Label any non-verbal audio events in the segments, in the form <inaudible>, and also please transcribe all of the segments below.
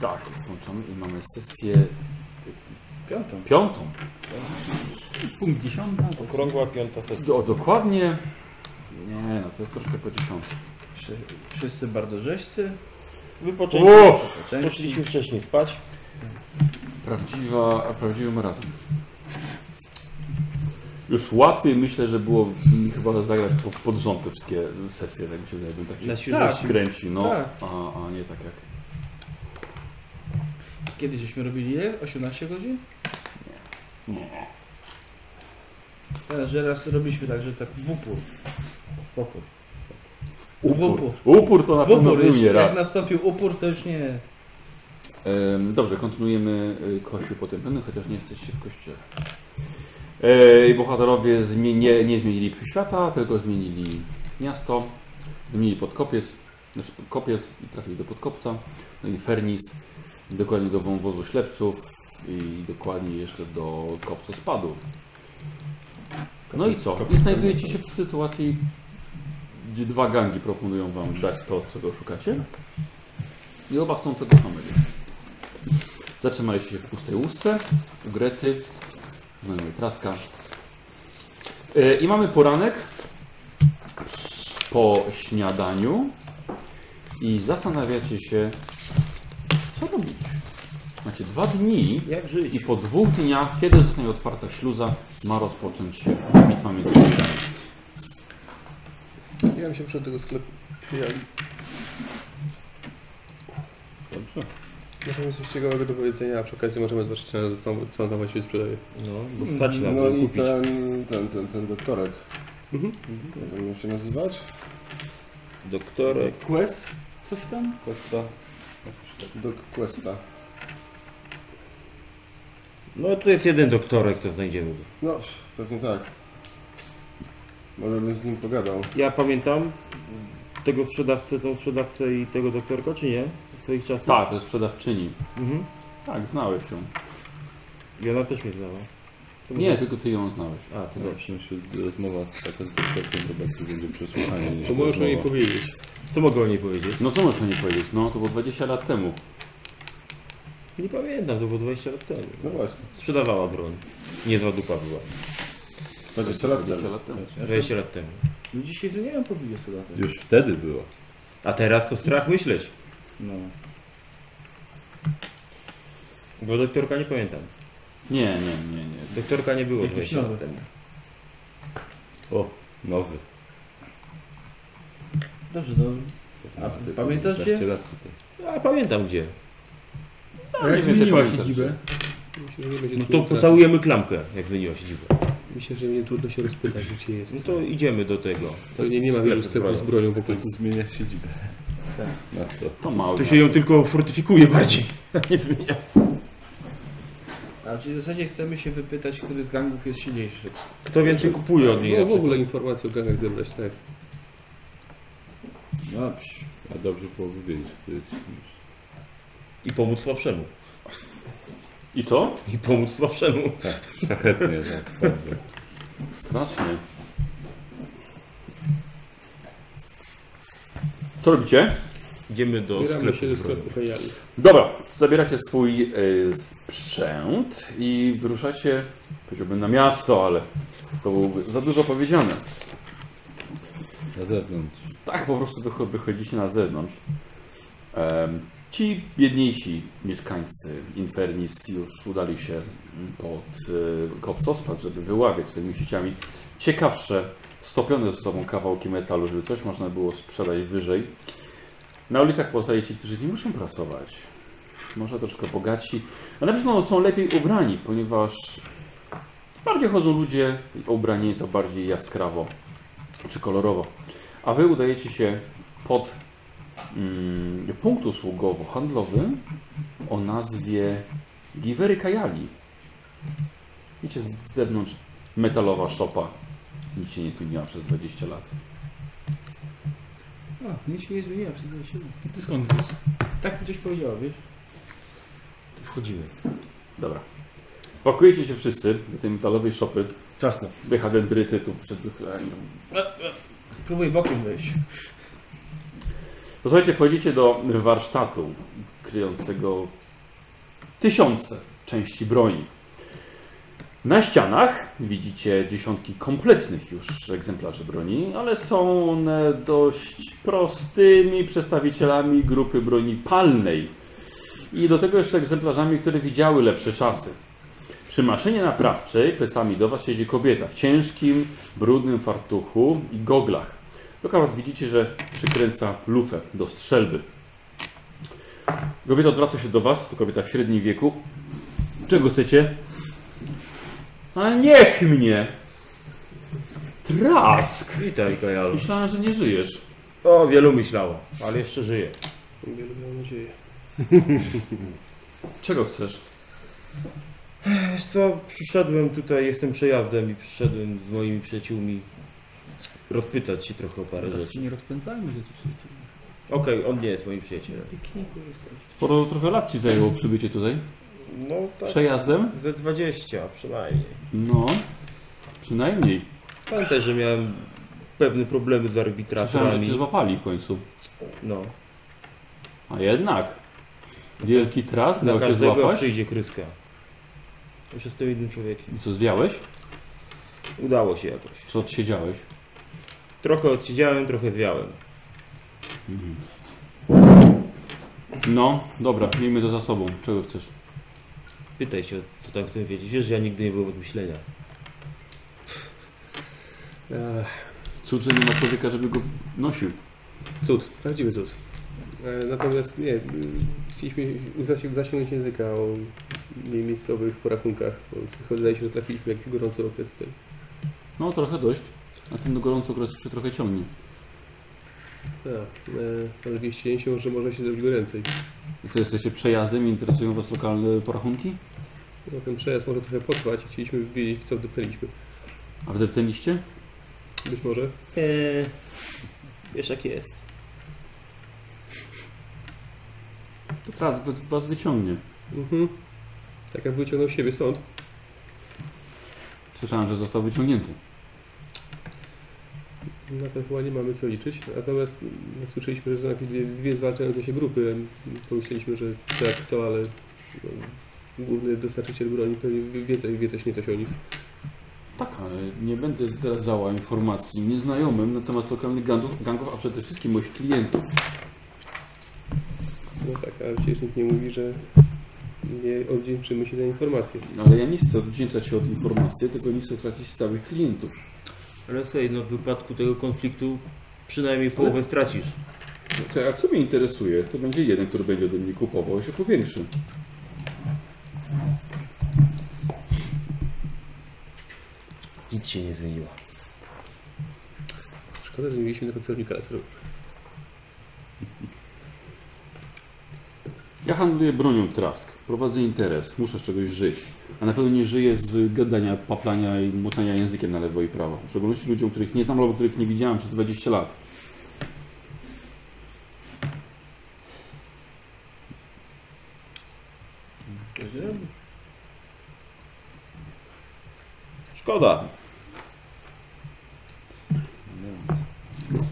Tak, jest włączony i mamy sesję Piątą. piątą. Punkt dziesiąta. Okrągła piąta sesja. O, dokładnie. Nie, no to jest troszkę po dziesiątej. Wszy, wszyscy bardzo rzeźcy. Wypoczęliśmy. Uff! Poczęci. Poszliśmy wcześniej spać. Prawdziwa, a prawdziwym razem. Już łatwiej myślę, że było mi chyba zagrać po, pod rząd te wszystkie sesje, tak mi się wydaje, bym tak się Na tak. świeżości. kręcił, no, Tak. a, a nie tak jak... Kiedyś żeśmy robili ile? 18 godzin? Nie. Teraz, że raz robiliśmy tak, że tak w upór. W opór. Upór. Upór. Upór to na W pewno upór, był już nie jak raz. nastąpił upór, to już nie... Em, Dobrze, kontynuujemy y, Kościół Potępiony, chociaż nie jesteście w kościele. E, I bohaterowie zmie- nie, nie zmienili świata, tylko zmienili miasto, zmienili podkopiec, znaczy podkopiec i trafili do podkopca, no i Fernis, dokładnie do wąwozu ślepców i dokładnie jeszcze do kopcu spadu. No i co? I znajdujecie się w sytuacji, gdzie dwa gangi proponują wam dać to, czego szukacie. I oba chcą tego samego. Zatrzymaliście się w pustej łusce, u Grety, znajomej Traska. E, I mamy poranek psz- po śniadaniu i zastanawiacie się, co robić. Macie dwa dni Jak żyć? i po dwóch dniach, kiedy zostanie otwarta śluza, ma rozpocząć się bitwa między ludźmi. Ja bym się przed tego sklepu wyjali. Dobrze. Może jest coś ciekawego do powiedzenia, a przy okazji możemy zobaczyć, co, co on tam właściwie sprzedaje. No, bo stać nam No no i kupić. ten, ten, ten, ten doktorek. Mhm. Jak on miał się nazywać? Doktorek, Quest? Coś tam? kosta. Doc Questa. No to jest jeden doktorek, to znajdziemy. go. No, pewnie tak. Może bym z nim pogadał. Ja pamiętam tego sprzedawcę, tą sprzedawcę i tego doktorka, czy nie? Z swoich czasów? Tak, to jest sprzedawczyni. Mhm. Tak, znałeś ją. I ona też mnie znała. No. To Nie, może- tylko ty ją znałeś. A, to dobrze. Znaczy, rozmowa z taka z doktorkiem zobaczy, będzie przesłuchanie. Co możesz o niej powiedzieć? Co mogę o niej powiedzieć? No co możesz o niej powiedzieć? No to było 20 lat temu. Nie pamiętam, to było 20 lat temu. No właśnie, Sprzedawała broń. Niezła dupa była. 20 lat 20 temu. lat temu. 20 lat temu. Ludzie się zmieniają po 20 latach. Już wtedy było. A teraz to strach myśleć. No. Bo doktorka nie pamiętam. Nie, nie, nie, nie. Doktorka nie było Jakiś 20 lat nowy. temu. O, nowy. Dobrze, no. A ty pamiętasz się? 15 lat tutaj. A pamiętam gdzie. A jak zmieniła siedzibę? Myślę, że nie będzie No to trudno. pocałujemy klamkę, jak zmieniła się dziwo. Myślę, że nie trudno się rozpytać, gdzie jest. No to idziemy do tego. To nie, nie ma wielu sklepów z broją w To okolicy. tu zmienia siedzibę. Tak. Na co? To mały. Tu się ją tylko fortyfikuje bardziej. <laughs> Nie zmienia. A czyli w zasadzie chcemy się wypytać, który z gangów jest silniejszy. Kto więcej kupuje od niej? na No w ogóle informacje o gangach zebrać, tak. Dobrze. A dobrze byłoby wiedzieć, że to jest przykład. I pomóc słabszemu. I co? I pomóc słabszemu. szlachetnie. Tak, bardzo. Strasznie. Co robicie? Idziemy do Zbieramy się do sklepu. sklepu Kajali. Dobra, zabieracie swój y, sprzęt i wyruszacie, powiedziałbym, na miasto, ale to byłoby za dużo powiedziane. Na zewnątrz. Tak po prostu wycho- wychodzicie na zewnątrz. Em, Ci biedniejsi mieszkańcy Infernis już udali się pod y, Kopcospad, żeby wyławiać swoimi sieciami ciekawsze, stopione ze sobą kawałki metalu, żeby coś można było sprzedać wyżej. Na ulicach pozostaje ci, którzy nie muszą pracować. Może troszkę bogatsi, a na pewno są lepiej ubrani, ponieważ bardziej chodzą ludzie ubrani nieco bardziej jaskrawo czy kolorowo. A wy udajecie się pod mm, punkt usługowo-handlowy o nazwie Givery Kajali. Wiecie, z z zewnątrz metalowa szopa. Nic się nie zmieniła przez 20 lat. A, nic się nie zmieniło, wszystko się Ty skąd wiesz? Tak mi coś powiedziała, wiesz? Wchodzimy. Dobra. Pakujecie się wszyscy do tej metalowej szopy. Ciasno. Dechadendryty tu przed wychyleniem. Próbuj bokiem wejść. To słuchajcie, wchodzicie do warsztatu kryjącego tysiące części broni. Na ścianach widzicie dziesiątki kompletnych już egzemplarzy broni, ale są one dość prostymi przedstawicielami grupy broni palnej. I do tego jeszcze egzemplarzami, które widziały lepsze czasy. Przy maszynie naprawczej plecami do Was siedzi kobieta w ciężkim, brudnym fartuchu i goglach. Tylko akurat widzicie, że przykręca lufę do strzelby. Kobieta odwraca się do Was, to kobieta w średnim wieku. Czego chcecie? A niech mnie! Trask! Witaj, Kajalu. Myślałem, że nie żyjesz. O, wielu myślało, ale jeszcze żyje. Wielu miał nadzieję. Czego chcesz? Wiesz co, przyszedłem tutaj, jestem przejazdem i przyszedłem z moimi przyjaciółmi rozpytać się trochę o parę rzeczy. No tak Nie rozpędzajmy się z przyjaciółmi. Okej, on nie jest moim przyjacielem. Pikniku jesteś. Sporo trochę lat Ci zajęło przybycie tutaj. No tak, Przejazdem? ze 20 przynajmniej. No, przynajmniej. Pamiętaj, że miałem pewne problemy z Słyszałem, że Cię arbitrażami. złapali w końcu. No, A jednak. Wielki trask na dał się każdego złapać. przyjdzie kryska. Już jestem jednym człowiekiem. I co, zwiałeś? Udało się jakoś. Czy odsiedziałeś? Trochę odsiedziałem, trochę zwiałem. No, dobra, miejmy to za sobą. Czego chcesz? Pytaj się, co tam chcę wiedzieć. Wiesz, że ja nigdy nie byłem od myślenia. Ech, Cud, że nie ma człowieka, żeby go nosił. cud, prawdziwy cud. E, Natomiast nie, y, chcieliśmy zasię- zasięgnąć języka o mie- miejscowych porachunkach, bo wydaje się, że trafiliśmy w jakiś gorący okres tutaj. No, trochę dość. A ten gorąco okres już się trochę ciągnie. Tak, rozwieściłem się, że może się zrobić goręcej. I co, jesteście przejazdem i interesują Was lokalne porachunki? No, ten przejazd może trochę potrwać i chcieliśmy wiedzieć, w co wdepnęliśmy. A wdepteliście? Być może Eee, wiesz jak jest. To teraz was- Was wyciągnie. Mhm. Tak jak wyciągnął siebie stąd. Słyszałem, że został wyciągnięty. Na to chyba nie mamy co liczyć. Natomiast mm, słyszeliśmy, że są jakieś dwie, dwie zwalczające się grupy. Pomyśleliśmy, że tak to, ale no, główny dostarczyciel broni pewnie wie- wie, coś- wie coś niecoś o nich. Tak, ale nie będę zdradzała informacji nieznajomym na temat lokalnych gangów, gangów a przede wszystkim moich klientów. No tak, a przecież nikt nie mówi, że nie odwdzięczymy się za informację. No, Ale ja nie chcę odwdzięczać się od informacji, tylko nie chcę tracić stałych klientów. Ale słuchaj, no w wypadku tego konfliktu przynajmniej połowę stracisz. No to jak co mnie interesuje, to będzie jeden, który będzie ode mnie kupował i się powiększy. Nic się nie zmieniło. Szkoda, że nie mieliśmy tego celownika laserowego. Ja handluję bronią trask, prowadzę interes, muszę z czegoś żyć. A na pewno nie żyję z gadania, paplania i mocenia językiem na lewo i prawo. W szczególności ludziom, których nie znam albo których nie widziałem przez 20 lat. Szkoda.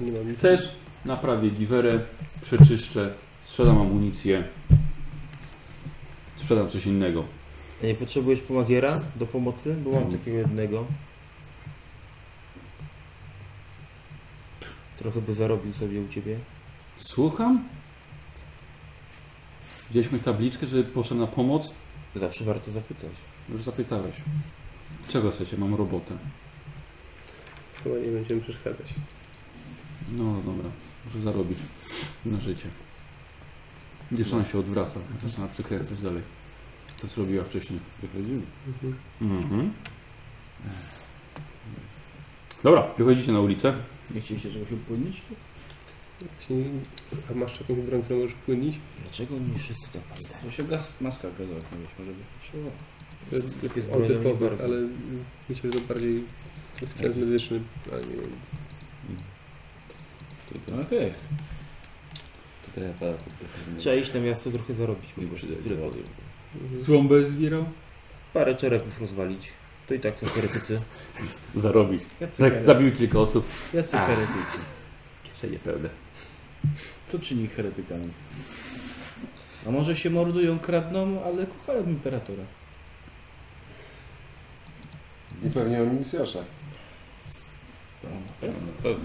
Nie mam nic. Chcesz? Naprawię giwerę, przeczyszczę, sprzedam amunicję, sprzedam coś innego. A nie potrzebujesz pomagiera do pomocy? Bo mam takiego jednego. Trochę by zarobił sobie u ciebie. Słucham? Wzięliśmy tabliczkę, żeby poszedł na pomoc? Zawsze warto zapytać. Już zapytałeś. Czego chcecie? Mam robotę. Chyba nie będziemy przeszkadzać. No dobra, muszę zarobić na życie. Dziewczyna się odwraca, zaczyna przykręcać dalej. To co robiła wcześniej. Wychodzimy. Mhm. Dobra, wychodzicie na ulicę. Nie chcieliście czegoś upłynąć? Właśnie, a masz jakąś broń, którą możesz płynić? Dlaczego nie wszyscy tak pamiętają? Bo się gaz, maska gazowa mieć, może by potrzeba. To jest Sklep jest bronią nie oddechowy, bardzo. ale mm, myślę, że to bardziej sprzęt medyczny, a nie No tak. okej. Tutaj ja pana podpytam. Trzeba iść na miasto trochę zarobić. Nie po prostu. przyjdę Tyle do powiem. Mhm. Słombę zbierał? Parę czerepów rozwalić. To i tak są heretycy. Zarobić. Jacy Tak. Zabił kilka osób. Jacy A. heretycy. Kieszenie pełne. Co czyni ich heretykami? A może się mordują, kradną, ale kochają imperatora. I pewnie o Milicjasza. No, na pewno.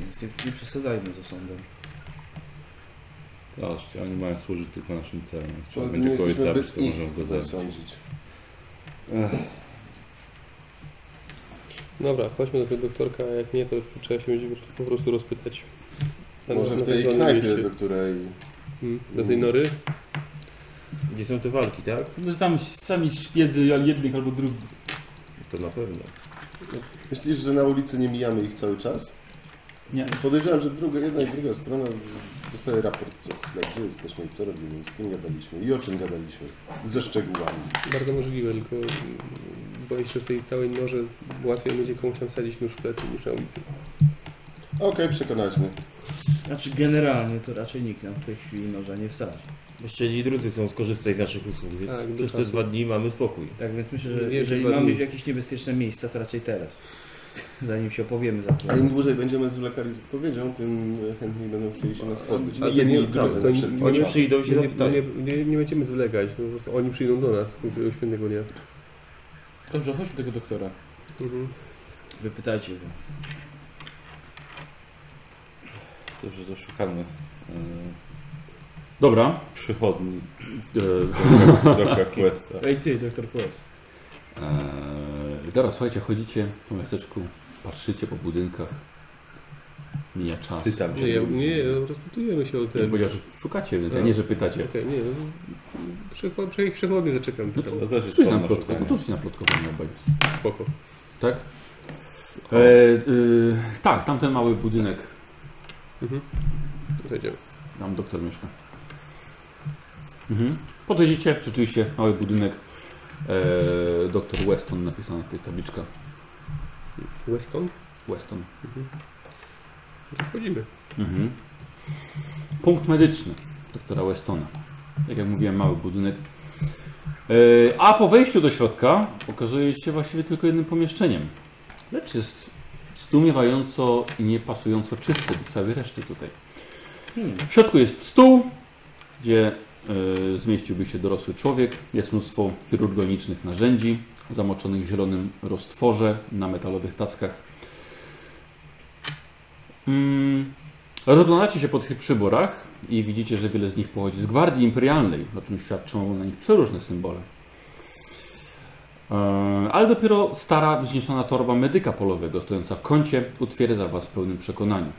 Więc nie, nie przesadzajmy ze sądem. Aż, oni mają służyć tylko naszym celom. Jak Trzeba Poza tym nie będzie kogoś jesteśmy zabić, zbyt to możemy go ich zabić. zasądzić. Dobra, chodźmy do tego doktorka, a jak nie, to trzeba się będzie po prostu rozpytać. Tam Może na w tej zwanym knajpie, mieście. do której... Mm, Do tej nory? Gdzie są te walki, tak? No, tam sami szpiedzy jednych albo drugich. To na pewno. Myślisz, że na ulicy nie mijamy ich cały czas? Nie. Podejrzewam, że druga, jedna i druga strona z- dostaje raport co chwilę, gdzie jesteśmy i co robimy, z kim gadaliśmy i o czym gadaliśmy, ze szczegółami. Bardzo możliwe, tylko mm, boję się, że w tej całej norze łatwiej będzie komuś tam sadzić już w plecy niż na ulicy. Okej, przekonać mnie. Znaczy generalnie to raczej nikt nam w tej chwili noża nie wsadzi. Jeszcze i drudzy chcą skorzystać z naszych usług, więc Tak, przez te dokładnie. dwa dni mamy spokój. Tak więc myślę, że Jeszcze jeżeli dwa dni. mamy iść w jakieś niebezpieczne miejsca, to raczej teraz. Zanim się opowiemy za A im dłużej będziemy zwlekali z odpowiedzią, tym e, chętniej będą chcieli się nas pozbyć. Ale I jedni nie- i drudzy to na nie- wszelki oni Oni wypadek. przyjdą i się No Nie, tak. zapytają. nie, nie, nie będziemy zlegać, po prostu oni przyjdą do nas któregoś pewnego dnia. Dobrze, chodźmy tego doktora. Mhm. Wypytajcie go. Dobrze, to szukamy e, Dobra. e, przychodni E, do Questa. Ej ty, doktor Kłos. Eee, I teraz słuchajcie, chodzicie po miasteczku, patrzycie po budynkach, mija czas. Ty tam się Nie, ja- gubisz. nie, no, rozpytujemy się o Nie, ten... Powiedział, że szukacie, więc ja No. A. nie, że pytacie. Okej, nie, no, przecho- prze- ich przechodnie zaczekam. No to To też jest tak. rzuć na pełno plotkowanie, szukania. to rzuć na plotkowanie obaj. Spoko. Tak? E, Eee, y, tak, tamten mały budynek, Mhm. Zajdziemy. tam doktor mieszka. Mhm. Podejdziecie, rzeczywiście, mały budynek. E, doktor Weston napisana to jest tabliczka. Weston? Weston. No, Mhm. Wchodzimy. Mhm. Punkt medyczny doktora Westona. Tak jak mówiłem, mały budynek. E, A po wejściu do środka okazuje się właściwie tylko jednym pomieszczeniem. Lecz jest zdumiewająco i niepasująco czyste do całej reszty tutaj. Hmm. W środku jest stół, gdzie e, zmieściłby się dorosły człowiek. Jest mnóstwo chirurgonicznych narzędzi zamoczonych w zielonym roztworze na metalowych tackach. Mm, Rozglądacie się po tych przyborach i widzicie, że wiele z nich pochodzi z Gwardii Imperialnej, o czym świadczą na nich przeróżne symbole. Eee, Ale dopiero stara, zniszczona torba medyka polowego, stojąca w kącie, utwierdza Was w pełnym przekonaniu.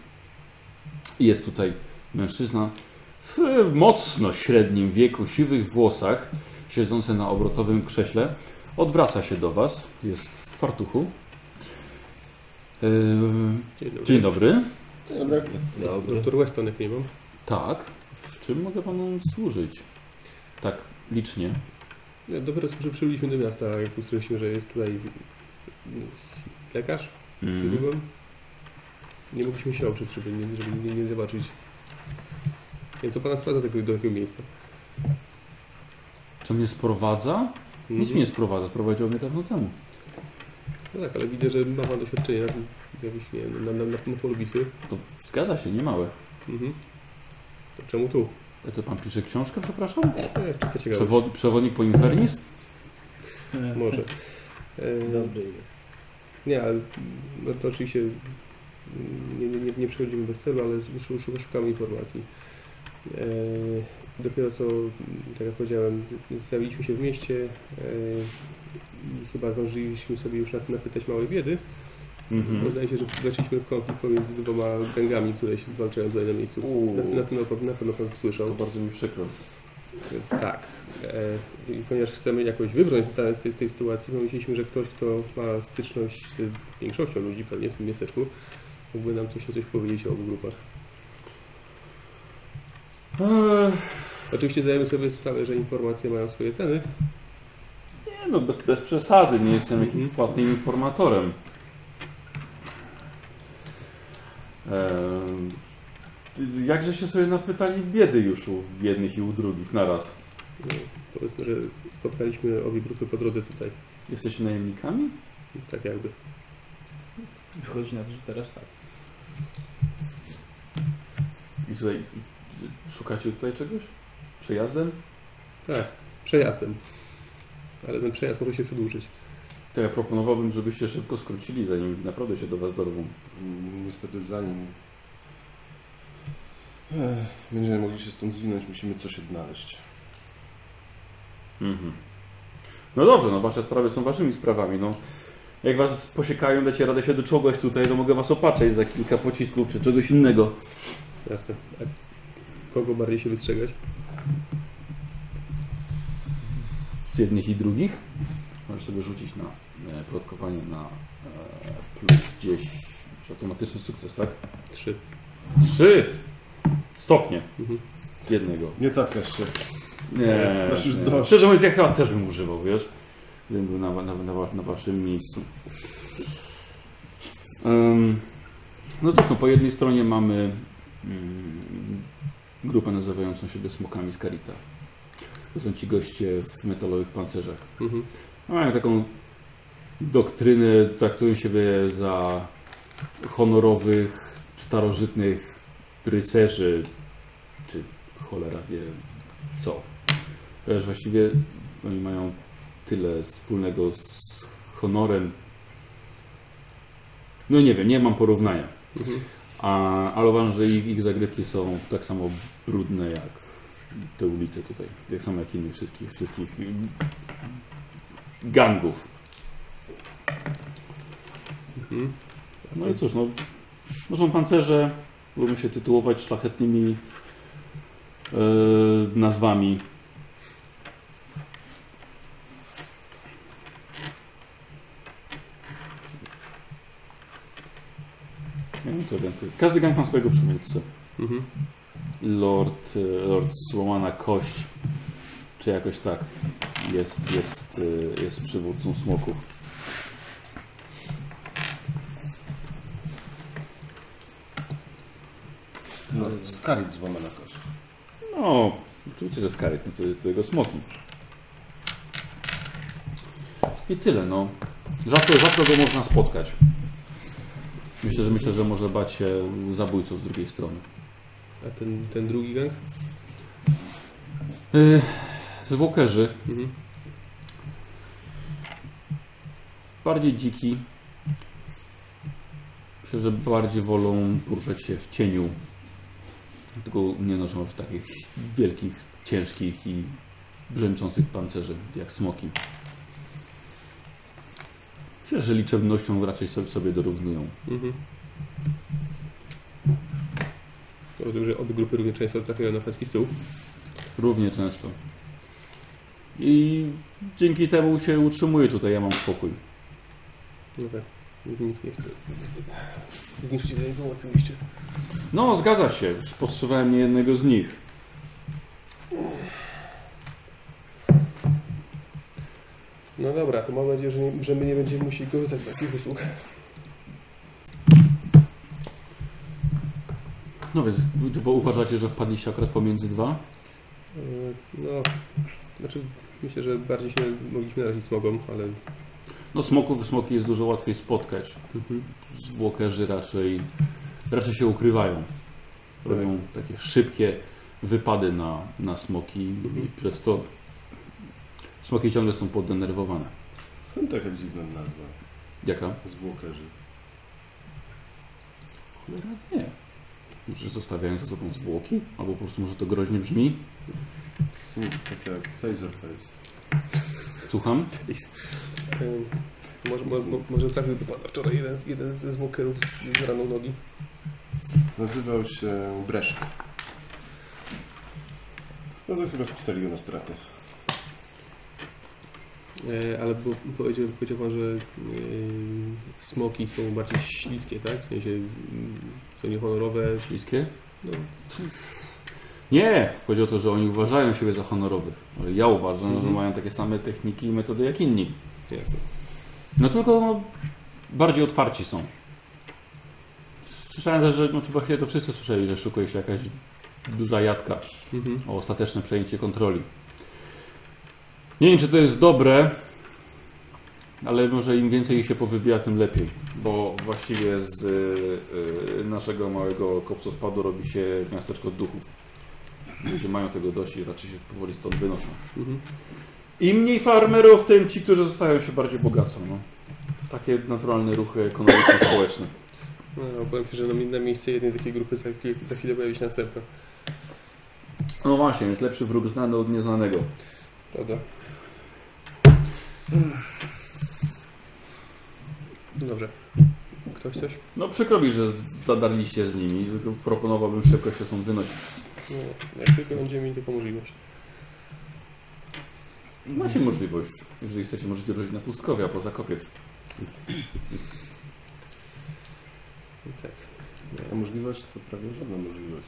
I Jest tutaj mężczyzna w mocno średnim wieku, siwych włosach, siedzący na obrotowym krześle. Odwraca się do Was, jest w fartuchu. Eee, Dzień dobry. Dzień dobry. Dobra, Doktor Weston, jak nie mam. Tak. W czym mogę panu służyć? Tak, licznie. No, Dopiero słyszę, przybyliśmy do miasta, jak usłyszeliśmy, że jest tutaj mm, lekarz, Mhm. Mm. niedługo. Nie mogliśmy się oprzeć, żeby nie, żeby nie, nie zobaczyć. Więc co pana sprowadza do tego, do takiego miejsca? Co mnie sprowadza? Mhm. Nic mnie nie sprowadza, sprowadziło mnie dawno temu. Mhm. No tak, ale widzę, że ma pan doświadczenie na, jakieś, nie wiem, na, na, na, na polu bitwy. To zgadza się, nie małe. Mhm. To czemu tu? A To pan pisze książkę, przepraszam? E, czysta ciekawe. Przewod, przewodnik po Infernis? Może. E, Dobry jest. nie, ale no to oczywiście mm, nie, nie, nie, nie przechodzimy bez celu, ale szu- szu- szukamy informacji. E, dopiero co, mm, tak jak powiedziałem, zjawiliśmy się w mieście e, i chyba zdążyliśmy sobie już na- napytać małej biedy. Mhm. Wydaje się, że weszliśmy w konflikt pomiędzy dwoma gangami, które się zwalczają tutaj na miejscu. Na, na, pewno, pan- na pewno pan słyszał. to bardzo mi przykro. Tak. E, I ponieważ chcemy jakoś wybrnąć z ta- z tej, z tej sytuacji, pomyśleliśmy, że ktoś, kto ma styczność z większością ludzi pewnie w tym miasteczku, mógłby nam coś, coś powiedzieć o obu grupach. Eee, Oczywiście zdajemy sobie sprawę, że informacje mają swoje ceny. nie no, bez, bez przesady, nie jestem jakimś Mhm. płatnym informatorem. Eee, ty- jakże się sobie napytali biedy już u jednych i u drugich naraz. Powiedzmy, że spotkaliśmy obie grupy po drodze tutaj. Jesteście najemnikami? Tak jakby. Wychodzi na to, że teraz tak. I tutaj i- szukacie tutaj czegoś? Przejazdem? Tak, przejazdem. Ale ten przejazd może się przedłużyć. To ja proponowałbym, żebyście szybko skrócili, zanim naprawdę się do was dorwą. Mm, Niestety zanim Ech, będziemy mogli się stąd zwinąć, musimy coś odnaleźć. Mhm. No dobrze, no wasze sprawy są waszymi sprawami. No, jak was posiekają, dacie radę się doczołgać tutaj, to mogę was opatrzeć za kilka pocisków czy czegoś innego. Jasne. A kogo bardziej się wystrzegać? Z jednych i drugich. Możesz sobie rzucić na e, plotkowanie na e, plus 10. Czy automatyczny sukces, tak? Trzy. Trzy stopnie Mhm. z jednego. Nie cackasz się. Nie, Masz już nie. dość. Szczerze mówiąc, ja chyba też bym używał, wiesz? Gdybym był na, wa- na, na, wa- na waszym miejscu. Ym, no cóż, no po jednej stronie mamy mm, grupę nazywającą siebie smokami z Karita. To są ci goście w metalowych pancerzach. Mhm. Mają taką doktrynę, traktują siebie za honorowych, starożytnych rycerzy, czy cholera wie co. Wiesz, właściwie oni mają tyle wspólnego z honorem. No nie wiem, nie mam porównania. Mhm. A, ale uważam, że ich, ich zagrywki są tak samo brudne jak te ulice tutaj. Jak samo jak innych wszystkich, wszystkich mm, gangów. Mhm. No i cóż, no, noszą pancerze, lubią się tytułować szlachetnymi e, nazwami. Nie wiem co więcej. Każdy gang ma swojego przywódcę. Mhm. Lord, e, Lord Słomana Kość, czy jakoś tak, jest, jest, e, jest przywódcą smoków. No, skaric złamana kość. No, oczywiście, że skaryt, no to, to jego smoki. I tyle, no. Rzadko, rzadko go można spotkać. Myślę, że myślę, że może bać się zabójców z drugiej strony. A ten, ten drugi gang? Yy, zwłokerzy, Mhm. bardziej dziki. Myślę, że bardziej wolą poruszać się w cieniu. Tylko nie noszą już takich wielkich, ciężkich i brzęczących pancerzy jak smoki. Myślę, że liczebnością raczej sobie, sobie dorównują. Mhm. Rozumiem, że obie grupy równie często trafiają na pański stół. Równie często. I dzięki temu się utrzymuje tutaj, ja mam spokój. No tak. Nikt nie chce zniszczyć tej pomocy liście. No, zgadza się. Już Spostrzegałem nie jednego z nich. No dobra, to mam nadzieję, że, nie, że my nie będziemy musieli korzystać z pańskich usług. No więc, bo uważacie, że wpadliście akurat pomiędzy dwa? Yy, No, znaczy myślę, że bardziej się mogliśmy narazić smogom, ale No smoków, smoki jest dużo łatwiej spotkać. Mhm. Zwłokerzy raczej, raczej się ukrywają. Robią takie szybkie wypady na, na smoki i przez to smoki ciągle są poddenerwowane. Skąd taka dziwna nazwa? Jaka? Zwłokerzy. Cholera nie. Może zostawiają za sobą zwłoki? Albo po prostu może to groźnie brzmi? Hmm, tak jak Taserface. Słucham? yy, może, może, może trafiłby pan wczoraj jeden, z- jeden ze zmokerów z, z raną nogi. Nazywał się Breszk. No to chyba spisali go na straty. E, Ale bo, powiedział, powiedział Pan, że e, smoki są bardziej śliskie, tak? W sensie mm, są niehonorowe. Śliskie? No, Nie! Chodzi o to, że oni uważają siebie za honorowych. Ale Ja uważam, że mają takie same techniki i metody jak inni. jasne. No tylko no, bardziej otwarci są. Słyszałem też, że no, chyba chwilę to wszyscy słyszeli, że szukuje się jakaś duża jadka Mhm. o ostateczne przejęcie kontroli. Nie wiem, czy to jest dobre, ale może im więcej ich się powybija, tym lepiej, bo właściwie z y, y, naszego małego kopsospadu robi się miasteczko duchów. Ludzie mają tego dość i raczej się powoli stąd wynoszą. Mhm. Im mniej farmerów, tym ci, którzy zostają się bardziej bogacą. No. Takie naturalne ruchy ekonomiczne, <clears throat> społeczne. No, ale powiem Ci, że na mi- na miejsce jednej takiej grupy za, chwil- za chwilę pojawi się następna. No właśnie, jest lepszy wróg znany od nieznanego. Prawda? Dobrze. Ktoś coś? No przykro mi, że z- zadarliście z nimi, tylko proponowałbym szybko się stąd wynosić. No, jak tylko będziemy mieli taką możliwość. Macie możliwość, jeżeli chcecie, możecie wrócić na Pustkowie, a poza kopiec. No Tak. Ta możliwość to prawie żadna możliwość.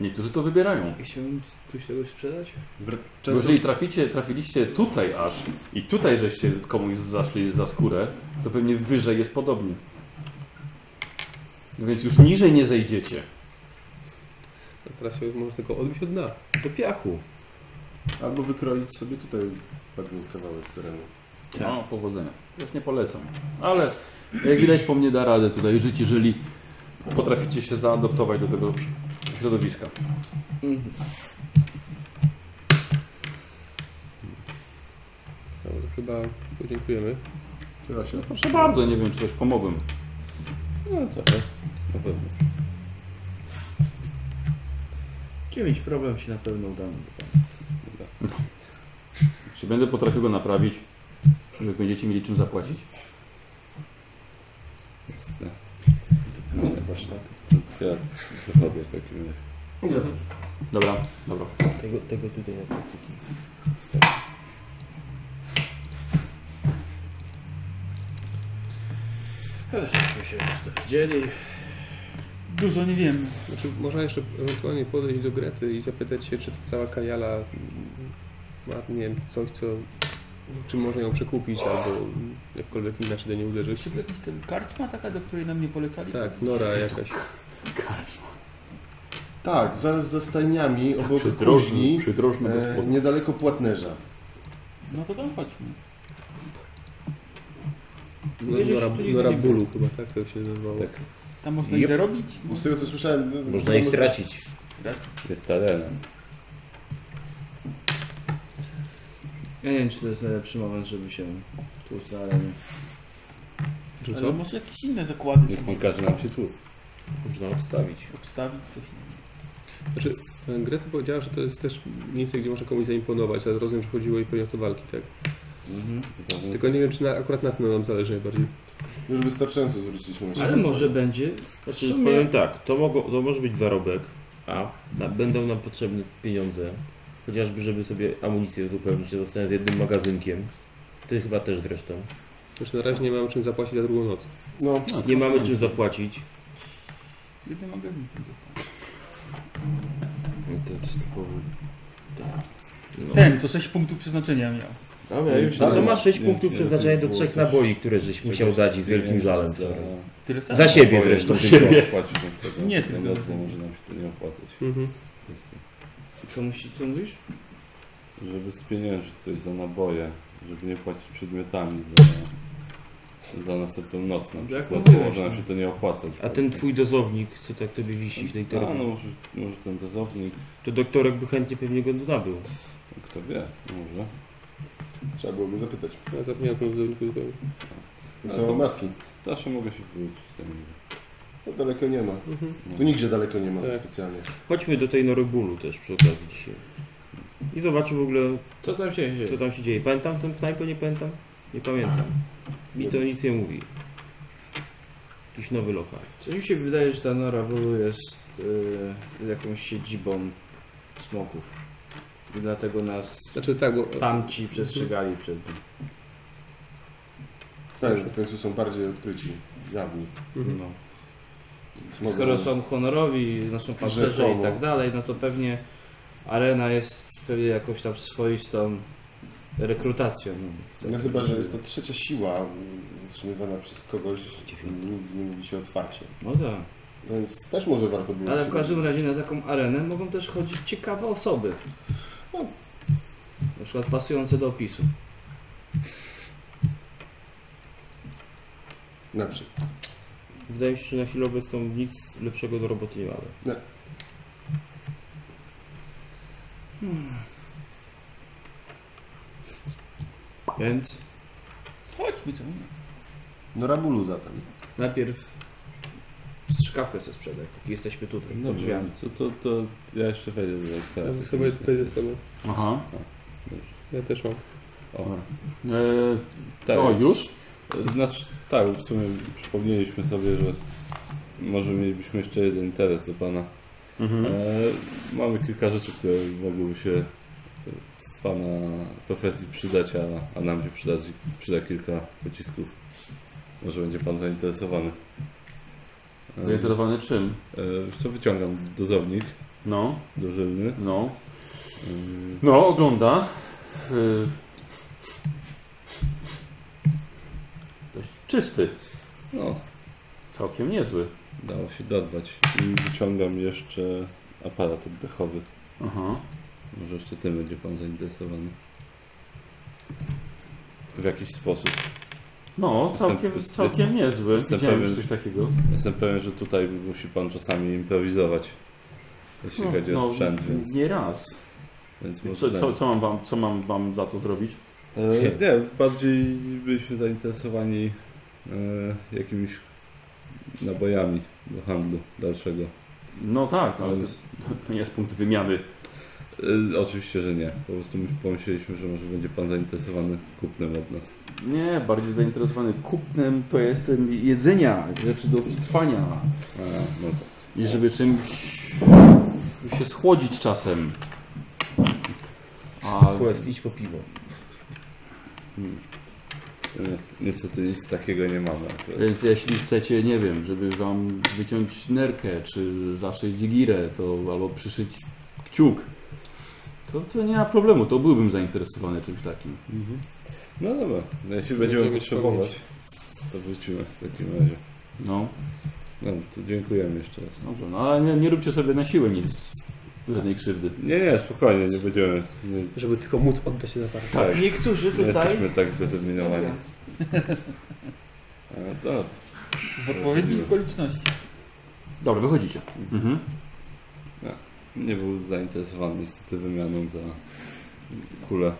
Niektórzy to wybierają. I chciałbym coś tego sprzedać? Wr- Bo Często Jeżeli traficie, trafiliście tutaj aż i tutaj żeście komuś zaszli za skórę, to pewnie wyżej jest podobnie. Więc już niżej nie zejdziecie. A No, teraz się może tylko odbić od dna. Do piachu. albo wykroić sobie tutaj pewien kawałek terenu. No, powodzenia. Już nie polecam. Ale jak widać po mnie da radę tutaj żyć, jeżeli potraficie się zaadoptować do tego środowiska. Dobrze, chyba podziękujemy. Chyba się Znaczy, no Proszę bardzo, nie wiem czy coś pomogłem. No trochę. Na pewno. Dziewięć problem się na pewno uda nam uda. Czy będę potrafił go naprawić? Jak będziecie mieli czym zapłacić? Jasne. No, warsztatu. To tak. ja wychodzę w takim razie. Dobra, dobra. Tego, tego tutaj na praktyki. Żeśmy się już dowiedzieli. Dużo nie wiemy. Znaczy, można jeszcze ewentualnie podejść do Grety i zapytać się, czy ta cała kajala mm, ma, nie wiem, coś, co, czy można ją przekupić, albo mm, jakkolwiek inaczej do niej uderzyć. Czy w jakiś ten karczma taka, do której nam nie polecali? Tak, Nora jakaś. Tak, zaraz za stajniami Tak, obok Przydrożny, kuźni, przydrożny e, gospodarz. niedaleko Płatnerza. No to tam chodźmy. No, Gdzieś Nora, tu Nora nie- Bólu chyba, tak to się nazywało. Tak. Tam można i Jep. zarobić, Z tego co słyszałem... no, Można ich stracić. stracić. Jest talenem. Ja nie wiem, czy to jest najlepszy moment, żeby się tu znaleźć. Czy Ale co? może jakieś inne zakłady Niech sobie pan każe nam się tłuc. Można obstawić. obstawić, coś tam. Znaczy, e, Greta powiedziała, że to jest też miejsce, gdzie można komuś zaimponować, ale rozumiem, że chodziło jej pewnie o te walki, tak? Mhm. Tylko nie wiem, czy na, akurat na tym nam zależy najbardziej. Już wystarczająco zwróciliśmy na Ale siebie. może będzie w Znaczy, sumie... powiem tak, to, mogło, to może być zarobek, a na, będą nam potrzebne pieniądze, chociażby żeby sobie amunicję uzupełnić, to zostanę z jednym magazynkiem. Ty chyba też zresztą. Znaczy, na razie nie mam czym zapłacić za drugą noc. No, No, Nie mamy czym zapłacić. Z jednym magazynkiem dostałem. To jest typowy. No. Ten, co 6 punktów przeznaczenia miał. dobra, już No to nie ma. masz 6 Nie, punktów nie, przeznaczenia do było trzech coś- naboi, które żeś musiał dać i z wielkim żalem Za, wczoraj. Tyle samo. Za siebie Boję, zresztą. że się tylko. nie opłaci nam tego. Nie, Ten tylko raz, za- bo może nam się to nie opłacać. Mhm. Po prostu. Co, musi, co mówisz? Żeby spieniężyć coś za naboje, żeby nie płacić przedmiotami za, za następną noc na przykład. mówiłeś, Może nam no. się to nie opłacać. tak? A ten twój dozownik, co tak tobie wisi w tej A, no torbie, może, może ten dozownik, to doktorek by chętnie pewnie go nabył. kto wie, może. Trzeba było go zapytać. Ja zapomniałem o tym wzorniku zupełnie. Tak samo maski. Zawsze mogę się wrócić. Ten... No daleko nie ma. Mhm. Tu nigdzie daleko nie ma Tak. specjalnie. Chodźmy do tej Norybulu też przy okazji dzisiaj. I zobaczmy w ogóle, Co tam się dzieje? co tam się dzieje. Pamiętam tę knajpę? Nie pamiętam? Nie pamiętam. Mi to nic nie mówi. Jakiś nowy lokal. Coś mi się wydaje, że ta Nora Bulu jest e, jakąś siedzibą smoków. I dlatego nas Znaczy tak, bo tamci przestrzegali przed tym. Tak, w końcu są bardziej odkryci, jawni. Mhm. No. Smogu- Skoro są honorowi, no są pancerze i Rzekomo. tak dalej, no to pewnie arena jest pewnie jakąś tam swoistą rekrutacją. No chyba, że jest to trzecia siła mm, utrzymywana przez kogoś, Dziewiąta. nigdy nie mówi się otwarcie. No tak. Więc też może warto było... Ale się- w każdym razie na taką arenę mogą też chodzić ciekawe osoby. No. Na przykład pasujące do opisu. Na przykład. Wydaje mi się, że na chwilę obecną nic lepszego do roboty nie mamy. Nie. Hmm. Więc Chodźmy, co nie? No Rabulu zatem. najpierw strzykawkę sobie sprzedaj, póki jesteśmy tutaj, pod Dobrze, drzwiami. to, to, to ja jeszcze wejdę do teraz. Ja sobie będę No, z tobą. Aha. Ja też mam. O, E, tak, o, już? Znaczy, tak, w sumie przypomnieliśmy sobie, że może mielibyśmy jeszcze jeden interes do Pana. Mhm. E, mamy kilka rzeczy, które mogłyby się w Pana profesji przydać, a, a nam się przyda, przyda kilka pocisków. Może będzie Pan zainteresowany. E, Zainteresowany czym? e, wiesz co, wyciągam dozownik No, dożylny. no. E, No, ogląda. Y... Dość czysty. no, Całkiem niezły. dało się dodbać. I wyciągam jeszcze aparat oddechowy. Aha. Może jeszcze tym będzie Pan zainteresowany. W jakiś sposób. No, Jestem- całkiem, jest- całkiem niezły. jestem Widziałem już pewien- coś takiego. Jestem pewien, że tutaj musi Pan czasami improwizować, jeśli chodzi o sprzęt, więc, No, nie raz. więc Co, może... tak. co, co, mam wam, co mam wam za to zrobić? E, nie, bardziej byliśmy zainteresowani e, jakimiś nabojami do handlu dalszego. No tak, ale to, Więc- to nie jest punkt wymiany. e, oczywiście, że nie. Po prostu my pomyśleliśmy, że może będzie Pan zainteresowany kupnem od nas. Nie, bardziej zainteresowany kupnem to jestem jedzenia, rzeczy do przetrwania. A, no tak. I żeby czymś się schłodzić czasem. A Quest, idź po piwo. E, niestety nic takiego nie mamy. Akurat. Więc jeśli chcecie, nie wiem, żeby wam wyciąć nerkę, czy zaszyć girę, to albo przyszyć kciuk, to, to nie ma problemu, to byłbym zainteresowany czymś takim. No dobra, no jeśli będziemy Będziemy potrzebować, to wrócimy w takim razie. No, No to dziękujemy jeszcze raz. dobrze, no ale nie, nie róbcie sobie na siłę nic, żadnej krzywdy. Nie, nie, spokojnie, nie będziemy. Nie, Żeby tylko móc oddać się na parę. tak, nie Niektórzy jesteśmy tak zdeterminowani. A, dobra. W odpowiednich okolicznościach. Dobra, wychodzicie. Mhm. Nie był zainteresowany niestety wymianą za kulę.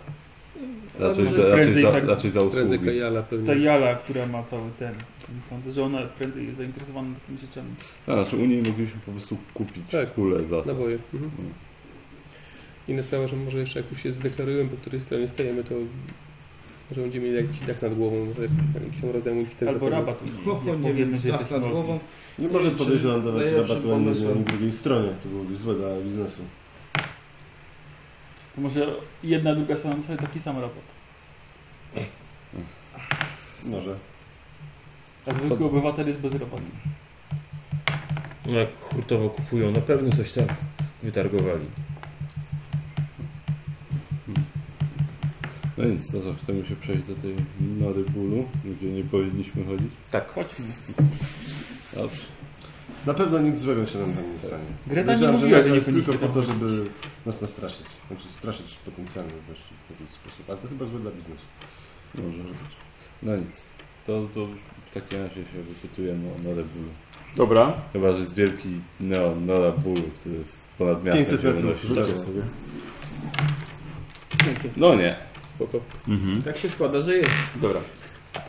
Raczej może za, raczej prędzej za, tak- raczej za Prędzej usługi. Kajala pewnie. Ta Jala, która ma cały ten. ten Sądzę, że ona prędzej jest zainteresowana takimi rzeczami. A, znaczy u niej mogliśmy po prostu kupić Tak. kulę No za to. Naboje. Mhm. Mhm. Inna sprawa, że może jeszcze jak już się zdeklarujemy, po której stronie stajemy, to może będziemy mieli jakiś dach nad głową, może jakiś tam rodzaj amunicji też Albo zapewne. rabat. Nie, No, nie powiemy, że jesteśmy nad głową. głową. Nie może podejść nam dawać najlepszym rabatu ani jednej, pomysłem- ani drugiej stronie. To byłoby złe dla biznesu. To może jedna, druga strona sobie taki sam robot. Może. A zwykły obywatel jest bez robotu. No jak hurtowo kupują, na pewno coś tam wytargowali. No nic, to co, chcemy się przejść do tej nory bólu, gdzie nie powinniśmy chodzić. Tak. Chodźmy. Dobrze. Na pewno nic złego się nam tam nie stanie. Greta nie Wiedziałem, że mówiła, że nazwa nie jest tylko powinniśmy po tam to, żeby nas nastraszyć. Znaczy straszyć potencjalnie właśnie w jakiś sposób. Ale to chyba złe dla biznesu. Może być. No nic. To, to w takim razie się wypytujemy o norę bólu. Dobra, Chyba, że jest wielki neon nora bólu, który ponad miastem 500 się metrów. unosi. rzućcie Tak. sobie. No nie. Spoko. Mhm. Tak się składa, że jest. Dobra. E,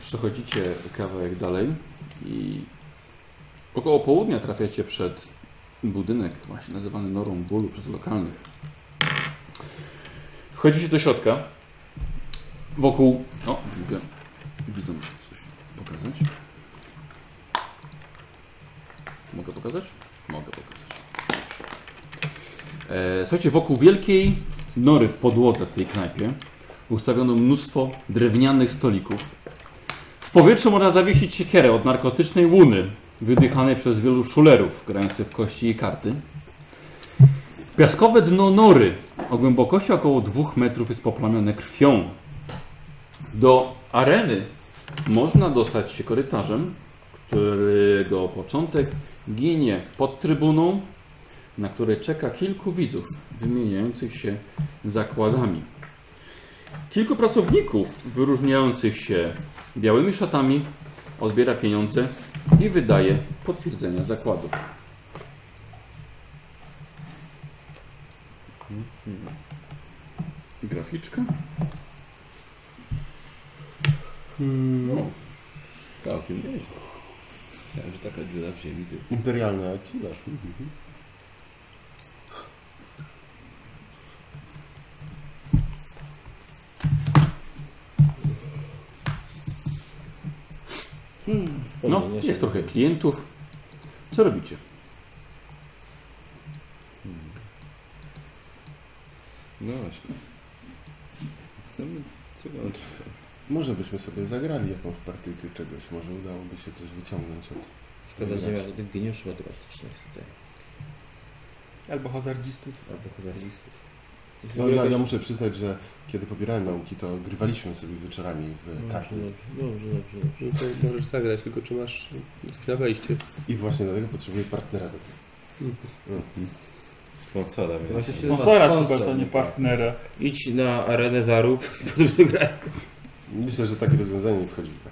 Przechodzicie kawałek dalej i około południa trafiacie przed budynek właśnie nazywany Norą Bólu przez lokalnych. Wchodzicie do środka. Wokół... O, mogę widzą coś pokazać. Mogę pokazać? Mogę pokazać. Dobrze. E, słuchajcie, wokół wielkiej nory w podłodze w tej knajpie ustawiono mnóstwo drewnianych stolików. W powietrzu można zawiesić siekierę od narkotycznej łuny, wydychanej przez wielu szulerów grających w kości i karty. Piaskowe dno nory o głębokości około 2 metrów jest poplamione krwią. Do areny można dostać się korytarzem, którego początek ginie pod trybuną, na której czeka kilku widzów wymieniających się zakładami. Kilku pracowników wyróżniających się białymi szatami odbiera pieniądze i wydaje potwierdzenia zakładów. Graficzka? Hmm. Całkiem nieźle. Myślałem, że taka dziura w ziemi, ty. Imperialna Akila. Mhm. No, jest trochę klientów. Co robicie? No właśnie. Co my, co mamy tutaj? Może byśmy sobie zagrali jakąś partyjkę czegoś. Może udałoby się coś wyciągnąć od... No Szkoda, że nie ma żadnych geniuszy matematycznych tutaj. Albo hazardzistów. Albo hazardistów. No ja, ja muszę przyznać, że kiedy pobierałem nauki, to grywaliśmy sobie wieczorami No w tak. karty. Dobrze, dobrze, dobrze. dobrze. No to możesz zagrać, tylko czy masz coś na wejście. I właśnie dlatego potrzebuję partnera do tego. Sponsora, więc. Właśnie się Sponsora nazywa Tak. chyba, a nie partnera. Idź na arenę <laughs> zarób i potem zagraj. Myślę, że takie rozwiązanie nie wchodzi w grę.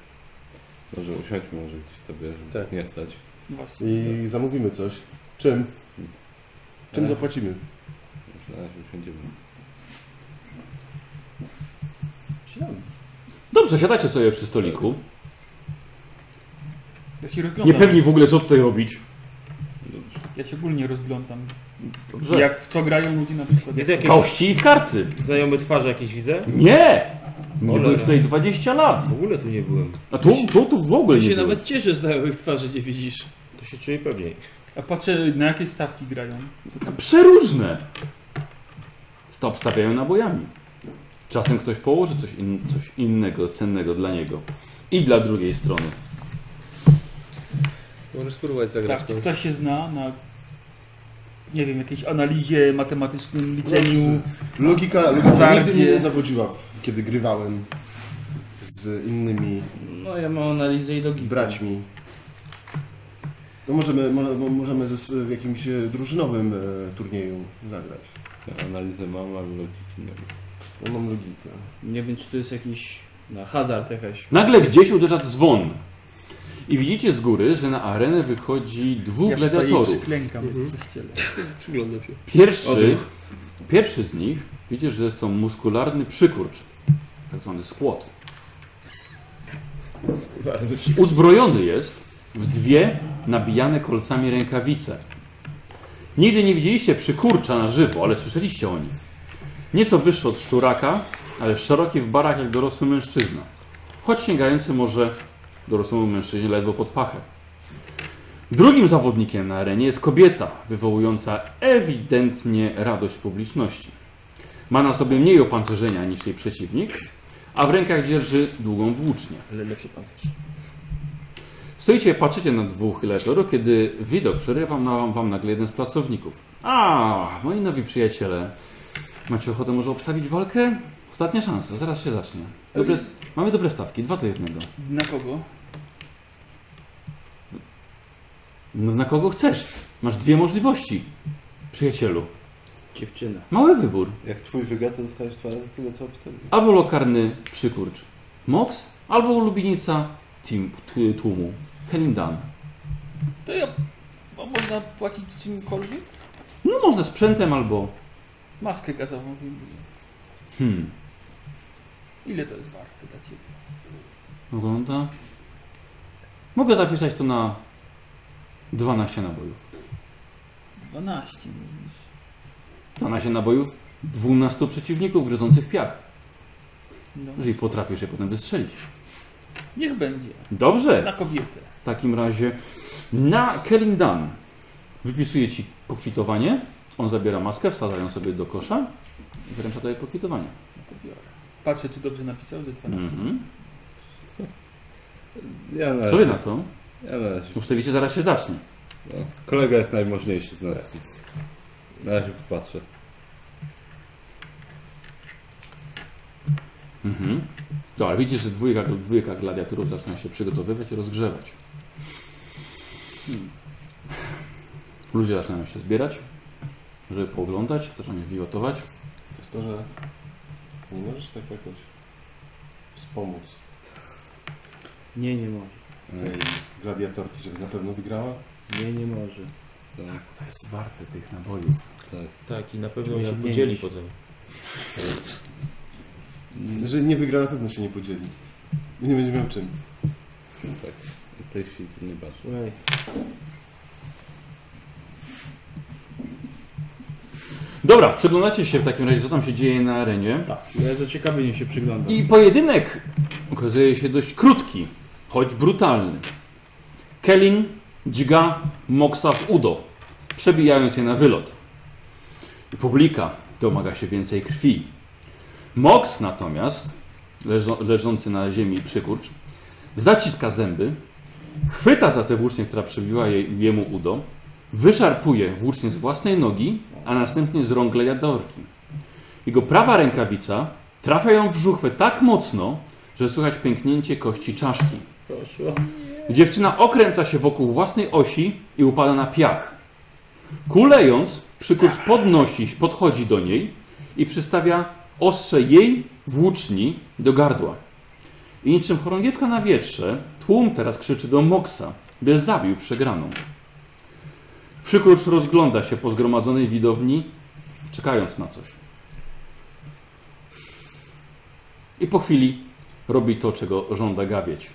Dobrze, usiądźmy może gdzieś sobie, żeby Tak. nie stać. Właśnie. I zamówimy coś. Czym? Czym Ale- zapłacimy? Na razie usiądziemy. Dobrze, siadacie sobie przy stoliku. Ja się rozglądam. Niepewni w ogóle, co tutaj robić. Dobrze. Ja się ogólnie rozglądam. Dobrze. Jak w co grają ludzie na przykład. Jest jakieś Kości i w karty. znajome twarze jakieś widzę? Nie! Nie Cholera. byłem tutaj 20 lat. W ogóle tu nie byłem. A tu, tu, tu w ogóle nie się byłem. nawet cieszę, znajomych twarzy nie widzisz. To się czuję pewniej. A patrzę na jakie stawki grają. Tak, Przeróżne. Stop stawiają nabojami. Czasem ktoś położy coś, in, coś innego, cennego dla niego. I dla drugiej strony. Możesz spróbować zagrać. Tak, czy no. ktoś się zna na nie wiem, jakiejś analizie matematycznym, liczeniu. Logika, logika Hazardzie. nigdy mnie nie zawodziła, w- kiedy grywałem z innymi No ja mam analizę i logikę. braćmi. To możemy, mo- mo- możemy ze, s- w jakimś e, drużynowym e, turnieju zagrać. Ja analizę mam, ale logiki nie mam. Ja mam logikę. Nie wiem czy to jest jakiś na hazard jakaś. Nagle gdzieś uderza dzwon. I widzicie z góry, że na arenę wychodzi dwóch Ja wstaję i gladiatorów. przyklękam w kościele. Przyglądam się. Pierwszy, pierwszy z nich, widzisz, że jest to muskularny przykurcz, tak zwany skłot. Uzbrojony jest w dwie nabijane kolcami rękawice. Nigdy nie widzieliście przykurcza na żywo, ale słyszeliście o nich. Nieco wyższy od szczuraka, ale szeroki w barach jak dorosły mężczyzna. Choć sięgający może dorosłemu mężczyźnie ledwo pod pachę. Drugim zawodnikiem na arenie jest kobieta, wywołująca ewidentnie radość publiczności. Ma na sobie mniej opancerzenia niż jej przeciwnik, a w rękach dzierży długą włócznię. Ale lepsze pancerz. Stoicie, patrzycie na dwóch letorów, kiedy widok przerywa na, wam nagle jeden z pracowników. A, moi nowi przyjaciele, macie ochotę może obstawić walkę? Ostatnia szansa, zaraz się zacznie. Dobre, mamy dobre stawki, dwa do jednego. Na kogo? No, na kogo chcesz? Masz dwie możliwości, przyjacielu. Dziewczyna. Mały wybór. Jak twój wyga, to dostajesz dwa razy tyle, co obstawiam. albo lokarny przykurcz Mox, albo ulubienica team, t- tłumu Helindan. To ja. Bo można płacić czymkolwiek? No można sprzętem albo... Maskę gazową wyjmuję. Hmm, Ile to jest warte dla ciebie? ogląda. Mogę zapisać to na 12 nabojów. 12 mówisz. 12 nabojów 12 przeciwników gryzących piach. No. Jeżeli potrafisz je potem wystrzelić. Niech będzie. Dobrze! Na kobietę. W takim razie na Kelindan wypisuje ci pokwitowanie. On zabiera maskę, wsadza ją sobie do kosza i wręcza tobie pokwitowanie. No to biorę. Patrzę, czy dobrze napisał, że 12. Mhm. Ja na Co wy razie. na to? Ja na razie. Ustawicie, zaraz się zacznie. No. Kolega jest najmożniejszy z nas, więc na razie popatrzę. Mhm. Dobra, widzisz, że dwójka, dwójka gladiatorów zaczyna się przygotowywać i rozgrzewać. Hmm. Ludzie zaczynają się zbierać, żeby pooglądać, zaczynają wiwatować. To jest to, że Nie możesz tak jakoś wspomóc Nie, nie może. tej gladiatorki, żeby na pewno wygrała? Nie, nie może. Co? To jest warte tych nabojów. Tak, i na pewno Ja się podzieli podzieli potem. Że nie wygra, na pewno się nie podzieli. I Nie będzie miał czym. Tak. W tej chwili to nie bardzo. Słuchaj. Dobra, przyglądacie się w takim razie, co tam się dzieje na arenie. Ja zaciekawienie się przyglądam. I pojedynek okazuje się dość krótki, choć brutalny. Kelin dźga Moxa w udo, przebijając je na wylot. I publika domaga się więcej krwi. Mox natomiast, leżo, leżący na ziemi przykurcz, zaciska zęby, chwyta za tę włócznię, która przebiła jej, jemu udo, wyszarpuje włócznie z własnej nogi, a następnie z rąk gladiatorki. Jego prawa rękawica Trafia ją w żuchwę tak mocno, że słychać pęknięcie kości czaszki. Dziewczyna okręca się wokół własnej osi i upada na piach. Kulejąc, przykucz podnosi, podchodzi do niej i przystawia ostrze jej włóczni do gardła. I niczym chorągiewka na wietrze, tłum teraz krzyczy do Moksa, by zabił przegraną. Przykucz rozgląda się po zgromadzonej widowni, czekając na coś. I po chwili robi to, czego żąda gawieć.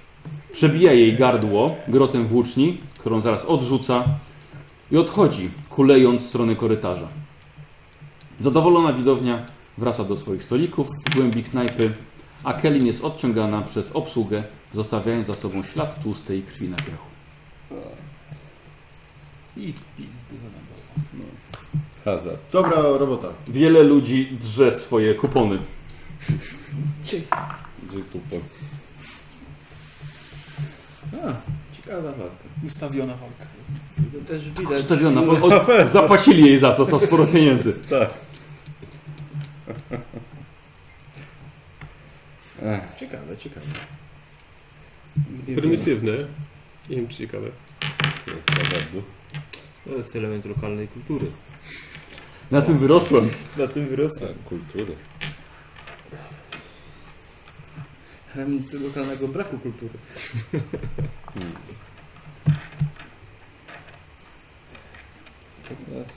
Przebija jej gardło grotem włóczni, którą zaraz odrzuca i odchodzi, kulejąc w stronę korytarza. Zadowolona widownia wraca do swoich stolików w głębi knajpy, a Kelin jest odciągana przez obsługę, zostawiając za sobą ślad tłustej krwi na piachu. I w pizdy. no dobra. Hazard. Dobra robota. Wiele ludzi drze swoje kupony. Gdzie kupon? Ciekawa walka. Ustawiona walka. To też widać. Przedstawiona, bo od, zapłacili jej za co, za sporo pieniędzy. Ciekawe, ciekawe. Prymitywne. Nie wiem, czy ciekawe. To jest hazardu. To jest element lokalnej kultury. Na tym wyrosłem. Na tym wyrosłem. Tak, kultury. Element lokalnego braku kultury. Co teraz?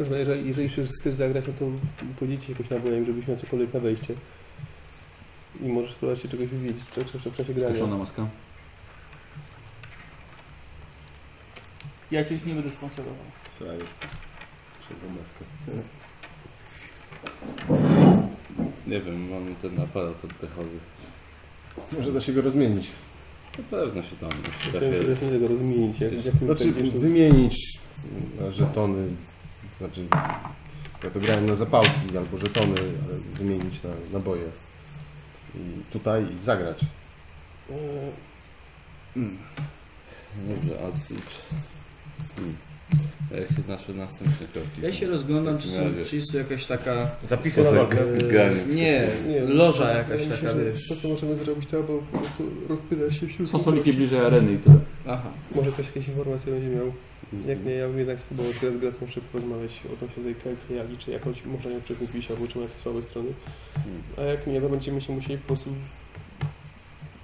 Można, jeżeli, jeżeli już chcesz zagrać, no to podzielić się jakoś nabojem, żebyś miał cokolwiek na wejście. I możesz spróbować się czegoś wywiedzieć w czasie, w czasie grania. Skoszona maska. Ja cię już nie będę sponsorował. Frajer. Przerwę maskę. Nie wiem, mam ten aparat oddechowy. Może da się go rozmienić. Na pewno się tam Ja się trafię. też nie tego rozmienić. Jak, jak Znaczy wymienić mm, żetony, znaczy ja to grałem na zapałki albo żetony, ale wymienić na naboje. I tutaj i zagrać. Dobrze, a ty... Hmm. A jakie nasze następne kroki? Ja są? się rozglądam, czy, są, Razie. czy jest tu jakaś taka... Tak, e, Poza Tak, ganiem. nie, loża jakaś Wydaje mi się, No taka, że wiesz. To, co możemy zrobić, to albo po prostu rozpytać się wśród Są nich. stoliki bliżej areny i tyle. Aha. Może ktoś jakieś informacje będzie miał. Mhm. Jak nie, ja bym jednak spróbował teraz grać, muszę porozmawiać odnośnie tej knajpy, jak liczę, jakąś można ją przekupić, albo czy ma jakieś słabe strony. A jak nie, to będziemy się musieli po prostu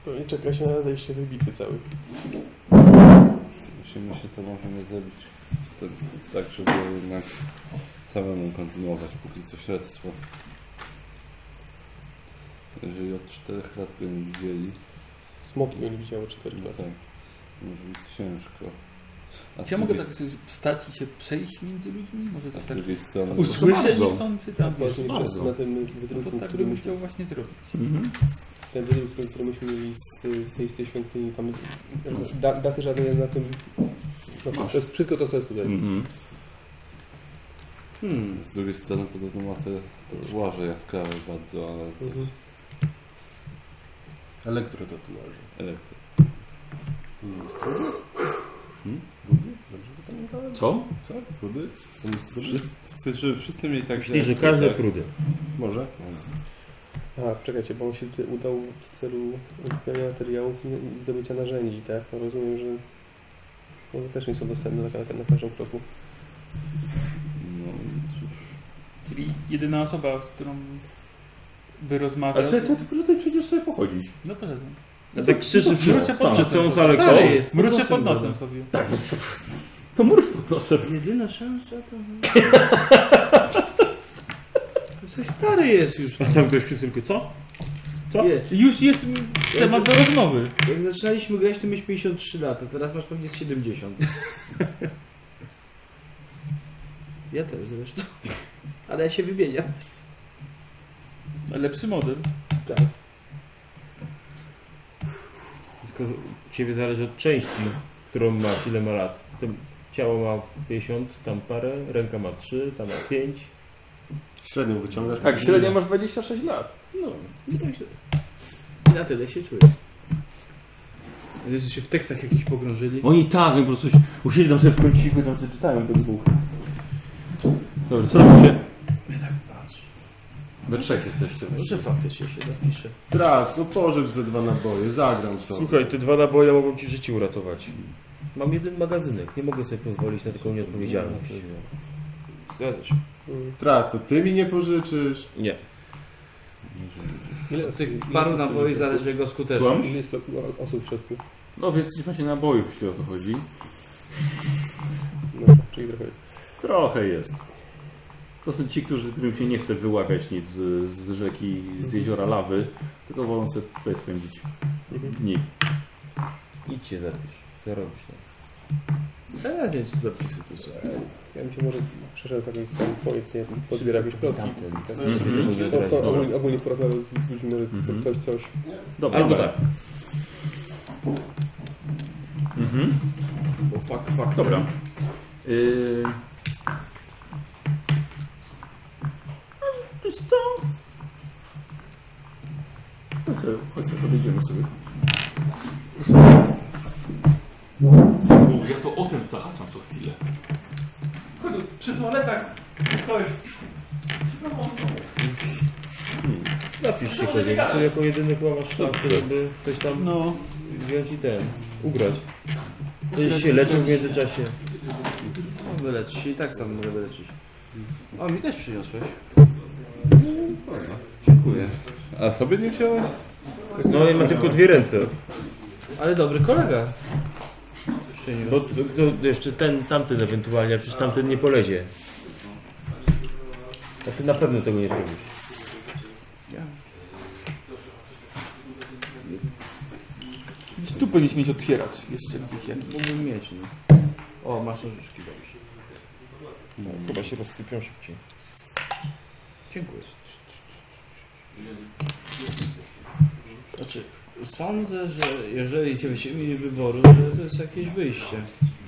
pewnie czekać na nadejście tej bitwy całej. Musimy się co możemy zrobić to, tak, żeby jednak samemu kontynuować póki co śledztwo. Jeżeli od czterech lat go nie widzieli, Smoki go nie widziało 4 to lata. tak, może być ciężko. A Czy ja mogę tak drugiej- wstać i się przejść między ludźmi? Może a coś z tak... drugiej strony... Usłyszę Bardzo. niechcący tam, wiesz, Tak, Właśnie bardzo. na tym no wydruku, to tak który, bym myśmy, chciał właśnie zrobić. Mhm. ten wydruk, który, który myśmy mieli z, z, tej, z tej świątyni, tam da, daty żadnej na tym... Na tym Masz. to jest wszystko to, co jest tutaj. Mm. Mhm. Hmm. Z drugiej strony podobno ma te, te łaże jaskrawe bardzo, ale to Mhm. Elektrotatuaże. elektro. Nie jest trudny? Hmm? Rudy? Dobrze zapamiętałem? Co? Co? Rudy? To nie jest trudny? Wszyscy, czy wszyscy mieli tak... Czyli, że każdy tak- jest rudy. Może. A, czekajcie, bo on się tutaj udał w celu uzupełnienia materiałów i- i zdobycia narzędzi, tak? No rozumiem, że one też nie są dostępne na, na, na każdym kroku. No cóż, Czyli jedyna osoba, z którą by rozmawiał. Ale co, ty, ty, ty przecież sobie pochodzić. No poszedłem. A tak krzyczy przez, Mruczę pod tam, przez nosem. całą sobie. salę. Stary kto? jest, Mruczę pod nosem sobie. Tak. To mórz pod nosem. Jedyna szansa to... Jesteś stary jest już. A tam ktoś przy synku, co? Co? Nie, Już jest temat do rozmowy. jak zaczynaliśmy grać, to miałeś 53 lata, teraz masz pewnie z <laughs> 70. Ja też zresztą. Ale ja się wymieniam. Lepszy model. Wszystko z- ciebie zależy od części, którą masz, ile ma lat. To ciało ma 50, tam parę, ręka ma 3, tam ma 5. Średnią wyciągasz. Tak, średnio masz 26 lat. No, i tak się... Na tyle się czuję. Że się w tekstach jakiś pogrążyli. Oni tak, oni po prostu si- usiedli tam sobie w kąciku i tam sobie czytają tych dwóch. Dobra, co robicie? Ja tak patrzę. No, We trzech jesteście. Może faktycznie się tak napisze. Teraz, no pożycz ze dwa naboje, zagram sobie. Słuchaj, te dwa naboje mogą ci życie uratować. Mam jeden magazynek, nie mogę sobie pozwolić na taką nieodpowiedzialność. Zgadza się. Teraz to ty mi nie pożyczysz. Nie. Ile tych Paru naboi zależy jego skuteczność. Ile jest lo- osób w środku? No więc nie macie naboju, jeśli o to chodzi. No, czyli trochę jest. Trochę jest. To są ci, którzy, którym się nie chce wyławiać nic z, z rzeki, z jeziora lawy, tylko wolą sobie tutaj spędzić dni. Idź się zapisz, zarobisz. No. A na dzień zapisy tu są. Ja bym się może przeszedł taką tam powiedz, nie podbiera jakieś plotki. Tak. Wiesz, że teraz- O- o- Ogólnie, ogólnie porozmawiał z z ludźmi, może Mhm. ktoś coś. Dobra. Albo dobra. tak. Mhm. Bo fakt, fakt. Dobra. Yy... Wiesz co? No co, chodź sobie, podejdziemy sobie. ja to o tym zahaczam co chwilę. Przy toaletach ktoś. Zapisz się No, może kozie, nie to jako jedyny chyba masz szansę, żeby coś tam No, wziąć i ten, ugrać. Będziesz się leczył w międzyczasie. No, wylecz się i tak sam mogę wyleczyć. O, mi też przyniosłeś. Dziękuję. A sobie nie wziąłeś? No i ma tylko dwie ręce. Ale dobry kolega. Przyniósł. Bo to, to jeszcze ten, tamten ewentualnie, a przecież tamten nie polezie. A ty na pewno tego nie zrobisz. gdzieś tu powinniśmy mieć otwieracz jeszcze gdzieś jakiś. Mógłbym mieć. No. O, masz nożyczki, dobrze. No, chyba się rozsypią szybciej. Dziękuję. Znaczy, sądzę, że jeżeli cię się mieli wyboru, że to jest jakieś wyjście.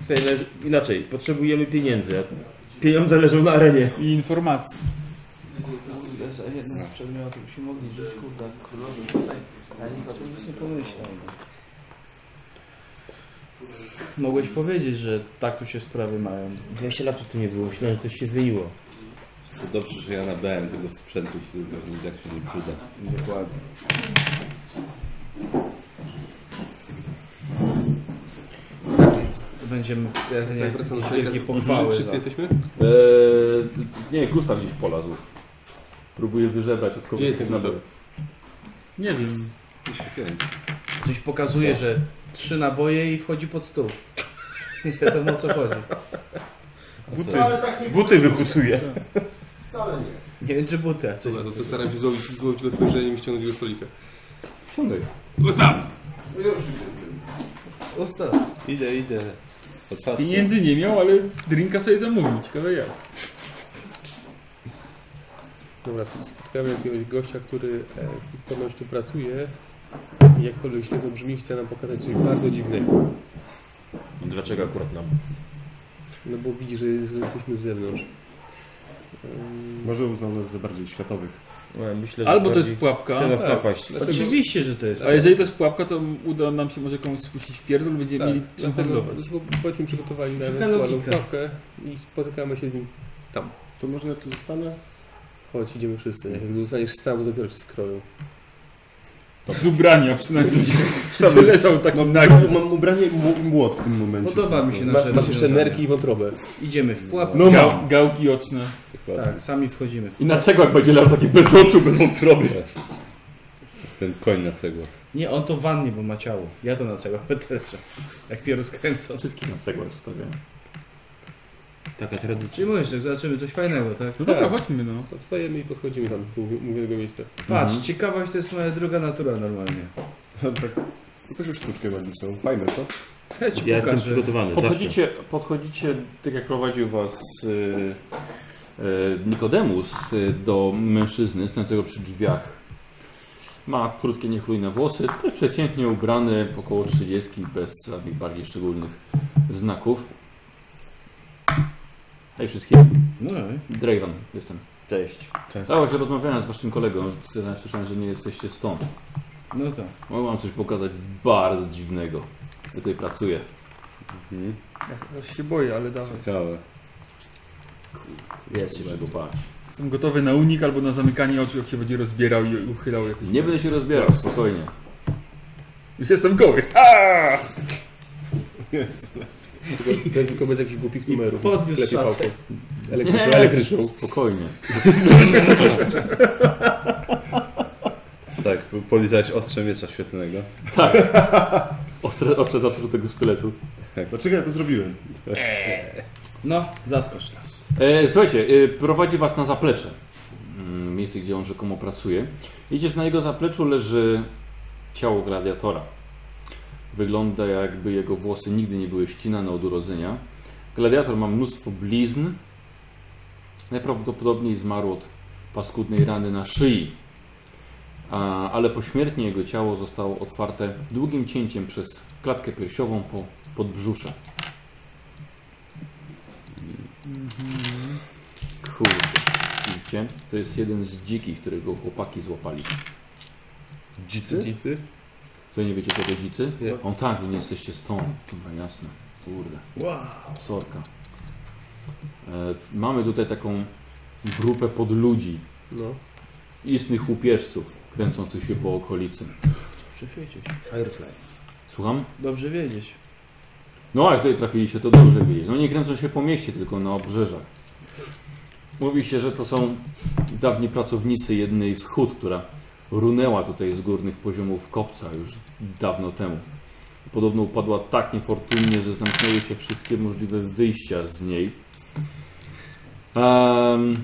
Tutaj leży, no, inaczej, potrzebujemy pieniędzy. a Pieniądze leżą na arenie. I informacji. Jest jeden z przedmiotów, się mogli żyć, kurde, królowi tutaj, ale nikt o tym nic nie pomyślał. no. Mogłeś powiedzieć, że tak tu się sprawy mają. 20 lat o tym nie było, myślałem, że coś się zmieniło. To dobrze, że ja nabrałem tego sprzętu, który pewnie i tak się nie przyda. Dokładnie. To będziemy pewnie jakieś wielkie pochwały tak, Wszyscy za... jesteśmy? Eee, nie, Gustaw gdzieś polazł. Próbuję wyżebrać od kogoś. Gdzie jest ten nabój. Gustaw? Nie wiem. I się kręci. Coś pokazuje, że trzy naboje i wchodzi pod stół. Nie wiadomo o co chodzi. Buty, tak buty wykucuje. Wcale nie. Nie wiem, czy buty, a coś. Dobra, no to staram się złowić, złowić go spojrzeniem i ściągnąć go z stolika. Siadaj. Usta. Idę, idę. Otwarty. Pieniędzy nie miał, ale drinka sobie zamówił. Ciekawe jak. Dobra, spotkałem jakiegoś gościa, który e, ponoć tu pracuje. I Jakkolwiek źle to brzmi, chce nam pokazać coś bardzo dziwnego. Dlaczego akurat nam? No bo widzi, że, że jesteśmy z zewnątrz. Może uznał nas za bardziej światowych. No, myślę, że Albo to jest bardziej pułapka. Chce nas tak. napaść. Oczywiście, że to jest. A jeżeli to jest pułapka, to uda nam się może komuś spuścić w pierdol, będziemy Tak, mieli czym dlatego, handlować. dlatego bądźmy przygotowani na Taka ewentualną logika. kropkę i spotykamy się z nim. To może ja tu zostanę? Chodź, idziemy wszyscy. Jak zostaniesz sam, to dopiero się skroją. Z ubrania przynajmniej. Sam leżał taki Tak. nagi. mam ubranie i mu- młot w tym momencie. No Podoba mi się Ma, nasze masz jeszcze rozwiązanie. nerki i wątrobę. Idziemy w pułap. No Gał, mam. gałki oczne. Tak, sami wchodzimy. I na cegłach będzie leżał taki bez oczu, bez wątroby. Ten koń na cegłach. Nie, on to w wannie, bo ma ciało. Ja to na całych peterze. Jak piję rozkręcą. Wszystkich na cegłach stawiam. Taka tradycja. Czyli mówisz, jak zobaczymy coś fajnego, tak? No dobra, chodźmy no. To Wstajemy i podchodzimy tam do mówi- mówionego miejsca. Patrz, ciekawość to jest moja druga natura normalnie. Tak. Jakoś już sztuczkę magiczną. Fajne, co? Ja ci Ja jestem pokażę. przygotowany, zawsze. Podchodzicie, podchodzicie, tak jak prowadził was y, y, Nikodemus y, do mężczyzny stojącego przy drzwiach. Ma krótkie, niechlujne włosy, dość przeciętnie ubrany, około 30, bez żadnych bardziej szczególnych znaków. Hej wszystkim, No, Draven jestem. cześć. Cało się rozmawiałem z waszym kolegą, słyszałem, że nie jesteście stąd. No to. Mogę wam coś pokazać bardzo dziwnego. Ja tutaj pracuję. Ja chyba się boję, ale dawaj. Ciekawe. Jest się czego bać. Jestem gotowy na unik albo na zamykanie oczu, jak się będzie rozbierał i uchylał jakoś. Nie będę się rozbierał, spokojnie. Już jestem goły. Jest. Tylko bez, tylko bez jakichś głupich numerów. podniósł Lepiej szacę. pałką. Elektryczną, elektryczną. Spokojnie. Tak, polizałeś ostrze miecza świetnego. Ostre, ostre zatrutego sztyletu. Dlaczego ja to zrobiłem? No, zaskocz nas. E, słuchajcie, e, prowadzi was na zaplecze. Mm, Miejsce, gdzie on rzekomo pracuje. Idziesz na jego zapleczu, leży ciało gladiatora. Wygląda jakby jego włosy nigdy nie były ścinane od urodzenia. Gladiator ma mnóstwo blizn. Najprawdopodobniej zmarł od paskudnej rany na szyi. A, ale pośmiertnie jego ciało zostało otwarte długim cięciem przez klatkę piersiową po podbrzusze. Kurde, widzicie? To jest jeden z dzikich, którego chłopaki złapali. Dzicy? Dzicy. Co nie wiecie tego dzicy? Nie. On tak, wy nie jesteście stąd. Chyba jasne. Kurde. Sorka. E, mamy tutaj taką grupę podludzi, No. istnych łupieżców, kręcących się po okolicy. Dobrze wiedzieć. Słucham? Dobrze wiedzieć. No, ale tutaj trafiliście, to dobrze wiedzieć. No nie kręcą się po mieście, tylko na obrzeżach. Mówi się, że to są dawni pracownicy jednej z hut, która runęła tutaj z górnych poziomów kopca już dawno temu. Podobno upadła tak niefortunnie, że zamknęły się wszystkie możliwe wyjścia z niej. Em,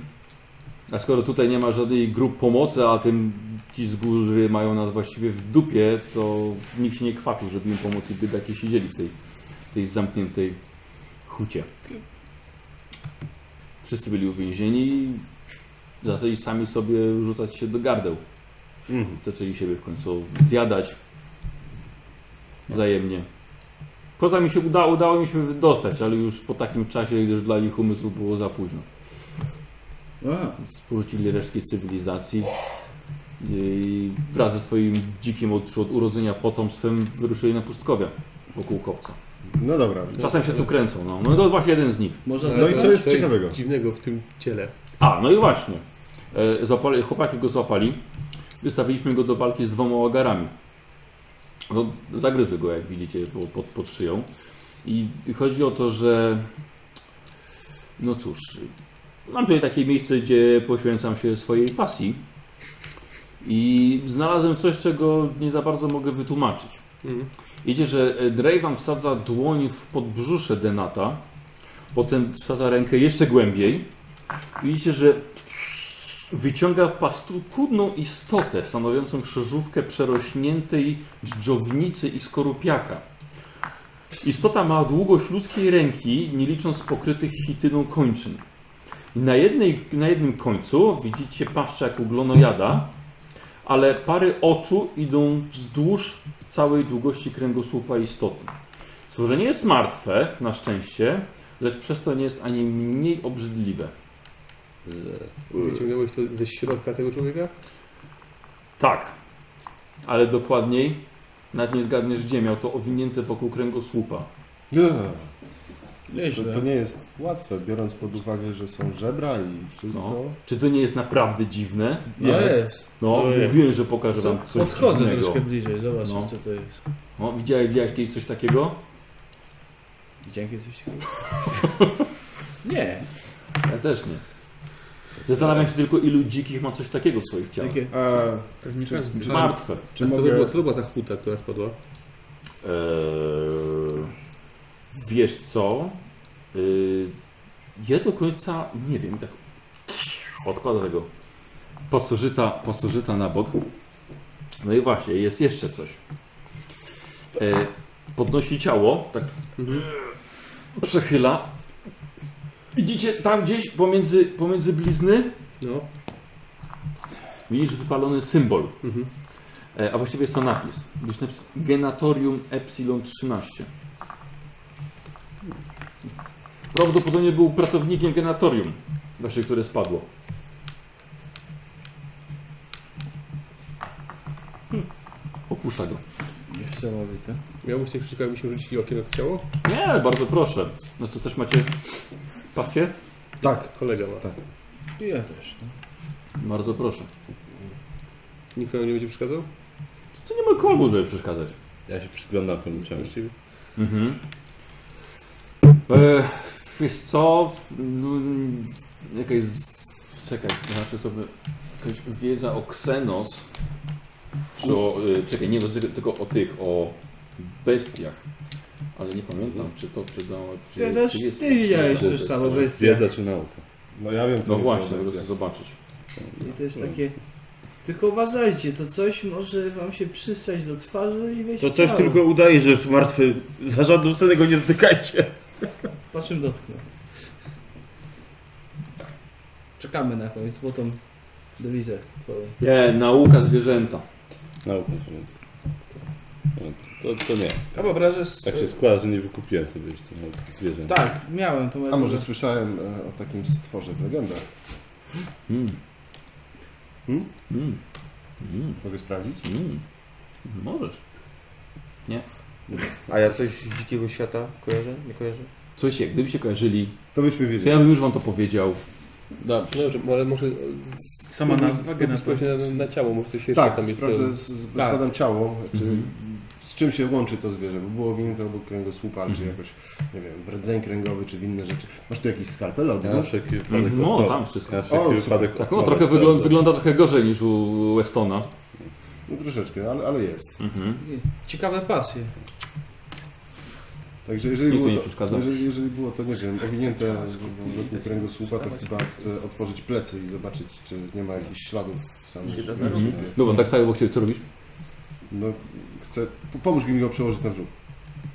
a skoro tutaj nie ma żadnej grup pomocy, a tym ci z góry mają nas właściwie w dupie, to nikt się nie kwapił, żeby im pomóc i biedaki siedzieli w tej tej zamkniętej hucie. Wszyscy byli uwięzieni i zaczęli sami sobie rzucać się do gardeł. Zaczęli siebie w końcu zjadać wzajemnie. Poza mi się udało, udało mi się wydostać, ale już po takim czasie już dla nich umysłu było za późno. A, Porzucili resztki cywilizacji i wraz ze swoim dzikim od, od urodzenia potomstwem wyruszyli na pustkowia wokół kopca. No dobra. Czasem się tu kręcą, no. No to właśnie jeden z nich. można No i zabrać. co jest To ciekawego? dziwnego w tym ciele. A, no i właśnie. E, Złapali, chłopaki go złapali. Wystawiliśmy go do walki z dwoma łagarami. No, zagryzły go, jak widzicie, po, pod, pod szyją. I chodzi o to, że. No cóż. Mam tutaj takie miejsce, gdzie poświęcam się swojej pasji. I znalazłem coś, czego nie za bardzo mogę wytłumaczyć. Mhm. Widzicie, że e, Draven wsadza dłoń w podbrzusze Denata, potem wsadza rękę jeszcze głębiej. Widzicie, że wyciąga paskudną istotę stanowiącą krzyżówkę przerośniętej dżdżownicy i skorupiaka. Istota ma długość ludzkiej ręki, nie licząc pokrytych chityną kończyn. Na, jednej, na jednym końcu widzicie paszczak uglonojada, ale pary oczu idą wzdłuż całej długości kręgosłupa istoty. Stworzenie jest martwe, na szczęście, lecz przez to nie jest ani mniej obrzydliwe. Wyciągnąłeś to ze środka tego człowieka? Tak, ale dokładniej, nawet nie zgadniesz gdzie, miał to owinięte wokół kręgosłupa. Eee. No, To, to nie jest łatwe, biorąc pod uwagę, że są żebra i wszystko. Czy to nie jest naprawdę dziwne? Jest. No, No jest. mówiłem, że pokażę Co? wam coś Podchodzę dziwnego. troszkę bliżej, zobaczę No. co to jest. No, widziałeś, widziałeś kiedyś coś takiego? Widziałem kiedyś coś takiego? Nie. Ja też nie. Tak. Zastanawiam się tylko, ilu dzikich ma coś takiego w swoich ciałach. Jakie? E, Pewnie Czy- każdy. czy- A, Martwe. czy co, to była, mogę... co to była za huta, która spadła? Eee, wiesz co? Eee, ja do końca nie wiem, tak odkładam tego pasożyta, pasożyta na bok. No i właśnie, jest jeszcze coś. Eee, podnosi ciało, tak przechyla. Widzicie tam gdzieś pomiędzy, pomiędzy blizny? No. Widzisz wypalony symbol. E, a właściwie jest to napis. Jest napis Genatorium Epsilon 13. Prawdopodobnie był pracownikiem genatorium, właśnie które spadło. Hmm. Opuszcza go. Niesamowite. Miałbyś coś ciekawe, byśmy rzucili okiem na to ciało? Nie, bardzo proszę. No co, też macie pasję? Tak, Kolega ma. tak. Ja też. No. Bardzo proszę. Nikt nam nie będzie przeszkadzał? To nie ma komu, żeby przeszkadzać. Ja się przyglądam temu czemuś. Właściwie. Mhm. E, wiesz co? No, jakaś. z- Czekaj, to znaczy to by. Jakaś wiedza o Xenos. Czy o. Y, czekaj, nie, no, tylko o tych, o bestiach. Ale nie pamiętam, czy to przydało. Czy, Ty, też, czy jest- ty widziałeś czy jest- też samo bestię. Wiedza czy nauka? No ja wiem, co No co właśnie, po jest. prostu zobaczyć. I to jest takie... Tylko uważajcie, to coś może wam się przystać do twarzy i wejść To w coś ciało. tylko udaje, że jest martwy. Za żadną cenę go nie dotykajcie. Po czym dotknę. Czekamy na koniec złotą dewizę twoją. Nie, nauka zwierzęta. Nauka, że... No, To, to nie. Ja wyobrażę... Z... Tak się składa, że nie wykupiłem sobie jeszcze nauki zwierzęt. Tak, miałem to. A może słyszałem e, o takim stworze w legendach? Mm. Hmm? Mm. Mm. Mogę sprawdzić? Mm. Możesz. A ja coś z dzikiego świata kojarzę? Nie kojarzę? Coś, gdyby się kojarzyli, To byśmy to wiedzieli. ja bym już wam to powiedział. No dobrze, ale może... Sama nazwa Spójrz generatora. na, na ciało, może coś jeszcze Tak, tam jest. co- sprawdzę, z, z, Tak. składam ciało, czy, Mhm. z czym się łączy to zwierzę, bo było winięte obok kręgosłupa, czy Mhm. jakoś, nie wiem, rdzeń kręgowy, czy w inne rzeczy. Masz tu jakiś skalpel albo Tak. Ja na nóż? wszelki wypadek No, osnowa- tam wszystko. Ja na wszelki O, wypadek Tak, no, osnowę trochę sprawdzę. wygląda, wygląda trochę gorzej niż u Westona. No troszeczkę, ale, ale jest. Mhm. Ciekawe pasje. Także jeżeli Mi to było nie to, przeszkadza. jeżeli, jeżeli było to, nie wiem, owinięte wokół kręgosłupa, to chcę, chcę otworzyć plecy i zobaczyć, czy nie ma jakichś śladów w samym Się da kręgosłupie. Dobra, tak stało, bo chcieli co robić? No, chcę, pomóż mi go przełożyć na brzuch.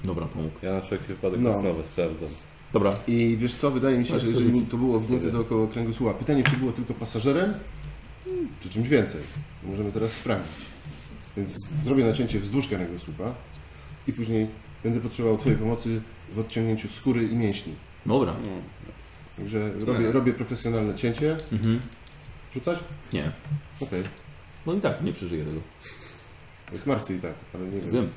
Dobra, pomógł. Ja na wszelki wypadek No. osnowę sprawdzam. Dobra. I wiesz co, wydaje mi się, że jeżeli to było winięte dookoła kręgosłupa, pytanie, czy było tylko pasażerem, hmm, czy czymś więcej. Możemy teraz sprawdzić. Więc zrobię nacięcie wzdłuż kręgosłupa i później będę potrzebował Twojej pomocy w odciągnięciu skóry i mięśni. Dobra. Także robię, robię profesjonalne cięcie. Mhm. Rzucać? Nie. Okej. No i tak, nie przeżyję tego. Jest martwy i tak, ale nie wiem. Wiem.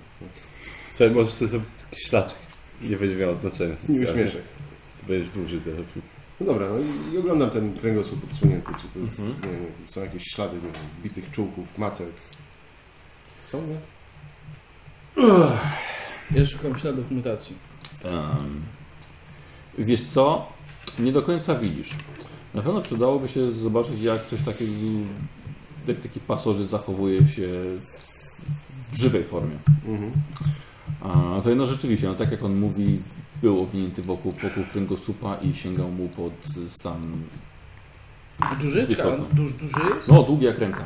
Słuchaj, możesz sobie zrobić taki ślaczek. Nie będzie miało znaczenia. Miły śmieszek. Ty będziesz dłużej trochę. No dobra, no i, i oglądam ten kręgosłup odsłonięty, czy to nie, wiem, są jakieś ślady nie wiem, wbitych czółków, macek. Są, nie? Ja szukam śladów mutacji. Em, wiesz co? Nie do końca widzisz. Na pewno przydałoby się zobaczyć, jak coś takiego, jak taki pasożyt zachowuje się w- w żywej formie. Mhm. A to jedno rzeczywiście, no tak jak on mówi, był owinięty wokół, wokół kręgosłupa i sięgał mu pod y, sam... Duży? Czy Wysoko. on duż, duży jest? No, długi jak ręka.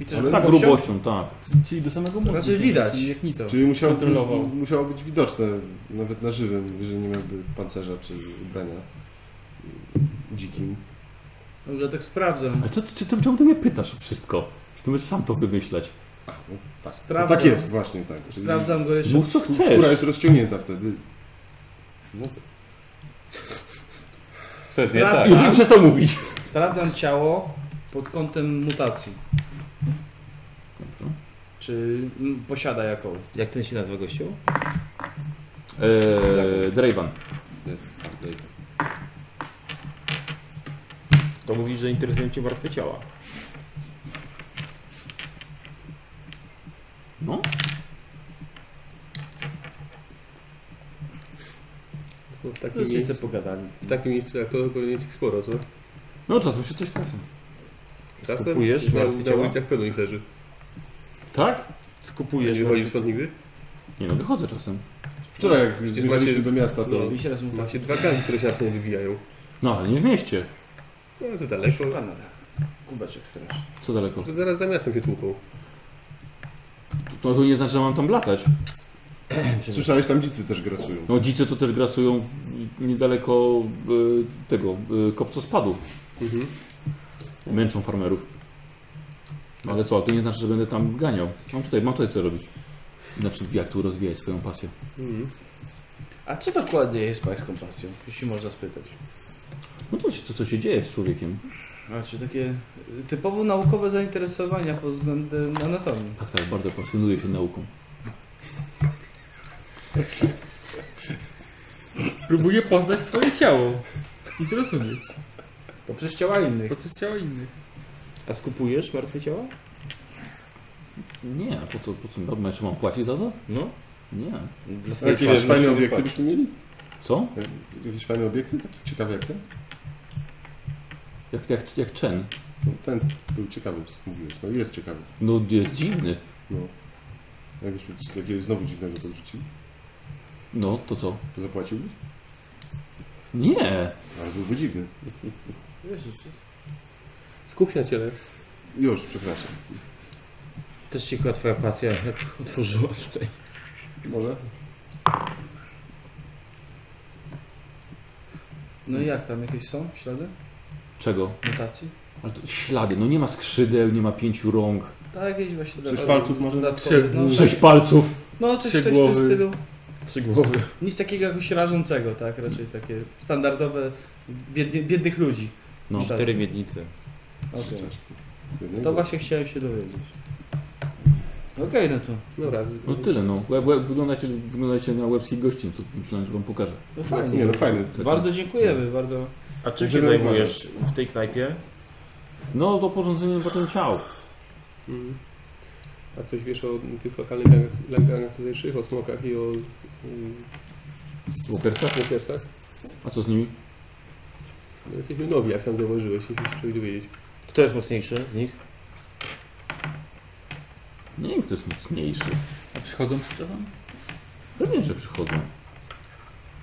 I też Tak grubością? grubością, tak. Czyli do samego mózgu. Znaczy widać. Jak nic. Czyli musiał, Kontrolował. musiało być widoczne nawet na żywym, jeżeli nie miałby pancerza czy ubrania dzikim. Dobrze, tak sprawdzam. A co, czy, ty- czemu ty mnie pytasz o wszystko? Czy ty możesz sam to wymyślać? To Sprawdzam. tak jest właśnie, tak. Czyli Sprawdzam go jeszcze. Mów co skó- Skóra chcesz. jest rozciągnięta wtedy. Pewnie tak. Sprawdź. Już bym przestał mówić. Sprawdzam ciało pod kątem mutacji. Dobrze. Czy mm, posiada jaką? Jak ten się nazywa gościu? Eee, Draven. tutaj. To mówi, że interesują cię martwe ciała. No, Bo w No takim, i miejscu, sobie pogadali. w takim miejscu jak to pewnie jest ich sporo, co? no czasem się coś trafi. Czasem Skupujesz na, martwe na ciała? ulicach pełno ich leży. Tak? Nie Skupujesz wychodzisz stąd nigdy? Nie no, wychodzę czasem. Wczoraj jak macie- zmierzaliśmy do miasta, to się raz mówię. Macie dwa gangi, które się nad sobą wybijają. No, ale nie w mieście. No to daleko. Kanada. tak. Kubeczek strasz. Co daleko? To zaraz za miastem się tłuką. No to nie znaczy, że mam tam latać. słyszałeś, tam dzicy też grasują. No dzicy to też grasują w- niedaleko y, tego y, kopcospadu. Mhm. Męczą farmerów. Ale co, ale to nie znaczy, że będę tam ganiał. Mam tutaj, mam tutaj co robić. Znaczy, jak tu rozwijać swoją pasję. Mhm. A co dokładnie jest pańską pasją? Jeśli można spytać. No to co, co się dzieje z człowiekiem. Znaczy takie y, typowo naukowe zainteresowania pod względem anatomii. Tak, tak, bardzo pasjonuję się nauką. Próbuję poznać swoje ciało i zrozumieć Poprzez ciała innych. proces ciała innych. A skupujesz martwe ciała? Nie, a po co, po co mam, jeszcze mam płacić za to? No. Nie. A Jakie wiesz, fajne obiekty byśmy mieli? Co? Jakieś fajne obiekty? Tak ciekawe jak ten? Jak, jak, jak Chen. No, ten był ciekawy, mówiłeś. No jest ciekawy. No jest dziwny. No. Jak już jakiegoś znowu dziwnego podrzucili, No to co? to zapłaciłbyś? Nie. Ale byłby dziwny. Skup się na ciele. Już, przepraszam. Też ciekawa twoja pasja, jak otworzyła tutaj. Może? No i jak tam, jakieś są ślady? Czego? Mutacji? Ale to ślady, no nie ma skrzydeł, nie ma pięciu rąk, A Tak, jakieś właśnie... Sześć palców może? Dodatkowe. No, sześć palców. no coś, coś w tym głowy. stylu. Trzy głowy. Nic takiego jakoś rażącego, tak? Raczej takie standardowe biedny, biednych ludzi. No. Mutacje. Cztery miednice. Trzy Okej. czaszki. Jednej To głowy. właśnie chciałem się dowiedzieć. Okej, no to. No raz. No tyle no. Łeb, łeb, wyglądacie, wyglądacie na łebskich gościń, co myślałem, że wam pokażę. No Nie fajnie. no, fajny. Bardzo dziękujemy, bardzo. A czym się zajmujesz w tej knajpie? No to porządzenie potem ciał. Mhm. A coś wiesz o tych lokalnych gangach, gangach tutejszych, o smokach i o mm, Walkersa? smokersach? A co z nimi? No, jesteśmy nowi, jak sam zauważyłeś, jeśli się czegoś dowiedzieć. Kto jest mocniejszy z nich? Nie wiem, kto jest mocniejszy. A przychodzą czasem? Pewnie, że przychodzą.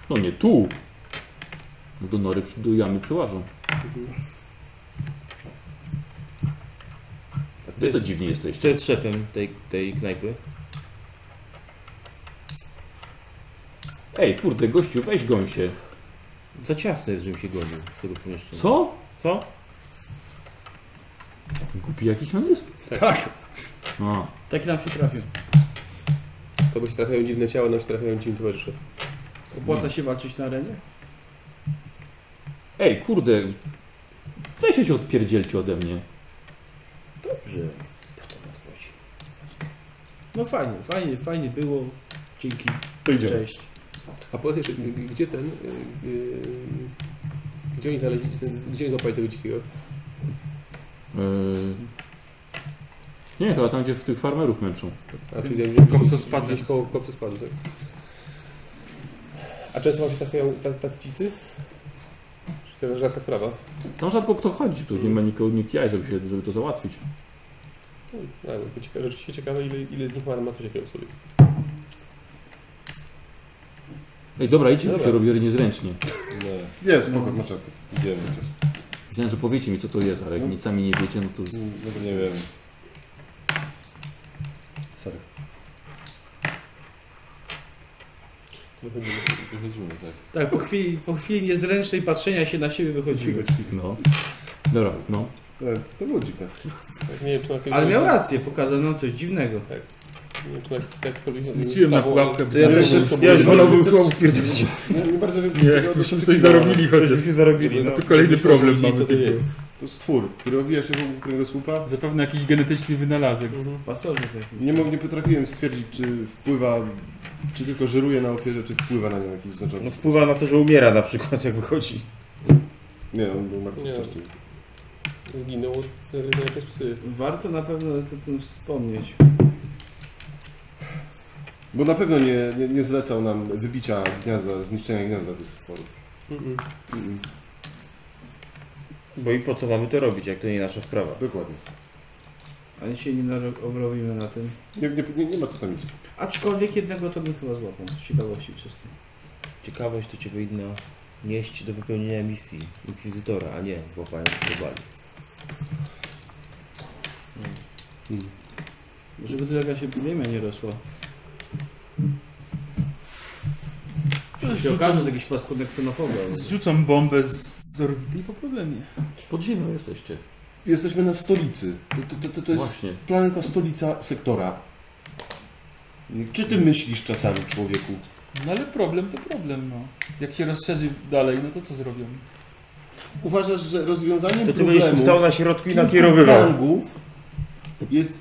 No nie tu. No do nory, przy- do jamy przyłażą. Wy to dziwni Kto jesteście. jest szefem tej, tej knajpy? Ej, kurde, gościu, weź gąsie. Za ciasno jest, żebym się gonił z tego pomieszczenia. Co? Co? Głupi jakiś on jest? Tak! A, Taki Tak nam się trafił. To bo się trafiają dziwne ciała, nam się trafiają dziwni towarzysze. Opłaca się walczyć na arenie? Ej, kurde, weźcie się odpierdzielcie ode mnie. Dobrze. Po co nas prosi? No fajnie, fajnie, fajnie było. Dzięki. To idziemy. Cześć. A powiedz jeszcze, g- gdzie ten... y, y, gdzie oni znaleźli, gdzie oni złapali tego dzikiego? Yy... Nie, chyba tam, gdzie w tych farmerów męczą. A tu wiem, że kopcu spadł. Gdzieś koło kopcu spadł, tak. A często wam się trafiają tak, tacy dzicy? Czy to rzadka sprawa? Tam rzadko kto chodzi, tu nie ma nikogo, nikt jaj, żeby, się, żeby to załatwić. No, ale to ciekawe, rzeczywiście ciekawe, ile, ile z nich ma, ma coś takiego w sobie. Ej, dobra, idźcie, już Dobra. się robię niezręcznie. Nie, Nie, spoko, masz rację. idziemy. Myślałem, że powiecie mi, co to jest, ale jak nic sami nie wiecie, no to... Nie wiem. Sorry. Wychodzimy, wychodzimy tak. Tak, po chwili, po chwili niezręcznej patrzenia się na siebie wychodziły. No. Dobra, no. E, To było dziwne. Tak, nie wiem, czy na jakiegoś- Ale miał rację, pokazał nam coś dziwnego. Nie tak wiem, czy na jakiegoś... Liczyłem na pułapkę. ja też- ja już wolałbym koło wpierdzieć. Nie, nie bardzo wiem, <laughs> Nie, czego byśmy dotyczy- coś zarobili chociaż. Zarobili, No to kolejny problem Widzieli, mamy. co to tylko. jest. To stwór, który owija się wokół kręgosłupa. Zapewne jakiś genetyczny wynalazek. Pasownik jakiś. Nie, mog- nie potrafiłem stwierdzić, czy wpływa, czy tylko żyruje na ofierze, czy wpływa na nią w jakiś znaczący No sposób. wpływa na to, że umiera na przykład, <laughs> jak wychodzi. Nie, on był martwy Nie. wcześniej. Zginął od zagryzienia przez psy. Warto na pewno o tym wspomnieć. Bo na pewno nie, nie, nie zlecał nam wybicia gniazda, zniszczenia gniazda tych stworów. Mm-mm. Mm, Bo i po co mamy to robić, jak to nie nasza sprawa. dokładnie. Ale się nie naro- obrobimy na tym. Nie, nie, nie, nie ma co tam iść. Aczkolwiek jednego to bym chyba złapał, z ciekawości czystej. Ciekawość to cię powinna nieść do wypełnienia misji Inkwizytora, a nie złapania globali. Mm. Może by tu jakaś epidemia nie rosła. Jeśli się okaże, to jakiś paskunek xenofoba. Zrzucam bombę z orbity i po problemie. Pod ziemią jesteście. Jesteśmy na stolicy. To, to, to, to jest Właśnie. planeta stolica sektora. Czy ty myślisz czasami, człowieku? No ale problem to problem, no. Jak się rozszerzy dalej, no to co zrobią? Uważasz, że rozwiązaniem To ty będziesz tu problemu stał na środku i kilku nakierowywał. gangów jest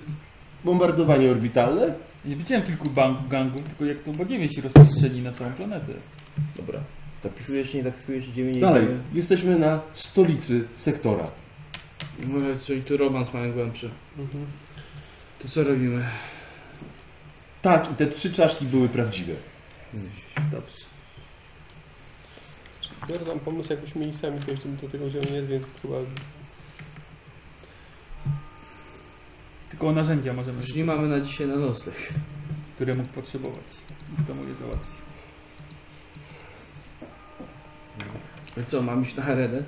bombardowanie orbitalne? Ja Nie widziałem kilku bang- gangów, tylko jak to bagiewie się rozprzestrzeni na całą planetę. Dobra. Zapisujesz się, nie zapisujesz, idziemy, nie Dalej, idziemy. jesteśmy na stolicy sektora. No, Mówię, czyli tu romans mamy głębszy. Mhm. To co robimy? Tak, i te trzy czaszki były prawdziwe. Dobrze. Biorę tam pomysł, jakbyśmy mieli sami to jeszcze bym do tego wziął nie jest, więc chyba... Tylko o narzędzia możemy, Już nie mamy na dzisiaj na nocleg. które mógł potrzebować. I Kto mu je załatwi. No Ale co, mam iść na Heredę?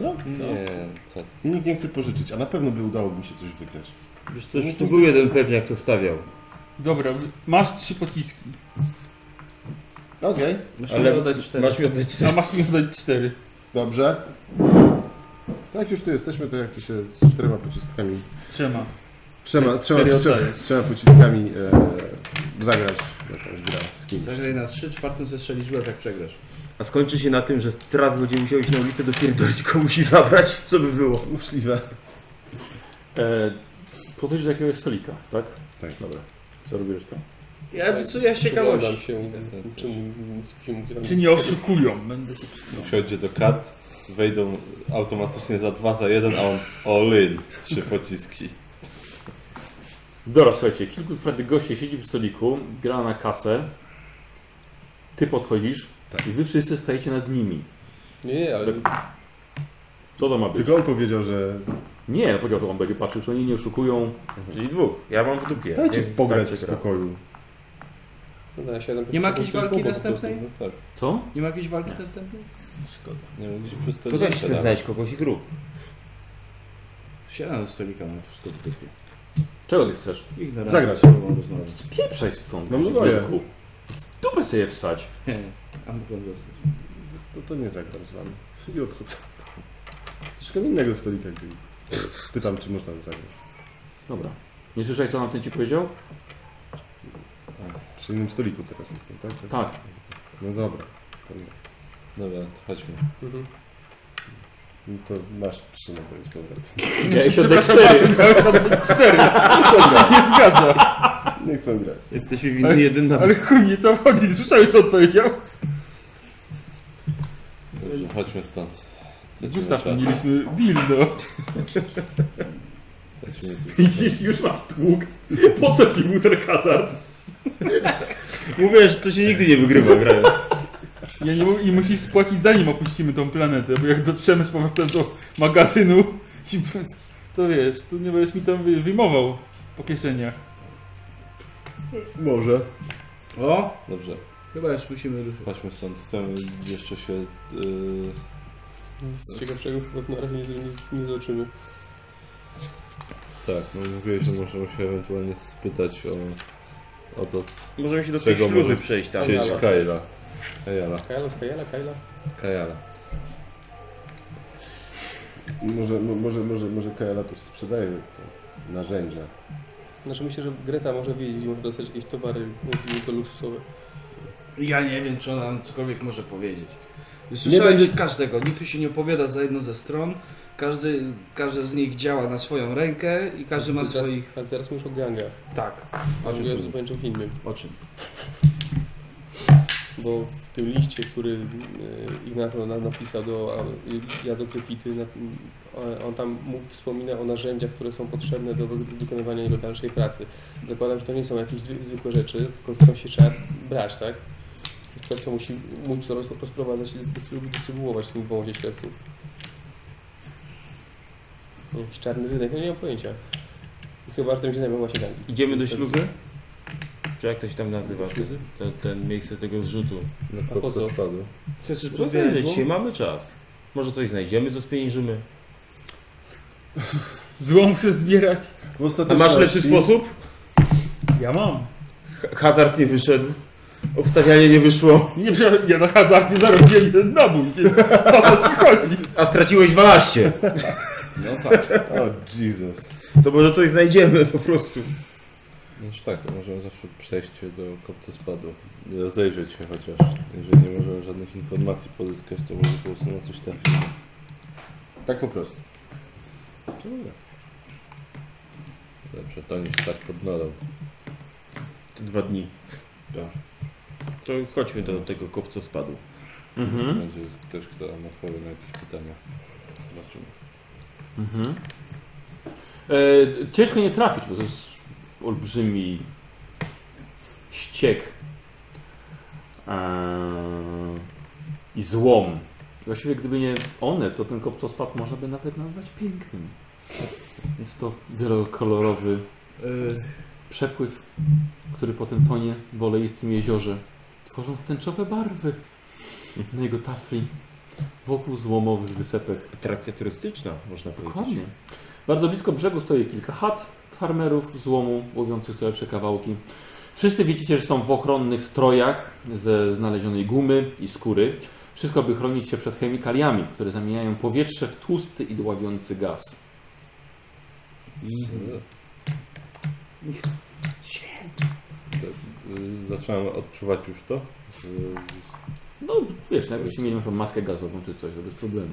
Nie, co? Nikt nie chce pożyczyć, a na pewno by udało mi się coś wygrać. Wiesz, to już tu był jeden pewnie, jak to stawiał. Dobra, wy- masz trzy pociski, Okej, Musimy Ale Ale... oddać cztery. masz mi oddać cztery. a masz mi oddać cztery. dobrze. Tak, już tu jesteśmy, to ja chcę się z czterema pociskami, Z trzema. Tak, trzema, trzema, cztery trzema, oddajesz. trzema pociskami e, zagrać w jakąś grę z kimś. Zagraj na trzy, czwartym zestrzelisz łeb jak przegrasz. A skończy się na tym, że teraz będzie musiał iść na ulicę dopierdolić komuś i zabrać, co by było. Możliwe. E, Podejdziesz do jakiegoś stolika, tak? Tak, dobra. Co robisz tam? Ja wisuję z Przyglądam ciekawości. się, czym się mógł tam... Czy nie oszukują? Będę się przyglądał. Wsiądzie do kat, wejdą automatycznie za dwa, za jeden, a on all in. Trzy pociski. Dobra, słuchajcie, kilku fredy gości siedzi przy stoliku, gra na kasę. Ty podchodzisz Tak. i wy wszyscy stajecie nad nimi. Nie, nie, ale... Co to ma być? Tylko on powiedział, że Nie, powiedział, że on będzie patrzył, czy oni nie oszukują. Czyli dwóch. Ja mam w dupie. dajcie Nie- pograć tak w się gra. spokoju. No, ja siadam Nie ma przy jakiejś tym walki kubku po prostu, następnej? No tak. Co? Nie ma jakiejś walki następnej? Nie mogliśmy przez to To nie też chcesz siadamy. znaleźć kogoś i trup. Siada do stolika, mam to wszystko w dupie. Czego ty chcesz? Ignorancja, Zagrać. próbą rozmawiać. Pieprzaj stąd. No, moje. dziadku. W dupę sobie wsać. <laughs> A mogę zostać. To, to nie zagram z wami. I odchodzę. Szukam innego stolika, gdzie pytam, czy można zagrać. Dobra. Nie słyszałeś, co nam ten ci powiedział? Przy innym stoliku teraz jestem, tak? Tak. <laughs> No dobra. To, nie. Dobra, to chodźmy. Mhm. No to masz trzy na koniec powrotu. <laughs> Ja się oddać Przepraszam, cztery. Martin, <laughs> cztery. To się nie zgadza. Nie chcę grać. Jesteśmy winni jeden na... Ale chuj mnie to wchodzi. Słyszałeś, co on powiedział? Dobrze, chodźmy stąd. Tracimy Gustaw, czas. mieliśmy deal, no. Tracimy czas. Już masz tłuk. Po co ci był ten hazard? Mówię, że to się nigdy nie wygrywa grając. Ja nie, mu- I musisz spłacić zanim opuścimy tą planetę, bo jak dotrzemy z powrotem do magazynu, i b- to wiesz, to nie będziesz mi tam wy- wyjmował po kieszeniach. Może. O! Dobrze, Chyba już musimy ruszyć. chodźmy stąd. Chcemy jeszcze się... Yy, No, Z ciekawszego chyba na razie nie, nie, nie zobaczymy. tak, no mówiłeś, że możemy się ewentualnie spytać o, o to, Możemy się do tej Czego śluzy możesz przejść tam. sieć dobra. Kajla. Kajala. Kajala, Kajala, Kajala. Kajala. Może, mo- może, może, może Kaela też sprzedaje te narzędzia. Znaczy myślę, że Greta może wiedzieć, gdzie może dostać jakieś towary, nazwijmy to luksusowe. Ja nie wiem, czy ona nam cokolwiek może powiedzieć. Nie Słyszałeś będzie- każdego. Nikt tu się nie opowiada za jedną ze stron. Każdy, każdy z nich działa na swoją rękę i każdy ma Teraz- swoich... A teraz mówisz o gangach. Tak. A mówię o zupełnie czymś innym. O czym? Bo w tym liście, który e, Ignacio na- napisał do a, ja do Kryfity, na, a, on tam mu wspomina o narzędziach, które są potrzebne do wy- wykonywania jego dalszej pracy. Zakładam, że to nie są jakieś zwy, zwykłe rzeczy, tylko skąd się trzeba brać, tak? Ktoś to musi móc roz, rozprowadzać i dystrybu, dystrybuować tym wązie śledców. Jakiś czarny rynek, no nie mam pojęcia. Chyba, że tym się zajmą właśnie gangi. Idziemy do śluzy? Czy jak to się tam nazywa? Te, te, ten miejsce tego zrzutu. No, A po co? spadł. Chcesz Rozejrzeć się, mamy czas. Może coś znajdziemy, co spieniżymy. Złą chcę zbierać. W A ostateczności, masz lepszy sposób? Ja mam. Ha- Hazard nie wyszedł. Obstawianie nie wyszło. Nie przepraszam, ja na hazardzie zarobiłem jeden nabój, więc o co ci chodzi? A straciłeś <laughs> 12. No tak. O, Jesus. To może coś znajdziemy po prostu. Znaczy tak, to możemy zawsze przejść się do kopca spadu. Rozejrzeć się chociaż. Jeżeli nie możemy żadnych informacji pozyskać, to może po prostu na coś trafimy. Tak po prostu. Czemu nie? Lepsze to tak niż stać pod norą. Te dwa dni. Tak. To chodźmy do tego kopca spadu. Mhm. Będzie ktoś, kto nam odpowie na jakieś pytania. Zobaczymy. Mhm. E, ciężko nie trafić, bo to jest olbrzymi ściek e, i złom. Właściwie gdyby nie one, to ten kopcospad można by nawet nazwać pięknym. Jest to wielokolorowy e, przepływ, który potem tonie w oleistym jeziorze, tworząc tęczowe barwy na jego tafli wokół złomowych wysepek. Atrakcja turystyczna, można powiedzieć. Dokładnie. Bardzo blisko brzegu stoi kilka chat farmerów złomu łowiących całe przekawałki. Wszyscy widzicie, że są w ochronnych strojach ze znalezionej gumy i skóry. Wszystko, by chronić się przed chemikaliami, które zamieniają powietrze w tłusty i dławiący gaz. To, y, Zacząłem odczuwać już to. Y, No, wiesz, najpierw się mieli na przykład maskę gazową czy coś, to bez problemu.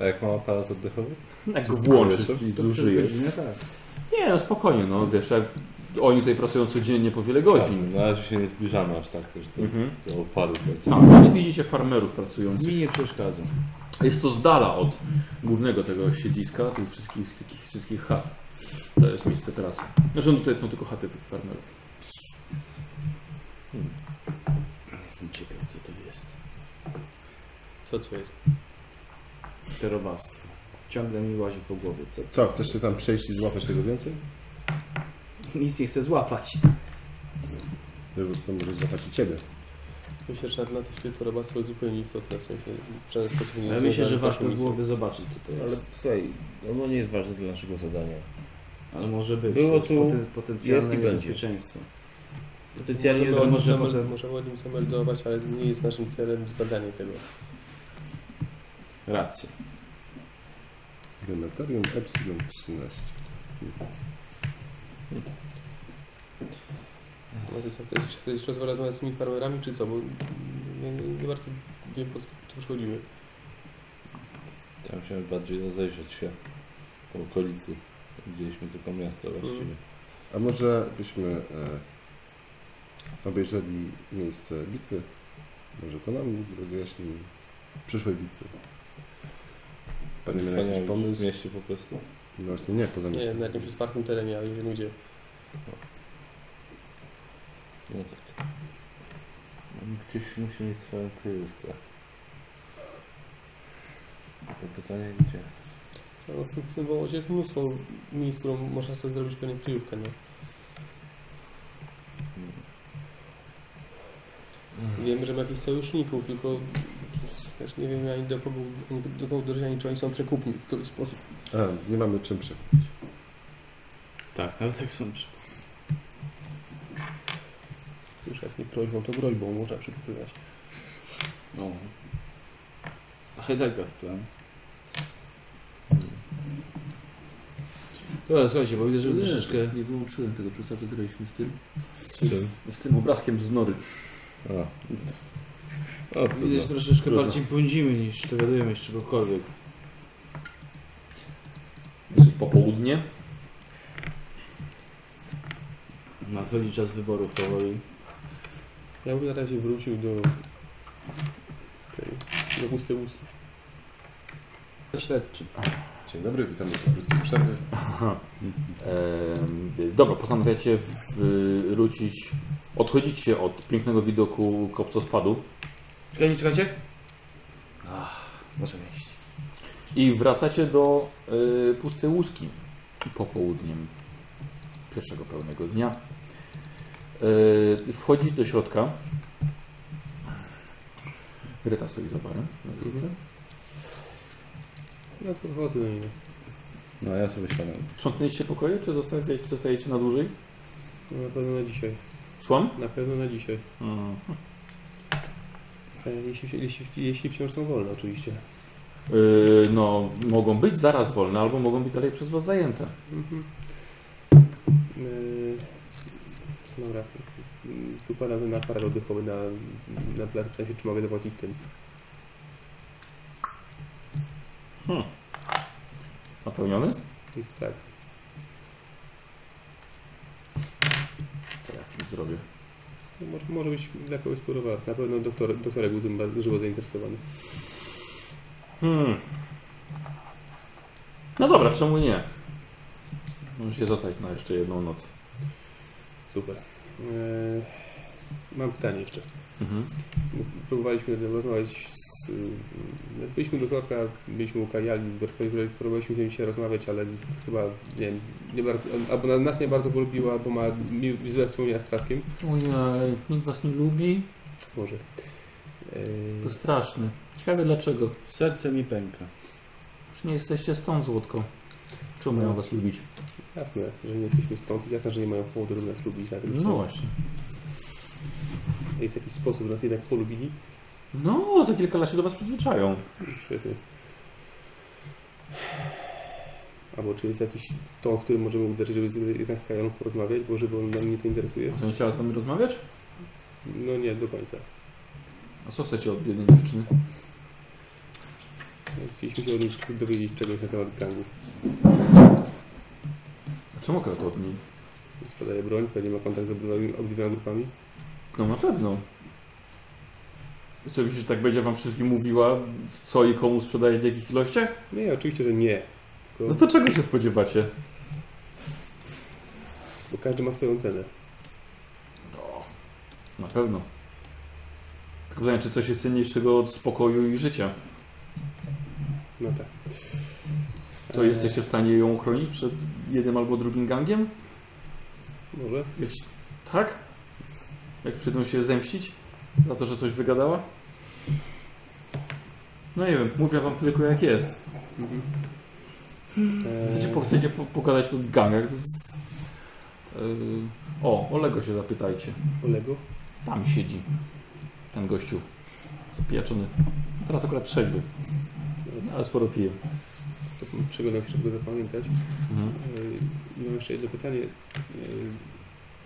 A jak mam aparat oddechowy? Jak go włączysz powietrze? i zużyjesz. godzinę tak. Nie, no spokojnie, no wiesz, jak oni tutaj pracują codziennie po wiele godzin. Na razie No, się nie zbliżamy aż tak, też do, Mhm. do opadu. Tak. Tak, ale widzicie farmerów pracujących. Mi nie przeszkadza. Jest to z dala od głównego tego siedziska, tych wszystkich, tych wszystkich chat. To jest miejsce trasy. Zresztą tutaj są tylko chaty farmerów. Jestem ciekaw, co to jest. Co co jest? Te robactwo. Ciągle mi łazi po głowie, co? Co, chcesz się tam przejść i złapać tego więcej? Nic nie chcę złapać. No, bo To może złapać i ciebie. Myślę, że dla tych to robactwo jest zupełnie istotne, w sensie w żaden sposób nie Ale jest myślę, że związane z warto naszą misją. byłoby zobaczyć, co to Ale jest. słuchaj, ono nie jest ważne dla naszego zadania. Ale może być. Było To jest tu, poten- potencjalne jest i będzie. niebezpieczeństwo. Potencjalnie możemy, jest możemy, możemy, możemy o nim zameldować, ale nie jest naszym celem zbadanie tego. Rację. Dementarium Epsilon 13. No to co, chcesz, chcesz rozmawiać z tymi farmerami, czy co? Bo nie, nie, nie bardzo wiem, po co tu przychodzimy. Ja chciałem bardziej rozejrzeć się po okolicy. Widzieliśmy tylko miasto właściwie. A może byśmy e, obejrzeli miejsce bitwy? Może to nam rozjaśni przyszłej bitwy. Pan miał Mm. Wspaniałe jakiś W pomysł? mieście po prostu. No właśnie nie, poza Nie, miastem. na jakimś otwartym terenie, ale nie wiem gdzie. No tak. Oni Gdzieś musi mieć swoją kryjówkę. Tylko pytanie gdzie? Co, no, w tym- w tym wąwozie jest mnóstwo miejsc, którą można sobie zrobić pewnie kryjówkę, nie? Wiem, że ma jakichś sojuszników, tylko też nie wiem ani do kogo, ani do kogo dążyć, ani czy oni są przekupni w który sposób. A, nie mamy czym przy. Tak, ale tak są przy... Cóż, jak nie prośbą, to groźbą można przekupywać. No. A Heidegger plan. Dobra, słuchajcie, bo widzę, że troszeczkę... nie wyłączyłem tego, przez cały czas graliśmy z tym. Czym? Z tym obrazkiem z nory. A. O, co Widzę, że za- troszeczkę Trudno. bardziej pędzimy niż dowiadujemy się czegokolwiek. popołudnie. Nadchodzi czas wyborów powoli. Ja bym na razie wrócił do tej, do pustej łuski. Śledczy. Dzień dobry, witamy po krótkiej przerwie. Em, dobra, postanawiacie wrócić, odchodzicie od pięknego widoku kopcospadu Czekajcie, czekajcie. Ach, możemy iść. i wracacie do y, pustej łuski popołudniem pierwszego pełnego dnia. Y, wchodzić do środka. Greta stoi za barem. jak zwykle. No to chodzę do niego. No a ja sobie siadam. Sprzątnęliście pokoje, czy zostawiacie, zostajecie na dłużej? No, na pewno na dzisiaj. Słucham? Na pewno na dzisiaj. E, Jeśli, wsi- jeśli, wsi- jeśli wciąż są wolne oczywiście. Y, no, mogą być zaraz wolne, albo mogą być dalej przez Was zajęte. Mhm. Yy, dobra. Mm, Tu padamy na parę oddechowy na, na plac. Pytam się, czy mogę zapłacić tym. Napełniony? Jest tak. Co ja z tym zrobię? No, może, może być dla kogoś spróbowała. Na pewno doktor, doktorek był tym bardzo żywo zainteresowany. Hmm. No dobra, czemu nie? Możesz się zostać na jeszcze jedną noc. Super. Yy, mam pytanie jeszcze. Mhm. Próbowaliśmy rozmawiać z... y, Byliśmy do Torka, byliśmy u Kajali, próbowaliśmy z nim się rozmawiać, ale chyba, nie wiem, nie bardzo, albo na- nas nie bardzo polubiła, albo ma mi- złe wspomnienia z Traskiem. Ojej, nikt Was nie lubi? Może. To Yy, straszne. Ciekawe dlaczego. Serce mi pęka. Już nie jesteście stąd, Złotko. Czemu mają Was lubić? jasne, że nie jesteśmy stąd i jasne, że nie mają powodu, żeby nas lubić. Na tym No właśnie. Jest jakiś sposób, żeby nas jednak polubili. No, za kilka lat się do Was przyzwyczają. Świetnie. Albo czy jest jakiś ton, w którym możemy uderzyć, żeby z- jednak z Kajaną porozmawiać, bo żeby on nam nie to interesuje? A co, nie chciała z Wami rozmawiać? No nie, do końca. A co chcecie od jednej dziewczyny? Chcieliśmy się od nich dowiedzieć czegoś na temat gangu. A czemu akurat od niej? Sprzedaje broń, pewnie ma kontakt z obydwoma obydwiema grupami. No na pewno. Co myślisz, że tak będzie Wam wszystkim mówiła, co i komu sprzedaje w jakich ilościach? Nie, oczywiście, że nie. Tylko, No to czego się spodziewacie? Bo każdy ma swoją cenę. No, na pewno. Tylko pytanie, czy coś jest cenniejszego od spokoju i życia? No tak. To Eee. jesteście w stanie ją uchronić przed jednym albo drugim gangiem? Może? Jeśli tak? Jak przyjdą się zemścić za to, że coś wygadała? No nie wiem, mówię wam tylko jak jest. Chcecie, E, po, chcecie po, pogadać o gangach? Z, yy, o, Olego się zapytajcie. Olego? Tam siedzi ten gościu. Zapijaczony. Teraz akurat trzeźwy. Ale sporo pije. To przygodę się, żeby zapamiętać. Yy, Mam jeszcze jedno pytanie. Yy,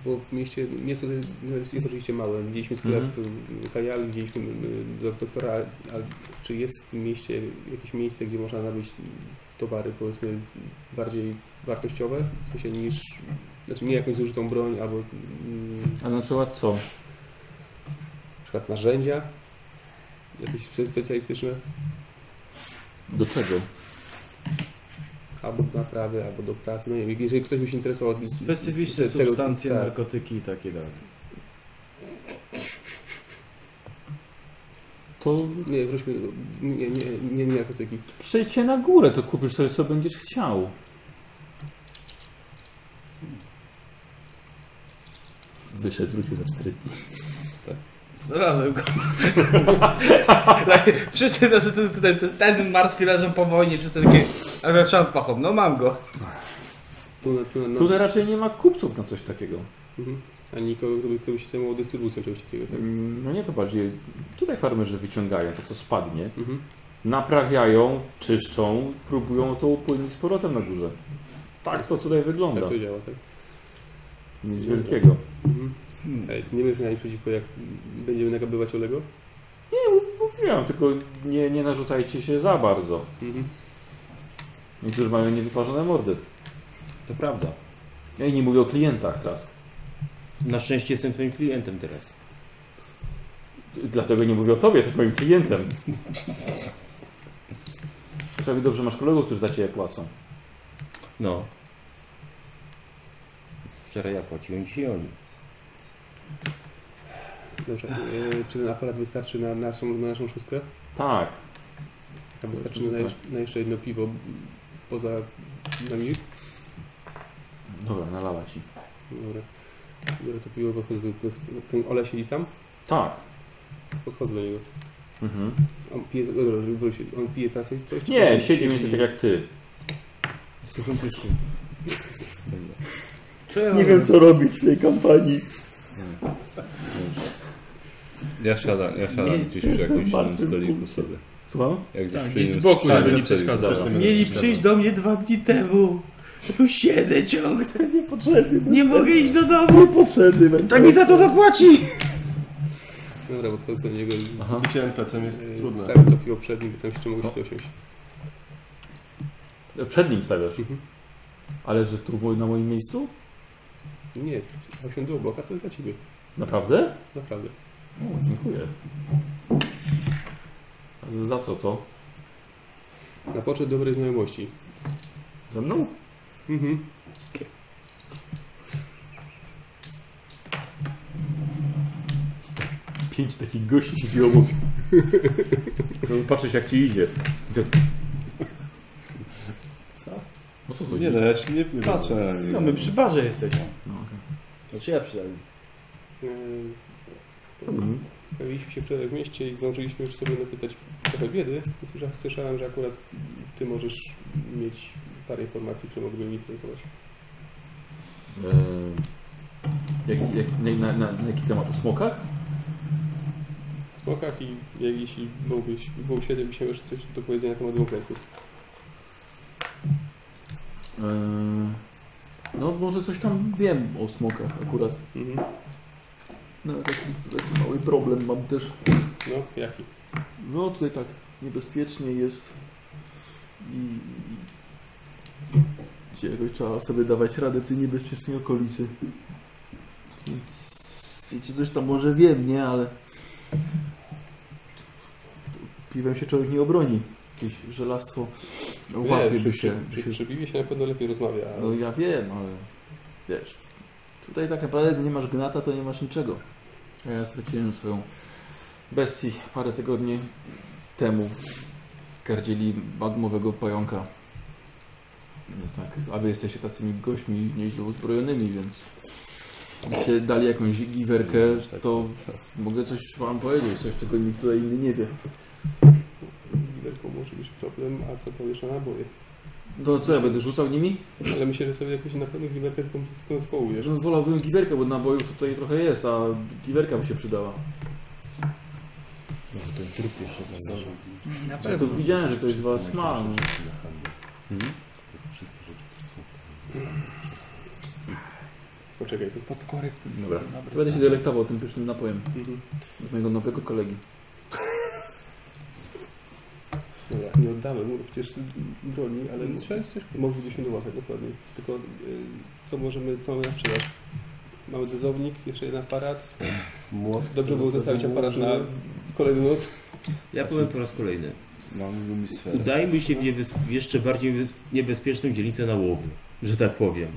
Bo w mieście, miasto jest, no jest, jest oczywiście małe. Widzieliśmy sklep Mhm. mm Kajal, widzieliśmy yy, do, doktora. A czy jest w tym mieście jakieś miejsce, gdzie można nabyć towary, powiedzmy, bardziej wartościowe? W sensie niż, znaczy nie jakąś zużytą broń, albo mm, A na przykład co? na przykład narzędzia jakieś spe- specjalistyczne, Do czego? albo do naprawy, albo do pracy. No nie wiem, jeżeli ktoś by się interesował... Specyficzne te- tego- substancje, tak. narkotyki i takie dalej. To Nie, wróćmy, do- nie, nie, nie, nie narkotyki. przyjdź się na górę, to kupisz sobie co będziesz chciał. Wyszedł, wrócił za 4 dni. Znalazłem No go. <laughs> Tak, wszyscy tacy, ten, ten, ten, ten martwi leżą po wojnie, wszyscy takie, ale trzeba pachom, no mam go. Tu, tu, no, Tutaj raczej nie ma kupców na coś takiego. Mhm. A nikogo, kto by, kto by się zajmował dystrybucją czegoś takiego, tak? Mm, No nie to bardziej. Tutaj farmerzy wyciągają to, co spadnie, Mhm. naprawiają, czyszczą, próbują to upłynnić z powrotem na górze. Tak to tutaj Tak wygląda. to działa, tak? Nic wielkiego. Mhm. Ej, nie będziesz miał nic przeciwko, jak będziemy nagabywać Olego? Mówiłem, tylko nie, nie narzucajcie się za bardzo. Mhm. Niektórzy mają niewyparzone mordy. To prawda. Ja i nie mówię o klientach teraz. Na szczęście jestem twoim klientem teraz. Dlatego nie mówię o tobie, jesteś moim klientem. Przynajmniej dobrze masz kolegów, którzy za ciebie płacą. No. Wczoraj ja płaciłem, dzisiaj oni. Dobrze, e, czy ten aparat wystarczy na naszą, na naszą szóstkę? Tak. A wystarczy no na, jesz- na jeszcze jedno piwo poza nami? Dobra, nalała ci. Dobra. Biorę to piwo, podchodzę do, do, do ten Ole siedzi sam, Tak. podchodzę do niego. Mhm. On pije, dobra, żeby wrócił. on pije teraz coś? czy Nie, on siedzi mniej więcej tak jak ty. Nie wiem, co robić w tej kampanii. Ja siadam, ja siadam gdzieś przy jakimś innym stoliku sobie. Słucham? Jak gdzieś Tak, przy gdzieś z innym- boku, przy żeby innym nie stoliku. przeszkadzać. Też nie będę Mieli przeszkadzał. przyjść do mnie dwa dni temu. Ja tu siedzę ciągle. Niepotrzebny. Nie mogę iść do domu. Niepotrzebny. To mi za to zapłaci. Dobra, podchodzę do niego. Aha. Bycie NPC-em jest e, trudne. Stawiam to piwo przed nim, pytam się, czy mogę No. się dosiąść. E, Przed nim stawiasz. Mhm. Ale że tu mój- na moim miejscu? Nie, osiądę obok, a to jest dla ciebie. Naprawdę? Naprawdę. O, dziękuję. A Za co to? Na poczet dobrej znajomości. Ze mną? Mhm. Pięć takich gości siedzi obok. <laughs> Żeby patrzeć jak ci idzie. Co? O co chodzi? Nie no, ja się nie patrzę na niego. No my przy barze jesteśmy. No, okej. Znaczy ja przynajmniej. Mhm. Pojawiliśmy się wczoraj w mieście i zdążyliśmy już sobie napytać trochę biedy. I słysza- Słyszałem, że akurat ty możesz mieć parę informacji, które mogłyby mnie interesować. Eee, jak, jak, na, na, na, na jaki temat? O smokach? W smokach i jak jeśli byłbyś, był siedem, się już coś do powiedzenia na temat wokresów. Eee, no może coś tam wiem o smokach akurat. Mhm. No, taki, taki mały problem mam też. No, jaki? No tutaj tak niebezpiecznie jest i, i jakoś trzeba sobie dawać radę w tej niebezpiecznej okolicy. Więc wiecie, coś tam może wiem, nie, ale piwem się człowiek nie obroni. Jakieś żelastwo Nie, łapiełby przy- no, się. by Przy, się- przy piwie się na pewno lepiej rozmawia. a- No ja wiem, ale wiesz, tutaj tak naprawdę nie masz gnata, to nie masz niczego. A ja straciłem swoją bestii parę tygodni temu. Gardzieli magmowego pająka. Więc tak, a wy jesteście tacymi gośćmi nieźle uzbrojonymi, więc gdybyście dali jakąś giwerkę, to mogę coś wam powiedzieć, coś czego nikt tutaj inny nie wie. Z giwerką może być problem, a co powiesz na naboje? No co, ja będę rzucał nimi? Ale myślę, że sobie jakoś na pewno giwerkę skom- skołujesz. No, wolałbym giwerkę, bo nabojów tutaj trochę jest, a giwerka by się przydała. Na Ja tu widziałem, że ktoś z was ma. no. Wszystkie rzeczy, które są Poczekaj, to Podkorek. Dobra. Będę się delektował tym pysznym napojem Mhm. od mojego nowego kolegi. No ja nie oddamy mu przecież broni, ale Trzeba coś moglibyśmy dołapać dokładnie. Tylko y, co możemy, co mamy na sprzedaż? Mamy dozownik, jeszcze jeden aparat. młot, Dobrze było zostawić aparat na kolejną noc. Ja powiem po raz kolejny. Mam lumisferę. Udajmy się w niebez- jeszcze bardziej niebez- niebezpieczną dzielnicę na łowy. Że tak powiem.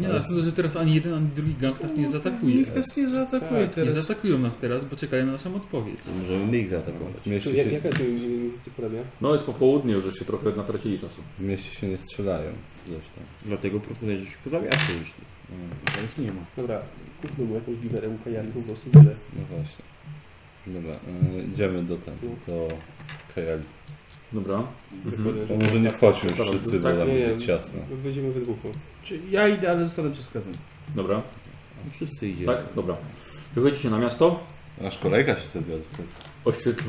Nie, ale sądzę, że teraz ani jeden, ani drugi gang nas nie zaatakuje. Nikt nas nie zaatakuje Nie teraz. zaatakują nas teraz, bo czekają na naszą odpowiedź. Możemy my ich zaatakować. No, W mieście, Czy, jak, się, jaka to mniej więcej poradnia? No jest po południu, że się trochę natracili czasu. w mieście się nie strzelają zresztą. Dlatego proponuję, żebyśmy poza miasto wyszli. No, Tam ich nie ma. Dobra, kupmy mu jakąś giwerę, mu kajarnik po prostu tyle. No właśnie. Dobra, y, idziemy do tam, do KL. Dobra. Dokładnie, No że- może nie wchodźmy już Dobra, wszyscy, bo tak, tam nie, nie. będzie ciasno. Będziemy we dwóch. no. Czy ja idę, ale zostanę przez sklepem. Dobra. No Wszyscy idziemy. Tak? Dobra. Wychodzicie na miasto. Nasz kolega się sobie odskrył. Oświetl...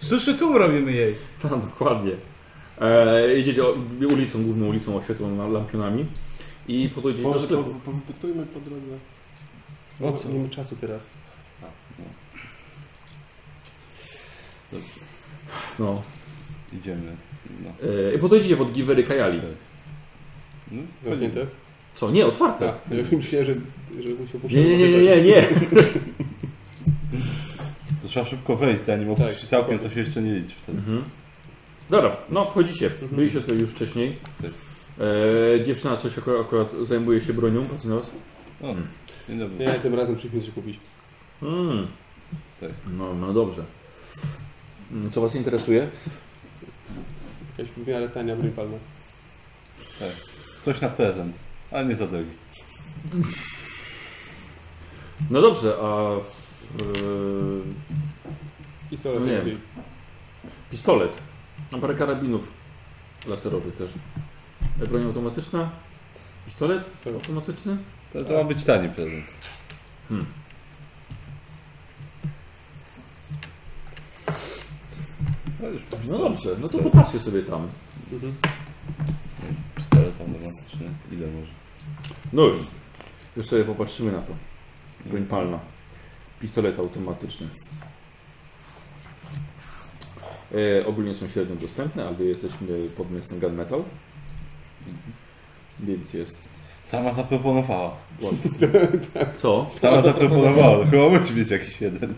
Suszy tu robimy jej. <laughs> Tak, dokładnie. E, idziecie o, ulicą, główną ulicą oświetloną lampionami i podchodzicie do Może sklepu. powypytujmy po drodze. O co? Nie mamy czasu teraz. No. Idziemy. No. E, bo to idziecie pod giwery Kajali. Tak. No, Zamknięte? Co? Nie, otwarte. Tak. Ja myślałem, że, że musiał Nie, nie, nie, nie, nie, nie. To trzeba szybko wejść, zanim Tak. opuści całkiem, to się jeszcze nie liczy wtedy. Mhm. Dobra, no wchodzicie. Byliście tutaj już wcześniej. Tak. E, dziewczyna coś akurat, akurat zajmuje się bronią. patrz na was. O, dzień dobry. Nie, tym razem przyjdźmy coś kupić. Mm. Tak. No, no dobrze. Mm, Co was interesuje? Jakaś w miarę tania broń palna. Coś na prezent, ale nie za drogi. No dobrze, a I co Nie. lepiej? e, pistolet. A parę karabinów laserowych też. E, Broń automatyczna. Pistolet Co? automatyczny. To, to ma być tani prezent. No, już No pistolet- dobrze, no to pistolet- popatrzcie sobie tam. Mhm. Pistolet tam romantyczny. Ile może? No już. Już sobie popatrzymy na to. Broń palna. Pistolet automatyczny. E, ogólnie są średnio dostępne, ale jesteśmy pod miastem Gunmetal. Więc jest. Sama zaproponowała. Co? Sama zaproponowała. Chyba musi mieć jakiś jeden.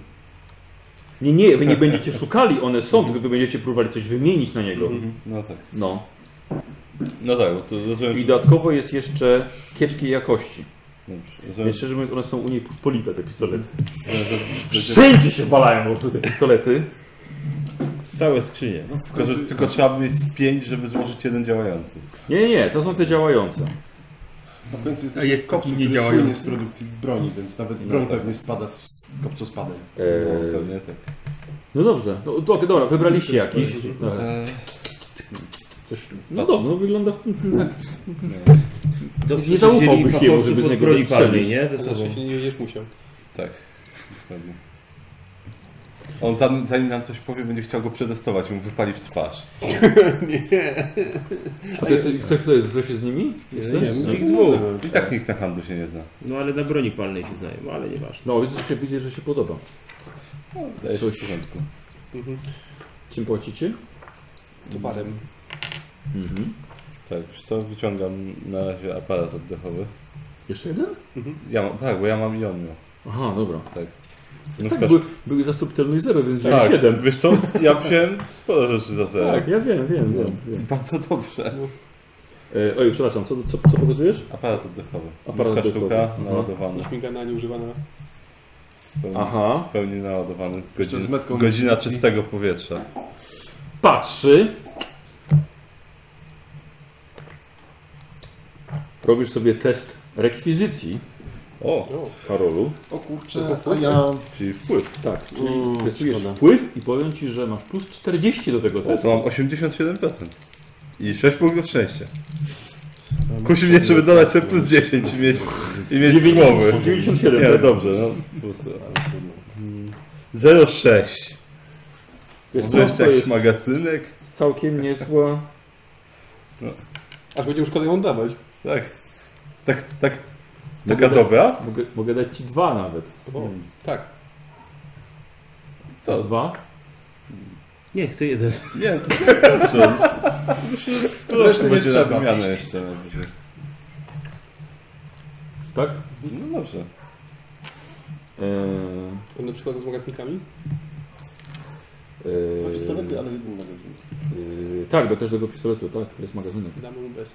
Nie, nie, wy nie będziecie szukali, one są, tylko wy będziecie próbowali coś wymienić na niego. No tak. No. No tak, bo to rozumiem, I że... dodatkowo jest jeszcze kiepskiej jakości. no, Rozumiem, Więc szczerze mówiąc, one są u niej pospolite, te pistolety. że... że- że- Wszędzie się walają po prostu te pistolety. Całe skrzynie. Tylko, że tylko trzeba by mieć z pięć, żeby złożyć jeden działający. Nie, nie, nie, to są te działające. A w końcu A jesteśmy jest jest kopcu, nie który działają. słynie z produkcji broni, więc nawet broń No tak. pewnie spada z kopcospadem. No, Eee, pewnie tak. No dobrze, no, to, dobra, wybraliście jakiś. Dobra. Eee, Coś, no dobrze, no wygląda tak. no, Dobrze, że Nie wzięli zaufałbyś jemu, fachowiec żeby z od niego broni strzelić. palnej, nie? Ze Na sobą. szczęście Znaczy nie będziesz musiał. tak. Pewnie. On zanim, zanim nam coś powie, będzie chciał go przetestować i mu wypali w twarz. A to jest, kto, kto jest, kto się z nimi? Jest? No, nie dwóch. wiem. I tak nikt na handlu się nie zna. No ale na broni palnej się znają, ale nieważne. No, widzę, że się, widzę, że się podoba. No, Daje się Coś. w porządku. Czym płacicie? To parem. Mhm. Tak, wiesz co, wyciągam na razie aparat oddechowy. Jeszcze jeden? Ja mam, tak, bo ja mam i on miał. Aha, dobra. Tak. No Tak, w były, były za subtelność 0, więc tak. tak, 7. wiesz co, ja wziąłem sporo rzeczy za zero. Tak, ja wiem, wiem, wiem. wiem. Bardzo dobrze. E, oj, przepraszam, co, co, co pokazujesz? Aparat oddechowy. Aparat Aparat oddechowy. sztuka, Mhm. naładowany. Śmigana nieużywana. W pełni- Aha. W pełni naładowany. Jeszcze z Godzin, metką godzina naciski. czystego powietrza. Patrzy. Robisz sobie test rekwizycji, O, Karolu. O kurczę, a ja... czyli wpływ. Tak, czyli testujesz wpływ i powiem Ci, że masz plus 40 do tego O, testu. to mam 87%. I 6 punktów szczęścia. Kusi mnie, żeby dodać sobie plus 10 i mieć, i mieć z głowy. 97, Nie, tak? dobrze, no. Po prostu. Mm, 0,6. Wiesz co, Wreszcie to jakiś jest magazynek. całkiem niezła... Aż będzie szkoda ją dawać. Tak. Tak, tak. Mogę Taka da- <laughs> dobra? Mogę, mogę dać Ci dwa nawet. O, tak. Co? Dwa? Nie, chcę jeden. Nie, dobrze. Reszty nie Będzie na trzeba. wymianę jeszcze. najwyżej. Tak? No dobrze. Eee, One przychodzą z magazynami? Dwa eee, pistolety, ale jeden magazyn. eee, tak, do każdego pistoletu, tak, jest magazynek. Damy mu bez.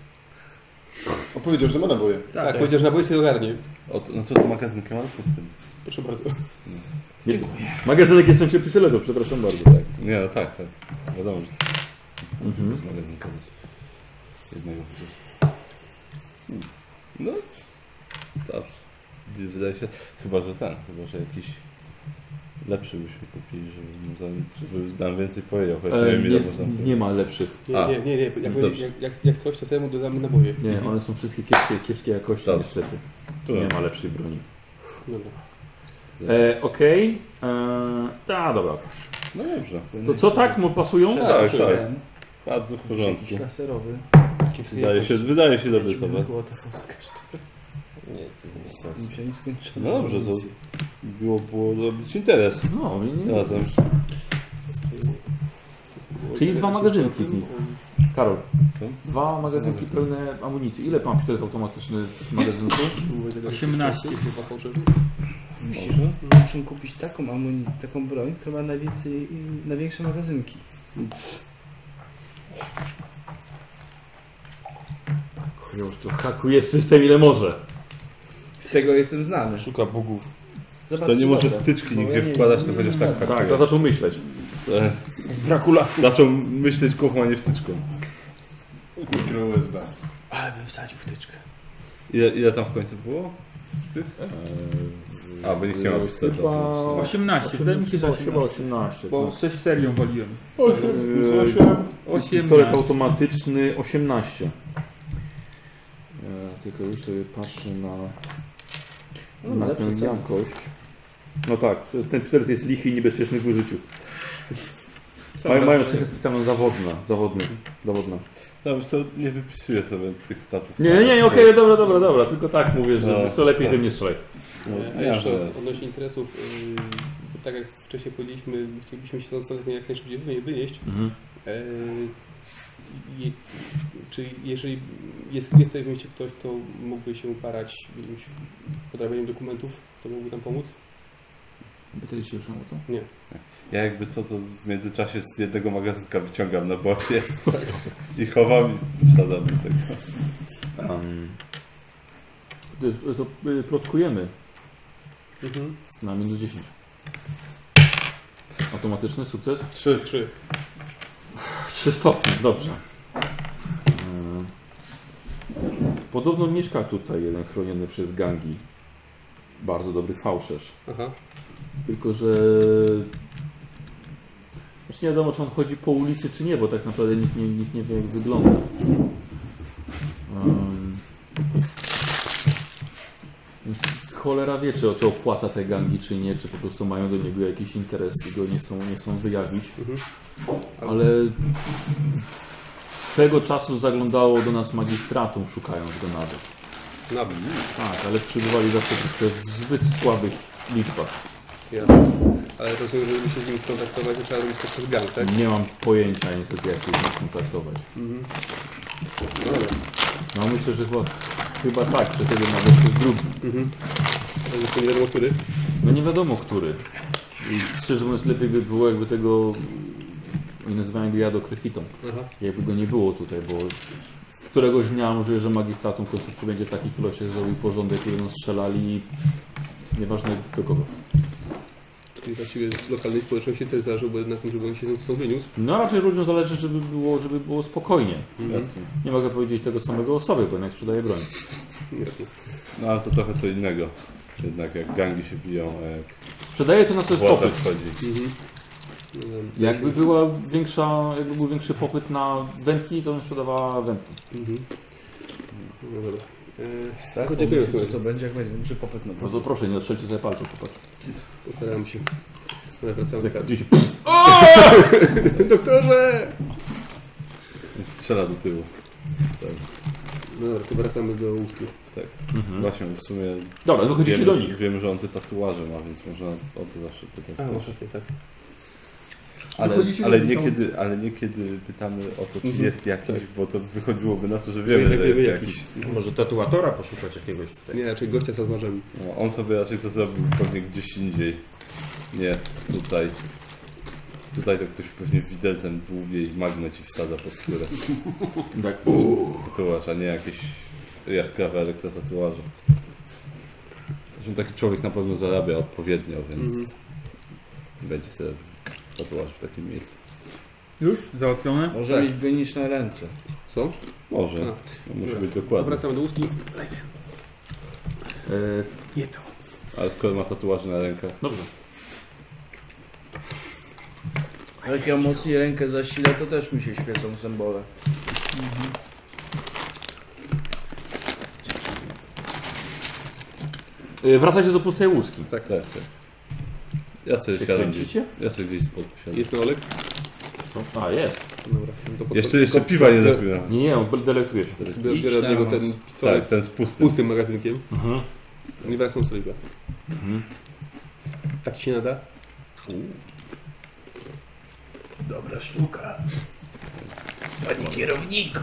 O, powiedział, że ma naboje. Tak, tak. chociaż na boisku ogarnie. O, to- no co to magazynka mam z tym? Proszę bardzo. Nie, magazynek jest w sensie pistoletu, przepraszam bardzo. Tak. Nie, no tak, tak. Wiadomo, że tak. Mhm. Z magazynka być. Jednego chociaż. Nic. No. Dobrze. Wydaje się, chyba, że ten, chyba, że jakiś lepszy byśmy kupili, żeby, mu za- żeby nam więcej powiedział, choć nie Eee, wiem ile można nie, nie ma lepszych. Nie, A. nie, nie, nie. Jak, No dobrze. jak, jak, jak coś, to temu dodamy naboje. Nie, one są wszystkie kiepskie, kiepskie jakości Dobrze. niestety. Tu Nie nie ma lepszej broni. Dobra. E, Okej. E, ta, dobra. No dobrze. To co tak? Mu pasują? Tak, Czy- tak. Bardzo w porządku. Jakiś laserowy. Wydaje się, wydaje się dobrze to. Była taka Nie, nie skończyłem. No dobrze, to było, było robić interes No, nie, nie. razem. To jest w ogóle Czyli dwa magazynki w nich. Karol, Co? dwa magazynki Magazyn. pełne amunicji. Ile pan pistolet automatyczny w magazynku? 18. Chyba potrzebny. Myślisz, że muszę kupić taką amunicję, taką broń, która ma najwięcej, największe magazynki. Już to hakuje system ile może. Z tego jestem znany. Szuka bogów. Zobacz, To nie czy może da. wtyczki Bo nigdzie ja nie- wkładać, to chociaż tak Tak, hakuje. to zaczął myśleć. E, Dracula. Zaczął myśleć kochą, a nie wtyczką. Mikro USB. Ale bym wsadził wtyczkę. Ile, ile tam w końcu było? Tych? A, bo nikt nie ma pistoleta. e, Chyba... 18, wydaje tak mi się, że 18. 18. 18 Bo tak. 6 serią waliłem. Eee, Pistolet 18. automatyczny 18. Eee, tylko już sobie patrzę na, No, na lepsze tę ceny. jakość. No tak, to jest- ten pistolet jest lichy i niebezpieczny w użyciu. Mają, mają cechę specjalną zawodna, zawodny, zawodna. No wiesz co, nie wypisuję sobie tych statów. Nie, nie, nie, okej, dobra, dobra, dobra, tylko tak mówię, że No. no. co lepiej tym nie strzelaj. No, E, A ja, jeszcze że... odnośnie interesów, yy, bo tak jak wcześniej powiedzieliśmy, chcielibyśmy się nastoletnie jak najszybciej wynie- wynieść. Mhm. E, i- czy jeżeli jest, jest tutaj w mieście ktoś, kto mógłby się uparać jakimś podrabianiem dokumentów, to mógłby nam pomóc? Pytaliście już o to? ja jakby co, to w międzyczasie z jednego magazynka wyciągam na bocie i chowam i wsadzam do tego. Um, to, to y, plotkujemy Mhm. na minus 10. Automatyczny sukces? Trzy. Trzy. 3 stopnie, dobrze. Ym, Podobno mieszka tutaj jeden chroniony przez gangi. Bardzo dobry fałszerz. Aha. Tylko, że... Znaczy nie wiadomo, czy on chodzi po ulicy, czy nie, bo tak naprawdę nikt nie, nikt nie wie, jak wygląda. Ym. Więc cholera wie, czy, czy opłaca te gangi, czy nie, czy po prostu mają do niego jakiś interes i go nie chcą, nie chcą wyjawić. Ale swego czasu zaglądało do nas magistratum, szukając go nawet. Nawet. Tak, ale przybywali zawsze tylko w zbyt słabych liczbach. Ja. Ale rozumiem, że żeby się z nim skontaktować, to trzeba robić to przez gang, tak? Nie mam pojęcia niestety, jak się z nimi kontaktować. Mhm. Dobra. No myślę, że chyba, chyba tak, że wtedy ma jeszcze drugi. Mhm. Ale jeszcze nie wiadomo który. No nie wiadomo który. I szczerze mówiąc lepiej by było jakby tego... Oni nazywają go jadokryfitą. Aha. Jakby go nie było tutaj, bo któregoś dnia możliwe, że magistratum w końcu przybędzie w takich ilościach, że zrobił porządek, który nas strzelali. Nieważne do kogo. Czyli właściwie z lokalnej społeczności też zależałoby na tym, żeby on się stąd wyniósł. No raczej ludziom zależy, żeby było, żeby było spokojnie. Jasne. Nie mogę powiedzieć tego samego o sobie, bo jednak sprzedaje broń. Jasne. No ale to trochę co innego. Jednak jak gangi się biją, a jak Sprzedaje to na co jest władza popyt. wchodzi. Mhm. No dobra. Jakby była większa, jakby był większy popyt na wędki, to bym sprzedawała wędki. Mhm. No dobra. E, Tak, Tylko dziękuję, co słuchaj. to będzie, jak będzie większy popyt No na broń. Bardzo proszę, nie odstrzelcie sobie palców, chłopaki. Postaram się. Dobra, wracamy tak. do Jak karty. widzicie, Doktorze! Strzela do tyłu. No dobra, to wracamy do łuski. mhm. Właśnie w sumie Dobra, wychodzicie do wiemy, nich. wiemy, że on te tatuaże ma, więc można o to zawsze pytać. A, masz rację, tak. Ale, Wychodzicie ale, do nie domu. kiedy, ale nie kiedy pytamy o to, czy Mhm. jest jakiś, bo to wychodziłoby na to, że Czyli wiemy, tak że jest wiemy jakiś. Może tatuatora poszukać jakiegoś. Nie, raczej gościa z tatuażem. No, on sobie raczej to zrobił pewnie gdzieś indziej. Nie, tutaj. Tutaj to ktoś pewnie widelcem dłubie i magnet i wsadza pod skórę. Tak. Tatuaż, a nie jakieś jaskrawe elektrotatuaże. Zresztą taki człowiek na pewno zarabia odpowiednio, więc Mhm. będzie sobie tatuaż w takim miejscu. Już? Załatwione? Może mieć goniczne ręce. Co? Może. A, No, musi dobra. być dokładny. Wracamy do łuski. E, Ale skoro ma tatuaże na rękach, dobrze. Ale jak ja mocniej rękę zasilę, to też mi się świecą symbole. E, wracacie do pustej łuski. tak, tak. tak. Ja sobie siadam gdzieś. Kręcicie? Ja sobie gdzieś spod siadam. Jest na Olek? A, jest. Dobra. no To pod- Jeszcze, jeszcze piwa nie do- dopiłem. Nie, nie, on delektuje się. do- Biorę od niego ten pistolet Tak, ten z pustym. pustym magazynkiem. Mhm. Nie wracam do Oliwa. Mhm. Tak ci się nada? Dobra sztuka. Panie kierowniku.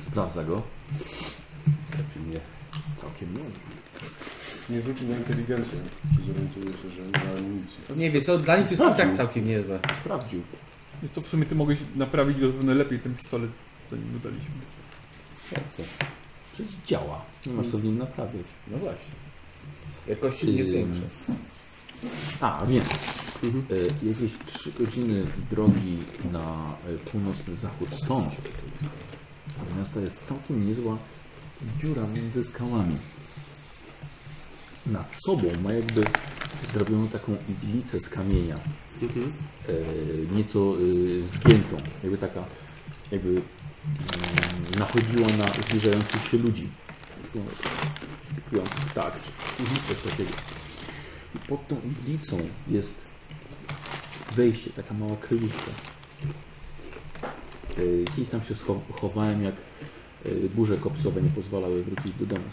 Sprawdza go. Nie. Całkiem niezły. Nie rzuci na inteligencję, czy zorientuje się, że nie ma amunicji. Nie wie co, dla nich jest i tak całkiem niezłe. Sprawdził. Więc co w sumie ty mogłeś naprawić go pewnie lepiej ten pistolet, zanim go daliśmy. Przecież działa. Nie masz co w nim naprawiać. No właśnie. Jakości nie Ym, większe. A, wiem. Y, jakieś 3 godziny drogi na y, północny zachód stąd. od Miasta jest całkiem niezła dziura między skałami. Nad sobą ma jakby zrobioną taką iglicę z kamienia. Y, nieco y, zgiętą. Jakby taka, jakby mm, nachodziła na zbliżających się ludzi. Cykujących tak, czy coś takiego. I pod tą iglicą jest wejście, taka mała kryjówka. Yy, Kiedyś tam się scho- chowałem, jak yy, burze kopcowe nie pozwalały wrócić do domu.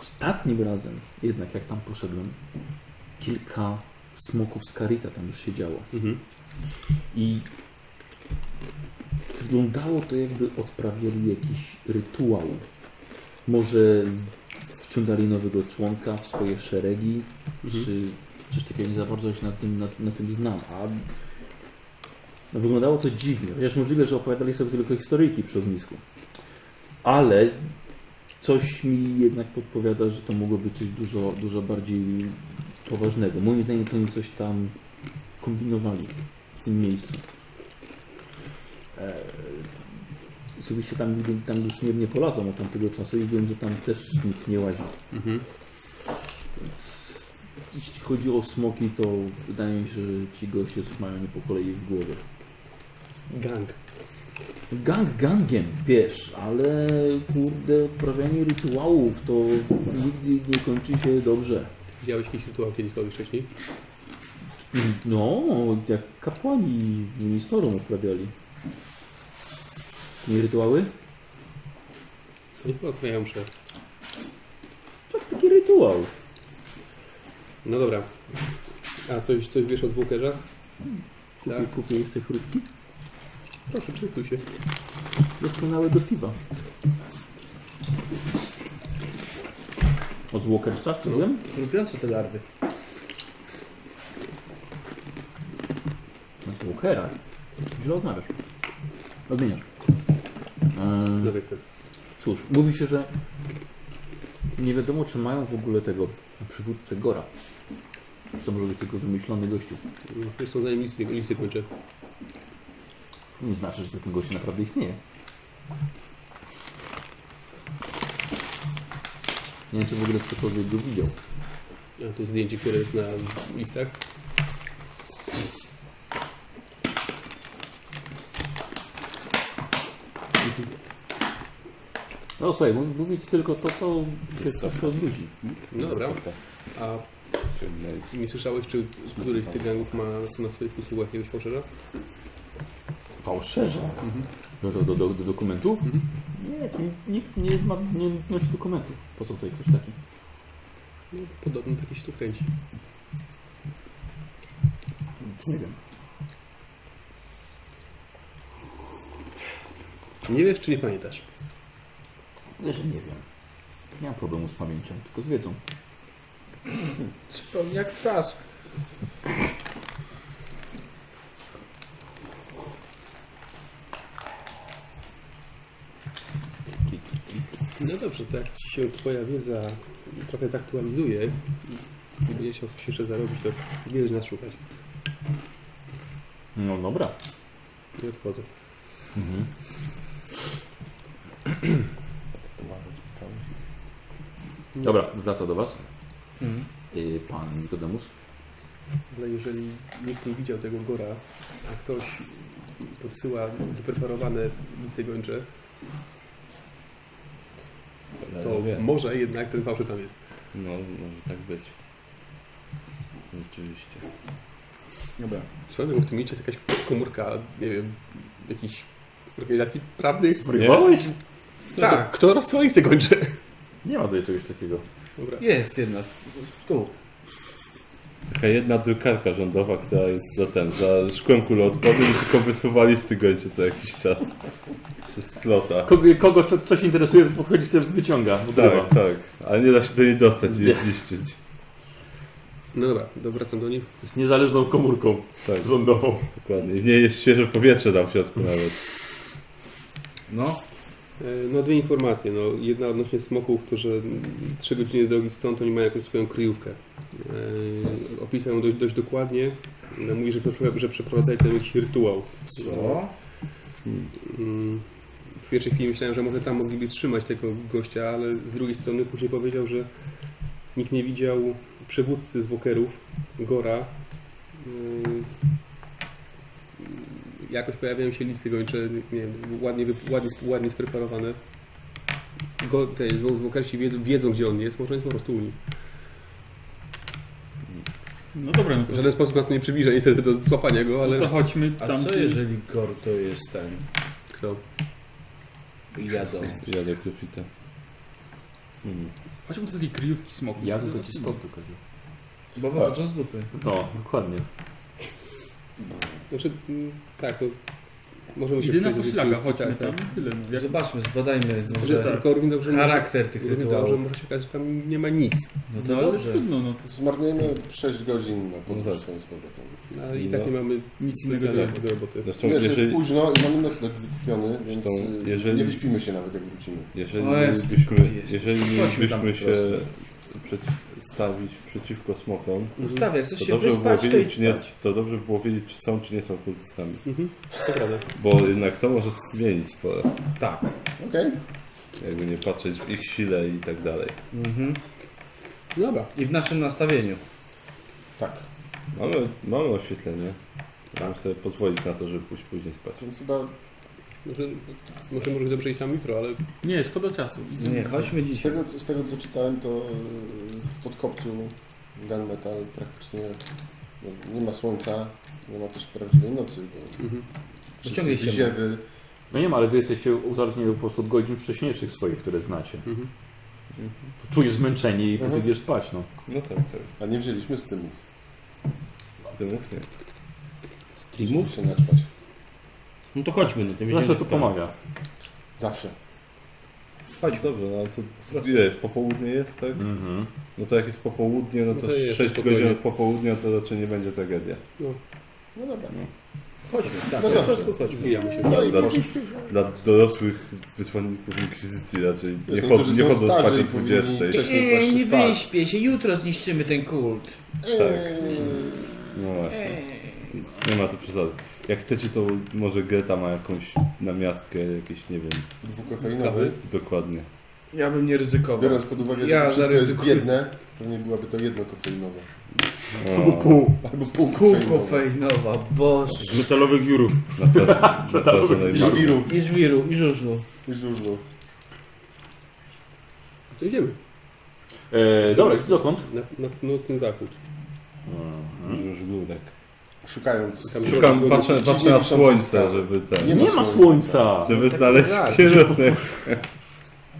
Ostatnim razem, jednak jak tam poszedłem, kilka smoków z karita tam już siedziało. I wyglądało to jakby odprawiali jakiś rytuał. Może wciągali nowego członka w swoje szeregi, czy coś takiego nie za bardzo się na tym, na, na tym znam. A no, wyglądało to dziwnie, chociaż możliwe, że opowiadali sobie tylko historyjki przy ognisku. Ale coś mi jednak podpowiada, że to mogło być coś dużo, dużo bardziej poważnego. Moim zdaniem to oni coś tam kombinowali w tym miejscu. Eee, osobiście tam, nigdy- tam już nie, nie polazłem od tamtego czasu i wiem, że tam też nikt nie łazi. Mhm. Więc jeśli chodzi o smoki, to wydaje mi się, że ci goście coś mają nie po kolei w głowie. Gang. Gang gangiem, wiesz, ale kurde, uprawianie rytuałów to nigdy nie kończy się dobrze. Widziałeś jakiś rytuał kiedykolwiek wcześniej? No, jak kapłani ministerą uprawiali. Nie rytuały? Oni chyba odmawiają mszę. Tak, taki rytuał. No dobra. A coś, coś wiesz od Walkerza? Kupię, Tak. kupię jeszcze frytki. Proszę, przystuj się. Doskonałe do piwa. Od Walkersa, co wiem? Lubiące te larwy. Od Walkera. Źle odmawiasz. Odmieniasz. Ehm, Nowy wstęp. Cóż, mówi się, że nie wiadomo, czy mają w ogóle tego przywódcę Gora. To może być tylko wymyślony gościu. No, Wiesz, są zanim listy, listy kończę. To nie znaczy, że ten gościu naprawdę istnieje. Nie wiem, czy w ogóle ktokolwiek go widział. A tu zdjęcie, które jest na listach. No słuchaj, mów- mówić tylko to, co się słyszy od ludzi. No dobra. A Czyli na nie słyszałeś, czy któryś z tych gangów ma na swoich usługach jakiegoś fałszerza? Fałszerze. Mhm. Może Mhm. do, do, do dokumentów? Nie, tu nikt nie, ma, nie nosi dokumentów. Po co tutaj ktoś taki? No, Podobno takie się tu kręci. Nic nie wiem. Nie wiesz, czy nie pamiętasz? Że nie wiem. Nie mam problemu z pamięcią, tylko z wiedzą. Zupełnie jak task. No dobrze, to jak ci się twoja wiedza trochę zaktualizuje i będziesz chciał coś jeszcze zarobić, to wiesz nas szukać. No dobra. Nie odchodzę. Mhm. Dobra, wraca do Was. Mhm. Y, Pan Nikodemus. Ale jeżeli nikt nie widział tego gora, a ktoś podsyła wypreparowane listy gończe, to wie. może jednak ten fałszyw tam jest. No, może tak być. Rzeczywiście. Swoją drogą w tym mieście jest jakaś komórka, nie wiem, jakiejś organizacji prawnej. Wrywałeś? Tak, kto rozsyła listy gończe? Nie ma tutaj czegoś takiego. Dobra. Jest jednak. Tu. Taka jedna drukarka rządowa, która jest za ten, za szkłem kuloodpornym i tylko wysuwali z tygodnia co jakiś czas. Przez slota. Kogo, kogo co- coś interesuje, to podchodzi sobie wyciąga. Tak, Odgrywa. tak. Ale nie da się do niej dostać i je zniszczyć. No dobra, wracam do nich. To jest niezależną komórką Tak, rządową. dokładnie. I w niej jest świeże powietrze tam w środku nawet. No. E, No dwie informacje. No, jedna odnośnie smoków, którzy mm, trzy godziny drogi stąd, oni mają jakąś swoją kryjówkę. E, opisał ją dość, dość dokładnie. No, mówi, że, przeprowad- że przeprowadzali tam jakiś rytuał. Co? Mm, W pierwszej chwili myślałem, że może tam mogliby trzymać tego gościa, ale z drugiej strony później powiedział, że nikt nie widział przywódcy z Wokerów, Gora. Yy, Jakoś pojawiają się listy gończe, nie wiem, ładnie, wy- ładnie, sp- ładnie spreparowane. Go, te zwo- Wokersi wiedzą, wiedzą, gdzie on jest, może on jest po prostu u nich. No dobra, no W to, no żaden sposób nas to nie przybliża niestety do złapania go, ale... to chodźmy A tam. co jeżeli Gor to jest ten? Kto? Jadą. Ja do Krufita. Hmm. Chodźmy do takiej kryjówki smoku. Ja bym to ci stąd pokazał. Bo wychodzą z dupy. No, dokładnie. Znaczy, mm, tak, to... Możemy się Idę na przejść- No, poszlaga, chodźmy tak, tak. tam. tak. Tyle. no. Jak Zobaczmy, zbadajmy Że, może tylko równie dobrze może- charakter tych Równie dobrze rytuałów. może się okazać, że tam nie ma nic. No No to ale dobrze. trudno, no to Zmarnujemy 6 godzin na No podróż tak. tam z powrotem. A I tak No. nie mamy nic innego nie specjalnie do roboty. Zresztą Wiesz, jest jeżeli, późno i mamy nocleg wykupiony, więc Zresztą, y, jeżeli- nie wyśpimy się nawet jak wrócimy. jeżeli O, jest, mielibyśmy, jest. jeżeli Chodźmy tam mielibyśmy po się przeci- stawić przeciwko smokom, Ustawię, jak chcesz to się dobrze, by było wyspać, to wiedzieć, idź czy nie, spać. to dobrze by było wiedzieć, czy są, czy nie są kultystami. Mhm. To prawda. Bo jednak to może zmienić sporo. Tak. Okej. Jakby nie patrzeć w ich sile i tak dalej. Mhm. Dobra. I w naszym nastawieniu. Tak. Mamy, mamy oświetlenie. Możemy sobie pozwolić na to, żeby pójść później spać. Czyli chyba Może, może, może dobrze iść tam jutro, ale Nie, szkoda czasu. Idziemy. Nie, chodźmy z dzisiaj. tego, co- z tego co czytałem, to y, w podkopcu gunmetal praktycznie no, nie ma słońca, nie ma też prawdziwej nocy, bo mhm. wszystkie ciągle się- ziewy, No nie ma, ale wy jesteście uzależnieni po prostu od godzin wcześniejszych swoich, które znacie. Mhm. Czujesz zmęczenie i później Mhm. idziesz spać, no. No tak, tak. a nie wzięliśmy z tym, Z tym nie. żeby się naćpać. No to chodźmy, no to Zawsze to pomaga. Zawsze. Chodź. Dobrze, no ale to ile jest? Popołudnie jest, tak? Mhm. No to jak jest popołudnie, no to No to jest 6 spokojnie. godzin od popołudnia to raczej nie będzie tragedia. No dobra. Chodźmy, tak, No po dobrze. prostu chodźmy. Zwijamy się. No i Dla, dla, poszliśmy. dla dorosłych wysłanników inkwizycji raczej nie, Wiesz, chod, niektórzy nie są chodzą spać starzy o i powinni 20. wcześniej Ej, właśnie nie spać. wyśpię się, jutro zniszczymy ten kult. Tak. No właśnie. Więc nie ma co przesady. Jak chcecie, to może Greta ma jakąś namiastkę, jakieś, nie wiem, Dwukofeinowy. dokładnie. Ja bym nie ryzykował. Biorąc pod uwagę, że Ja to wszystko jest zaryzykuję. biedne, pewnie byłaby to jedno kofeinowe. O, Albo pół kofeinowe. Kukofejnowa, boże. Z metalowych wiórów. na plaży, na plaży I najbardziej. żwiru, I żwiru, i żużlu. i żużlu. To idziemy. E, dobra, dokąd? Na, na północny zachód. Już górek. Szukając. Tam Szukam, patrzę, patrzę na słońce, Słońca. żeby Nie ten, Nie ma słońca! żeby znaleźć kierunek.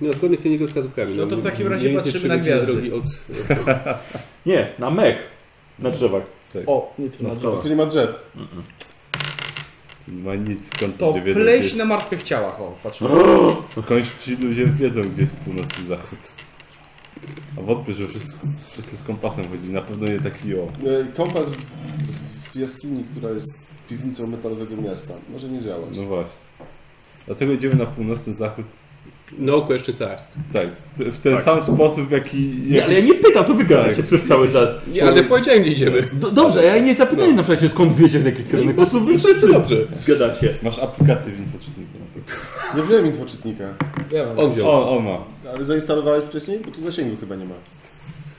No, zgodnie z tymi wskazówkami. No to w takim razie mniej więcej patrzymy trzy na godziny gwiazdy. drogi od... <laughs> Nie, na mech. Na drzewach. O, nie to na Bo tu nie ma drzew. Ma nic, skąd To ludzie wiedzą, pleś gdzie- na martwych ciałach, o, patrzmy. No. skąd ci ludzie wiedzą, gdzie jest północny zachód. A wątpię, że wszyscy, wszyscy z kompasem chodzili, na pewno nie taki o. E, Kompas w- w jaskini, która jest piwnicą metalowego miasta. Może nie działać. No właśnie. Dlatego idziemy na północny zachód, No, Question Sarst. tak, w te- w ten sam sposób, w jaki... Nie, ale ja nie pytam, to wygada Tak. się przez cały czas. Nie, ale powiedziałem, gdzie idziemy. Do, dobrze, ja nie zapytałem na przykład się skąd wiecie w jaki kierunek. No. Po prostu wy wszyscy dobrze gadacie. Masz aplikację w infoczytniku. na przykład. Nie wziąłem infoczytnika, On wziął. O, o ma. ale zainstalowałeś wcześniej? Bo tu zasięgu chyba nie ma.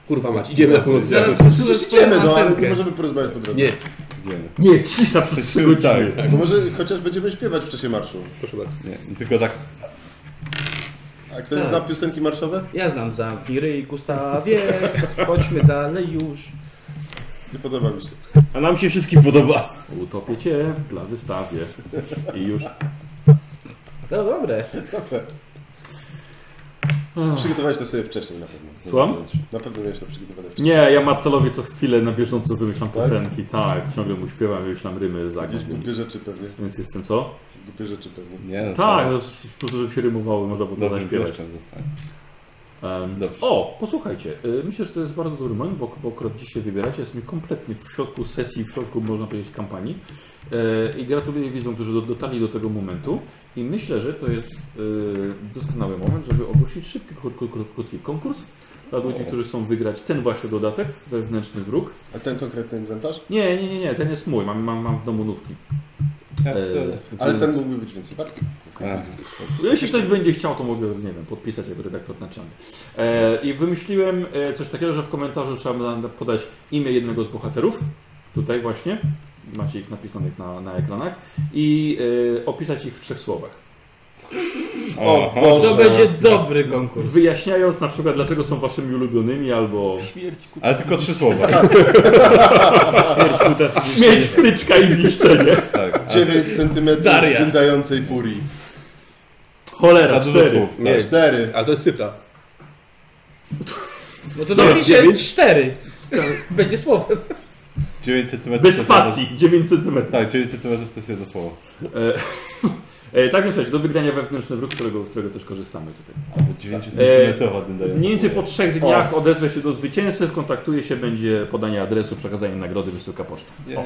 Kurwa mać, idziemy na północny Zaraz zachód. usunę Przecież swoją idziemy, no, ale antenkę. możemy porozmawiać po drodze. Nie, Idziemy. Nie, cisza przez trzy Tak, godziny. tak. Bo może chociaż będziemy śpiewać w czasie marszu. proszę bardzo. Nie, tylko tak A ktoś Tak. zna piosenki marszowe? Ja znam zamknij ryj, <laughs> Gustawie, chodźmy dalej już. Nie podoba mi się. A nam się wszystkim podoba. Utopię cię dla wystawie. I już. No dobre. Dobra. Przygotowałeś to sobie wcześniej na pewno. Słucham? Na pewno miałeś to przygotowane wcześniej. Nie, ja Marcelowi co chwilę na bieżąco wymyślam piosenki, tak, ciągle mu śpiewam, wymyślam rymy za Jakieś nim, głupie więc, rzeczy pewnie. więc jestem co? Głupie rzeczy pewnie. Nie, no Tak, no, po prostu żeby się rymowały, można było to Dobrze, śpiewać. gościem zostanie. Em, Dobrze. o, posłuchajcie, y, myślę, że to jest bardzo dobry moment, bo, bo akurat dziś się wybieracie, jesteśmy kompletnie w środku sesji, w środku, można powiedzieć, kampanii E, i gratuluję widzom, którzy do, dotarli do tego momentu i myślę, że to jest y, doskonały moment, żeby ogłosić szybki, krót, krót, krót, krótki konkurs dla ludzi, którzy chcą wygrać ten właśnie dodatek, wewnętrzny wróg. A ten konkretny egzemplarz? Nie, nie, nie, nie, ten jest mój, mam, mam, mam w domu nówki. E, Ja chcę. Ale więc- ten mógłby być więcej warty. No, Jeśli ktoś będzie chciał, to mogę, nie wiem, podpisać jako redaktor naczelny. E, I wymyśliłem e, coś takiego, że w komentarzu trzeba nam podać imię jednego z bohaterów. Tutaj właśnie. Macie ich napisanych na, na ekranach. I e, opisać ich w trzech słowach. O, To będzie no. dobry konkurs. Wyjaśniając na przykład, dlaczego są waszymi ulubionymi, albo Śmierć, kurwa. Ale tylko trzy słowa. śmierć, wtyczka i zniszczenie. Tak. A 9 centymetrów Daria. dędającej furii. Cholera, za dużo cztery. słów. Na Nie, 4. A to jest cyfra. No to napiszę cztery. Tak. Będzie słowem. 9 cm. Bez spacji, 9 cm. Tak, 9 cm to jest jedno słowo. E, e, tak więc słuchajcie, do wygrania wewnętrzny wróg, którego, którego też korzystamy tutaj. Albo 9 E, cm Mniej więcej po trzech dniach odezwę się do zwycięzcy, skontaktuje się, będzie podanie adresu, przekazanie nagrody, wysyłka poczta. O,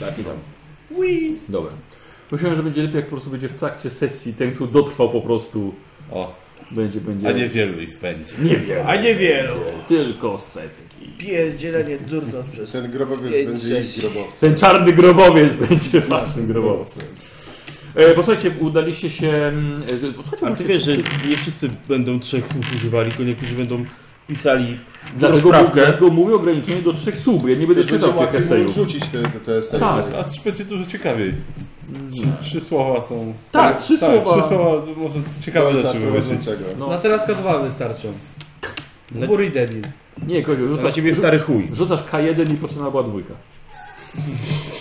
tak i tam. Dobra. Myślałem, że będzie lepiej, jak po prostu będzie w trakcie sesji ten, kto dotrwał po prostu, O, będzie, będzie... a niewielu ich będzie. nie wiem. A niewielu. Tylko setki. Pierdzielenie durno przez Ten grobowiec Pięć, będzie ich sześć. grobowcem. Ten czarny grobowiec będzie waszym grobowcem. E, posłuchajcie, udaliście się... mm, e, Posłuchajcie, A ty właśnie- wiesz, że nie wszyscy będą trzech słów używali, tylko niektórzy będą pisali Dlatego, mów- rozprawkę. dlatego mówię ograniczenie do trzech sub. Ja nie będę Wiesz, Będzie czytał tych łatwiej mu esejów. odrzucić te, te, te eseje. Tak. A czy będzie dużo ciekawiej? Trzy, trzy słowa są. Tak, trzy słowa. Trzy słowa to może ciekawe Końca rzeczy wymyślić. prowadzącego. No. Na teraz K2 wystarczą. No. Bury debil. Nie, Koziu, Na rzucasz, ciebie stary chuj. rzucasz K1 i potrzebna była dwójka.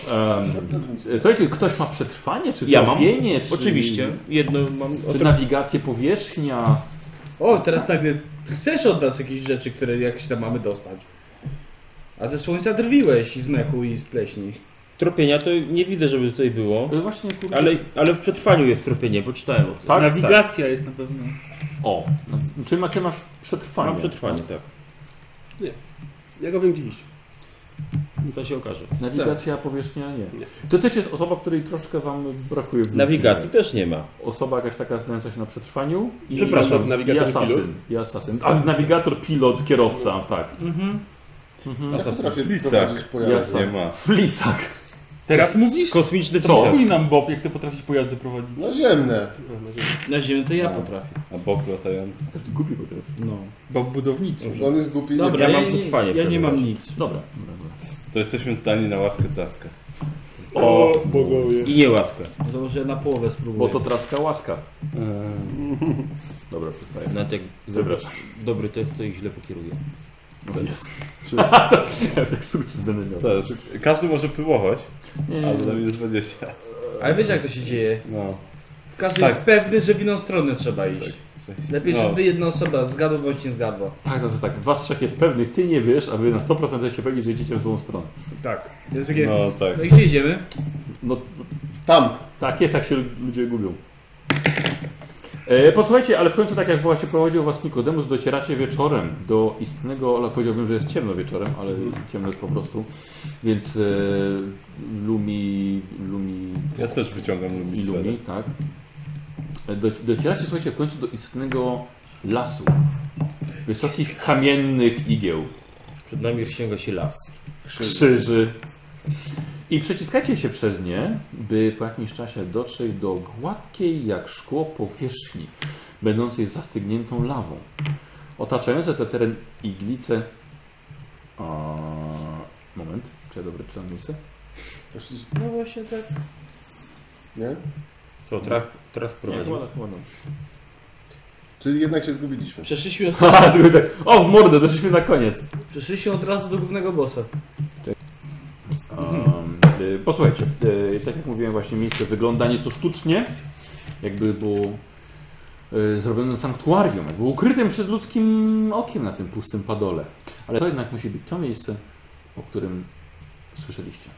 Em, e, słuchajcie, ktoś ma przetrwanie, czy Ja mam. topienie, czy, Oczywiście. Jedno mam. czy nawigację powierzchnia. O, teraz tak. Chcesz od nas jakieś rzeczy, które jakieś tam mamy dostać. A ze słońca drwiłeś i z mechu i z pleśni. Tropienia to nie widzę, żeby tutaj było. E, Właśnie, kurde. Ale, ale w przetrwaniu jest tropienie, poczytałem o tym. Tak, tak. Nawigacja jest na pewno. O, no, czy ma, ty masz przetrwanie? Mam przetrwanie, tak. Ja go wiem dziś. To się okaże. Tak. Nawigacja, powierzchnia nie. To też jest osoba, której troszkę wam brakuje. w Nawigacji też nie ma. Osoba jakaś taka znająca się na przetrwaniu. I, Przepraszam, i, i nawigator i pilot. asasyn. I asasyn. A nawigator, pilot, kierowca, tak. Ja potrafię Lisek. prowadzić pojazd. Jasne. Nie ma. Flisak. Teraz mówisz? Kosmiczny Co? pisarz. Mówi nam Bob, jak ty potrafisz pojazdy prowadzić. No Naziemne. Na ziemię to ja potrafię. A bok latający. Każdy gubi potrafi. No. Bob budowniczy. On jest głupi. Dobra, Ja ja, mam nie- przetrwanie w Ja nie każdym mam razie. nic. Dobra, dobra, dobra. To jesteśmy zdani na łaskę taskę. O, bogowie. I nie łaskę. No to może na połowę Bo spróbuję. to traska łaska. Dobra, przestaję. <laughs> Nawet jak Przepraszam. dobry tekst, to ich źle pokieruje. Jest. Ja tak sukces będę miał. Też. Każdy może próbować, Nie, nie, ale nie. na minus 20. Ale wiesz jak to się dzieje. No. Każdy Tak. jest pewny, że w inną stronę trzeba iść. Cześć. Lepiej, no. żeby jedna osoba zgadła bądź nie zgadła. Tak, zawsze tak. Was trzech jest pewnych, ty nie wiesz, a wy na 100% jesteście pewni, że idziecie w złą stronę. To jest takie... No tak. No i gdzie idziemy? No Tam. tak jest, jak się ludzie gubią. E, posłuchajcie, ale w końcu tak jak właśnie prowadził was Nikodemus, docieracie wieczorem do istnego, ale powiedziałbym, że jest ciemno wieczorem, ale ciemno jest po prostu, więc e, Lumi, Lumi Ja też wyciągam I lumis Lumi, tak. Do, docieracie, słuchajcie, w końcu do istnego lasu. Wysokich kamiennych igieł, Przed nami wsięga się las. krzyży. I przeciskacie się przez nie, by po jakimś czasie dotrzeć do gładkiej jak szkło powierzchni, będącej zastygniętą lawą. Otaczające ten teren iglice... A, moment, czy ja dobrze czytam miejsce? No właśnie tak. Nie? Co, traf, teraz Nie, prowadzi. chyba, tak, chyba dobrze. Czyli jednak się zgubiliśmy. Przeszliśmy, od... Haha, zrobił <laughs> tak. O, w mordę, doszliśmy na koniec. Przeszliśmy od razu do głównego bossa. Um, y, posłuchajcie, y, tak jak mówiłem właśnie miejsce wygląda nieco sztucznie, jakby było y, zrobione sanktuarium, jakby ukrytym przed ludzkim okiem na tym pustym padole. Ale to jednak musi być to miejsce, o którym słyszeliście.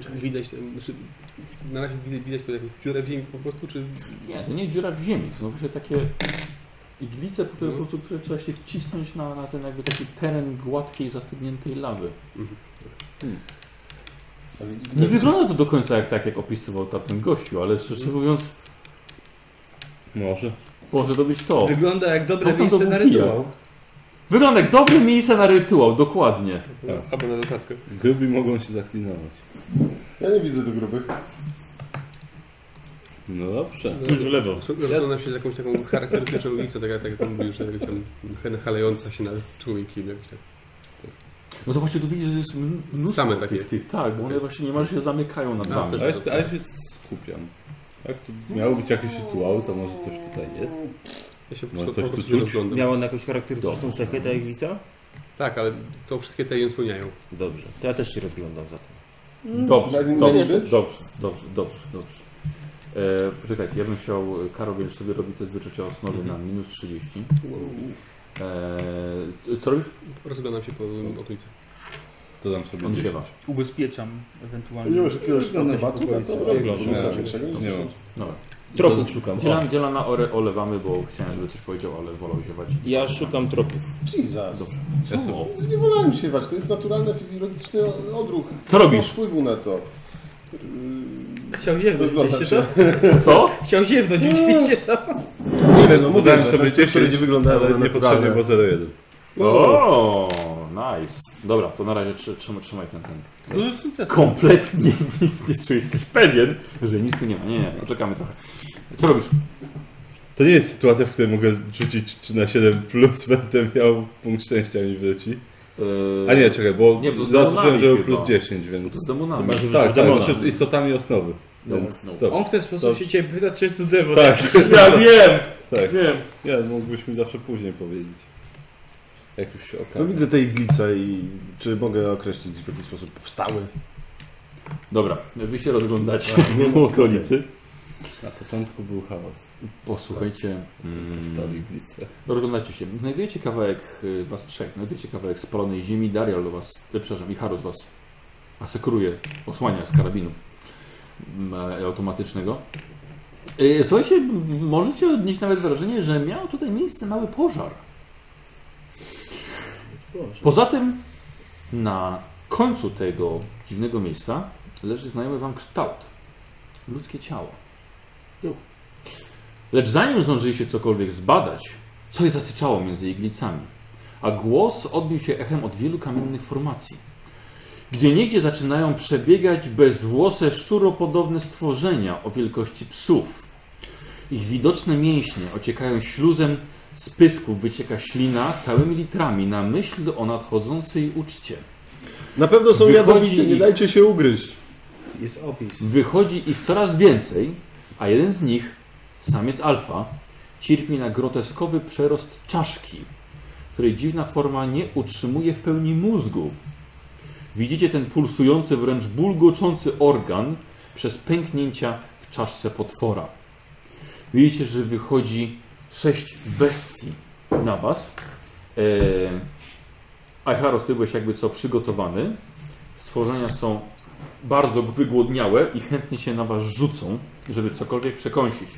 Czy widać, tam, znaczy, na razie widać, widać jakąś dziurę w ziemi po prostu, czy Nie, to nie dziura w ziemi, to są właśnie takie iglice, po które, po prostu, które trzeba się wcisnąć na, na ten jakby taki teren gładkiej, zastygniętej lawy. Ale Nie wygląda to do końca jak tak, jak opisywał ta- ten gościu, ale szczerze mówiąc, Może. może to być to. Wygląda jak dobre No to miejsce to na był pijak. rytuał. Wygląda jak dobre miejsce na rytuał, dokładnie. no, Tak. albo na zasadzkę. Gruby mogą się zaklinować. Ja nie widzę tu grubych. No dobrze. Już No. lewo. Rozglądam się z jakąś taką charakterystyczną ulicą, tak jak tak jak pan mówił, że jakaś tam chalejąca się nad człowiekiem. Jakoś tak. No to właśnie tu widzisz, że jest m- mnóstwo Same tych, takie. tych, tak, bo one właśnie niemalże się zamykają nad No, wami. też- A ja, a ja się skupiam. Jak tu miało być jakieś rytuały, to może coś tutaj jest? Ja się po Może prostu- po coś tu prostu czuć? rozglądam. Miał on jakąś charakterystyczną cechę, ta iglica? Tak, ale to wszystkie te je odsłaniają. Dobrze, to ja też się rozglądam za to. Dobrze, Na nim dobrze, będzie? dobrze, dobrze, dobrze, dobrze, E, poczekajcie, ja bym chciał, e, Karol, wiesz, sobie robi test wyczucia osnowy na minus 30. E, co robisz? Rozglądam się po okolicy. To dam sobie. On gdzieś. siewa. Ubezpieczam Nie ewentualnie. masz jakiegoś automatu? Rozglądam się. Nie mam. Dobra. Tropów szukam. Dzielan, dzielana ore, olewamy, bo chciałem, żeby coś powiedział, ale wolał się wać. Ja szukam tropów. Jesus. No, Ja sobie Nie wolałem się wać, to jest naturalny fizjologiczny odruch. Co Nie ma robisz? wpływu na to. Chciał ziewnąć Rozglądam gdzieś się. się Co? Chciał ziewnąć gdzieś się tam. Nie wiem, no mówię, Dałem że te sobie struktury 10, nie wyglądają ale na niepotrzebnie, naturalne. bo 0,1. O, nice. Dobra, to na razie trzy- trzymaj, trzymaj ten ten. Dużo sukcesu. Kompletnie <laughs> nic nie czujesz. Jesteś pewien, że nic tu nie ma. Nie, nie, poczekamy trochę. Co robisz? To nie jest sytuacja, w której mogę rzucić 3 na 7 plus <laughs> będę miał punkt szczęścia mi wyleci. Eee, A nie, czekaj, bo Nie, bo z zaznaczyłem, demonami że był chyba. plus 10, więc... To z demonami. Tak, tak, tak, się z istotami osnowy. No, Więc no. dobra. On w ten sposób się ciebie pyta, czy jest to demon. Tak, Ja wiem, <laughs> tak. wiem. Nie, mógłbyśmy zawsze później powiedzieć. Jak już się No okaże. widzę te iglice i czy mogę określić w jaki sposób powstały? Dobra, wy się Tak. rozglądacie po okolicy. Na początku był chaos. Posłuchajcie. Stali Mm, glice. rozglądacie się. Znajdujecie kawałek y, was trzech, znajdujecie kawałek spalonej ziemi. Darial do was, e, przepraszam, Icharus was asekuruje, osłania z karabinu mm, e, automatycznego. E, Słuchajcie, m- możecie odnieść nawet wrażenie, że miał tutaj miejsce mały pożar. Poza tym na końcu tego dziwnego miejsca leży znajomy wam kształt. Ludzkie ciało. Lecz zanim zdążyliście cokolwiek zbadać, coś zasyczało między iglicami, a głos odbił się echem od wielu kamiennych formacji. Gdzie niegdzie zaczynają przebiegać bezwłose, szczuropodobne stworzenia o wielkości psów. Ich widoczne mięśnie ociekają śluzem, z pysków wycieka ślina całymi litrami na myśl o nadchodzącej uczcie. Na pewno są Wychodzi jadowite, nie ich- dajcie się ugryźć. Jest opis. Wychodzi ich coraz więcej, a jeden z nich, samiec alfa, cierpi na groteskowy przerost czaszki, której dziwna forma nie utrzymuje w pełni mózgu. Widzicie ten pulsujący, wręcz bulgoczący organ przez pęknięcia w czaszce potwora. Widzicie, że wychodzi sześć bestii na was. Eee, Ajharos, ty byłeś jakby co przygotowany. Stworzenia są bardzo wygłodniałe i chętnie się na was rzucą, żeby cokolwiek przekąsić.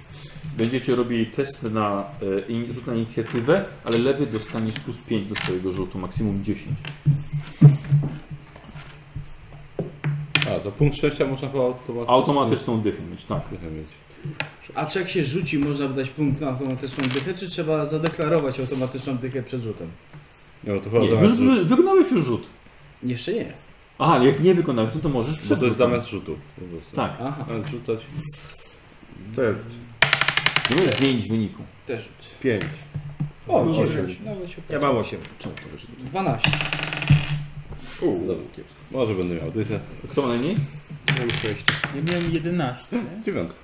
Będziecie robili test na e, in- rzut na inicjatywę, ale lewy dostaniesz plus 5 do swojego rzutu, maksimum 10. A, za punkt szczęścia można chyba automatycznie... Automatyczną dychę mieć, tak. dychę mieć. A czy jak się rzuci, można dać punkt na automatyczną dychę, czy trzeba zadeklarować automatyczną dychę przed rzutem? No to chyba Nie, już, zamiast rzutu. już, wykonałeś już rzut. Jeszcze nie. Aha, jak nie wykonałeś, no to możesz Bo przed to jest rzutem. zamiast rzutu. po prostu. Tak, Aha. Zamiast rzucać. To ja rzucę. nie możesz zmienić wyniku. Też rzuć. Pięć. O, Osiem. osiem. Nawet się Ja mam 8. Czemu to wiesz? 12. Dobra, kiepsko. Może będę miał dychę. Kto ma najmniej? Mam sześć. Ja miałem 11. Dziewiątka.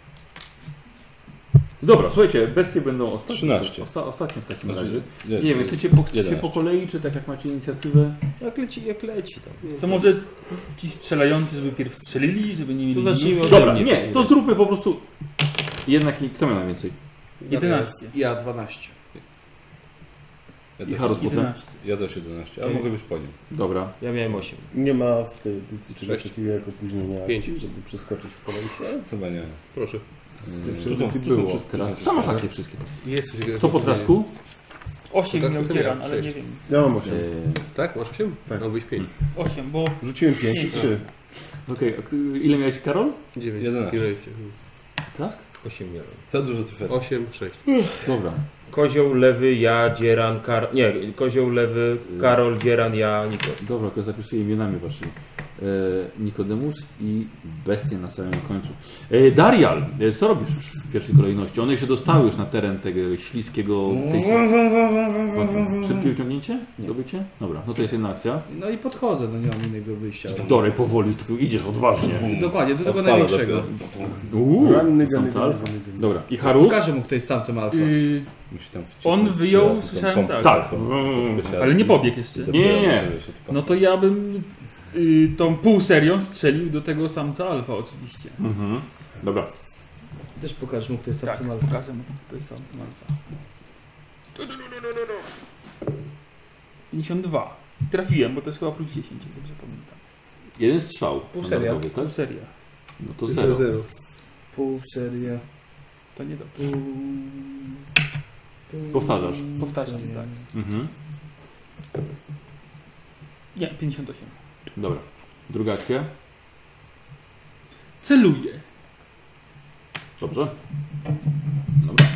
Dobra, słuchajcie, bestie będą ostatnie, 13. osta, ostatnie w takim Znaczy, razie. nie, Nie wiem, chcecie po, chcecie 11. po kolei, czy tak jak macie inicjatywę? Jak leci, jak leci tak. tam. Co może ci strzelający, żeby pierw strzelili, żeby nie mieli To zacznijmy minusów? od- Dobra, nie, nie, to zróbmy po prostu... Jednak nie, kto miał najwięcej? 11. Ja 12. Ja I też, Harus potem? 11. ja też 11, ale mogę być po nim. Dobra. Ja miałem 8. Nie ma w tej edycji czegoś Sześć. takiego jak opóźnienie Pięć. akcji, żeby przeskoczyć w kolejce. Chyba nie. Proszę. Yy, przy tu są, edycji było tu są teraz. wszystkie. Tam masz rację wszystkie. Jest coś Kto po trasku? 8 Teraz miał potem ja dzieran, mam ale nie sześć. wiem. Ja mam 8. Yy, Tak, masz 8? Tak. No, byłeś 5. 8, bo Rzuciłem 5 i 3. Okej, a ty- ile miałeś Karol? 9. 11. 11. Trask? 8 miałem. Za dużo cyfer. 8, 6. Dobra. Kozioł, lewy, ja, Dzieran, Kar... Nie, Kozioł, lewy, Y. Karol, Dzieran, ja, Nikos. Dobra, to zapisuję imionami waszymi. E, Nikodemus i bestie na samym końcu. E, Darial, e, co robisz w pierwszej kolejności? One się dostały już na teren tego śliskiego... Tej... Szybkie uciągnięcie? Dobycie? Dobra, no to jest jedna akcja. No i podchodzę, no nie mam innego wyjścia. Dory powoli, tylko idziesz odważnie. Dokładnie, do tego Odpala największego. dopiero. Uuu, Ranny to są gany, te gany, alfa. gany, gany. Dobra, i Harus? Pokażę mu, kto jest samcem alfa. y, Musi tam wcisnąć on trzy wyjął, razy tą słyszałem pompę. tak. Tak. Ale nie pobiegł jeszcze. I Nie, nie, nie. dopiero się tak- odpala. No to ja bym y, tą półserią strzelił do tego samca alfa oczywiście. Mhm. Dobra, Też pokaż mu, kto jest Tak, samcem alfa. pokażę mu, to jest samcem alfa. 52. Trafiłem, bo to jest chyba plus 10, jak dobrze pamiętam. jeden strzał. Pół seria. Dobra, tak? Półseria. No to Zero. zero. Zero. Pół seria. To niedobrze. Pół... Powtarzasz. Powtarzam, tak. Mhm. Nie, 58. Dobra, druga akcja. Celuję. Dobrze. Dobra.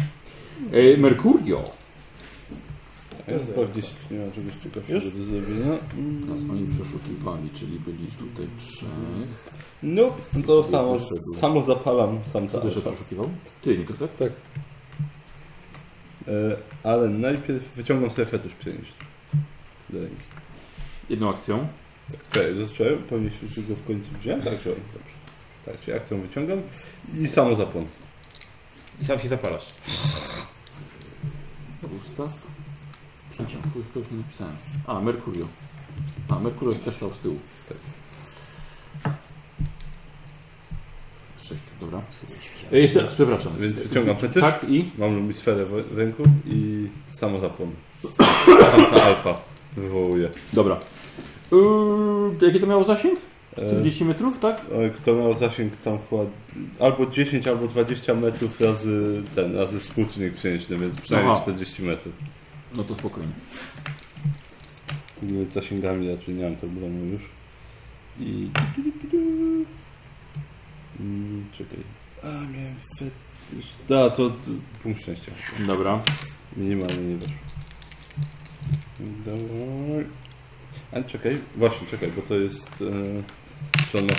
E, Mercurio. Ja sprawdzić, nie ma czegoś ciekawszego do zrobienia. Nas oni przeszukiwali, czyli byli tutaj trzech. Nope, to samo, wyszedł. samo zapalam sam Kto sam. też przeszukiwał? Ty, Nikos, tak? Tak. E, ale najpierw wyciągam sobie fetysz przynieść. Do ręki. Jedną akcją. Okej, zacząłem, powinieneś już go w końcu wziąć? Tak, wziąłem, dobrze. Tak, czyli akcją wyciągam i samo zapłon. I sam się zapalasz. Gustaw. Pięcia, kogoś nie napisałem. A, Mercurio. A, Mercurio jest też stał z tyłu. Tak. Sześciu, dobra. E, jeszcze raz, przepraszam. Więc wyciągam fetysz, Tak i? mam lumisferę w w ręku i samo zapłon. Samca alfa wywołuje. Dobra. Yy, jaki to miało zasięg? 40 metrów, tak? No Kto miał zasięg tam chyba albo 10, albo 20 metrów razy ten, razy współczynnik przeniesiony, więc przynajmniej Aha. 40 metrów. No to spokojnie. Z zasięgami raczej nie mam problemu już. I... Mm, czekaj. A, miałem fetysz. Da, to to punkt szczęścia. Dobra. Minimalnie nie weszło. Dawaj. A czekaj, właśnie czekaj, bo to jest... E, czy on ma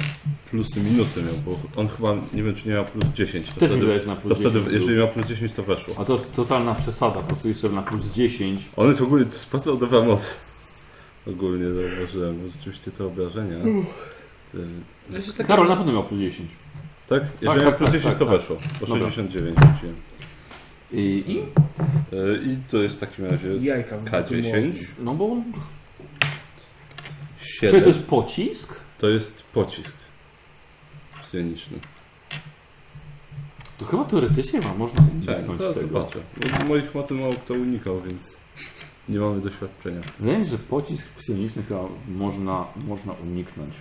plusy, minusy miał, bo on chyba, nie wiem czy nie miał plus 10. To Też mi wtedy, dajesz na plus to wtedy 10 jeżeli miał plus 10 to weszło. A to jest totalna przesada, po prostu jeszcze na plus 10. On jest ogólnie, to spaca od dobra mocy. Ogólnie zauważyłem, bo rzeczywiście te obrażenia... Te, Karol na pewno miał plus 10. tak? Jeżeli tak, tak, plus tak, 10 tak, to tak. weszło, bo Dobra. 69 rzuciłem. I, I? E, I to jest w takim razie Jajka. w K10, No bo... Czyli to 7, jest pocisk? to jest pocisk sceniczny. To chyba teoretycznie ma, można Tak, uniknąć to tego. zobaczę. Bo moich mocy mało kto unikał, więc nie mamy doświadczenia. Wydaje mi się, że pocisk psioniczny chyba można, można uniknąć.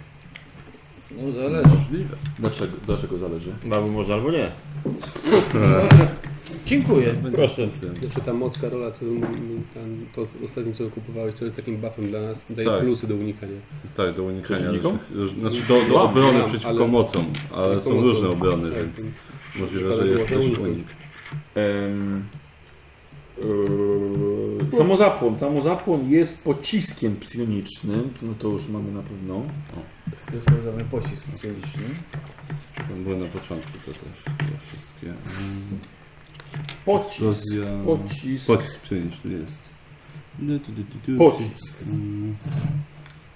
No zależy. Możliwe. Dlaczego, dlaczego zależy? Mamy może albo nie. Dziękuję. Proszę. Jeszcze Znaczy ta moc Karola, co mm, tam, to ostatnio co kupowałeś, co jest takim buffem dla nas, daje Tak. plusy do unikania. Tak, do unikania. Przeciwnikom? różnych- Znaczy do, do obrony Mam, przeciwko ale- mocom, ale są Pomocą. różne obrony, Tak, więc więc możliwe, szkoda że było jest to też uniknąć. unik. Ehm, yy, samozapłon. Samozapłon jest pociskiem psionicznym. No to już mamy na pewno. To jest powiązany pocisk fizyczny. To było No, na początku to też. te wszystkie. mm, Pocisk. Rozja... Pocisk. Pocisk pszeniczny jest. Du, du, du, du, du. Pocisk. Mm,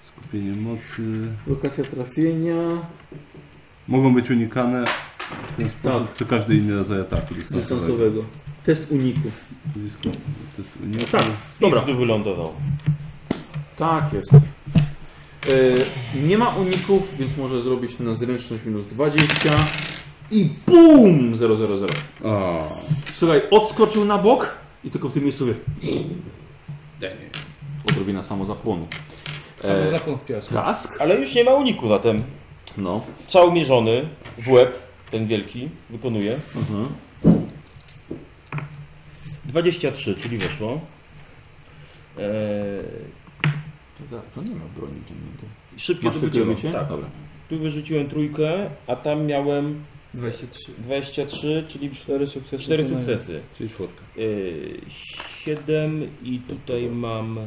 Skupienie mocy. Lokacja trafienia. Mogą być unikane W ten sposób, czy każdy inny rodzaj ataku dystansowego. dystansowego. Test uniku. Diskus, to jest unik. Tak, dobra. tu wylądował. Tak jest. E, nie ma uników, więc może zrobić na zręczność minus 20 i BUM! 000. A, Słuchaj, odskoczył na bok i tylko w tym miejscu wiesz. Odrobina samozapłonu. Samo zakon w piasku. Kask? Ale już nie ma uniku zatem. No. Strzał mierzony w łeb, ten wielki, wykonuje. Mhm. 23, czyli weszło. Eee, To, za- to nie ma broni ciągniętej. szybkie Masz to tylko wyciąłem. mycie? Tak. Dobra. Tu wyrzuciłem trójkę, a tam miałem 23. 23, czyli 4 sukcesy. co najmniej. sukcesy. czyli czwórka. Yy, 7 i tutaj mam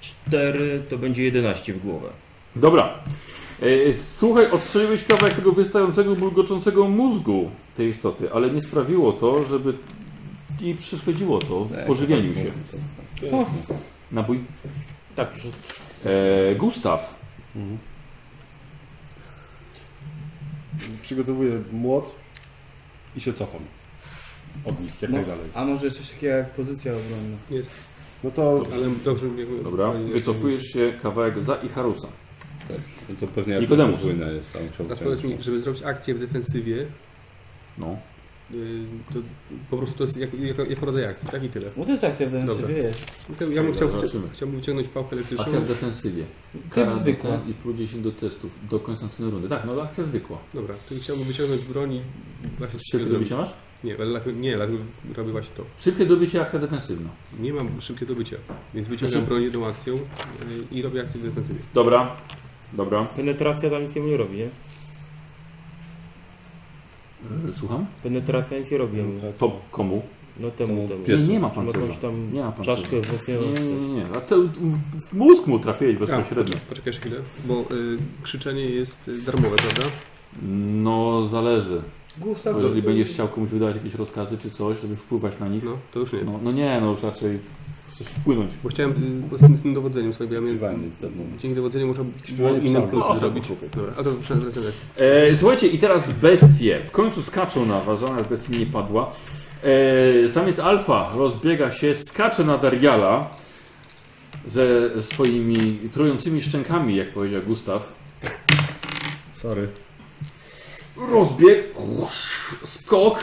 4, to będzie 11 w głowę. Dobra. E, Słuchaj, odstrzeliłeś kawałek tego wystającego, bulgoczącego mózgu tej istoty, ale nie sprawiło to, żeby i przeszkodziło to w pożywieniu się. Nabój? Tak, proszę. E, Gustaw. Przygotowuję młot i się cofam od nich jak No. najdalej. A może jest coś takiego jak pozycja obronna? No to Ale dobrze mnie Dobra. No Wycofujesz się kawałek za Icharusa. Tak. No to pewnie jak Nikodemus. podwójna jest tam. chciałbym Teraz powiedz mi, powiedzieć. żeby zrobić akcję w defensywie, No. y, to po prostu to jest jako, jako, jako rodzaj akcji, tak i tyle. No to jest akcja w Dobra. defensywie, jest. To Ja bym chciał, Zobaczymy. chciałbym wyciągnąć pałkę elektryczną. Akcja w defensywie. Typ Kara zwykła. zwykła. I plus 10 do testów do końca następnej rundy. Tak, no akcja zwykła. Dobra, czyli chciałbym wyciągnąć broni. Właśnie Szybkie zrobić. dobicie masz? Nie, ale lat- nie, lat- robię właśnie to. Szybkie dobicie, akcja defensywna. Nie mam szybkiego dobycia, więc wyciągam Znaczy- broń jedną akcją y, i robię akcję w defensywie. Dobra. Dobra. Penetracja tam nic nie robi, nie? E, Słucham? Penetracja nic nie robi. To komu? No temu, temu. Nie, nie ma Czy ma jakąś pancerza. tam Nie ma pancerza. czaszkę wzmocnioną? Nie, nie, nie, nie. A te, w mózg mu trafiłeś bezpośrednio. A, Poczekaj jeszcze chwilę, bo y, krzyczenie jest y, darmowe, prawda? No, zależy. Gustaw, Bo jeżeli będziesz chciał komuś wydawać jakieś rozkazy czy coś, żeby wpływać na nich, No, to już nie. no, no nie, no już raczej chcesz wpłynąć. Bo chciałem y, z, tym, z tym dowodzeniem sobie, bo ja miałem, Śpiewanie z darmowe. dzięki dowodzeniu można było Śpiewanie inne psa. O, plusy zrobić. super. Dobra, a to przez rezydencję. E, słuchajcie, i teraz bestie. W końcu skaczą na was, żadna z bestii nie padła. E, samiec alfa rozbiega się, skacze na Dariala ze swoimi trującymi szczękami, jak powiedział Gustaw. sorry. Rozbieg, skok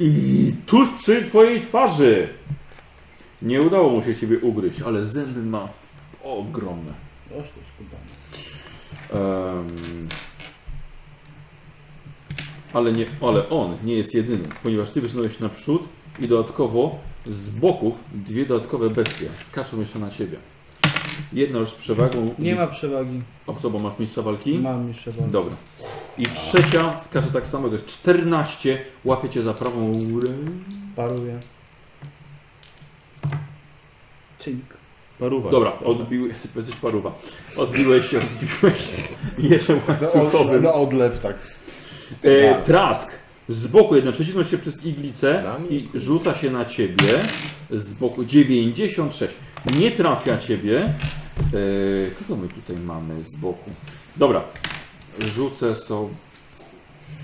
i tuż przy twojej twarzy. Nie udało mu się ciebie ugryźć, ale zęby ma ogromne. Oż to skubany. Em, ale, nie, ale on nie jest jedyny, ponieważ ty wysunąłeś się naprzód i dodatkowo z boków dwie dodatkowe bestie skaczą jeszcze na ciebie. Jedna już z przewagą. Nie ma przewagi. A co, bo masz mistrza walki? Mam jeszcze walkę. Dobra. I trzecia skacze tak samo, to jest 14. Łapie cię za prawą rękę. Paruję. Cink. Paruwa. Dobra, jest, odbiłeś, jesteś paruwa. Odbiłeś się, <laughs> odbiłeś mieczem Na, od, łańcuchowym. na odlew tak. E, trask. Z boku jedna przecisnął się przez iglicę Na mnie? i rzuca się na ciebie. Z boku 96. Nie trafia ciebie. E, kogo my tutaj mamy z boku? Dobra. Rzucę sobie.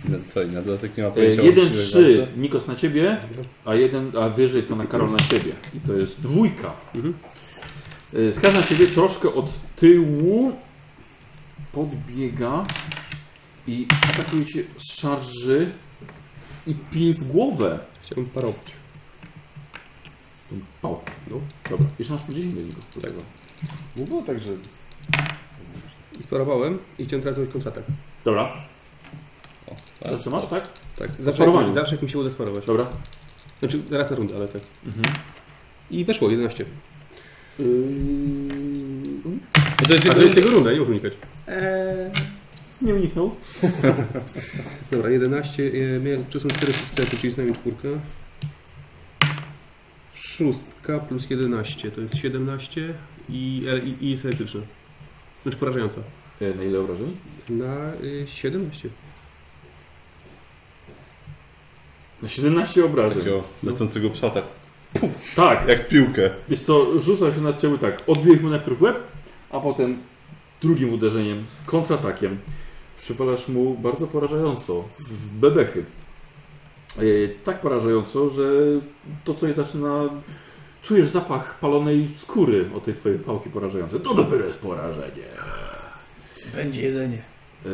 No Co, i na dodatek nie ma E, pojęcia o siłej 1-3 walce? Nikos na ciebie, a jeden, a wyżej to na Karol na siebie. I to jest dwójka. E, Skarż na siebie troszkę od tyłu podbiega i atakuje cię z szarży i pije w głowę. Chciałbym parować. Tą pałkę. No, dobra. Jeszcze masz podzielenie go. Tak. Nie było tak, że I sparowałem i chciałem teraz zrobić kontratak. Dobra. tak. Zawsze masz, tak? Tak, Sparowanie. zawsze, zawsze jak mi się uda sparować. Dobra. Znaczy raz na rundę, ale tak. Mhm. I weszło 11. No to jest A to jest jego runda, nie muszę unikać. Nie uniknął. <laughs> Dobra, 11, e, miałem, czy są 4 sukcesy, czyli przynajmniej czwórka. Szóstka plus 11, to jest 17 i, e, i, i jest elektryczna. Znaczy porażająca. E, Na ile obrażeń? Na y, 17. Na 17 obrażeń. takiego tak? lecącego psa tak, Tak. jak piłkę. Wiesz co, rzuca się na ciebie tak, odbiłeś mu najpierw w łeb, a potem drugim uderzeniem, kontratakiem. przywalasz mu bardzo porażająco, w bebechy. E, Tak porażająco, że to co je zaczyna... Czujesz zapach palonej skóry od tej twojej pałki porażającej. To dopiero jest porażenie. Będzie jedzenie. E,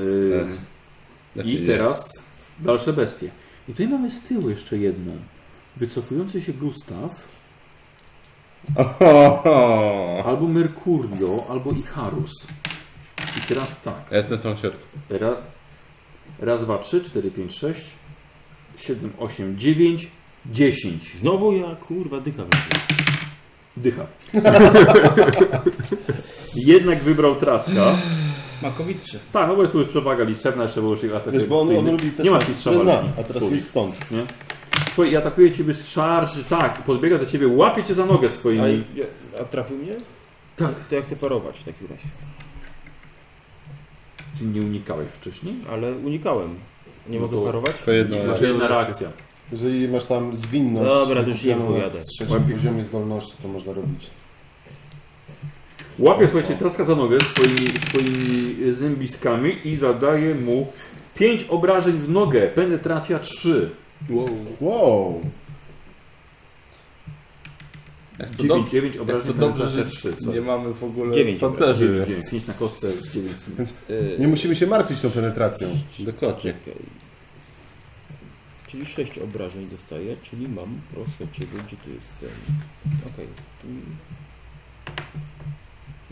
Lepiej I nie. teraz dalsze bestie. I tutaj mamy z tyłu jeszcze jedną. Wycofujący się Gustaw, albo Mercurio, albo Icharus. I teraz tak. Ja jestem sam w środku. Ra, raz, dwa, trzy, cztery, pięć, sześć, siedem, osiem, dziewięć, dziesięć. Znowu ja, kurwa, dycham. Dycha. <laughs> Jednak wybrał Traska. Smakowitrze. Tak, no bo tu jest przewaga liczebna, jeszcze było się atakuje. Wiesz, bo on, on lubi te Nie ma smaki, nic które trzeba zna, a teraz Człowiek. jest stąd. nie? Słuchaj, i atakuje ciebie z szarży, tak, i podbiega do ciebie, łapie cię za nogę swoimi. A, a trafił mnie? Tak. To ja chcę parować w takim razie. Ty nie unikałeś wcześniej? Ale unikałem. Nie No mogę to- parować? To jedno. Masz jedna reakcja. Jeżeli masz tam zwinność, Dobra, to już nie wykupioną powiadaj. na trzecim poziomie zdolności, to można robić. Łapie, słuchajcie, traska za nogę swoimi, swoimi e, zębiskami i zadaje mu 5 obrażeń w nogę. Penetracja 3. Wow. Wow! To 9, dobrze, 9 jak obrażeń, to dobrze, penetracja że 3. nie mamy w ogóle Dziewięć. pancerzy. 5 na kostę, 9. Więc nie musimy się martwić tą penetracją. Dokładnie. Czyli 6 obrażeń dostaję, czyli mam, proszę Ciebie, gdzie tu jestem? Okej, tu mi...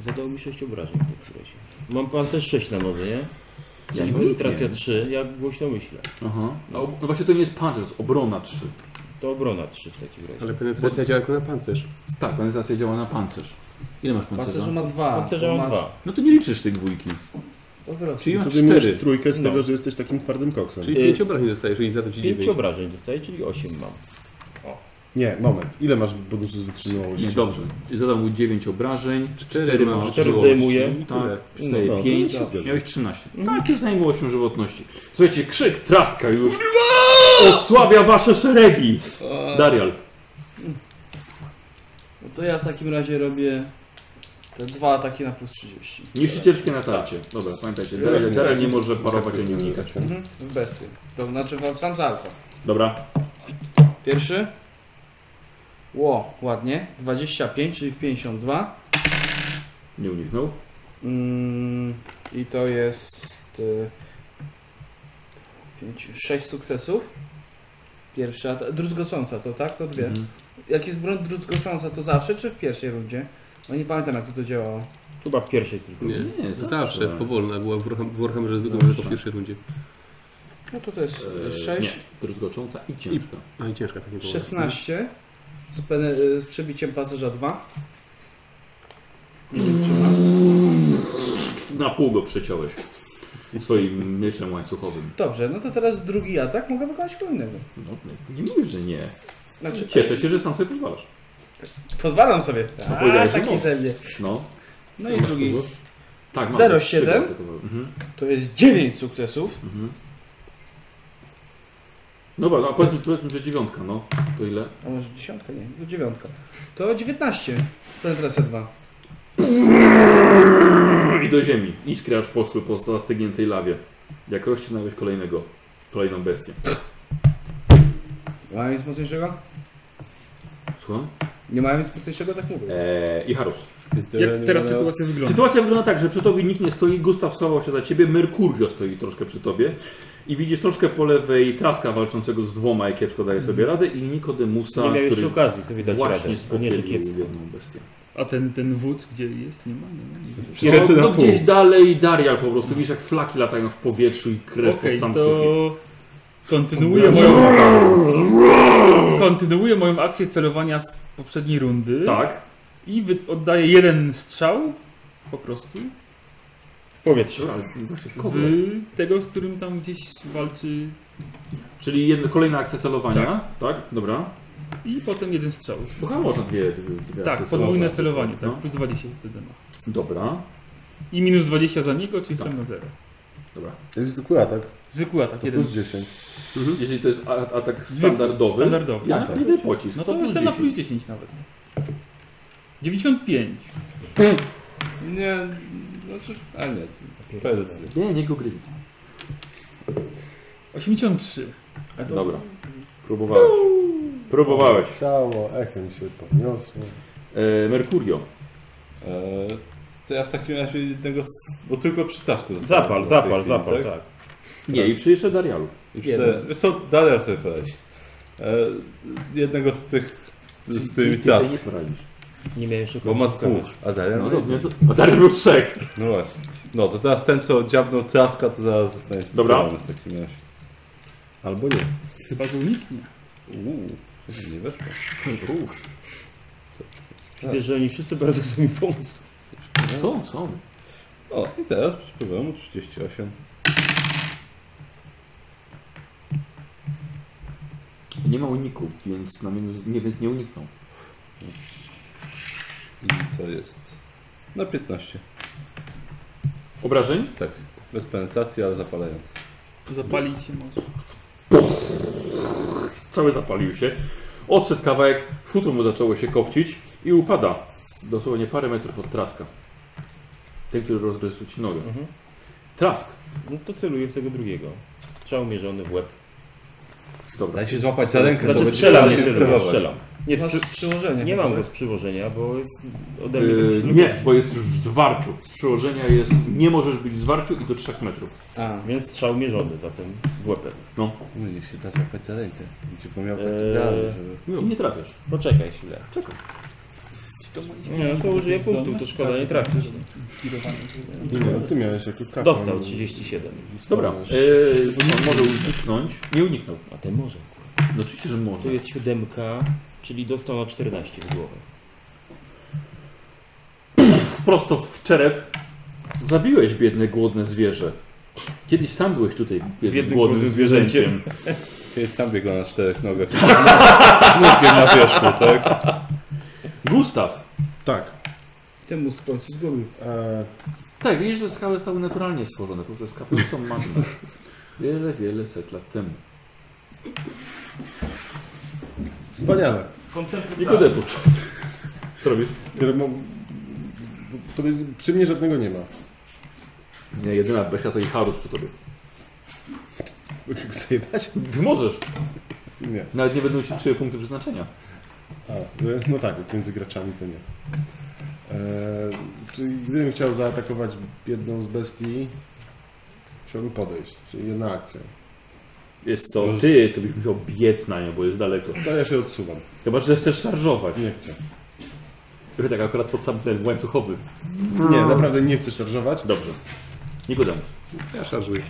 Zadało mi 6 obrażeń w takim razie. Mam pancerz 6 na nodze, nie? Czyli no nie ja trafia wiem. 3, jak głośno myślę. Aha. No, no właśnie to nie jest pancerz, to jest obrona 3. To obrona 3 w takim Tak, razie. Ale penetracja działa tylko na pancerz. Tak, penetracja działa na pancerz. Ile masz pancerza? Pancerzu ma dwa. Pancerza to mam masz- 2. No to nie liczysz tej dwójki. Dobra. Czyli masz Co ty mówisz 4. trójkę z tego, że jesteś takim twardym koksem. Czyli Y- 5 obrażeń dostajesz, jeżeli zatem ci 5 dziewięć. obrażeń dostaję, czyli 8 mam. Nie, moment. Ile masz bonusu z wytrzymałości? Nie, dobrze. I zadał mu 9 obrażeń, 4, Cztery masz. masz. Cztery Żyłość. zdejmuję. Tak, No, tutaj to 5, się zgadza. miałeś 13. Tak, już zajmowało się żywotności. Słuchajcie, krzyk, traska już osłabia wasze szeregi. Darial, No to ja w takim razie robię te dwa ataki na plus 30. niszczycielskie natarcie. Dobra, pamiętajcie, Darial, Darial nie może parować ani unikać. Mhm, w bestii. To znaczy wam sam za alfa. Dobra, Pierwszy. Ło, ładnie. 25, czyli w 52. nie uniknął. Mm, I to jest... Y, 5, 6 sukcesów. Pierwsza, ta- druzgocąca to tak? To dwie. Mhm. Jak jest broń druzgocąca to zawsze czy w pierwszej rundzie? No nie pamiętam jak to działało. Chyba w pierwszej tylko. Nie, Nie, zawsze. zawsze. Powolna była w Warham- w Warhammerze zwykle Zawsze. tylko w pierwszej rundzie. No to to jest Eee, 6. Nie, druzgocząca i ciężka. No i ciężka tak nie było. 16 z, pene, y, z przebiciem pancerza 2. Na pół go przeciąłeś swoim mieczem łańcuchowym. Dobrze, no to teraz drugi atak mogę wykonać kogo innego. No, nie- nie mówisz, że nie. Znaczy, Cieszę się, że sam sobie pozwalasz. Pozwalam sobie. A, powiedziałeś, że taki mogę. ze mnie. No. No i drugi. Tak, mam. 0,7. Mhm. To jest 9 sukcesów. No dobra, a powiedz mi, powiedz mi, że dziewiątka, no. To ile? <clears throat> A może dziesiątka, nie, to dziewiątka. To 19. Penetracja 2. I do ziemi. Iskry aż poszły po zastygniętej lawie. Jak rozcinałeś kolejnego, kolejną bestię. Nie mają nic mocniejszego? Słucham? Nie mają nic mocniejszego, tak E. mówię. Eee, I Harus. Jest Jak generalnie teraz na- sytuacja wygląda? Sytuacja wygląda tak, że przy tobie nikt nie stoi, Gustaw schował się za ciebie, Mercurio stoi troszkę przy tobie i widzisz troszkę po lewej Traska walczącego z dwoma, jak kiepsko daje sobie radę i Nikodemusa, Nie miał jeszcze No, który okazji sobie dać radę. właśnie Nie, że spopielił kiepsko. jedną bestię. A ten, ten wód, gdzie jest? Nie ma, nie ma. Nie ma. No, Przyrzuty na no pół. gdzieś dalej Darial po prostu, widzisz jak flaki latają w powietrzu i krew Okej, pod sam sufit. to kontynuuję moją, kontynuuję moją akcję celowania z poprzedniej rundy Tak, i wy, oddaję jeden strzał po prostu W powietrzu. Wy- w tego, z którym tam gdzieś walczy Czyli jedno, kolejne akcja celowania, tak? Dobra. i potem jeden strzał. Bo chyba można dwie, dwie, dwie Tak, akcje podwójne celowania. celowanie, tak, No. plus 20 wtedy ma. Dobra, I minus 20 za niego, czyli jestem na 0. dobra. To jest zwykły atak, Zwykły atak, to jeden plus 10. Mhm. Jeżeli to jest a- atak Zwykły, standardowy, standardowy. ja Tak, tak, tak. jeden pocisk. No to plus jestem na 10. plus 10 nawet. 95. Nie, no cóż, Pewnie. Nie, nie go grywi. 83. Dobra. Próbowałeś. Próbowałeś. Ciało echem się podniosło. E, Merkurio. Eee, to ja w takim razie jednego z... Bo tylko przy tasku zostałem Zapal, w tej zapal, chwili, zapal, tak. Nie, i przyjrzyj Darialu. I przy... Wiesz co, Daniel sobie poradzi. Eee, jednego z tych... Z tymi Ty sobie task, nie poradzisz. Nie miałem jeszcze bo ma końcówka. dwóch. A Daniel No to, no to, a Darial był trzech. No właśnie. No to teraz ten, co dziabnął traska, to zaraz zostanie Dobra. spróbowany w takim razie. Albo nie. Chyba, że uniknie. Uuu, nie weszło. Widzę, że oni wszyscy bardzo chcą mi pomóc. Są, są. O, i teraz spróbujemy 38. Nie ma uniku, więc na minus, nie, więc nie uniknął. I to jest na 15. Obrażeń? Tak, bez penetracji, ale zapalając. Zapalić się może. Cały zapalił się. Odszedł kawałek, w futro mu zaczęło się kopcić i upada. Dosłownie parę metrów od traska. Ten, który rozrysł ci nogę. Mhm. Trask. No to celuję w tego drugiego. Strzał mierzony w łeb. Dobra. Daj się złapać za rękę, Znaczy będzie strzelam, nie łatwiej celuję, celować. strzelam. Nie, Masz przy... przyłożenie. nie mam chyba. go z przyłożenia, bo jest ode mnie... Yy, jakiś nie, luk. bo jest już w zwarciu. Z przyłożenia jest, nie możesz być w zwarciu i do 3 metrów. A, Więc strzał mierzony zatem w łebek. No, No niech się da złapać za rękę. Będzie bo miał taki Eee. dalej, żeby... i nie trafiasz. Poczekaj chwilę. Nie, no to użyję Zdolność? Tak, punktu, to szkoda nie trafić. Inspirowany. no Ty miałeś jako kapłan. Dostał 37. Dobra, yy, on może uniknąć. Nie uniknął. A ten może. No oczywiście, że może. To jest siódemka, czyli dostał na 14 w głowę. Prosto w czerep. Zabiłeś biedne, głodne zwierzę. Kiedyś sam byłeś tutaj biednym, Biednym, głodnym, głodnym zwierzęciem. Kiedyś sam biegał na czterech nogach. <laughs> Z Nóżkiem na wierzchu, tak? Gustaw. Tak. temu z końcu z góry. E, Tak, widzisz, że skały zostały naturalnie stworzone poprzez kapeluszą magnę. Wiele, wiele set lat temu. wspaniale. Jego debut. Tak. Co robisz? Ja mam- podejrz- Przy mnie żadnego nie ma. <laughs> Nie, jedyna bestia to i Harus przy tobie. Mogę go zajebać? Ty możesz. Nie. Nawet nie będą się czyły punkty przeznaczenia. A, e, no tak, między graczami to nie. E, czy gdybym chciał zaatakować jedną z bestii, chciałbym podejść, czyli jedna akcja. Jest co, ty, to byś musiał biec na nią, bo jest daleko. To ja się odsuwam, Chyba, że chcesz szarżować. nie chcę. Trochę tak akurat pod sam ten łańcuchowy. Nie, naprawdę nie chcę szarżować. Dobrze. Nikodemus. Ja szarżuję.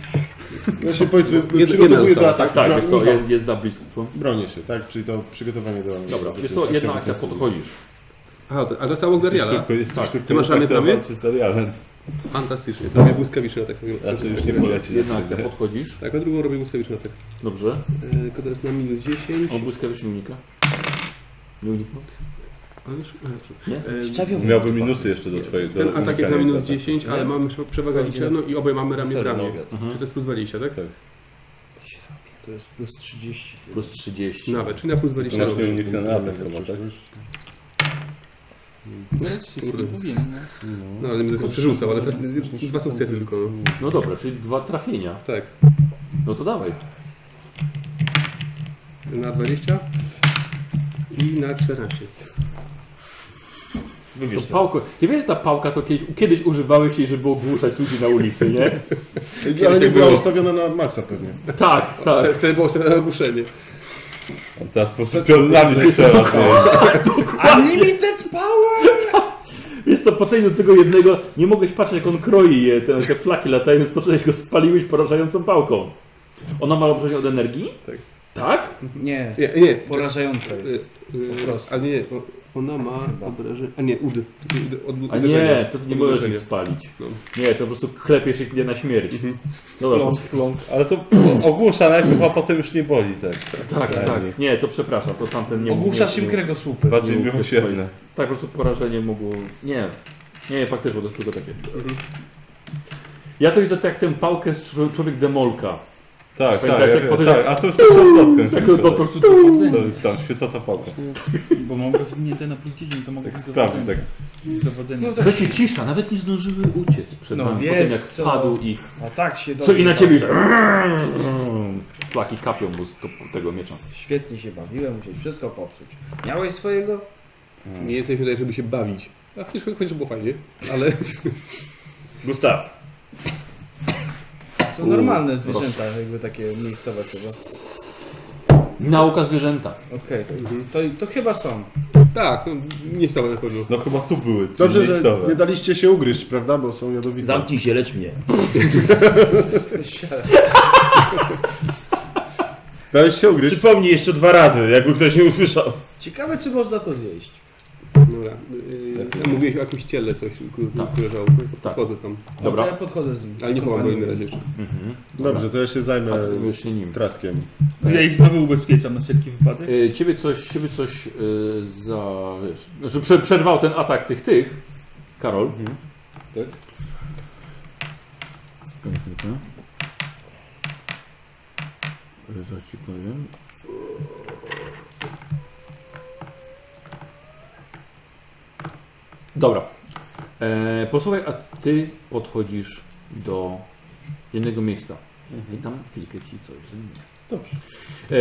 Ja się powiedzmy, jedna przygotowuję do została. ataku. Tak, Bro- jest, co, Michał, jest, jest za blisko. co? Bronię się, tak? Czyli to przygotowanie do... Dobra, to jest jest to jedna akcja, defensywna. podchodzisz. Aha, to- a dostał Ogdariala. Sztuką, jest Tak. sztuką Ty masz ramię prawie? traktować, czy z Darialem? Fantastycznie. To robię błyskawiczny atak. robię- Raczej już nie poleci. Jedna akcja, podchodzisz. Tak, a drugą robię błyskawiczny atak. Dobrze. Eee, Tylko teraz na minus 10. On błyskawicznie unika. Nie uniknął? A już- a, Nie? E, eee, Miałby minusy jeszcze do twojej... do Ten atak jest na unikania tak. minus ataku. 10, ale mamy przewagę liczebną i obaj mamy ramię w ramię. Tak. Mhm. Czy to jest plus 20, tak? To jest plus 30. Plus 30. Nawet, czyli na plus To 20. masz nieunikniony atak chyba, tak? Teraz wszystko Kurde. powiem. No. No ale nie będę tego przerzucał, ale to dwa sukcesy tylko. no. No dobra, czyli dwa trafienia. Tak, No to dawaj. na 20 i na 14. To pałko. Ty wiesz, że ta pałka to kiedyś, kiedyś używałeś jej, żeby ogłuszać ludzi na ulicy, nie? Ale nie była ustawiona na maksa pewnie. Tak, Ale tak. Wtedy było sobie na ogłoszenie. On teraz po prostu pionami strzela. ty. Unlimited power! Jest co, poczęli do tego jednego, nie mogłeś patrzeć jak on kroi je, te, te flaki latają, więc poczęłeś go spaliłeś porażającą pałką. Ona ma obrażenie od energii? Tak. Tak? Nie, Nie, nie. Y, porażające jest. Po prostu. A nie, nie, o- ona ma obrażenie. A nie, ud. To się ud- od- A uderzenia. nie, to ty nie Od możesz uderzenia. ich spalić. No. Nie, to po prostu klepiesz ich nie na śmierć. Dobra, Pląk, pląk. Ale to ogłusza najpierw, a potem już nie boli, tak? tak, tak. Nie, to przepraszam, to tamten nie Ogłuszasz nie- im nie- kręgosłupy. Bardziej Nie mógł coś miłosierne. powiedzieć. Tak, po prostu porażenie mogło... Nie, nie, faktycznie, bo to jest tylko takie. Ja to widzę tak jak tę pałkę z czł- człowiek demolka. Tak, tak, Pamiętasz, ja jak wiem, potem- tak. A tu wystarczy odpłacę. Tak, to po prostu To jest tam, świeca co pałka. Bo mam rozwinięte na plus 10, to mogę Tak sprawdzi, tak Dowodzenie. No to- Co ci cisza, nawet nie zdążyły uciec przed No wami. wiesz Potem jak co. wpadł ich. A tak się Co i na dobrze ciebie. Flaki kapią mu z to- tego miecza. Świetnie się bawiłem, musiałeś wszystko popsuć. Miałeś swojego? Nie jesteśmy tutaj, żeby się bawić. Tak, A chociaż, chociaż było fajnie, ale... <laughs> Gustaw. Są normalne zwierzęta, jakby takie miejscowe chyba. Nauka zwierzęta. Okej, Mhm. to, to chyba są. <laughs> tak, no, nie stało na pewno. No chyba tu były. czyli Dobrze, że listowe. nie daliście się ugryźć, prawda? Bo są jadowite. Zamknij się, lecz mnie. Dałeś się ugryźć. Przypomnij jeszcze dwa razy, jakby ktoś nie usłyszał. Ciekawe, czy można to zjeść. Dobra. Yy, a mówiłeś o jakimś ciele coś, które tak. leżało. No to Tak. podchodzę tam. Dobra. No to ja podchodzę z nim. Ale nie chowam go Kompaniuję. na razie jeszcze. Mhm. Dobrze, to ja się A zajmę ty już się nim. traskiem. No ja ich znowu ubezpieczam na wszelki wypadek. Y, Ciebie coś, ciebie coś y, za. Wiesz, znaczy prze- przerwał ten atak tych tych. Karol. Tak. Czekaj chwilkę. Y, To ci powiem. Dobra. E, posłuchaj, a ty podchodzisz do jednego miejsca. I tam chwilkę ci coś zajmie.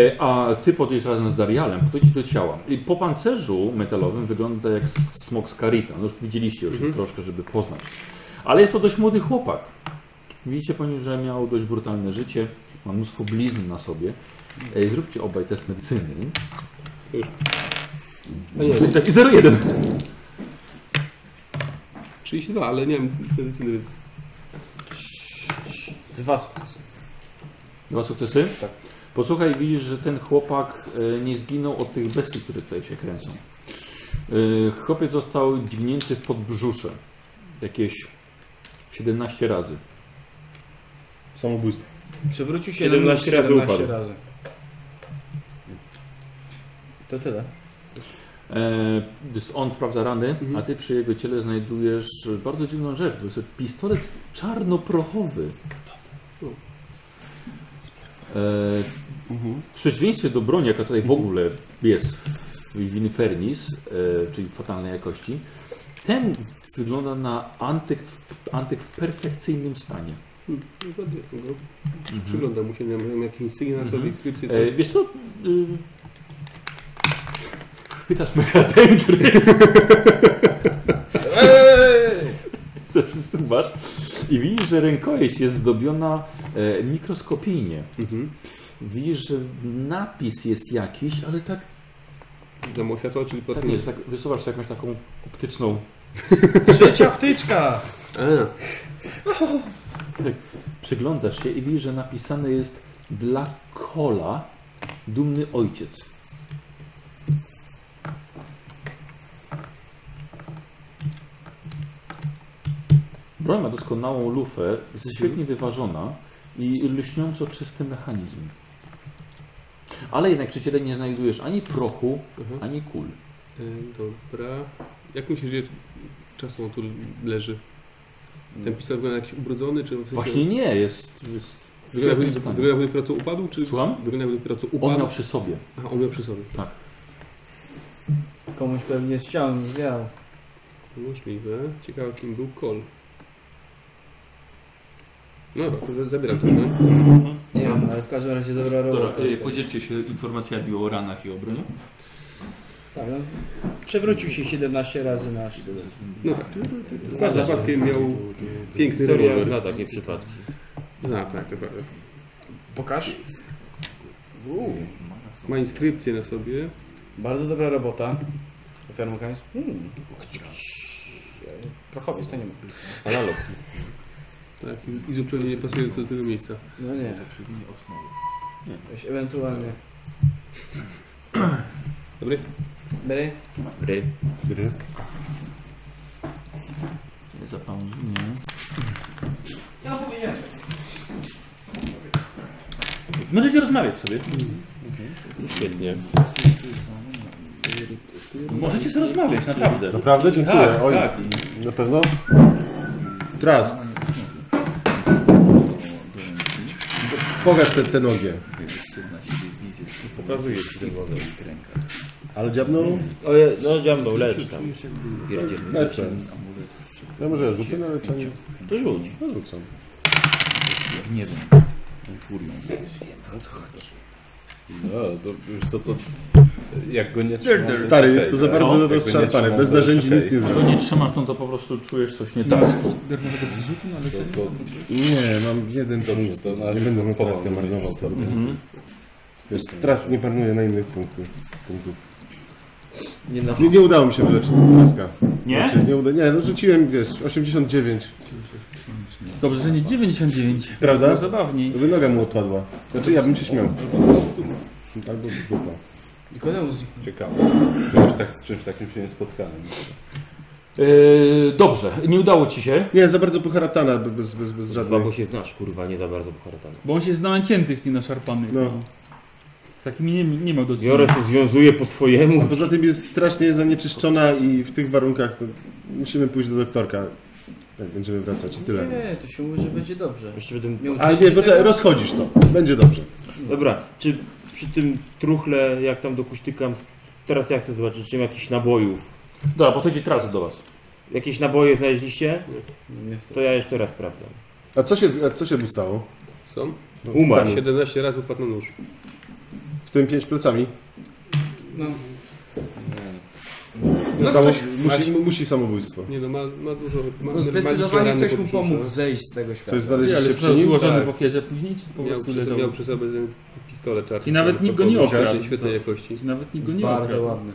E, A ty podjesz razem z Darialem, podchodzi do ciała. I po pancerzu metalowym wygląda jak s- smok z karita. No już widzieliście już ich troszkę, żeby poznać. Ale jest to dość młody chłopak. Widzicie po nim, że miał dość brutalne życie. Ma mnóstwo blizn na sobie. Ej, zróbcie obaj test medycyny. Już. Czyli Taki 0,1. 32, ale nie mam medycyny, więc... Dwa sukcesy. Dwa sukcesy? Tak. Posłuchaj, widzisz, że ten chłopak e, nie zginął od tych bestii, które tutaj się kręcą. E, Chłopiec został dźgnięty w podbrzusze. Jakieś 17 razy. Samobójstwo. Przewrócił się 17 na razy minus 17 upadł. razy. To tyle. E, więc on sprawdza rany, a ty przy jego ciele znajdujesz bardzo dziwną rzecz. Bo jest to pistolet czarnoprochowy. E, w przeciwieństwie do broni, jaka tutaj w ogóle jest w Infernis, e, czyli fatalnej jakości, ten wygląda na antyk, antyk w perfekcyjnie stanie. Zładuję go. Mhm. Przyglądam mu się, nie mam jakichś sygnał na sobie, inskrypcję, E, coś. wiesz co? Y... Chwytasz megatendry. Przesuwasz i widzisz, że rękojeść jest zdobiona e, mikroskopijnie. Widzisz, że napis jest jakiś, ale tak, Dam mu światło, czyli tak potem... nie jest. Tak, wysuwasz sobie jakąś taką optyczną. Trzecia wtyczka! Tak, przyglądasz się i widzisz, że napisane jest dla Kola dumny ojciec. Broń ma doskonałą lufę, jest świetnie wyważona i lśniąco czysty mechanizm. Ale jednak przy ciele nie znajdujesz ani prochu, Aha. ani kul. E, Dobra. Jak myślisz, ile czasu on tu leży? Ten pisarz wygląda jakiś ubrudzony, czy... Właśnie nie, jest... jest Wygląda świetnie jakby- stanie. wygląda jakby dopiero co upadł, czy... Słucham? Wygląda jakby dopiero co On upadł. miał przy sobie. Aha, on miał przy sobie. Tak. Komuś pewnie ściągnął, zjadł. Możliwe. Ciekawe, kim był Kol. No dobra, to za- zabieram to. No. Nie wiem, ale w każdym razie dobra robota. Dobra, e, podzielcie się informacjami o ranach i obronie. Tak, no. Przewrócił się 17 razy na 4. no tak. Za zapaskiem miał piękny Historia rewolwer. zna takie przypadki. Zna, tak, to prawda. Pokaż. Ma inskrypcję na sobie. Bardzo dobra robota. Ofiar mu kamień. Hmm. Prochowiec to nie ma. Analog. Tak, i, i zupełnie nie pasujący do tego miejsca. No nie. Zakrzywienie osnowy. Weź ewentualnie. Dobry? Bry? Ry. Nie zapomnij. No powiedziałem. Możecie rozmawiać sobie. Świetnie. Możecie sobie rozmawiać, naprawdę. Naprawdę? Dziękuję. Tak, Oj, tak. Na pewno? Trask. Pokaż te, te nogie. Pokazuję ci ten model. Ale dziabnął? Oje, no dziabnął, lecz tam. Czujesz jakby... Pierdzielny. Leczę. Ja może rzucę no, na leczenie? To rzuć. No rzucam. Nie wiem. Furią. Wiem, o co chodzi. No, to już to, to jak go nie Pierdol. trzyma... Stary, jest to za Jak bardzo go no, nie rozszarpane. trzyma, Bez to jest narzędzi okej. nic nie Skoro zrobię. nie trzymasz, no to po prostu czujesz coś nie Nie tak. masz darmowego przeżytu na leczenie? To, to, Nie, mam jeden dobrze, punkt. to na Nie będę mu teraz połowę marnował sobie. sobie. Wiesz, teraz nie panuję na innych punktów. punktów. Nie na Nie, nie udało mi się wyleczyć traska. Nie? Znaczy, nie, uda... nie, no rzuciłem, wiesz, 89. Dobrze, że nie 99. Prawda? Było zabawniej. To by noga mu odpadła. Znaczy ja bym się śmiał. Albo dupa. Nikodemus. Ciekawe. Czymś, tak, z czymś takim się nie spotkałem. Yy, dobrze, nie udało ci się. Nie, za bardzo pocharatana, be- bez, bez, bez żadnych. Słabo się znasz, kurwa, nie za bardzo pocharatany. Bo on się zna na ciętych, nie na szarpanych. No. Z takimi nie, nie miał do czynienia. Biorę się, związuje po swojemu. Poza tym jest strasznie zanieczyszczona i w tych warunkach to musimy pójść do doktorka. Tak, będziemy wracać i tyle. Nie, to się mówi, że będzie dobrze. Jeszcze będę mógł... Nie A nie, bo te, rozchodzisz to. Będzie dobrze. Dobra, czy przy tym truchle, jak tam dokuśtykam, teraz ja chcę zobaczyć, czy nie ma jakichś nabojów. Dobra, podchodzi teraz do was. Jakieś naboje znaleźliście? Nie To ja jeszcze raz sprawdzam. A co się, a co się mu stało? Są? No, Umarł. panu. 17 razy upadł na nóż. W tym pięć plecami. No, No, Samo, ktoś- musi, mu- musi samobójstwo. Nie no, ma, ma dużo... Ma, no zdecydowanie ktoś mu pomógł zejść z tego świata. Coś Ale znaleźliście przy został nim? złożony Tak. w ofierze później, czy po Miał prostu przy, leżał? sobie, miał przy sobie ten pistolet czarny. I nawet nikt go nie Podobny, okradł. Świetnej jakości. Czy nawet nikt go nie Bardzo okradł? ładny.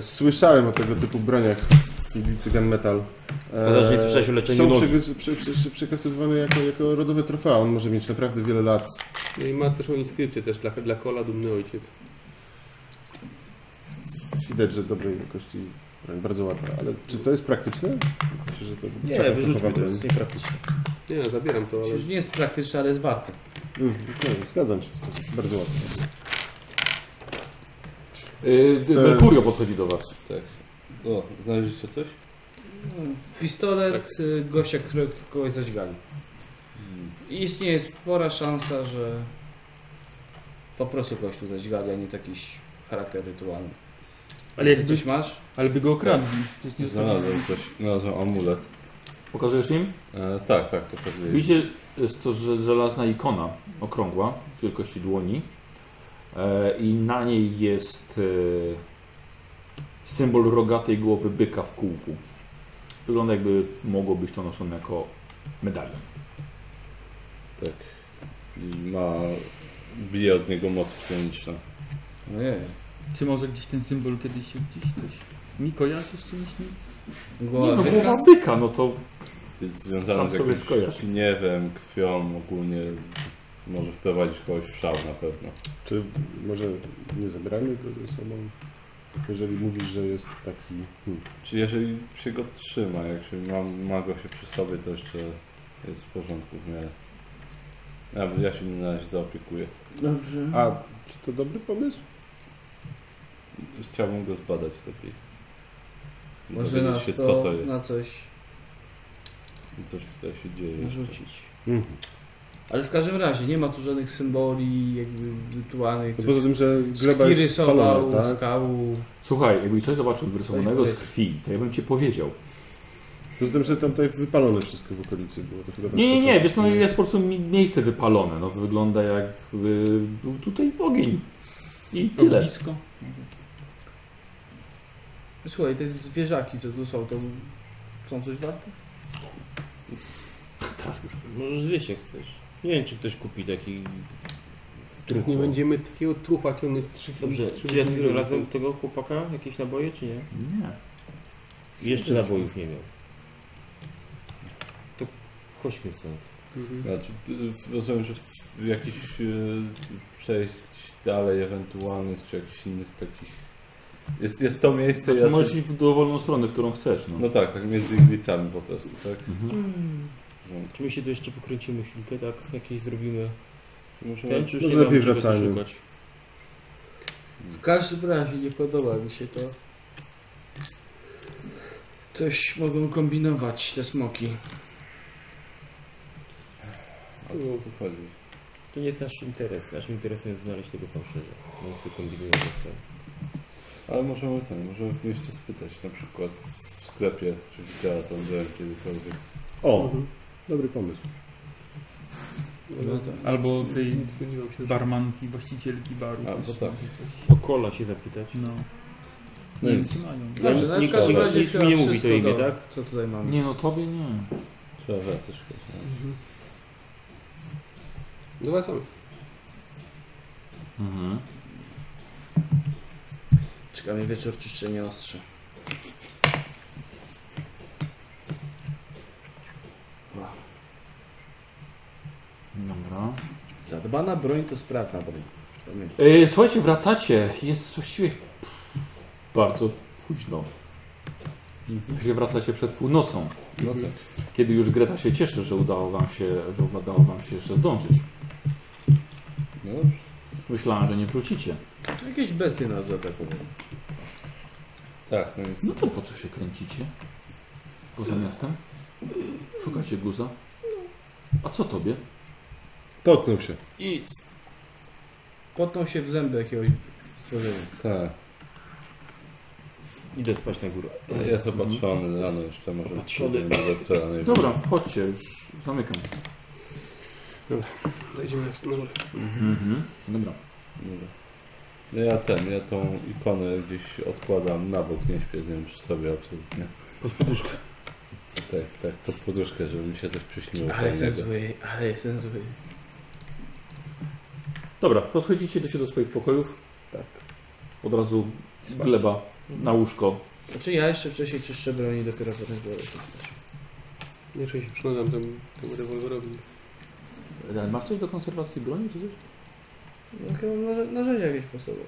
Słyszałem o tego typu broniach w Iglicy Gunmetal. Podobnie słyszałeś o leczeniu E, Są nogi. przekaz- prze, prze, prze, przekazywane jako, jako rodowe trofea. On może mieć naprawdę wiele lat. No i ma też inskrypcję też dla, dla Kola, dumny ojciec. Widać, że dobrej jakości broń, bardzo ładna. Ale czy to jest praktyczne? Myślę, że to Nie, czarna wyrzućmy trochowa to, broń. jest niepraktyczne. Nie no, zabieram to, ale... Już nie jest praktyczny, ale jest warty. Mm, okej, zgadzam się. zgadzam się. Bardzo ładna. Yy, d- E. Merkurio podchodzi do was. Tak. O, znaleźliście coś? Pistolet, y, gościa, którego kogoś zadźgali. I istnieje spora szansa, że po prostu kogoś tu zadźgali, a nie jakiś charakter rytualny. Ale Ty jakby, coś masz? ale by go okradli. Przecież nie został. Znalazłem coś. Znalazłem amulet. Pokazujesz im? E, tak, tak, pokazuję. Widzicie, jest to ż- żelazna ikona okrągła, wielkości dłoni. E, I na niej jest e, symbol rogatej głowy byka w kółku. Wygląda jakby mogło być to noszone jako medalion. Tak. I ma... Bije od niego moc psioniczna. No nie Czy może gdzieś ten symbol kiedyś się gdzieś coś... Mi kojarzysz z czymś nic? Nie, Głowa no wielka. głowa byka, no to Jest związany Sam z sobie jakimś skojarz. gniewem, krwią, ogólnie może wprowadzić kogoś w szał na pewno. Czy może nie zabramy go ze sobą? Jeżeli mówisz, że jest taki... Hmm. Czy jeżeli się go trzyma, jak się ma, ma go się przy sobie, to jeszcze jest w porządku w miarę. Ja, ja się nim na razie zaopiekuję. Dobrze. A czy to dobry pomysł? Chciałbym go zbadać lepiej. Może Dowiedzieć nas się, to, co to jest na coś i coś tutaj się dzieje. narzucić. Mhm. Ale w każdym razie nie ma tu żadnych symboli jakby rytualnych. No poza tym, że gleba Skwi jest rysował, spalona, tak? skału. słuchaj, jakby coś zobaczył wyrysowanego z powiedzieć. krwi, to ja bym ci powiedział. Poza tym, że tam tutaj wypalone wszystko w okolicy było. To chyba Nie, nie, nie, początku. wiesz, no jest po prostu mi- miejsce wypalone, no wygląda jakby był tutaj ogień. I tyle. Blisko. Słuchaj, te zwierzaki, co tu są, to są coś warte? Teraz już. Może zjeść jak chcesz. Nie wiem, czy ktoś kupi taki... Nie będziemy takiego truchła ciągnąć trzy Dobrze, trzy czy ja godziny razem tego chłopaka jakieś naboje, czy nie? Nie. Jeszcze nabojów nie miał. To chodźmy stąd. Mhm. Znaczy, y, rozumiem, że w jakichś y, przejść dalej ewentualnych, czy jakichś innych takich... Jest, jest to miejsce... Znaczy, ja- możesz iść w dowolną stronę, w którą chcesz. No. No tak, tak między iglicami po prostu, tak? Mhm. Że- Czy my się tu jeszcze pokręcimy chwilkę, tak? Jakieś zrobimy... Może Ten, czy już Może nie lepiej mam czego tu wracajmy. szukać? W każdym razie nie podoba mi się to. Coś mogą kombinować te smoki. o co tu chodzi? To nie jest nasz interes. Naszym interesem jest znaleźć tego fałszerza. No i sobie kombinujemy co. Ale możemy ten, możemy kogoś się spytać, na przykład w sklepie, czy widziała tą broń kiedykolwiek. O, dobry pomysł. No tak. Albo tej Nie spodziewam się, że... barmanki, właścicielki baru. A, też bo tak. może coś. O kola się zapytać. No. No Nie nic. wiem, co mają. Dobrze, Nie- no nie w każdym kola. razie Nic chyba mi nie mówi wszystko to imię, do- tak? Co tutaj mamy? Nie no, tobie nie. Trzeba wracać. chyba. No wracamy. Mhm. Czeka mnie wieczór czyszczenia ostrza. Dobra. Zadbana broń to sprawna broń. Pamiętaj. E, słuchajcie, wracacie. Jest właściwie bardzo późno. Właściwie wracacie przed północą. No tak. Kiedy już Greta się cieszy, że udało wam się, że udało wam się jeszcze zdążyć. No dobrze. Myślałem, że nie wrócicie. Jakieś bestie nas zaatakują. Tak, to jest. No to po co się kręcicie? Poza miastem? Szukacie guza? A co tobie? Potknął się. Nic. Potnął się w zęby jakiegoś stworzenia. Tak. Idę spać na górę. Jest opatrzony rano jeszcze, może pójdziemy do doktora. najwyżej. Dobra, wchodźcie, już zamykam. Dojdziemy jak na górę. Mhm. Dobra. Dobra. No ja ten, ja tą ikonę gdzieś odkładam na bok, nie śpię z nią przy sobie absolutnie. Pod poduszkę. Tak, tak, pod poduszkę, żeby mi się coś przyśniło. Ale jestem fajnego. zły, ale jestem zły. Dobra, podchodzicie do się do swoich pokojów. Tak. Od razu gleba na łóżko. Znaczy ja jeszcze wcześniej czyszczę broń i dopiero potem biorę się spać. Jeszcze się przyglądam temu, temu rewolwerowi. Ale E, masz coś do konserwacji broni? Czy coś? No chyba narze- narzędzia jakieś po sobie.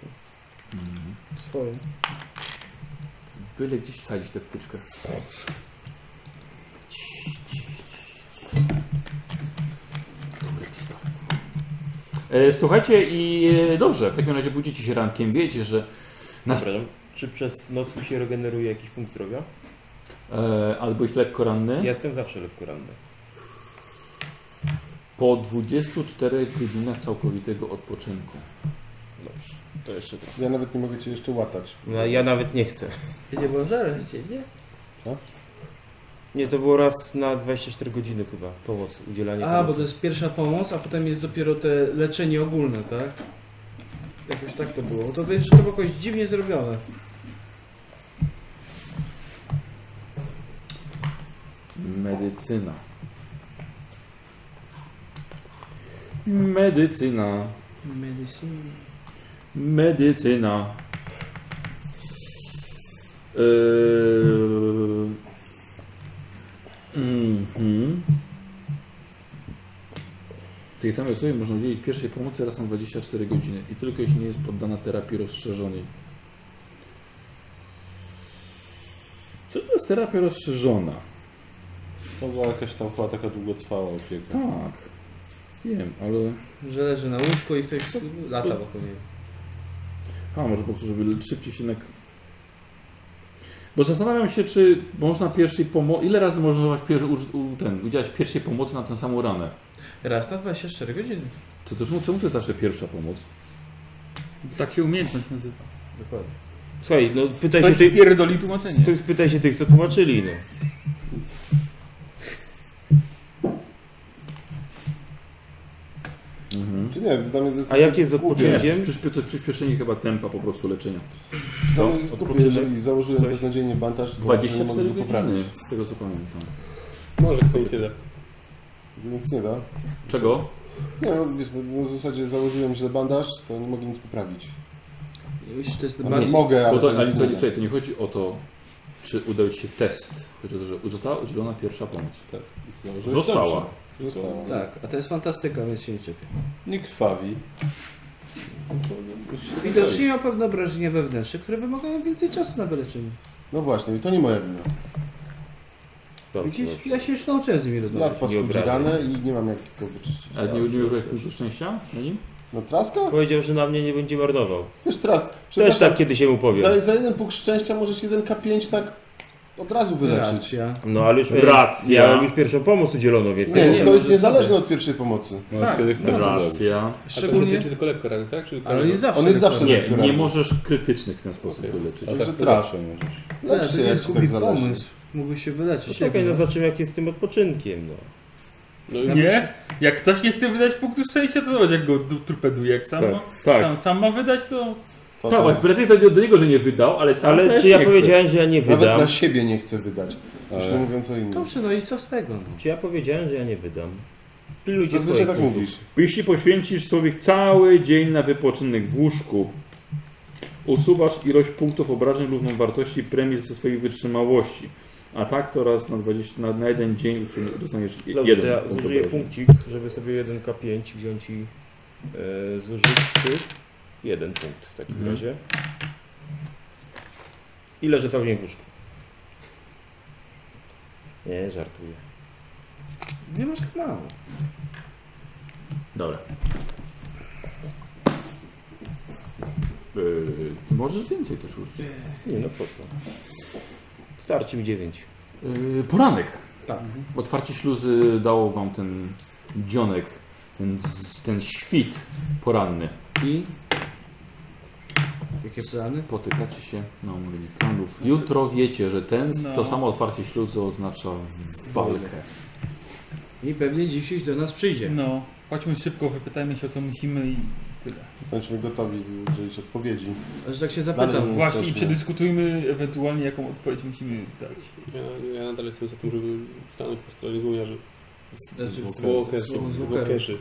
Swoje. Byle gdzieś sadzić tę wtyczkę. Dobry lista. E, Słuchajcie i e, dobrze, w takim razie budzicie się rankiem, wiecie, że nas, Dobra, no, czy przez noc mi się regeneruje jakiś punkt zdrowia? e, albo jest lekko ranny. Ja jestem zawsze lekko ranny. Po 24 godzinach całkowitego odpoczynku. Dobrze, to jeszcze tak. Ja nawet nie mogę cię jeszcze łatać. No, ja nawet nie chcę. Nie było zaraz cię, nie? Nie, to było raz na 24 godziny chyba. Pomoc, udzielanie A, bo to jest pierwsza pomoc, a potem jest dopiero te leczenie ogólne, tak? Jakoś tak to było. To wiesz, że to było jakoś dziwnie zrobione. Medycyna. Medycyna. Medicine. Medycyna. Yy... Mhm. Tej samej osobie można udzielić pierwszej pomocy raz na 24 godziny i tylko jeśli nie jest poddana terapii rozszerzonej. Co to jest terapia rozszerzona? To była jakaś tam chyba taka długotrwała opieka. Tak. Wiem, ale... Że leży na łóżku i ktoś lata wokół niego. A, może po prostu, żeby szybciej się... Nak... Bo zastanawiam się, czy można pierwszej pomocy... Ile razy można używać pier... uż- u- ten, udzielać pierwszej pomocy na tę samą ranę? Raz na 24 godziny. To, to czemu, czemu to jest zawsze pierwsza pomoc? Bo tak się umiejętność nazywa. Dokładnie. Słuchaj, no pytaj Ktoś się, tych, spierdoli tłumaczenie. ty, pytaj się tych, co tłumaczyli, no. Hmm? Czy nie, dla mnie to A jest takie jak jest z głupie. odpoczynkiem? Przyspie- to przyspieszenie chyba tempa po prostu leczenia. Dla mnie jest głupie, jeżeli założyłem beznadziejnie bandaż, to znaczy, że nie mogę 24 go godziny, poprawić. z tego co pamiętam. Może koniec da. Nic nie da. Czego? Nie, no, wiesz, no, no, w zasadzie założyłem źle bandaż, to nie mogę nic poprawić. Myślę, że to jest No, bardziej... mogę, Bo ale to, to ale nic to, nie da. czekaj, to nie chodzi o to, czy udał Ci się test, tylko to, że została udzielona pierwsza pomoc. Tak. Została. Zostało. Tak, a to jest fantastyka, więc się nie czepię. Nie krwawi. Widocznie miał pewne obrażenia wewnętrzne, które wymagają więcej czasu na wyleczenie. No właśnie, i to nie moja wina. Tak, Dobrze, Widzisz, dobrze. ja się już nauczyłem z nimi No, Lat rozmawiać. paskudzi obrażaj. ranę i nie mam jak go wyczyścić. A nie, nie użyłeś punktu szczęścia na nim? No traska? Powiedział, że na mnie nie będzie marnował. Wiesz, teraz, Też przepraszam, tak kiedy się mu powiem. za, za jeden punkt szczęścia możesz 1K5 tak od razu wyleczyć. Racja. No ale już Racja. Miałem już pierwszą pomoc udzieloną, więc Nie, Nie, nie, to jest może niezależne od pierwszej pomocy. No, kiedy chcesz. żeby- Racja. A to Szczególnie, dotyczy tylko lekko rany, tak? Czy ale nie zawsze. On jest zawsze Nie, lekko nie ranny. możesz krytycznych w ten sposób wyleczyć. A Że tak, to trasz. zawsze możesz. tak, Lecz to się, nie jak jest ci głupi tak zależy. pomysł. Mógłby się wyleczyć. Czekaj, no jak zobaczymy jak jest z tym odpoczynkiem, no. Nie? Jak ktoś nie chce wydać punktu szczęścia, to zobacz jak go du- torpeduje. Jak sam, Tak, ma, tak. sam, sam ma wydać, to... To Tak, tak. Bretty to nie do niego, że nie wydał, ale sam Ale też czy ja nie chce. powiedziałem, że ja nie Nawet wydam? na siebie nie chce wydać. Już nie mówiąc o innym. Dobrze, no i co z tego? No? Czy ja powiedziałem, że ja nie wydam? Pilnujcie Zazwyczaj swoich tak punktów. mówisz. Jeśli poświęcisz człowiek cały dzień na wypoczynek w łóżku, usuwasz ilość punktów obrażeń równą wartości premii ze swojej wytrzymałości. A tak to raz na, 20, na, na jeden dzień usunie- dostaniesz Dobrze, to jeden ja punkt zużyję obrażeń. punkcik, żeby sobie 1K5 wziąć i e, zużyć tych. Jeden punkt w takim razie. I leżę cały dzień w łóżku. Nie, żartuję. Nie masz tak mało. Dobra. Yy, możesz więcej też użyć. Nie, no po co? Starczy mi 9. Yy, poranek. Mhm. Tak. Otwarcie śluzy dało wam ten dzionek, ten, ten świt poranny. I? Jakie plany? Spotykacie się na omówienie Znaczy- planów. Jutro wiecie, że ten, No. to samo otwarcie śluzy oznacza walkę. I pewnie dziś do nas przyjdzie. No, chodźmy szybko, wypytajmy się o co musimy i tyle. Bądźmy gotowi udzielić odpowiedzi. Aż tak się Dalej zapytam. nie Właśnie i jesteśmy. przedyskutujmy ewentualnie jaką odpowiedź musimy dać. Ja, ja nadal jestem za tym, żeby stanąć po stronie złomiarzy. Znaczy, Z walkerzy. z- z- z- Z walkerzy.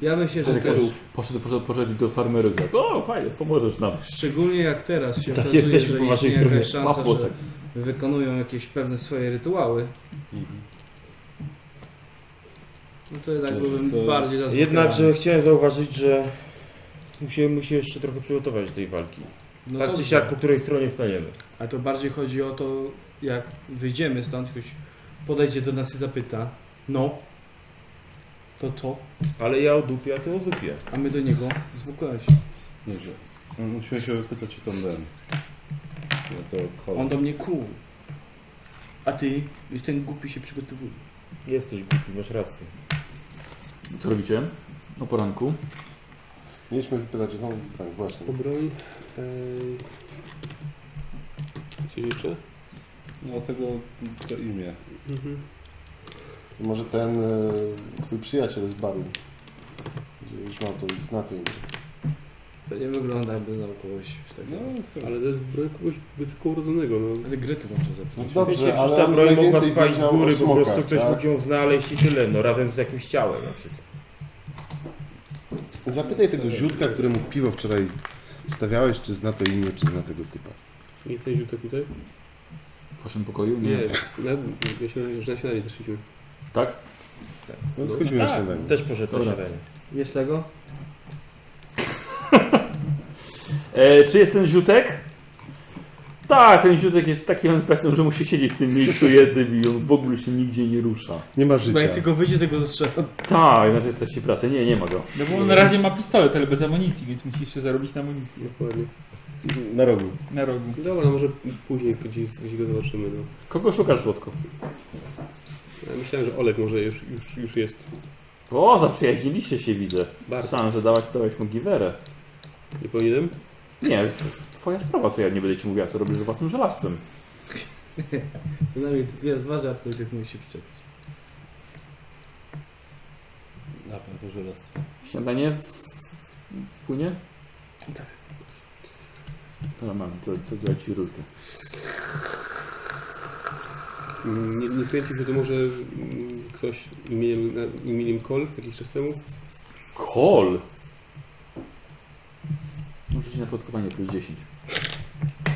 Ja myślę, że też. Poszedł, poszedł, poszedł, poszedł do farmerów. Tak, o, fajnie, pomożesz nam. Szczególnie jak teraz się Tak okazuje, jesteśmy że po waszej istnieje jakaś stronie. szansa, że Łapłosek. wykonują jakieś pewne swoje rytuały. Mhm. No to jednak byłbym bardziej zaskoczony. Jednakże chciałem zauważyć, że musimy się jeszcze trochę przygotować do tej walki. no tak czy dobrze. siak, po której stronie staniemy. Ale to bardziej chodzi o to, jak wyjdziemy stąd, ktoś podejdzie do nas i zapyta, no, to co? Ale ja o dupie, a ty o zupie. A my do niego zwukłeś. Dobrze. No, Musimy się wypytać o tą Ben. Ja to On kolor. do mnie kuł. A ty, już ten głupi się przygotowuje. Jesteś głupi, masz rację. Co robicie? O poranku. Mieliśmy wypytać, no tak, właśnie. Po broń. Gdzie jeszcze? No tego to imię. Może ten e, twój przyjaciel z baru. Gdzie Już mam to, zna to imię. To nie wygląda, jakby znał kogoś No, takiego. ale to jest broń kogoś wysoko urodzonego. No. Ale gry to może No zapytać. dobrze, Przecież ale ta on broń mogła najwięcej spaść z wiedział o góry, po smokach, prostu ktoś tak? mógł ją znaleźć i tyle, no razem z jakimś ciałem na przykład. Zapytaj tego ziutka, któremu piwo wczoraj stawiałeś, czy zna to imię, czy zna tego typa. Nie jesteś żółtek tutaj? W waszym pokoju? Nie, na, ja się, że na śniadanie zeszliśmy. Tak? No schodzimy tak, na śniadanie. Też poszedł na Dobra. śniadanie. Wiesz tego? E, czy jest ten ziutek? Tak, ten ziutek jest taki pracą, że musi siedzieć w tym <laughs> miejscu jednym i on w ogóle się nigdzie nie rusza. Nie ma Bo życia. jak tylko wyjdzie, tego zastrzela. Tak, znaczy to się praca. Nie, nie ma go. No bo on na razie ma pistolet, ale bez amunicji, więc musisz się zarobić na amunicję. Dokładnie. Na rogu. Na rogu. Dobra, no może później gdzieś, gdzieś go zobaczymy. No. Kogo szukasz słodko? Ja myślałem, że Olek może już, już, już jest. O, zaprzyjaźniliście się widzę. Bardzo. Myślałem, że dałeś, dałeś mu giwerę. Nie powinienem? Nie, twoja sprawa, co ja nie będę ci mówiła, co robisz z własnym żelastwem. Co najmniej dwie zważy, a ktoś jak musi tak się przyczepić. Na pewno żelastwo. Śniadanie w... płynie? Tak. Dobra, mam, co, co dla ci różkę. Nie, nie kręcił się to może mm, ktoś imieniem, na- imieniem Kol jakiś czas temu? Kol! Muszę ci na plotkowanie plus 10.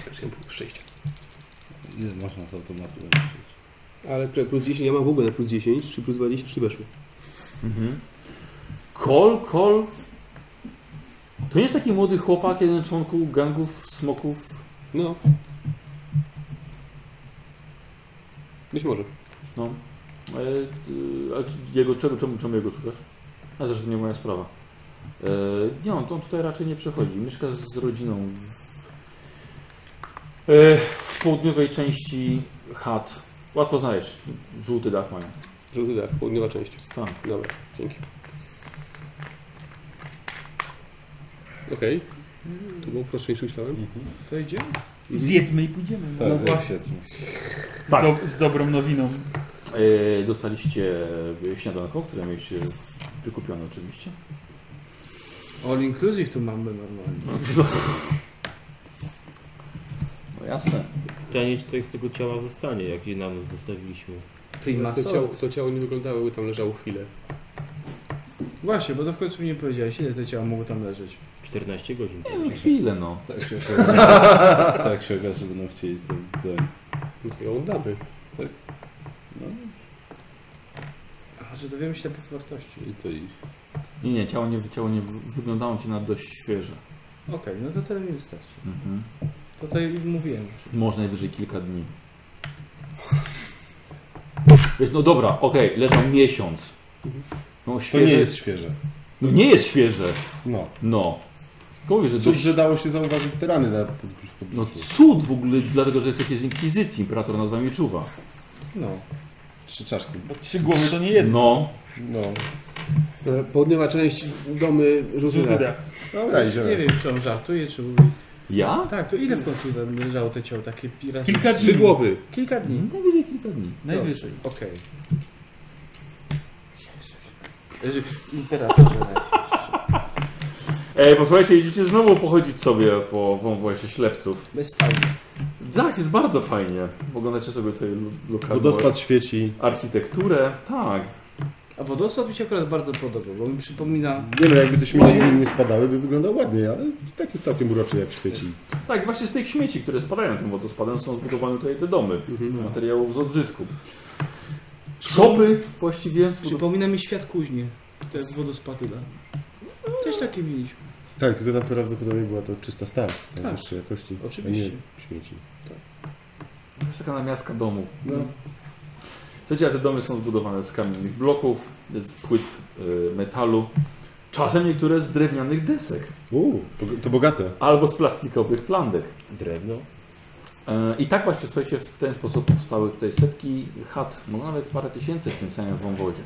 Też nie punktów szczęścia. Ile można z automatu? Ale czekaj, plus 10, ja mam w ogóle na plus 10, czy plus 20, czy weszło? Mhm. Kol, kol. To nie jest taki młody chłopak, jeden z członków gangów smoków. No. Być może. No. E, y, a czy- jego, czemu, czemu, czemu jego szukasz? A zresztą nie moja sprawa. E, nie, on, on tutaj raczej nie przechodzi. Mieszka z, z rodziną. W, e, w południowej części chat. Łatwo znaleźć. Żółty dach mają. Żółty dach, południowa część. Tak. Dobra, dzięki. Okej. To było prostsze niż myślałem. To idzie? Zjedzmy i pójdziemy. Tak, no no właśnie. właśnie. Z, Tak. do, z dobrą nowiną. E, dostaliście e, śniadanko, które mieliście wykupione oczywiście. All inclusive tu mamy normalnie. No jasne. Pytanie, czy coś z tego ciała zostanie, jakie nam zostawiliśmy. Prima To ciało, sort. to ciało nie wyglądało, jakby tam leżało chwilę. Właśnie, bo to w końcu mi nie powiedziałeś, ile te ciała mogło tam leżeć. 14 godzin. No chwilę no. Co jak się okaże, co tak jak się okaże, że będą chcieli tę broń. No to ją oddamy. No A, że dowiemy się na wartości. No i to i Nie, nie, ciało nie, ciało nie wyglądało ci na dość świeże. Okej, no to tyle mi wystarczy. Mhm. To tutaj mówiłem. Może najwyżej kilka dni. Wiesz, no dobra, okej, leżał miesiąc. No To nie świeże. jest świeże. No nie jest świeże. No. No. Tylko mówię, że Cóż, dość... że dało się zauważyć te rany na podbrzusz, No podbrzuszu. cud w ogóle, dlatego że jesteście z Inkwizycji, Imperator nad wami czuwa. No. Trzy czaszki. Bo trzy głowy to nie jedno. No, No. Dobra, Południowa część domy Żółty żółty dach. dach. Dobra, Nie idziemy. wiem, czy on żartuje, czy mówi. ja? Tak, to ile w końcu tam leżało te ciało? Takie pi- raz... Kilka dni. Mhm. Trzy głowy. Kilka dni. Najwyżej kilka dni. Najwyżej. Okej. Jezus. Imperatorze E, posłuchajcie, idziecie znowu pochodzić sobie po wąwozie ślepców. Bez fajnie. Tak, jest bardzo fajnie. Oglądacie sobie tutaj lo- Tak lokalną Wodospad świeci. architekturę. Tak. A wodosład mi się akurat bardzo podoba, bo mi przypomina... Nie no, jakby te śmieci nie spadały, by wyglądał ładniej, ale i tak jest całkiem uroczy, jak świeci. Tak, właśnie z tych śmieci, które spadają tym wodospadem, są zbudowane tutaj te domy. Materiałów z odzysku. Szopy właściwie. Przypomina mi świat kuźnie. Te wodospadyle. Też takie mieliśmy. Tak, tylko tam prawdopodobnie była to czysta stal Tak. najwyższej jakości, Oczywiście. a nie śmieci. To jest taka namiastka domu. No. Słuchajcie, a te domy są zbudowane z kamiennych bloków, z płyt y, metalu. Czasem niektóre z drewnianych desek. Uuu, to- to bogate. Albo z plastikowych plandek. Drewno? E, I tak właśnie, słuchajcie, w ten sposób powstały tutaj setki chat, może nawet parę tysięcy w tym samym wąwozie.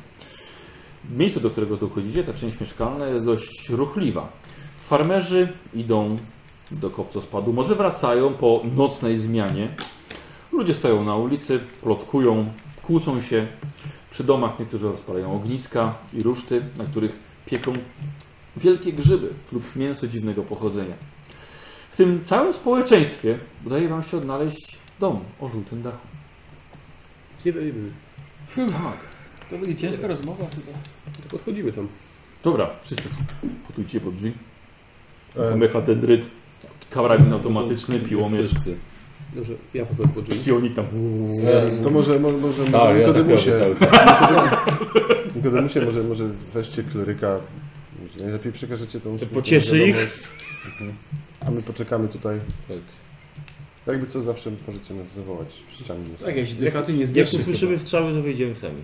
Miejsce, do którego dochodzicie, ta część mieszkalna jest dość ruchliwa. Farmerzy idą do kopcospadu, może wracają po nocnej zmianie. Ludzie stoją na ulicy, plotkują, kłócą się. Przy domach niektórzy rozpalają ogniska i ruszty, na których pieką wielkie grzyby lub mięso dziwnego pochodzenia. W tym całym społeczeństwie udaje Wam się odnaleźć dom o żółtym dachu. Nie wiem, Tak. To będzie ciężka rozmowa chyba. to podchodzimy tam. Dobra, wszyscy potujcie pod drzwi. E, Mechadendryt, karabin No automatyczny, piłomierz, wszyscy. Dobrze, ja podchodzę pod drzwi. psionik tam. e, to może, może, może, Tak, może ja tak robię Nikodemusie. cały czas. Nikodemusie, może, może weźcie kleryka. Może najlepiej przekażecie tą smutną pocieszy wiadomość. Mhm. A my poczekamy tutaj. Tak Tak. Jakby co zawsze możecie nas zawołać. Ściągnie. Tak, ja się do chaty nie Jak zbierzesz. usłyszymy strzały, to wyjdziemy sami.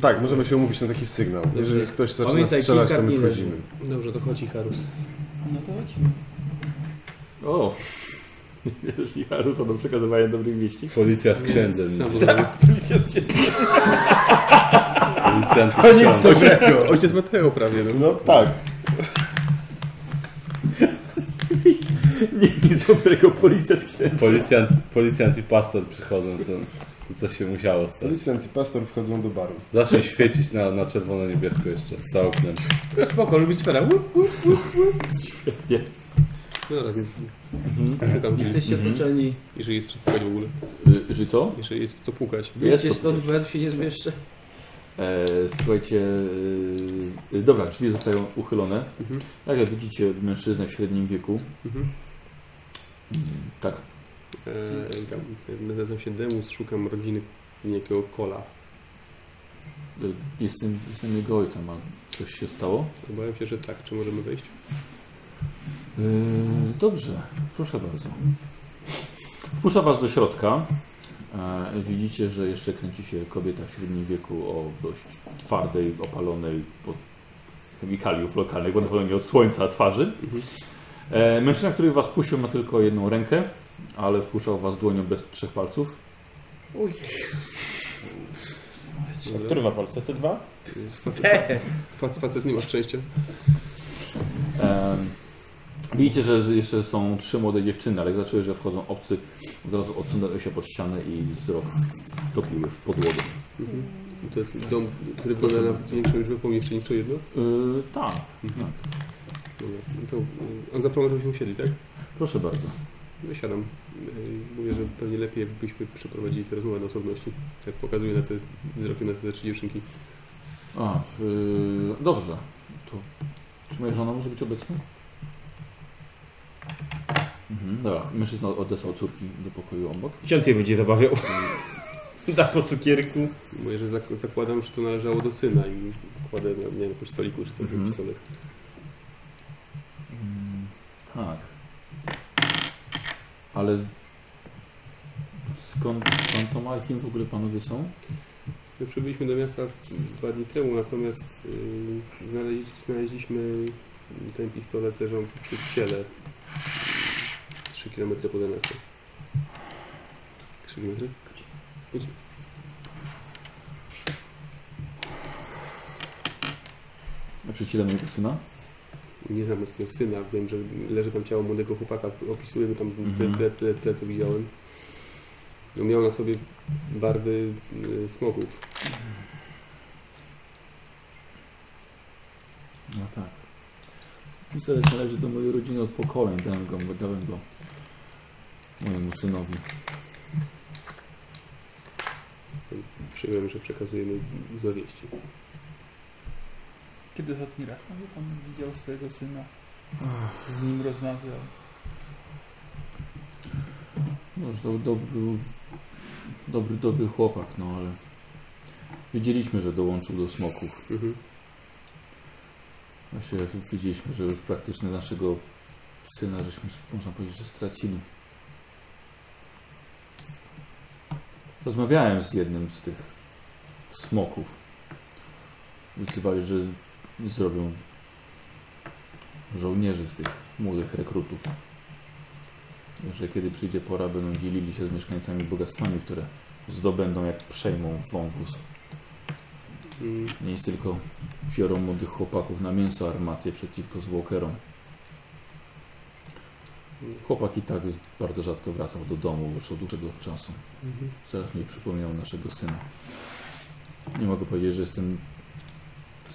Tak, możemy się umówić na taki sygnał. Jeżeli ktoś zaczyna Pamiętaj, strzelać, kilka to my dni wchodzimy. Dobrze, to chodzi Harus. No to chodźmy. O! Wiesz, Jarusa do przekazywania dobrych wieści. Policja z księdzem. Sam podchodzę. Tak, <laughs> Policjant z To nic księdzem. dobrego. Ojciec Mateo prawie. No. Tak. No tak. Nic nie dobrego, policja z księdza. Policjant, policjant i pastor przychodzą, to, to coś się musiało stać. Policjant i pastor wchodzą do baru. Zaczął świecić na, na czerwono-niebiesko jeszcze, za oknem. Spoko, lubi sfera. Łup, łup. Nie. Dobra, więc czekam, jeżeli- Jesteście otoczeni. jeżeli Mhm. jest w co pukać w ogóle. Y, Że co? Jeżeli jest w co pukać. Jest Wiecie to stąd, bo ja tu się nie zmieszczę. E, słuchajcie, e, dobra, drzwi zostają uchylone. Mhm. Tak, jak widzicie mężczyznę w średnim wieku. Mhm. Mm, Tak. Eee, tam, nazywam się Demus, szukam rodziny niejakiego Kola. E, Jestem, jestem jego ojcem, a coś się stało? Obawiam się, że tak. Czy możemy wejść? Yy, Dobrze, proszę bardzo. Wpuszcza Was do środka. E, Widzicie, że jeszcze kręci się kobieta w średnim wieku o dość twardej, opalonej od chemikaliów lokalnych, bo na pewno nie od słońca twarzy. E, Mężczyzna, który Was puścił, ma tylko jedną rękę. ale wpuszczał was dłonią bez trzech palców. Który ma palce? Te dwa? Fac, facet nie ma szczęścia. Em, E, widzicie, że z- jeszcze są trzy młode dziewczyny, ale jak zaczęły, że wchodzą obcy, od razu odsunęły się pod ścianę i wzrok wtopiły w podłogę. Mhm. To jest dom, który wygląda na większą liczbę pomieszczeń niż to jedno. Yy, tak, tak. Dobra, no to y, on zaplanował, żebyśmy usiedli, tak? No Proszę bardzo. Wysiadam. Y, Mówię, że pewnie lepiej byśmy przeprowadzili tę rozmowę na osobności. Tak pokazuję na te wzrokiem na te trzy dziewczynki. A, yy, dobrze. To, czy moja żona może być obecna? Mhm, dobra, mężczyzna odesłał córki do pokoju obok. Ksiądz je będzie zabawiał. <laughs> Da po cukierku. Mówię, że zak- zakładam, że to należało do syna i kładę na, nie wiem, jakimś stoliku czy coś, Mhm. mm pistolet. Mm, tak. Ale skąd pan to ma? Kim w ogóle panowie są? My przybyliśmy do miasta dwa dni temu, natomiast y, znaleźli, znaleźliśmy ten pistolet leżący przy ciele y, 3 km poza miastem. 3 km? Przyciele mojego syna? Nie znam męskiego syna, wiem, że leży tam ciało młodego chłopaka, opisuję go tam Mhm. tyle, tyle, tyle, tyle co widziałem. No, miał na sobie barwy y, smoków. No tak. Pistolet należy do mojej rodziny od pokoleń. Dałem go, dałem go mojemu synowi. Przyjmujemy, że przekazujemy złe wieści. Kiedy ostatni raz pan, pan widział swojego syna? Z nim rozmawiał. No, że to do, był dobry, dobry chłopak, no ale wiedzieliśmy, że dołączył do smoków. Mhm. Właśnie wiedzieliśmy, No że już praktycznie naszego syna żeśmy, można powiedzieć, że stracili. Rozmawiałem z jednym z tych smoków. Obiecywali, że zrobią żołnierzy z tych młodych rekrutów że kiedy przyjdzie pora, będą dzielili się z mieszkańcami bogactwami, które zdobędą, jak przejmą wąwóz. Mm, Nie jest tylko biorą młodych chłopaków na mięso armaty przeciwko zwłokerom. Chłopak i tak bardzo rzadko wracał do domu już od dłuższego czasu. Coraz mniej przypominał naszego syna. Nie mogę powiedzieć, że jestem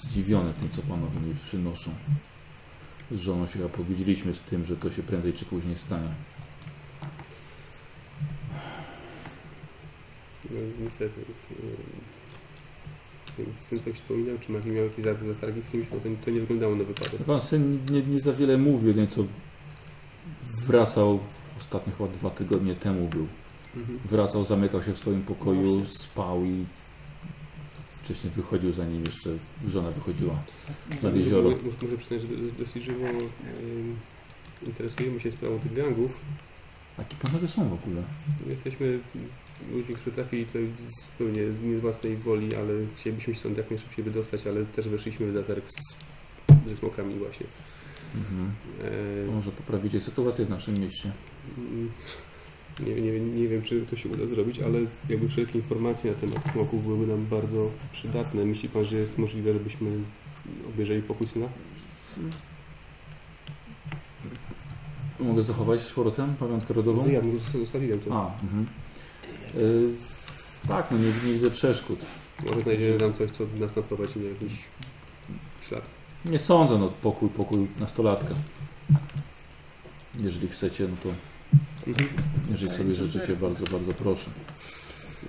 zdziwiony tym, co panowie mi przynoszą. Z żoną się chyba pogodziliśmy z tym, że to się prędzej czy później stanie. No, niestety. Nie wiem, Syn coś wspominał, czy Marii miał jakieś zat- zatargi z kimś, bo to, to nie wyglądało na wypadek. Pan syn nie, nie za wiele mówił, jedynie co wracał ostatnich chyba dwa tygodnie temu był. Mhm. Wracał, zamykał się w swoim pokoju, spał i wcześniej wychodził, zanim jeszcze żona wychodziła Tak. nad jezioro. Muszę, muszę przyznać, że do- dosyć żywo em, interesujemy się sprawą tych gangów. Jakie panowie są w ogóle? Jesteśmy ludźmi, którzy trafili tutaj zupełnie nie z własnej woli, ale chcielibyśmy się stąd jak najszybciej wydostać, ale też weszliśmy w zatarg z, ze smokami właśnie. Mhm. E, To może poprawicie sytuację w naszym mieście. Mm, Nie, nie, nie wiem, czy to się uda zrobić, ale jakby wszelkie informacje na temat smoków byłyby nam bardzo przydatne. Myśli Pan, że jest możliwe, żebyśmy obejrzeli pokój syna? Mogę zachować z powrotem pamiątkę rodową? No ja mu zosta- zostawiłem to. A, mhm. Y, tak, no nie, nie widzę przeszkód. Może znajdziemy tam coś, co nas naprowadzi na jakiś ślad. Nie sądzę, no pokój, pokój nastolatka. Jeżeli chcecie, no to Mhm. jeżeli sobie życzycie, bardzo, bardzo proszę.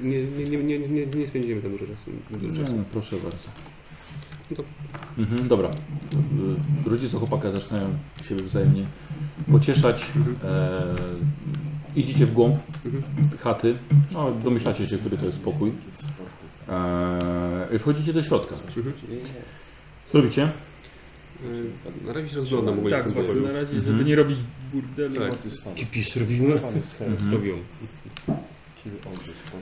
Nie, nie, nie, nie, nie, nie spędzimy tam dużo czasu. Dużo czasu. Nie, proszę bardzo. No to- Mhm, dobra. Y, Rodzice chłopaka zaczynają siebie wzajemnie pocieszać. E, idziecie w głąb Mhm. chaty. No, domyślacie się, który to jest pokój. E, i wchodzicie do środka. Mhm. Co robicie? Y, Na razie się rozglądam ogólnie Tak, w tym właśnie pokoju. na razie, żeby nie robić burdelu. Tak. Kipisz robimy. Pan jest chętny. Mhm. Robią.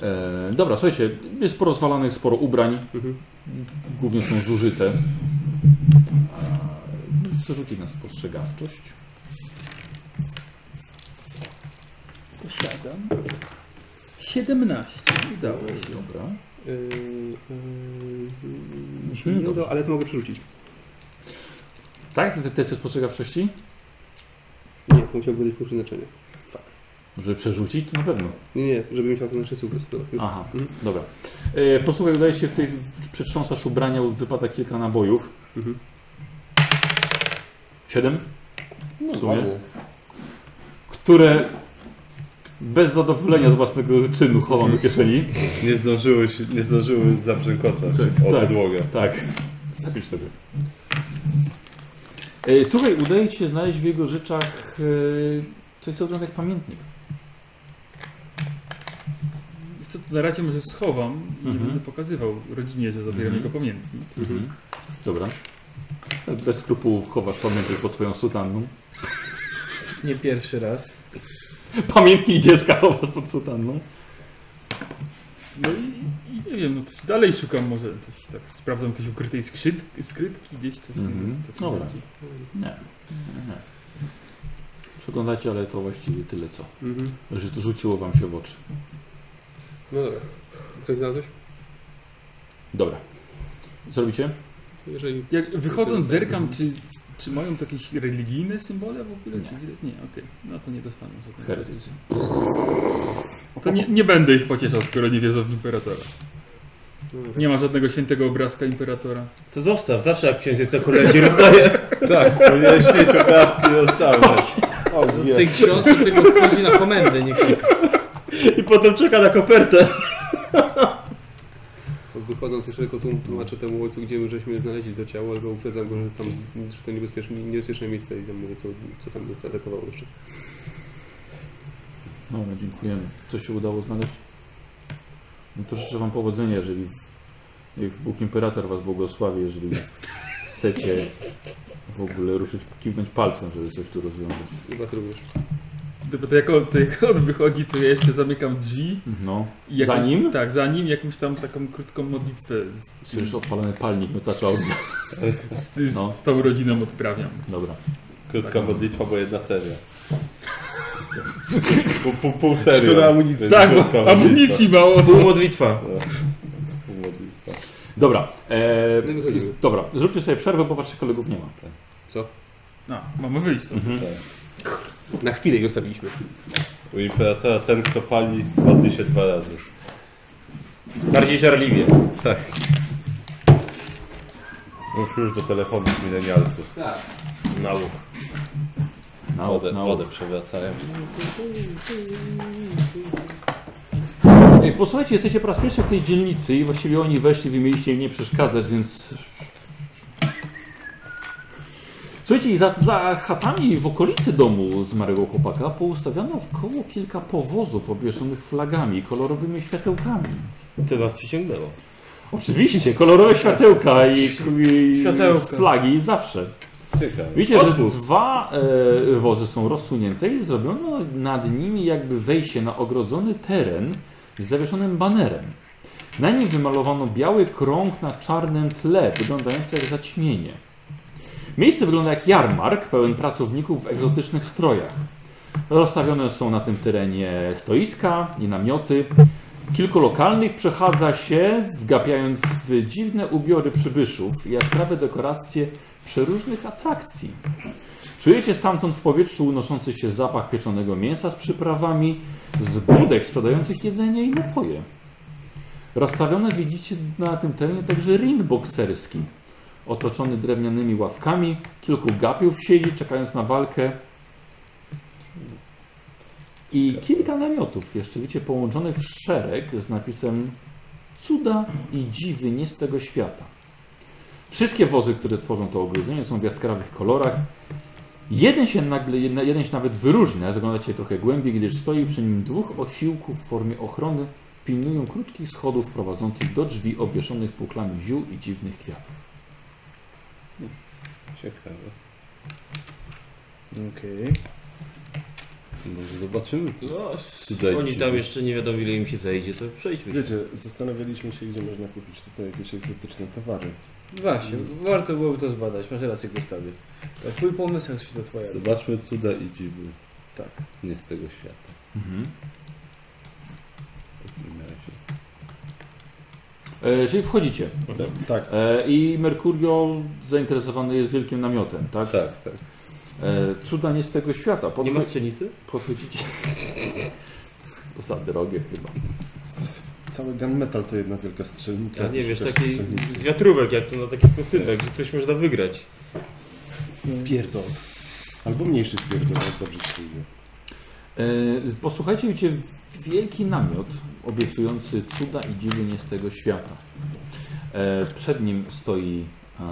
E, dobra, słuchajcie, jest sporo rozwalanych, sporo ubrań. Mhm. Głównie są zużyte. E, Możesz rzucić na spostrzegawczość. posiadam. 17. Udało się. Dobra. Yy, yy, Mhm, no, dobrze. ale to mogę przerzucić. Tak? Ten test jest postrzegawczości? Nie, to musiałby być punkt przeznaczenia. Żeby przerzucić, to na pewno. Nie, nie, żebym miał to na wszyscy po prostu. Już. Aha, Mhm. dobra. E, posłuchaj, udaje się w tej przetrząsasz ubrania, wypada kilka nabojów. Mhm. Siedem? W sumie. Które bez zadowolenia z własnego czynu chowam do kieszeni. Nie zdążyły, się, nie zdążyły zaprzękoczać o tak. podłogę. Tak, zapisz sobie. E, słuchaj, udaje ci się znaleźć w jego rzeczach e, coś, co wygląda jak pamiętnik. Jest to na razie może schowam i Mhm. będę pokazywał rodzinie, że zabieram Mhm. jego pamiętnik. Mhm. Dobra. Bez skrupułów chowasz pamiętnik pod swoją sutanną. <laughs> Nie pierwszy raz. Pamiętnik dziecka chowasz pod sutanną. No i, i nie wiem, no coś dalej szukam może coś tak, sprawdzam jakieś ukrytej skrzyd, skrytki gdzieś coś. Mhm. nie wiem, co tu Dobra. znajdzie. Nie. nie. Przeglądacie, ale to właściwie tyle co. Mhm. Że to rzuciło wam się w oczy. No dobra. Coś znalazłeś? Dobra. Co robicie? Jeżeli Jak wychodząc zerkam, czy, czy mają to jakieś religijne symbole w ogóle? Czy widać? Nie, okej. No to nie dostaną żadnego. Heretycy. rodzaju. To nie, nie będę ich pocieszał, skoro nie wierzą w imperatora. Nie ma żadnego świętego obrazka imperatora. To zostaw, zawsze jak ksiądz jest na kolędzie rozdaje. Tak, powinieneś mieć obrazki zostawać. Ten ksiądz do tego wchodzi na komendę, nie klika. I potem czeka na kopertę. To Wychodząc jeszcze tylko tłum- tłumaczę temu ojcu, gdzie my żeśmy znaleźli to ciało, albo uprzedzam go, że tam że to niebezpieczne, niebezpieczne miejsce i tam mówię, co, co tam nas atakowało jeszcze. Dobra, dziękujemy. Co się udało znaleźć? No to życzę Wam powodzenia, jeżeli niech Bóg Imperator Was błogosławi, <laughs> jeżeli chcecie w ogóle ruszyć, kiwnąć palcem, żeby coś tu rozwiązać. Chyba ty również. Gdyby to jak on, to jak on wychodzi, to ja jeszcze zamykam drzwi. No. I jakąś, Za nim? Tak, za nim jakąś tam taką krótką modlitwę z, Słyszysz odpalony palnik no miotacza ognia. z, z, No. z tą rodziną odprawiam. <laughs> Dobra. Krótka modlitwa, bo jedna seria. Pół, pół, pół serii. Szkoda amunicji. Tak, bo amunicji mało. Pół modlitwa. Pół modlitwa. Dobra. E, No i wychodzimy. dobra, zróbcie sobie przerwę, bo Waszych kolegów nie ma. A, No, mamy wyjść sobie. Na chwilę ich zostawiliśmy. U imperatora ten, kto pali, modli się dwa razy. Bardziej żarliwie. Tak. Już już do telefonów milenialsów. Tak. Na łuk. Na, Wodę, na wodę przewracają. Ej, E, posłuchajcie, jesteście po raz pierwszy w tej dzielnicy i właściwie oni weszli, wy mieliście im nie przeszkadzać, więc... Słuchajcie, i za, za chatami w okolicy domu zmarłego chłopaka poustawiano w koło kilka powozów obwieszonych flagami, kolorowymi światełkami. To nas przyciągnęło. Oczywiście, kolorowe światełka i, i Światełka. flagi zawsze. Ciekawe. Widzicie, że dwa e, wozy są rozsunięte i zrobiono nad nimi jakby wejście na ogrodzony teren z zawieszonym banerem. Na nim wymalowano biały krąg na czarnym tle, wyglądający jak zaćmienie. Miejsce wygląda jak jarmark, pełen pracowników w egzotycznych strojach. Rozstawione są na tym terenie stoiska i namioty. Kilku lokalnych przechadza się, wgapiając w dziwne ubiory przybyszów i jaskrawe dekoracje przeróżnych atrakcji. Czujecie stamtąd w powietrzu unoszący się zapach pieczonego mięsa z przyprawami, z budek sprzedających jedzenie i napoje. Rozstawione widzicie na tym terenie także ring bokserski, otoczony drewnianymi ławkami, kilku gapiów siedzi czekając na walkę i kilka namiotów jeszcze widzicie połączonych w szereg z napisem cuda i dziwy nie z tego świata. Wszystkie wozy, które tworzą to ogrodzenie, są w jaskrawych kolorach. Jeden się nagle, jedna- jeden się nawet wyróżnia, zaglądacie trochę głębiej, gdyż stoi przy nim dwóch osiłków w formie ochrony, pilnują krótkich schodów prowadzących do drzwi obwieszonych puklami ziół i dziwnych kwiatów. Ciekawe. Okej. Może zobaczymy, co Oni tam jeszcze nie wiadomo ile im się zajdzie, to przejdźmy się. Wiecie, zastanawialiśmy się, gdzie można kupić tutaj jakieś egzotyczne towary. Właśnie, warto byłoby to zbadać. Masz rację, Gustawie. To Twój pomysł, jak się to twoja. Zobaczmy cuda i dziwy. nie z tego świata. Mhm. W takim razie. E, Czyli wchodzicie. Tak. E, I Merkurio zainteresowany jest wielkim namiotem, tak? Tak, tak. E, cuda nie z tego świata. Podchodź, Nie ma strzelnicy? <laughs> Podchodzicie. Za drogie chyba. Cały gunmetal to jedna wielka strzelnica. Ja nie Też wiesz, też taki strzelnica. z wiatrówek, jak to na takich kusynkach, że coś można wygrać. Pierdol. Albo mniejszych pierdol, jak dobrze ci pójdzie. E, posłuchajcie, widzicie wielki namiot obiecujący cuda i dziwy nie z tego świata. E, przed nim stoi e,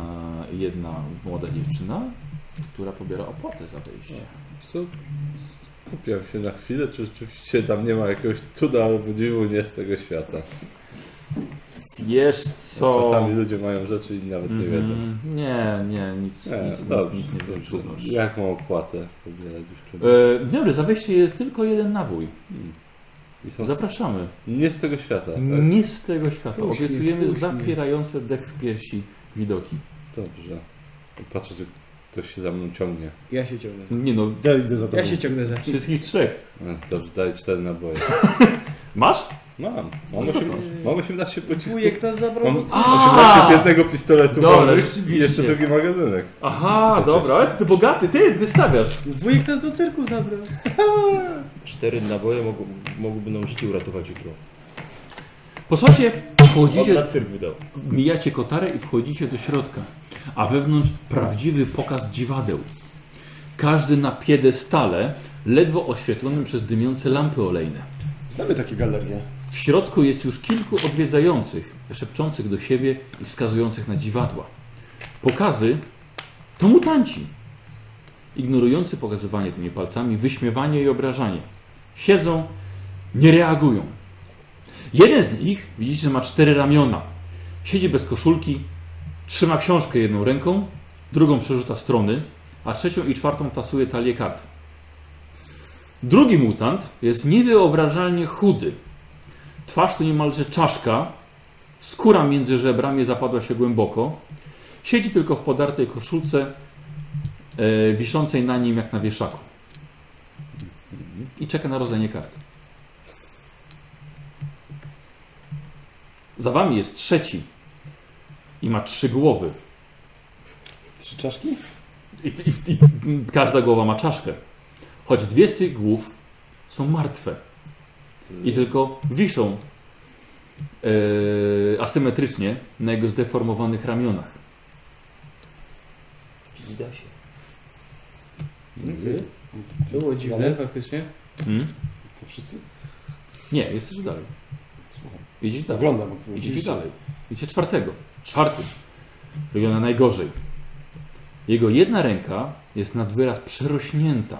jedna młoda dziewczyna, która pobiera opłatę za wejście. Co? Kupiam się na chwilę, czy rzeczywiście tam nie ma jakiegoś cuda albo dziwu nie z tego świata. Wiesz co? Czasami ludzie mają rzeczy i nawet nie wiedzą. Mhm. Nie, nie, nic, Nie, nic, nic, dobrze. nic nie wyczuwasz. Jaką opłatę pobiera dziewczyna? E, dzień dobry, za wejście jest tylko jeden nabój. I są z... Zapraszamy. nie z tego świata, tak? Nie z tego świata. Obiecujemy zapierające dech w piersi widoki. Dobrze. Patrzę, czy ktoś się za mną ciągnie. Ja się ciągnę. Nie no, Ja idę za tobą. Ja się ciągnę za. wszystkich trzech. Więc dobrze, daj cztery naboje. Masz? Mam. Mam, osiem, mam 18 pocisków. Wujek nas zabrał. Mam bo co? 18 z jednego pistoletu Dobra, wolnych i rzeczywiście. jeszcze drugi magazynek. Aha, dobra, ale ty, ty bogaty, ty, ty stawiasz. Wujek nas do cyrku zabrał. Cztery naboje mogą, mogłyby nam życie uratować jutro. Posłuchajcie, On na wchodzicie, cyrk dał. mijacie kotarę i wchodzicie do środka. A wewnątrz prawdziwy pokaz dziwadeł. Każdy na piedestale, ledwo oświetlonym przez dymiące lampy olejne. Znamy takie galerie. W środku jest już kilku odwiedzających, szepczących do siebie i wskazujących na dziwadła. Pokazy to mutanci. Ignorujący pokazywanie tymi palcami, wyśmiewanie i obrażanie. Siedzą, nie reagują. Jeden z nich, widzicie, że ma cztery ramiona. Siedzi bez koszulki, trzyma książkę jedną ręką, drugą przerzuca strony, a trzecią i czwartą tasuje talię kart. Drugi mutant jest niewyobrażalnie chudy, Twarz to niemalże czaszka. Skóra między żebrami zapadła się głęboko. Siedzi tylko w podartej koszulce, e, wiszącej na nim jak na wieszaku. I czeka na rozdanie kart. Za wami jest trzeci. I ma trzy głowy. Trzy czaszki? I, i, i każda głowa ma czaszkę. Choć dwie z tych głów są martwe. I tylko wiszą e, asymetrycznie na jego zdeformowanych ramionach. Czyli da się. Mhm. To było dziwne, Mamy? faktycznie. Mm? To wszyscy? Nie, jesteś dalej. Słucham. Idziesz dalej. Oglądam. Idziecie dalej. Idziecie czwartego. Czwarty. Wygląda najgorzej. Jego jedna ręka jest nad wyraz przerośnięta.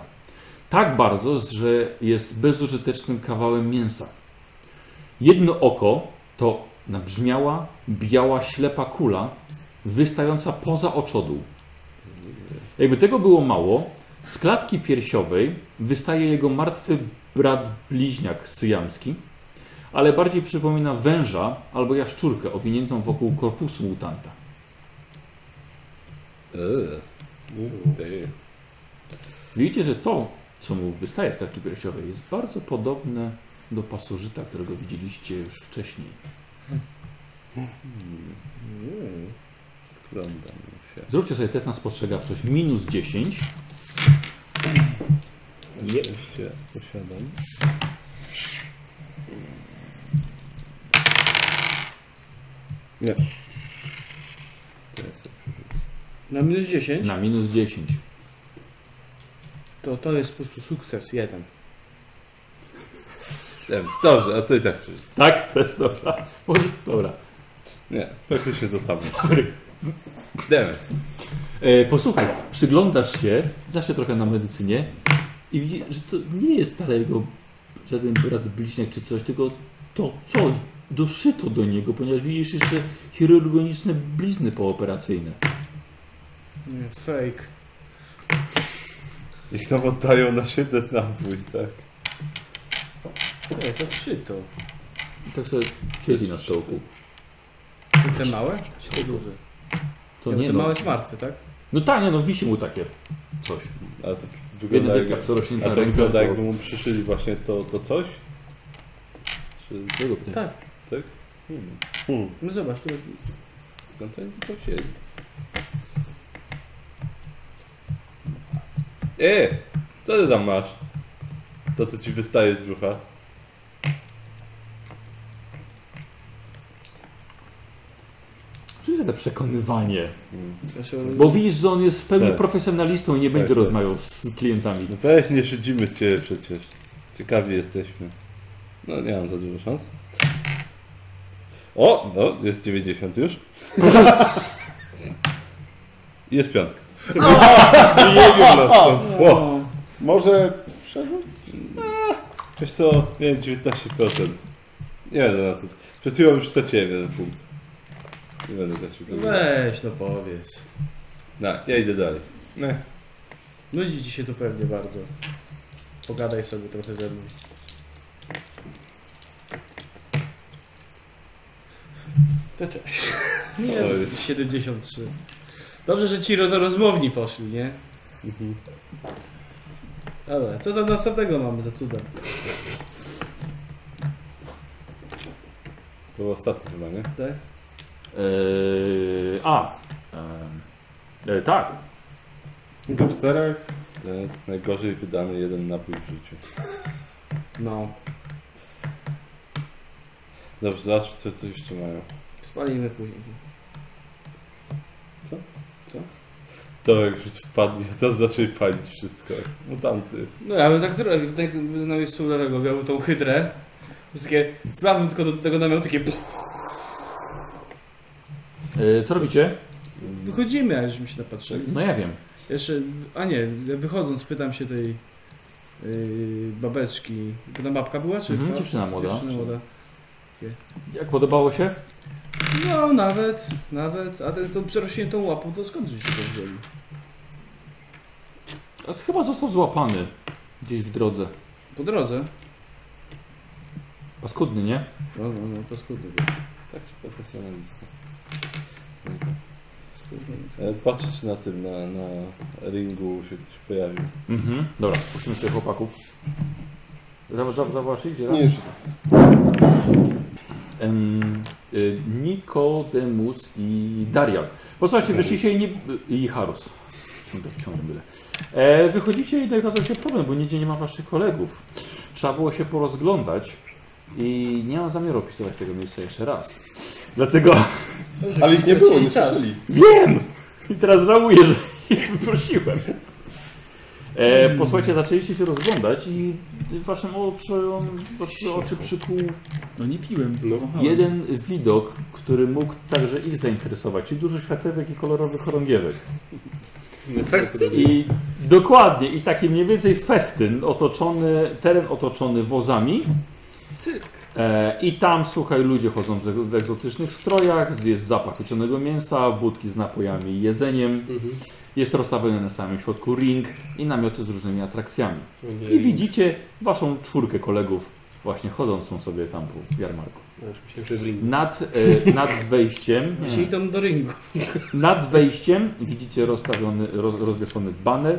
Tak bardzo, że jest bezużytecznym kawałem mięsa. Jedno oko to nabrzmiała, biała, ślepa kula wystająca poza oczodół. Jakby tego było mało, z klatki piersiowej wystaje jego martwy brat bliźniak syjamski, ale bardziej przypomina węża albo jaszczurkę owiniętą wokół korpusu mutanta. Eee, ty. Widzicie, że to, co mu wystaje z klatki piersiowej, jest bardzo podobne do pasożyta, którego widzieliście już wcześniej. Oglądam się. Zróbcie sobie test na spostrzegawczość. Minus 10. Nie. Się posiadam. Nie. To jest Na minus 10 Na minus 10. to to jest po prostu sukces jeden. Em, Dobrze, a ty tak czy... Tak chcesz, dobra. Możesz, dobra. Nie, praktycznie to samo. Demet. E, posłuchaj, przyglądasz się, zawsze trochę na medycynie i widzisz, że to nie jest wcale jego żaden brat bliźniak czy coś, tylko to coś doszyto do niego, ponieważ widzisz jeszcze chirurgoniczne blizny pooperacyjne. Nie, Fake. Niech nam oddają na siebie napój, tak? Nie, to trzy to. I tak sobie siedzi na stołku. Te małe? Czy te duże? To Nie, bo nie te no, małe jest martwe, tak? No tak, nie no, wisi mu takie coś. Ale to Jedna wygląda wielka tak jak, a przerośnięta to ręka. wygląda jakby mu przyszyli właśnie to, to coś? Czy Według mnie. Tak. tak? Hmm. Hmm. No zobacz, tu Skąd to to wzięli? E! Co ty tam masz? To co ci wystaje z brzucha? Czyli to przekonywanie. Znaczy, Bo widzisz, że on jest w pełni Tak. profesjonalistą i nie będzie Tak, tak. rozmawiał z klientami. No weź, nie szydzimy z ciebie przecież. Ciekawi jesteśmy. No nie mam za dużo szans. O! No, jest 90 już. <laughs> jest piątka. O! Może przeżył? Wiesz co, miałem 19%. Nie będę na to. Przed chwilą już straciłem jeden punkt. Nie będę tracił. tego. weź no powiedz. No, ja idę dalej. Ne. Nudzi ci się to pewnie bardzo. Pogadaj sobie trochę ze mną. To cześć. <laughs> Nie, To jest- 73. Dobrze, że ci do rozmowni poszli, nie? Mhm. Dobra, co tam następnego mamy za cuda? To było ostatnie chyba, nie? Tak? Eee, E, a. em, E, tak. Tylko czterech. Ten E, najgorzej wydany jeden napój w życiu. No. Dobrze, zobacz co tu jeszcze mają. Spalimy później. To jak już wpadnie, <laughs> to zaczęli palić wszystko. Mutanty. No ja bym tak zrobił, tak jakby na miejscu lewego miał tą hydrę. Wszystkie, wlazłem tylko do tego namiotu, takie puch, E, co robicie? wychodzimy, a już mi się napatrzyli. No ja wiem. Jeszcze, a nie, wychodząc pytam się tej yy, babeczki, bo tam babka była, czy Mhm, fra- dziewczyna młoda. dziewczyna młoda. Jak podobało się? No nawet, nawet, a ten z tą przerośniętą łapą, to skąd się to wzięli? A Chyba został złapany gdzieś w drodze. Po drodze. Paskudny, nie? No, no, no, to skudny był. Taki profesjonalista. Znajdę. E, Patrzę czy na tym, na, na ringu się ktoś pojawił. Mhm. Dobra, puścimy sobie chłopaków. Zobacz, zobacz, zobacz idzie. Nie, jeszcze Em, y, Nikodemus i Darian. Posłuchajcie, wyszliście i, nie, i Harus. Ciągle, ciągle byle. E, wychodzicie i nawiązał się problem, bo nigdzie nie ma waszych kolegów. Trzeba było się porozglądać i nie mam zamiaru opisywać tego miejsca jeszcze raz. Dlatego Ale ich nie było, nie czas. słyszeli. wiem i teraz żałuję, że <laughs> ich wyprosiłem. E, posłuchajcie, zaczęliście się rozglądać i waszym oczom, wasze oczy przykuł No nie piłem. No. Aha. Jeden widok, który mógł także ich zainteresować, czyli dużo światełek i kolorowych chorągiewek. Festy? I dokładnie, i taki mniej więcej festyn otoczony, teren otoczony wozami. Cyrk. E, I tam, słuchaj, ludzie chodzą w, w egzotycznych strojach, jest zapach uczonego mięsa, budki z napojami i jedzeniem. Jest rozstawiony na samym środku ring i namioty z różnymi atrakcjami. No I widzicie waszą czwórkę kolegów właśnie chodzącą sobie tam po jarmarku. Aż no, myślałem, że w ringu. Nad, e, nad <laughs> wejściem... Właśnie idą do ringu. Nad wejściem widzicie rozstawiony, roz, rozwieszony baner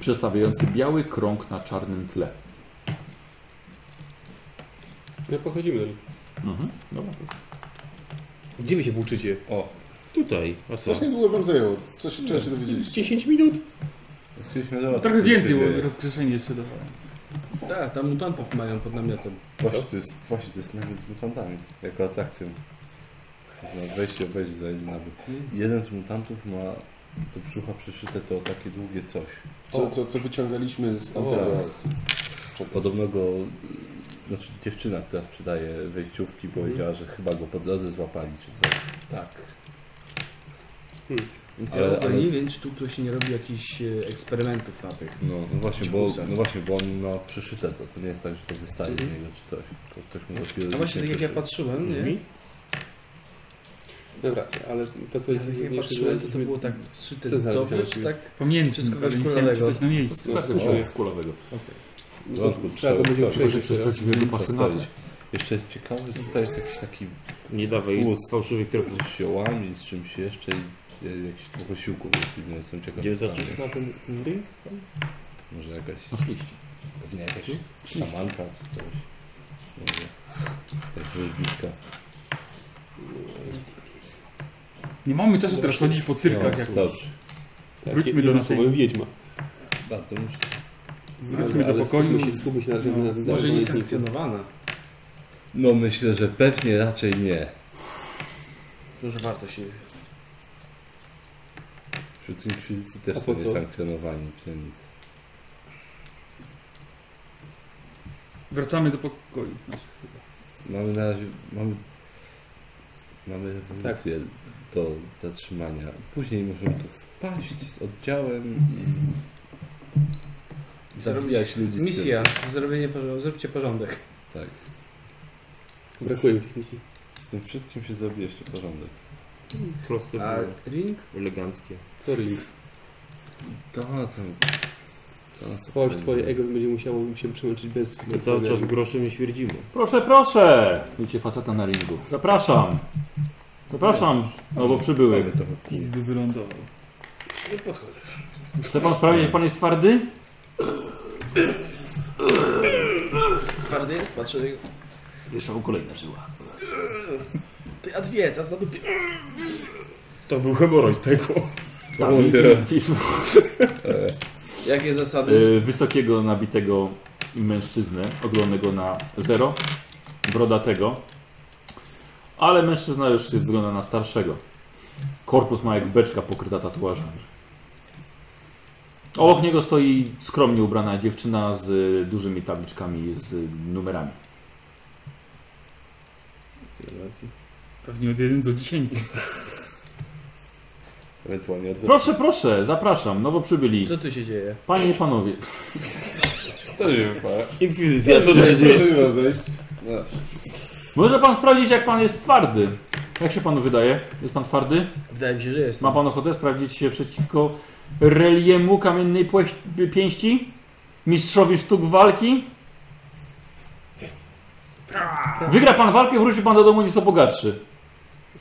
przedstawiający biały krąg na czarnym tle. No pochodzimy do nich. Mhm. Dobra, proszę. Gdzie wy się włóczycie? O. Tutaj, o co? Strasznie długo wam zajęło. Coś trzeba się dowiedzieć. 10 minut? Chcieliśmy zobaczyć. Trochę co się więcej, dzieje. bo rozgrzeszenie jeszcze dawałem. Tak, tam mutantów mają pod namiotem. Właśnie to jest, właśnie to jest nawet z mutantami, jako atrakcją. Na wejście wejść za jeden nabyt. Jeden z mutantów ma do brzucha przyszyte to takie długie coś. Co, co, co wyciągaliśmy z tamtego. Podobno go, znaczy dziewczyna, która sprzedaje wejściówki, powiedziała, że chyba go po drodze złapali czy coś. Hmm. Tak. Więc Ale- ja ale, ale- nie wiem, czy tu ktoś nie robi jakichś e, eksperymentów na tych. No, no właśnie, bo, Dzikusem. no właśnie, bo on ma przyszyte to. To nie jest tak, że to wystaje z niego czy coś. Tylko ktoś mu dopiero... No właśnie, tak jak ja patrzyłem, Mhm. nie? Dobra, ale to co jest Jak ja ważniejsze, patrzyłem, to to żeśmy- było tak zszyte Co za dobrze, lepiej czy robię? tak? Pamiętam, Wszystko ale nie chciałem kulawego. czytać na miejscu. Sprawdzę się kulowego. No, Wątku, Trzeba go będzie trzeba przejść Proszę jeszcze tak. raz. przeprosić wielu pasjonatów. Postawić. Jeszcze jest ciekawe, że tutaj jest jakiś taki Nie dawaj Fus. fałszywych trochę. z ziołami, z czymś jeszcze i e, jakichś posiłków, jeśli nie jestem ciekaw. Gdzie co tam zaczęliśmy na jest. ten, ten ring? Może jakaś, Oczywiście. pewnie jakaś szamanka czy coś. Może jakaś wróżbitka. Nie mamy czasu teraz chodzić po No, cyrkach. Jak... Dobrze, Wróćmy Jak do jednym naszej- słowem wiedźma. bardzo muszę. Wróćmy Ale- ale do pokoju. Skupmy się, skupmy się na razie No, na tym Może dalej, nie bo nic nie- sankcjonowana. No myślę, że pewnie raczej nie. Może warto się... Wśród inkwizycji też A są po co? niesankcjonowani pszenicy. Wracamy do pokoju. naszych. Mamy na razie, mamy, mamy rewolucję do zatrzymania. Później możemy tu wpaść z oddziałem i zabijać ludzi. z tym. Misja, zrobienie porządku, zróbcie porządek. Tak. Brakuje mi tych misji. Z tym wszystkim się zrobi jeszcze porządek. Proste A było. ring? Eleganckie. Sorry, Link. To tam... To nas Chodź, twoje ego będzie musiało się przemęczyć bez... My cały czas groszem nie śmierdzimy. Proszę, proszę! Widzicie faceta na ringu. Zapraszam! Zapraszam, nowo przybyły. Mamy trochę Pizdu wylądował. Chce pan sprawdzić, jak pan jest twardy? Twardy jest, patrzę. Jeszcze mu kolejna żyła. Ty, a dwie, teraz na dupie. To był hemoroid, pękło. Tak, O i- nie. i- <laughs> i- Jakie zasady? y, wysokiego, nabitego mężczyznę, oglonego na zero, brodatego, ale mężczyzna już wygląda na starszego. Korpus ma jak beczka pokryta tatuażami. Obok niego stoi skromnie ubrana dziewczyna z y, dużymi tabliczkami z numerami. Pewnie od 1 do 10. ewentualnie odwrócić. Proszę, proszę, zapraszam, nowo przybyli. Co tu się dzieje? Panie i panowie, To nie wypada. Inkwizycja, co <laughs> Proszę to się dzieje? się rozejść. No, może pan sprawdzić, jak pan jest twardy? Jak się panu wydaje? Jest pan twardy? Wydaje mi się, że jest. Ma pan ochotę sprawdzić się przeciwko reliemu kamiennej płeś- pięści? Mistrzowi sztuk walki? Wygra pan walkę, wróci pan do domu nieco bogatszy.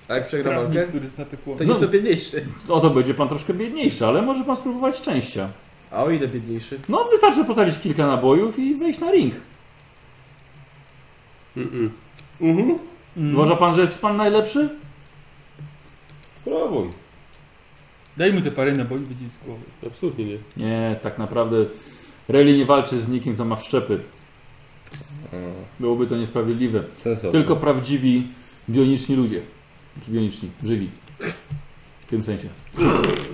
A jak przegra Prawnik, walkę? który zna te kłopoty. To nieco biedniejszy. Oto będzie pan troszkę biedniejszy, ale może pan spróbować szczęścia. A o ile biedniejszy? No, wystarczy postawić kilka nabojów i wejść na ring. Mm-mm. Mm. Uważa pan, że jest pan najlepszy? Próbuj. Daj mu te parę naboi, będzie z głowy. Absolutnie nie. Nie, tak naprawdę Reli nie walczy z nikim, kto ma wszczepy. no, Byłoby to niesprawiedliwe. sensowne. Tylko prawdziwi, bioniczni ludzie. Znaczy Bioniczni, żywi. W tym sensie.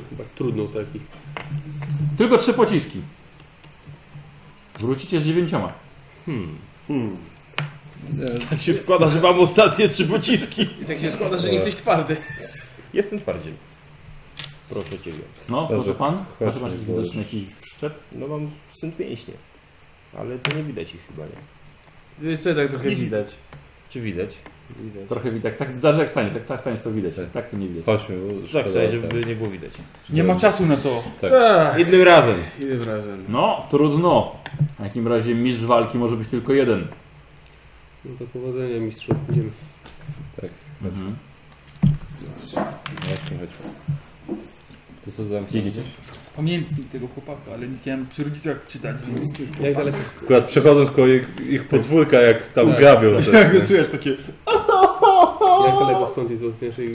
Chyba trudno u takich. Tylko trzy pociski. Wrócicie z dziewięcioma. Tak się składa, że mam ostatnie trzy pociski. I tak się składa, że nie jesteś twardy. Jestem twardziej. Proszę Ciebie. No, Dobrze. proszę pan. Proszę pan Chodźmy, jakiś bo widoczny już- jakiś wszczep. No mam synt mięśnie. Ale to nie widać ich chyba, nie? Co tak trochę widać? Czy widać? Widać. Trochę widać. Tak, zależy jak staniesz. Jak tak staniesz to widać. Tak. Tak to nie widać. Chodźmy, bo Tak szkoda, sobie, tak. żeby nie było widać. Nie ma czasu na to. Ach, Jednym razem. Innym razem. No, trudno. W takim razie mistrz walki może być tylko jeden. No to powodzenia mistrzu. Idziemy. Tak, Mhm. chodźmy, chodźmy. To co tam Idziecie? Pamiętnik tego chłopaka, ale nie chciałem przy rodzicach czytać, No, więc... Jak daleko? Akurat przechodząc koło ich, ich podwórka, jak tam Tak, gabią. Jak go słyszysz takie... Jak daleko stąd jest od naszej... yy,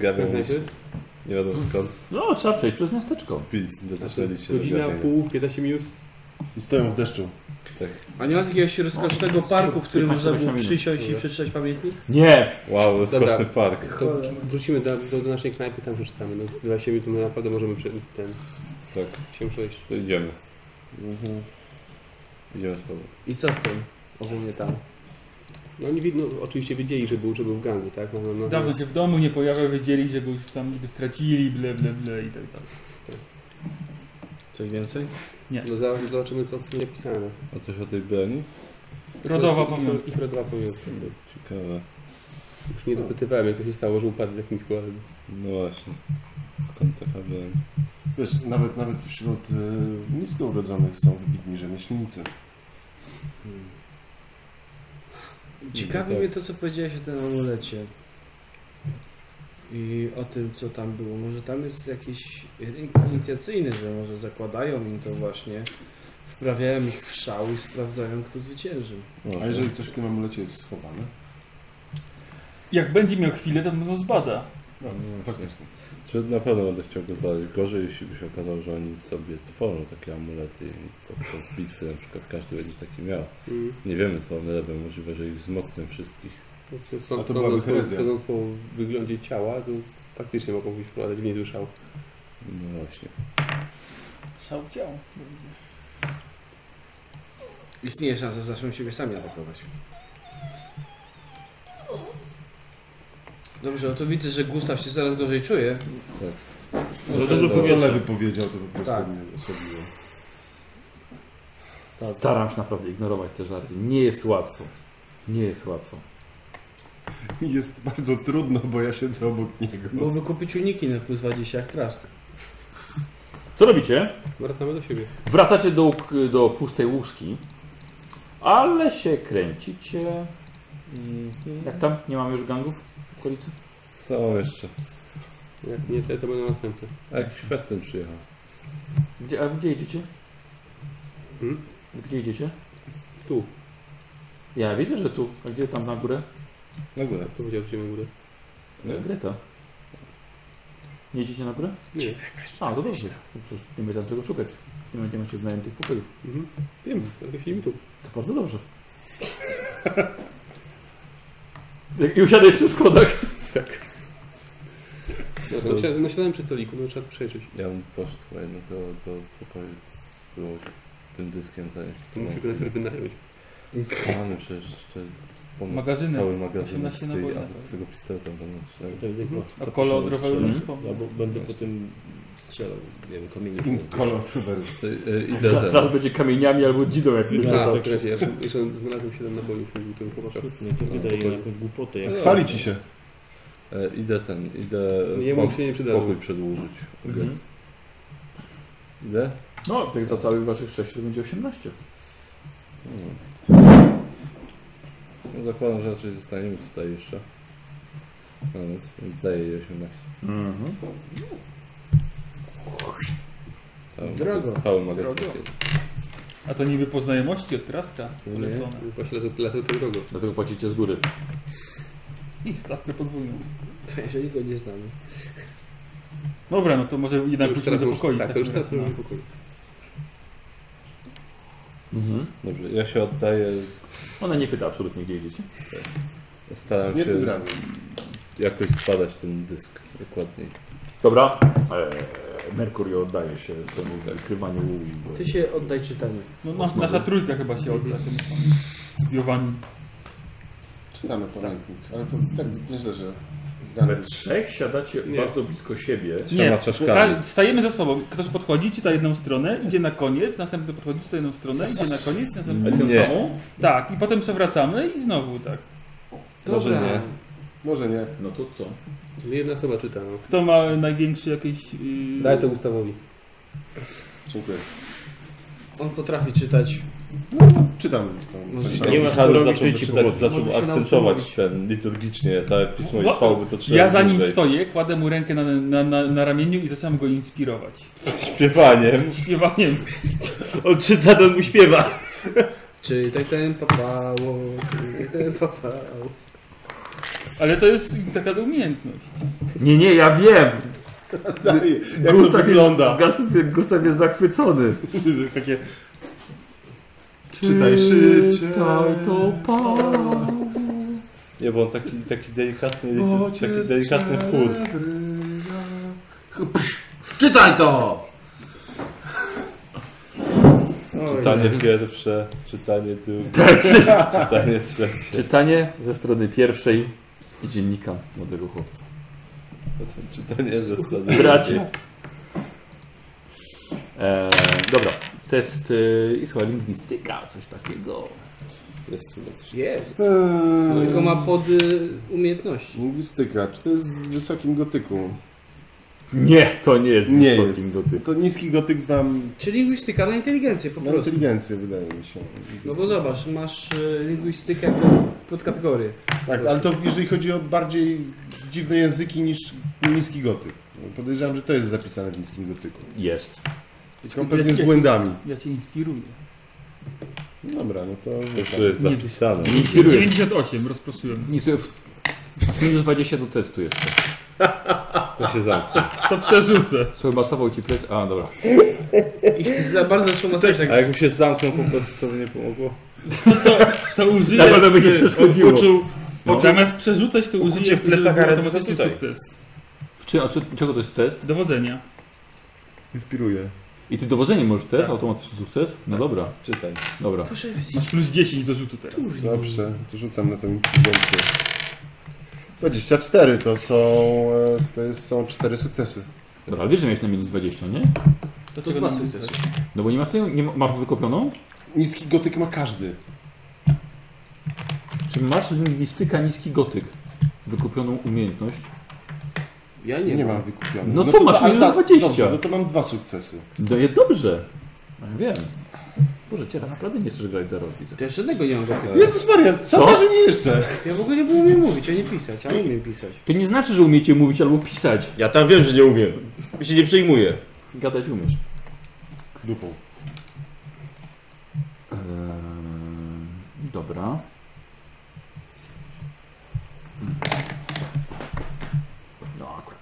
Gawią mi się. knajpy? <laughs> Nie wiadomo skąd. No, trzeba przejść przez miasteczko. Pić, dotrzeli się do Godzina, gawienia. pół, 15 minut. I stoją w deszczu. A nie ma jakiegoś rozkosznego parku, w którym 15 można było No. minut. przysiąść i przeczytać pamiętnik? Nie! Wow, rozkoszny Dobra. park. To wrócimy do, do, do naszej knajpy, tam przeczytamy. No, 20 minut no, naprawdę możemy prze, ten, Tak, się przejść. to idziemy. Mhm. Idziemy z powrotem. I co z tym? Ogólnie tam. No oni widno, oczywiście wiedzieli, że był, że był w gangu, tak? No, no, no, Dawno się w domu nie pojawiał, wiedzieli, że go już tam niby stracili, ble, ble, ble i tak dalej. Coś więcej? no zaraz zobaczymy, co w nim napisane. A coś o tej broni? Rodowa To jest ich- pamiątka. Ich rodowa pamiątka. no. Ciekawe. Już nie dopytywałem, jak to się stało, że upadł tak nisko, ale... No właśnie. Skąd taka broń? Wiesz, nawet, nawet wśród y, niskourodzonych są wybitni rzemieślnicy. Ciekawi tak. mnie to, co powiedziałeś o tym amulecie. I o tym, co tam było. Może tam jest jakiś ryk inicjacyjny, że może zakładają im to właśnie, wprawiają ich w szał i sprawdzają, kto zwyciężył. No A jeżeli coś w tym amulecie jest schowane? Jak będzie miał chwilę, to go zbada. No, faktycznie. Czy na pewno będę chciał go badać gorzej, jeśli by się okazało, że oni sobie tworzą takie amulety i podczas bitwy na przykład każdy będzie taki miał. Mm. Nie wiemy co one robią, możliwe, że ich wzmocnią wszystkich. Znaczy, A Sąd, to byłaby sądząc, po, herezja. sądząc po wyglądzie ciała, to faktycznie mogą być wprowadzać w niezły szał. No właśnie. Szał ciał. Istnieje szansa, że zaczną siebie sami atakować. Dobrze, no to widzę, że Gustaw się coraz gorzej czuje. Za dużo No, to, Tak. co Lewy powiedział, to po prostu mnie osłabiło. Staram się naprawdę ignorować te żarty. Nie jest łatwo. Nie jest łatwo. Mi Jest bardzo trudno, bo ja siedzę obok niego. Byłoby kupić uniki na plus 20 jak trask. Co robicie? Wracamy do siebie. Wracacie do, do pustej łuski, ale się kręcicie. Jak tam? Nie mamy już gangów w okolicy? Co mam jeszcze? Jak nie te, to będą następne. A jakiś festyn przyjechał. Gdzie, a gdzie idziecie? Hmm? Gdzie idziecie? Tu. Ja widzę, że tu. A gdzie tam na górę? Na górę. To powiedział, że idziemy w górę. Na Greta. Nie idziecie na górę? Nie. A, to dobrze. To przecież Nie będziemy tam tego szukać. Nie będziemy się wynająć tych pokojów. Mhm. Wiem, dlatego siedzimy tu. To bardzo <laughs> dobrze. I usiadaj przy schodach. No, to nasiadłem- Nasiadłem przy stoliku, no trzeba to przejrzeć. Ja bym poszedł chyba jednak do, do pokoju, było tym dyskiem zająć. To muszę go najpierw wynająć. Mamy przecież jeszcze ponad Magazyny. cały magazyn 18 z, naboi tej, na a, pewno. z tego pistoletu. tam na- A kolo od roweru Mhm. nie przypomnę. Ja bo będę po tym strzelał, nie wiem, kamienie. Kolor truberu. To, e, Idę Teraz ten. teraz będzie kamieniami albo dzidą jak już Tak, wracał. tak, tak. Ja jeszcze znalazłem 7 nabojów u tego chłopaka. No to wydaje na jakąś głupotę. Jak... Chwali ci się. E, Idę ten, idę Jemu się nie przydadzą. pokój przedłużyć. Mhm. Idę? No, tych za całych waszych 6 to będzie 18. No zakładam, że raczej zostaniemy tutaj jeszcze. No więc, więc daję jej 18. Mhm. Cały, Drogo. magazyn- cały magazyn. Drogo. A to niby po znajomości od traska polecone. Właśnie lecę, lecę tą drogą. Tak, Dlatego płacicie z góry. I stawkę podwójną. Jeżeli go nie znamy. Dobra, no to może jednak Już pójdźmy do teraz pokoi. może- Tak, w to już takim teraz razie, mamy no. pokoju. Mhm. Dobrze, ja się oddaję. Ona nie pyta absolutnie gdzie idziecie. Staram Nie się tym razem. jakoś spadać ten dysk dokładniej. Dobra. Eee, Merkurio oddaje się temu wykrywaniu. Ty się oddaj czytaniu. No, nas- nasza trójka chyba się Mhm. odda. tym Studiowani. Czytamy poręcznik, ale to tak myślę, że... We trzech siadacie Nie. bardzo blisko siebie. Trzema Nie, czaszkami. ta- stajemy za sobą. Ktoś podchodzi, czyta jedną stronę, idzie na koniec, następny podchodzi, czyta jedną stronę, idzie na koniec, następny... Ale tę Nie. samą? Tak, i potem przewracamy i znowu tak. Może nie. Może nie. No to co? Czyli jedna osoba czyta, no. Kto ma największy jakiś... Yy... Daj to Gustawowi. Dziękuję. On potrafi czytać. Czytam. tą- Może tą- się tą- Nie masz co robić, to ja ci zaczął, pomogę. zaczął Może się akcentować nauczyć ten liturgicznie całe pismo i Wa- trwałoby to trzy No, Ja razy za nim dłużej. stoję, kładę mu rękę na, na, na, na ramieniu i zaczynam go inspirować. <laughs> Śpiewaniem. Śpiewaniem. On czyta, ten mu śpiewa. Czy tak ten papało, czy tak ten papało. Ale to jest taka umiejętność. Nie, nie, ja wiem. Dalej, Tak, Jak to wygląda? Gustaw, Gustaw jest zachwycony. <laughs> To jest takie... Czytaj szybciej. Czytaj to Paweł. Nie, bo on taki, taki delikatny, O, taki delikatny chór. celebryja. Psz, Czytaj to! Czytanie pierwsze, czytanie drugie, Tak, czy- czytanie trzecie. Czytanie ze strony pierwszej dziennika młodego chłopca. Potem czytanie ze strony drugiej. Bracie. E, dobra, test y, jest chyba lingwistyka, coś takiego. Jest chyba coś. Jest. Eee, Tylko ma pod y, umiejętności. Lingwistyka. Czy to jest w wysokim gotyku? Nie, to nie jest Nie wysokim gotyku. To niski gotyk znam Czy lingwistyka na inteligencję po na prostu. inteligencję, wydaje mi się. No bo zobacz, masz y, lingwistykę jako podkategorię. Tak, ale to jeżeli chodzi o bardziej dziwne języki niż niski gotyk. Podejrzewam, że to jest zapisane w niskim gotyku. Jest. Tylko pewnie z błędami. Ja cię inspiruję. Dobra, no to To jest Nie. zapisane. Nie inspiruję. 98, rozproszyłem. Nic, w- w minus 20 do testu jeszcze. To się zamknie. To przerzucę. Co chyba sował ci plec? A, dobra. I za bardzo zaczął nas tak. A jakby się zamknął po prostu, to by nie pomogło. To Na użyję... pewno będzie przeszkodziło. Uczuł, Zamiast przerzucać, to użyję plecach, żeby był ale automatyczny tutaj. sukces. W czy, a czy, czego to jest test? Dowodzenia. inspiruje. I ty dowodzenie możesz też? Automatyczny sukces? No dobra, Czytaj. dobra. Masz plus 10 do rzutu teraz. Dobrze, to rzucam na tą inteligencję. 24 to są, e, to jest, są 4 sukcesy. Dobra, ale wiesz, że miałeś na minus 20, nie? To czego dwa nam sukcesy. używać? No bo nie masz tej, nie ma- masz wykopioną? Niski gotyk ma każdy. Czy masz lingwistyka niski gotyk? Wykupioną umiejętność? Ja Nie, nie, mam wykupionego. No to masz ale minus 20. Dobrze, no to mam dwa sukcesy. Daje No dobrze. No Ja wiem. Boże, cię tak naprawdę nie chcesz grać za rok, widzę. To ja żadnego nie mam gotyka. Jezus Maria, co, Co? dasz mi jeszcze? Ja w ogóle nie byłem umiem mówić, a nie pisać, a umiem pisać. To nie znaczy, że umiecie mówić albo pisać. Ja tam wiem, że nie umiem. Ja się nie przejmuję. Gadać umiesz. Dupą. Eee, dobra. No akurat.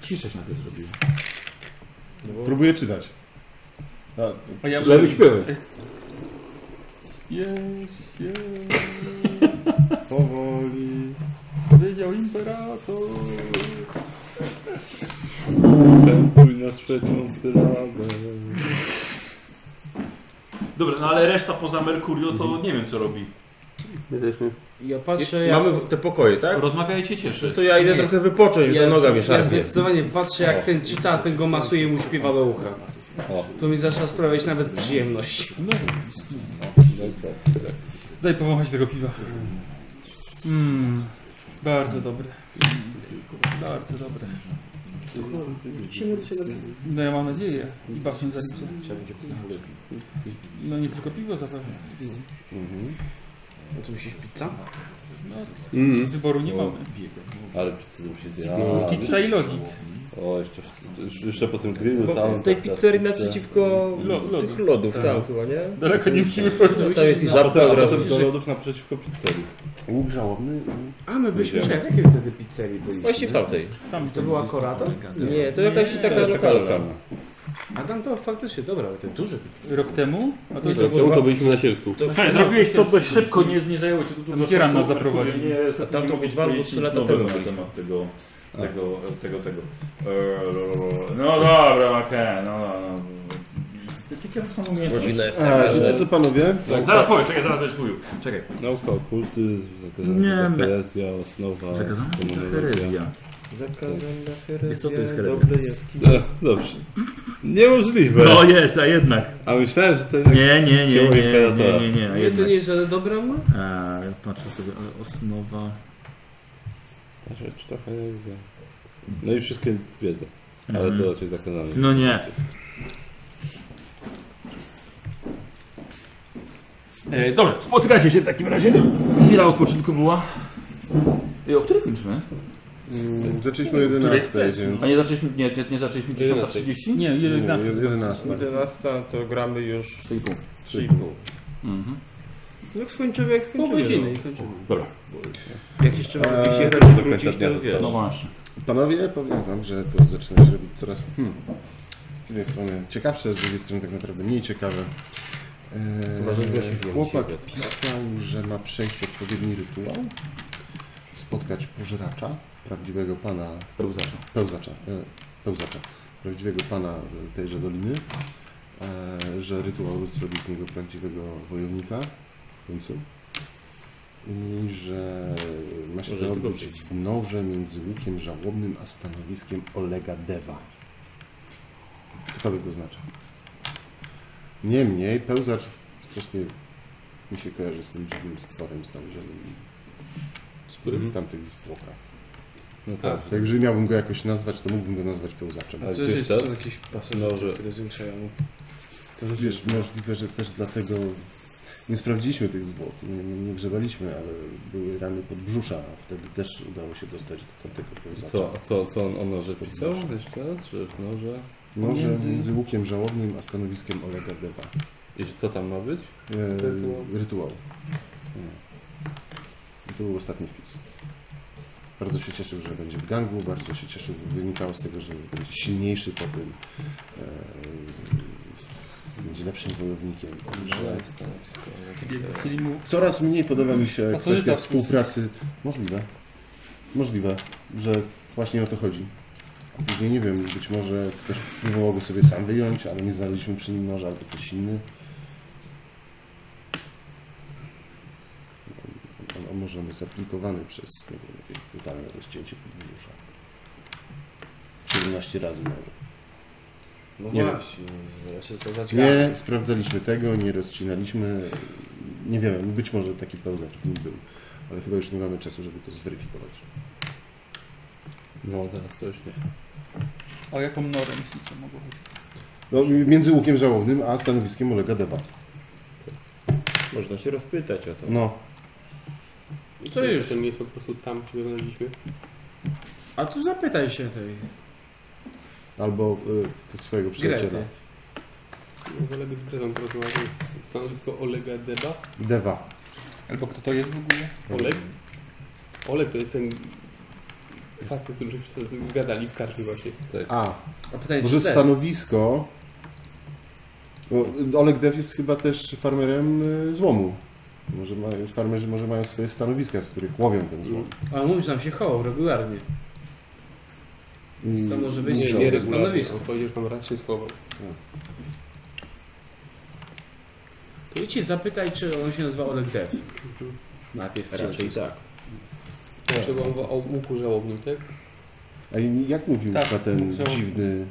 Ciszę się najpierw zrobiłem. Próbuję czytać. A, Żeby śpiewy. Jest, Powoli. Powiedział imperator. Centuj na trzecią sylabę. Dobra, no ale reszta poza Merkurio to nie wiem co robi. Jesteśmy. Ja patrzę, jak, Mamy te pokoje, tak? Rozmawiajcie, cieszy. To ja idę Nie. trochę wypocząć, ja, ja, noga mi ja, ja szarpie. zdecydowanie patrzę, jak ten czyta, a ten go masuje i mu śpiewa do ucha. O. To mi zaczyna sprawiać nawet przyjemność. No. Daj powąchać tego piwa. Mmm, bardzo dobre. Bardzo dobre. No ja mam nadzieję. I basen zaliczę. No nie tylko piwo zapewne. A co musisz pizza? No, Wyboru nie mamy. Ale pizzy to się zje. Pizza i lodzik. O, jeszcze, w- jeszcze po tym grillu całym. Tej tak, tak, pizzerii pizza. naprzeciwko Lo, lodów. tych lodów, tak chyba, nie? Daleko nie musimy chodzić. To jest Żartem Żartem razem razem do lodów naprzeciwko pizzerii. Łuk żałobny. mm. A my byliśmy, Idziemy. czekaj, w jakiej wtedy pizzerii byliśmy? Właśnie w tamtej. Tam To była Korada? Nie, to jakaś taka jest Tak. taka lokalna. lokalna. A tam to faktycznie, dobra, ale to duży pizzerii. Rok temu? A to, tak. to było- Czemu to byliśmy na Siersku? Słuchaj, zrobiłeś to dość szybko, nie, nie zajęło cię to dużo Dzieran czasu. nas zaprowadził. Merkurio, Nie, niestety tam nie to mogę być dwa albo powiedzieć trzy nic lata nowego temu na byliśmy. temat tego, tego, tego, tego. Eee, No dobra, okej, no no. no. Jakie masz tam umiejętności? Godzinę. E, wiecie co panowie? Zaraz powiem, czekaj, zaraz będziesz mówił. Czekaj. Nauka, okultyzm, Nie, zakazana herezja, osnowa. Zakazana demonologia. herezja. Wiesz co to jest herezja? E, Dobrze. Niemożliwe. No jest, a jednak. A myślałem, że to Nie, nie, nie, nie, Ciągle nie, nie, imperatora. nie, nie, a Nie, to jednak. nie jest żaden dobra ma? Eee, Patrzę sobie, ale e, osnowa... Ta rzecz, ta herezja. No i wszystkie wiedzą, ale to raczej zakazane. No nie. E, dobra, spotykacie się w takim razie. Chwila odpoczynku była. I o której kończymy? Mm, Zaczęliśmy o 11, więc... A nie zaczęliśmy, nie, nie, nie zaczęliśmy 10.30? Nie, 11. 11. 11 to gramy już 3,5. 3,5. Mhm. No skończymy jak skończymy. Pół godziny i kończymy. Dobra, Jak jeszcze mamy Eee, eee, Do końca wrócić, dnia to wiesz. no zostało. właśnie. Panowie, powiem wam, że to zaczyna się robić coraz hmm, z jednej strony ciekawsze, z drugiej strony tak naprawdę mniej ciekawe. Chyba, że zgłosił Eee, się chłopak Piotr. pisał, że ma przejść odpowiedni rytuał, spotkać pożeracza, prawdziwego pana Pełzacza. pełzacza, e, pełzacza prawdziwego pana e, tejże doliny, e, że rytuał zrobi z niego prawdziwego wojownika w końcu i że ma się Może to tylko odbyć być. w noże między łukiem żałobnym a stanowiskiem Olega Dewa. Cokolwiek to znaczy. Niemniej pełzacz strasznie mi się kojarzy z tym dziwnym stworem znalezionym w tamtych zwłokach. No tak. To jeżeli miałbym go jakoś nazwać, to mógłbym go nazwać pełzaczem. Ale Co gdzieś się- To Tak. są jakieś pasażery, Może. które zwiększają mu. Wiesz, możliwe, że też dlatego nie sprawdziliśmy tych zwłok, nie, nie, nie grzebaliśmy, ale były rany podbrzusza, a wtedy też udało się dostać do tamtego pełzacza. Co, a co, co on, on noże Spod pisał? brzucha. Jeszcze raz, że w noże? Może Między- między... łukiem żałobnym a stanowiskiem Olega Dewa. I co tam ma być? E, Rytuał. rytuał. Nie. I To był ostatni wpis. Bardzo się cieszył, że będzie w gangu, bardzo się cieszył, wynikało z tego, że będzie silniejszy po tym, e, będzie lepszym wojownikiem, że Czyli mu Coraz mniej podoba mi się Pasożyta kwestia wpuścić. współpracy. Możliwe. Możliwe, że właśnie o to chodzi. A Później nie wiem, być może ktoś próbował go sobie sam wyjąć, ale nie znaleźliśmy przy nim noża albo ktoś inny. On, on może on jest aplikowany przez nie wiem, jakieś brutalne rozcięcie podbrzusza. 17 razy mało. No Nie właśnie, ja się to zaciągałem. Nie sprawdzaliśmy tego, nie rozcinaliśmy. Nie wiemy, być może taki pełzacz w nim był, ale chyba już nie mamy czasu, żeby to zweryfikować. No teraz coś nie. O jaką norę myślicie mogło chodzić? No, między łukiem żałobnym a stanowiskiem Olega Dewa. Można się rozpytać o to. No, To już. Ten jest po prostu tam, gdzie go znaleźliśmy. A tu zapytaj się tej albo y, to swojego przyjaciela. Grety. No, Kolega z Gretą porozmawiał. Stanowisko Olega Deba. Dewa. Albo kto to jest w ogóle? <laughs> Oleg? Oleg to jest ten facet, z którym żeśmy sobie gadali w karczmie właśnie. A, A pytanie, może czy ten? stanowisko... Bo y, Oleg Dew jest chyba też farmerem y, złomu. Może ma, farmerzy może mają swoje stanowiska, z których łowią ten złom. A mówisz, nam się chował regularnie. I To może być muszą- nie, regularnie. stanowisko. On powiedział, że tam raz się schował. To idź się zapytaj, czy on się nazywa Oleg Dev. Najpierw Raczej cię- tak. Trzeba mowa o łuku żałobnym, tak? A i jak mówił Tak, chyba ten muszą- dziwny...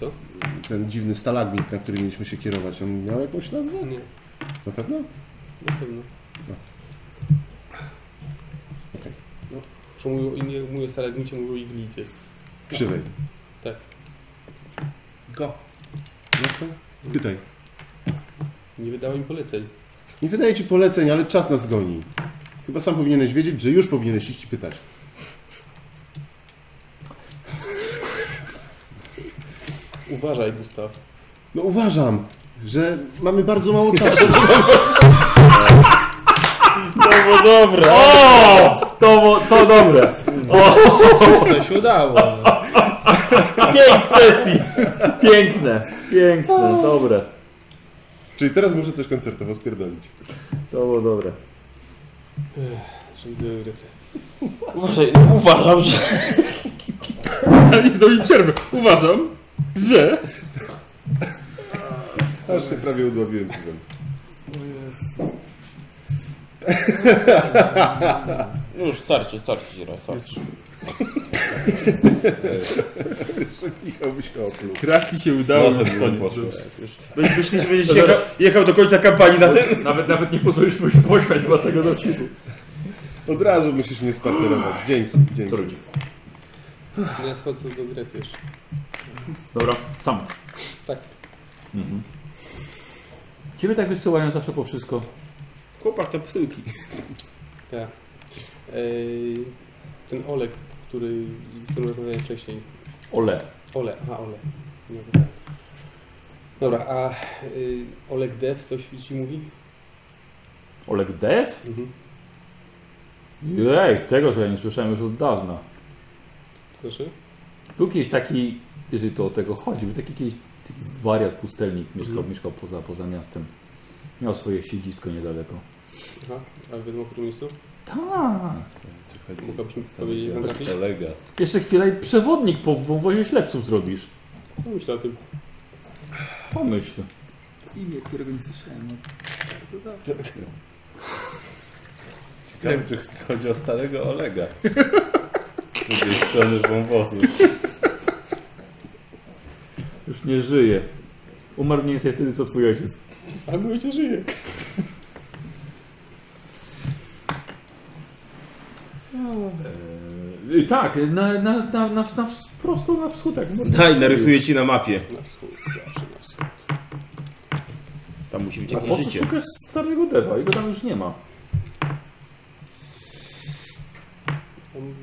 Co? Ten dziwny stalagmit, na który mieliśmy się kierować, on miał jakąś nazwę? Nie, Na pewno? na pewno. Okej. No, że mówią, i nie mówią o stalegnicie, mówią o iglicy. Krzywej. Tak. Go. No to pytaj. Nie wydała mi poleceń. Nie wydaję ci poleceń, ale czas nas goni. Chyba sam powinieneś wiedzieć, że już powinieneś iść i pytać. Uważaj, Gustaw. No uważam, że mamy bardzo mało <laughs> czasu. To, to dobre. Coś udało. No. Pięć sesji. Piękne, piękne, dobre. Czyli teraz muszę coś koncertowo spierdolić. To było dobre. Czyli do Grety. Uważaj, no, uważam, że... Zanim zrobi przerwę. Uważam, że... Aż się prawie udławiłem <laughs> piwem. Już starczy, starczy się raz, starczy. Michał byś opluł. Kraszti się udało, Nosem już nie koniec. poszło. Myślisz, że będziesz jechał, jechał do końca kampanii na tym? Nawet, nawet nie pozwoliliśmy się pośmiać z własnego dowcipu. Od razu musisz mnie spartnerować. Dzięki, dzięki. Trudno. No ja schodzę do Grety jeszcze. Dobra, sam. Tak. Mhm. Ciebie tak wysyłają zawsze po wszystko. Chłopak to psylki. Ja. Tak. Ej, ten Olek, który z którym rozmawiałem wcześniej. Ole. Ole, aha, Ole. No dobra. Dobra, a y, Olek Dev coś ci mówi? Oleg Dev? Mhm. Jej, tego to ja nie słyszałem już od dawna. Proszę? Był kiedyś taki, jeżeli to o tego chodzi, był taki kiedyś taki wariat pustelnik, mieszkał, mieszkał poza, poza miastem. Miał swoje siedzisko niedaleko. Aha, a w jednym okrutnym miejscu? Tak. Mogłabyś mi powiedzieć, jak zapisz? Kolega. Jeszcze chwilę i przewodnik po wąwozie ślepców zrobisz. No myślę o tym. Pomyśl. Imię, którego nie słyszałem. No, bardzo dobrze. Ciekawe, czy chodzi o starego Olega. Tak? Z drugiej strony wąwozu. Już nie żyje. Umarł mniej więcej wtedy, co twój ojciec. A mój cię żyje. Eee, tak, na, na, na, na, na, ws- prosto na wschód. Tak, Daj, narysuję ci na mapie. Na wschód, zawsze na wschód. Tam musi być A po co jakieś życie. szukasz starego dewa? Jego tam już nie ma. On,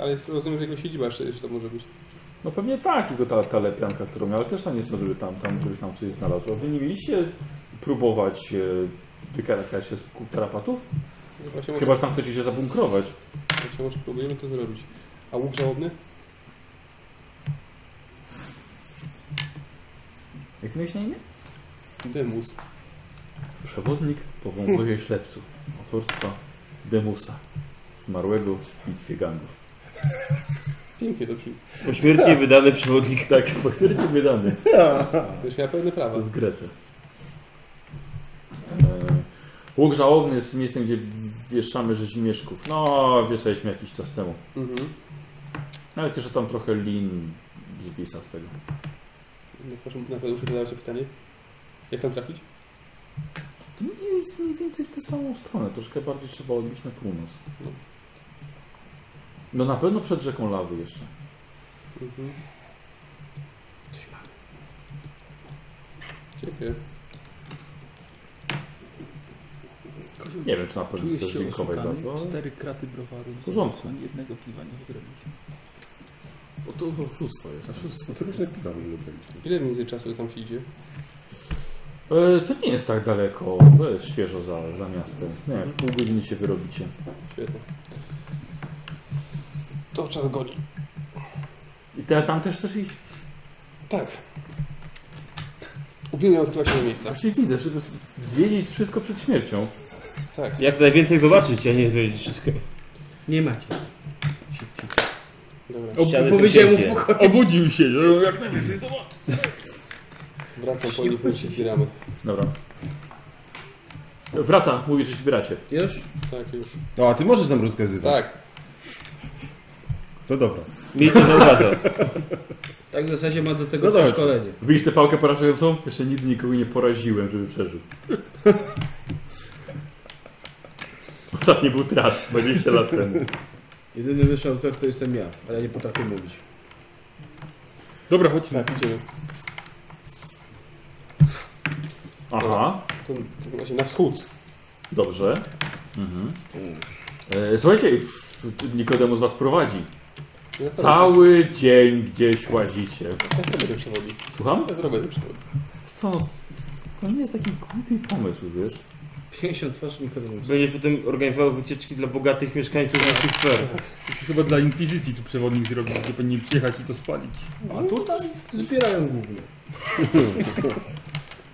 ale jest- rozumiem, że jego siedziba jeszcze, jeszcze to może być. No pewnie tak, jego ta, ta lepianka, którą miał, ale też tam nie zdążyły tam, tam, żebyś tam coś znalazł. A Wy nie mieliście próbować e, wykarakać się z ku- tarapatów? No Właśnie Chyba, że tam chcecie się zabunkrować. może, właśnie może próbujemy to zrobić. A łuk żałobny? Jak miałeś na imię? Demus. Przewodnik po wąwozie ślepców autorstwa Demusa, zmarłego w bitwie gangów. Pięknie to przy... Pośmiertnie wydany przewodnik. Tak, <laughs> potwierdził wydany. Wiesz, ja pełne prawa. z Grety. Eee, Łuk żałobny jest miejscem, gdzie wieszamy rzezimieszków. No, wieszaliśmy jakiś czas temu. Mhm. Ale też tam trochę lin wisa z tego. No, proszę, naprawdę muszę zadawać to pytanie. Jak tam trafić? To nie jest mniej więcej w tę samą stronę. Troszkę bardziej trzeba odbić na północ. No na pewno przed rzeką lawy jeszcze. Mhm. Dziękuję. Nie wiem, czy na pewno Czujesz chcesz się dziękować za oszukany? to. ale- Cztery kraty browaru. W porządku. ani Jednego piwa nie wygraliśmy. Bo to oszustwo jest. No to różne piwa będą robić. Ile między czasu tam się idzie? E, to nie jest tak daleko. To jest świeżo za, za miastem. Nie wiem, w pół godziny się wyrobicie. Świetnie. To czas goni. I te, tam też chcesz iść? Tak. Uwielbiam odkrywać nowe miejsca. Właśnie widzę, żeby z- zwiedzić wszystko przed śmiercią. Jak najwięcej zobaczyć, a nie zwiedzić wszystkiego. Nie macie. Dobra, Ściany są Powiedziałem mu w cienkie. pokoju. Obudził się, no, jak najwięcej to wracam po nich, się zbieramy. Dobra. Wraca, mówi, że się zbieracie. Już? Tak, już. No, a ty możesz nam rozkazywać. Tak. To dobra. Miejcie na uwadze. Tak w zasadzie ma do No tego dobra. przeszkolenie. Widzisz tę pałkę porażającą? Jeszcze nigdy nikogo nie poraziłem, żeby przeżył. <laughs> Ostatni był tras 20 lat temu. Jedyny wyższy autor to jestem ja, ale nie potrafię mówić. Dobra, chodźmy. Tak, idziemy. Aha, To, to właśnie na wschód. dobrze. Mhm. E, słuchajcie, Nikodemu z was prowadzi. Ja to Cały dzień gdzieś łazicie. robię. Ja zrobię ten przewodnik. Słucham? Ja zrobię ten przewodnik. Co? To nie jest taki głupi pomysł, wiesz? 50 twarz Nikodem. Będzie potem organizował wycieczki dla bogatych mieszkańców naszych sfer. To się chyba dla Inkwizycji tu przewodnik zrobił, gdzie powinien przyjechać i to spalić. A tutaj zbierają <laughs> głównie.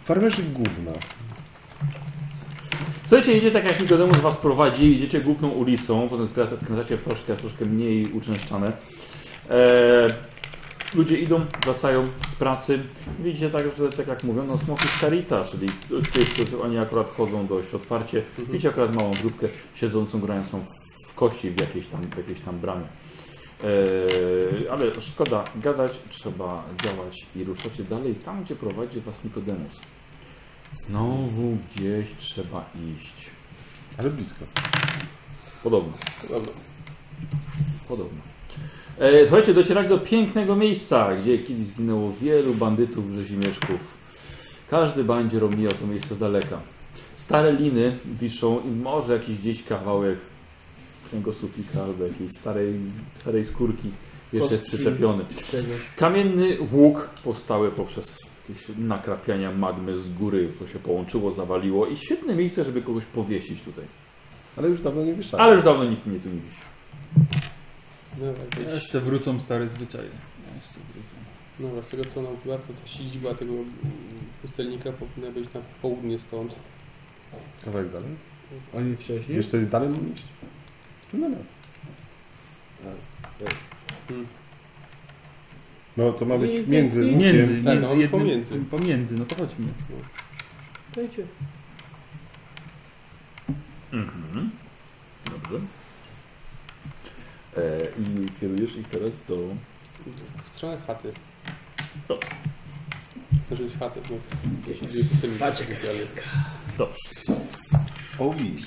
Farmerzy gówna. Słuchajcie, idzie tak jak Nikodemus was prowadzi, idziecie główną ulicą, potem skręcacie w troszkę, troszkę mniej uczęszczane. Eee, ludzie idą, wracają z pracy. Widzicie także, tak jak mówiono, smoki z Carita, czyli tych, którzy oni akurat chodzą dość otwarcie. Widzicie akurat małą grupkę siedzącą, grającą w- w kości w jakiejś tam, w jakiejś tam bramie. Eee, ale szkoda gadać, trzeba działać i ruszacie dalej tam, gdzie prowadzi was Nikodemus. Znowu gdzieś trzeba iść. Ale blisko. Podobno. Dobra. Podobno. E, słuchajcie, docierać do pięknego miejsca, gdzie kiedyś zginęło wielu bandytów rzezimieszków. Każdy bandzier omija to miejsce z daleka. Stare liny wiszą i może jakiś gdzieś kawałek kręgosłupika albo jakiejś starej, starej skórki jeszcze jest Kostki. przyczepiony. Kamienny łuk powstały poprzez jakieś nakrapiania magmy z góry, to się połączyło, zawaliło i świetne miejsce, żeby kogoś powiesić tutaj. Ale już dawno nie wieszałem. Ale już dawno nikt mnie tu nie wisi. Dobra, jakieś- Jeszcze wrócą stare zwyczaje. Jeszcze wrócą. Dobra, z tego co nam warto, ta siedziba tego mm, pustelnika powinna być na południe stąd. Kawałek dalej. Oni wcześniej? Jeszcze dalej mam iść? No dobra. Hmm. No to ma być między łukiem. Między, no, między, już jednym, pomiędzy. Pomiędzy, no to chodźmy. Dajcie. Mhm. Dobrze. E, I kierujesz ich teraz do. W stronę chaty. Dobrze. Znaczy chaty, bo gdzieś indziej pustelnika Patrzcie, specjalnie. Dobrze. Oh, yes.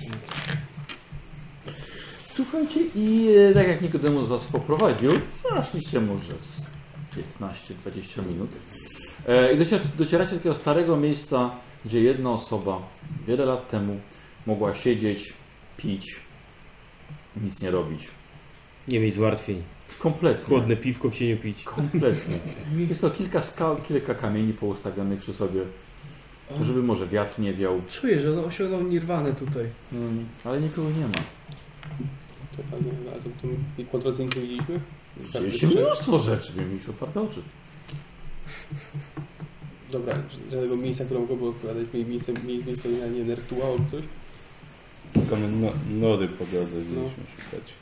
Słuchajcie, i e, tak jak Nikodemu z Was poprowadził, zaszliście może z 15-20 minut. E, I docier- docieracie do takiego starego miejsca, gdzie jedna osoba wiele lat temu mogła siedzieć, pić, nic nie robić. Nie mieć zmartwień. Kompletnie. Chłodne piwko w cieniu pić. Kompletnie. Jest to kilka skał, kilka kamieni poustawionych przy sobie, żeby może wiatr nie wiał. Czuję, że on osiągnął nirwanę tutaj. Mm, Ale nikogo nie ma. To panie, a to, to i kontracyjnie widzieliśmy? Tak, Widzieliście mnóstwo rzeczy, miałem mieć otwarte oczy. Dobra, żadnego miejsca, które mogłoby odpowiadać mi miejsce, mi- miejsce na nie nertua albo coś? Tylko my no, nory po drodze mieliśmy szukać.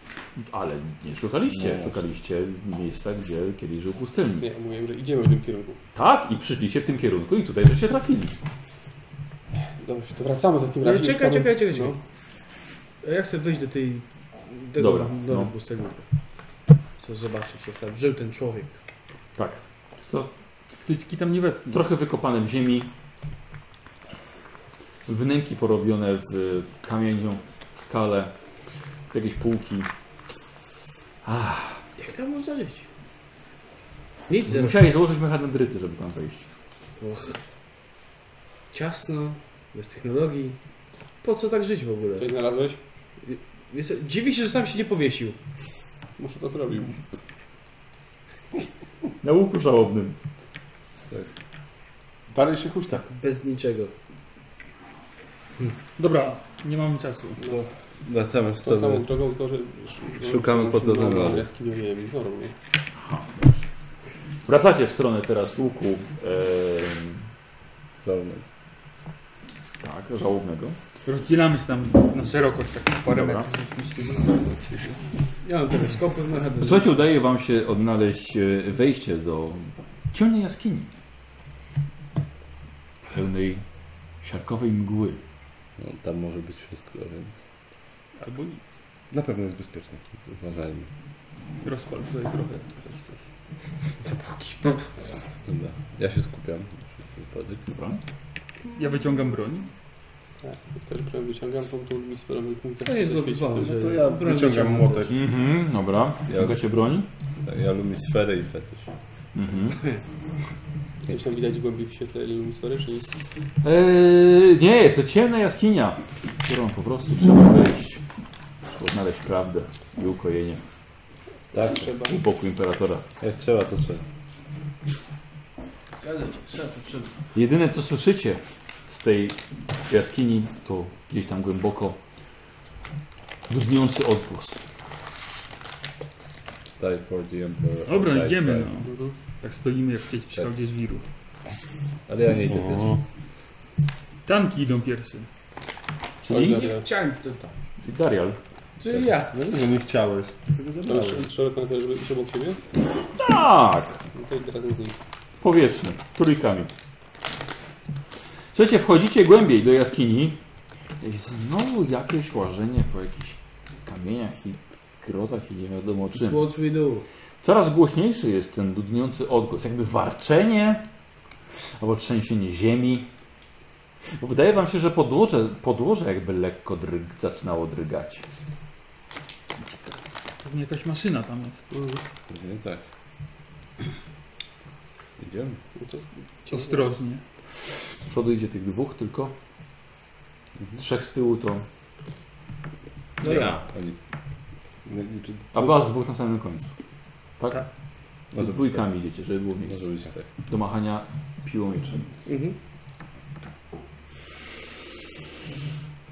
Ale nie szukaliście, No. szukaliście miejsca, gdzie kiedyś żył pustelnik. Nie, mówiłem, że idziemy w tym kierunku. Tak, i przyszliście w tym kierunku i tutaj żeście trafili. Dobrze, to wracamy w takim Ale razie. czekaj, już mamy- czekaj, czekaj, czekaj. A No, Ja chcę wejść do tej... Tego Dobra, nory no. pustelnika. Chcę zobaczyć, jak tam żył ten człowiek. Tak. Co? Wtyczki tam nie wetchną. Trochę wykopane w ziemi. Wnęki porobione w kamieniu, w skale, jakieś półki. Ach, Jak tam można żyć? Nic, zero. musiałeś założyć mechadendryty, żeby tam wejść. Och. Ciasno, bez technologii. Po co tak żyć w ogóle? Coś znalazłeś? Wiesz, co, dziwię się, że sam się nie powiesił. Muszę to zrobił. Na łuku żałobnym. Dalej się huśta. Bez niczego. Dobra, nie mamy czasu. No, Wracamy w tą samą stronę. drogą, tylko że... no, że- Szukamy że- po co że- nam że- razy. Jaskinią, nie wiem, no, nie. Wracacie w stronę teraz łuku. em, Dolnej. tak, żałobnego. Rozdzielamy się tam na szerokość, tak parę Dobra. metrów żeśmy się wybrali od siebie. Ja mam teleskopy, mechanizm. Słuchajcie, udaje wam się odnaleźć e, wejście do ciemnej jaskini. Pełnej siarkowej mgły. No, tam może być wszystko, więc Albo nic. Na pewno jest bezpieczny. więc uważajmy. Rozpal tutaj trochę ktoś coś. Dobra, ja się skupiam. Wypadek. Dobra. Ja wyciągam broń. Też prawie wyciągam tą tą misferę, mój To jest No zgłupowany, to ja wyciągam młotek. Mhm, dobra. Szukacie broni? Tak, Ja lubię sferę i fetysz. Mhm. Coś tam widać głębiej w świetle lumisfery, czy nic? Eee, nie, jest to ciemna jaskinia, którą po prostu trzeba wejść. Trzeba odnaleźć prawdę i ukojenie. Tak, Trzeba. Upokój imperatora. jak trzeba, to trzeba. Jedyne co słyszycie z tej jaskini to gdzieś tam głęboko dudniący odgłos. Die for the Emperor. Dobra, Die idziemy trying. no. Tak stoimy jak chcieć przyjechał gdzieś wiru. Ale ja nie idę pierwszy. Tanki idą pierwsze. Czyli Dobra. Chciałem tutaj. Darial. Czyli ja. No, że nie chciałeś. No, sz- Szeroko na tyle, żeby obok siebie? Tak, No to idę razem z nim. powietrzny, trójkami. Słuchajcie, wchodzicie głębiej do jaskini i znowu jakieś łażenie po jakichś kamieniach i grotach i nie wiadomo czym. It's what we do. Coraz głośniejszy jest ten dudniący odgłos, jakby warczenie albo trzęsienie ziemi. Bo wydaje wam się, że podłoże, podłoże jakby lekko dryg, zaczynało drgać. Pewnie jakaś maszyna tam jest. Pewnie tak. Idziemy. No to jest- Ostrożnie. Z przodu idzie tych dwóch tylko. Trzech z tyłu to... No ja. Oni Nie, nie, czy- A was dwóch na samym końcu. Tak? Tak. Z dwójkami idziecie, żeby było miejsce. tak. może być tak. Do machania piłą mieczem.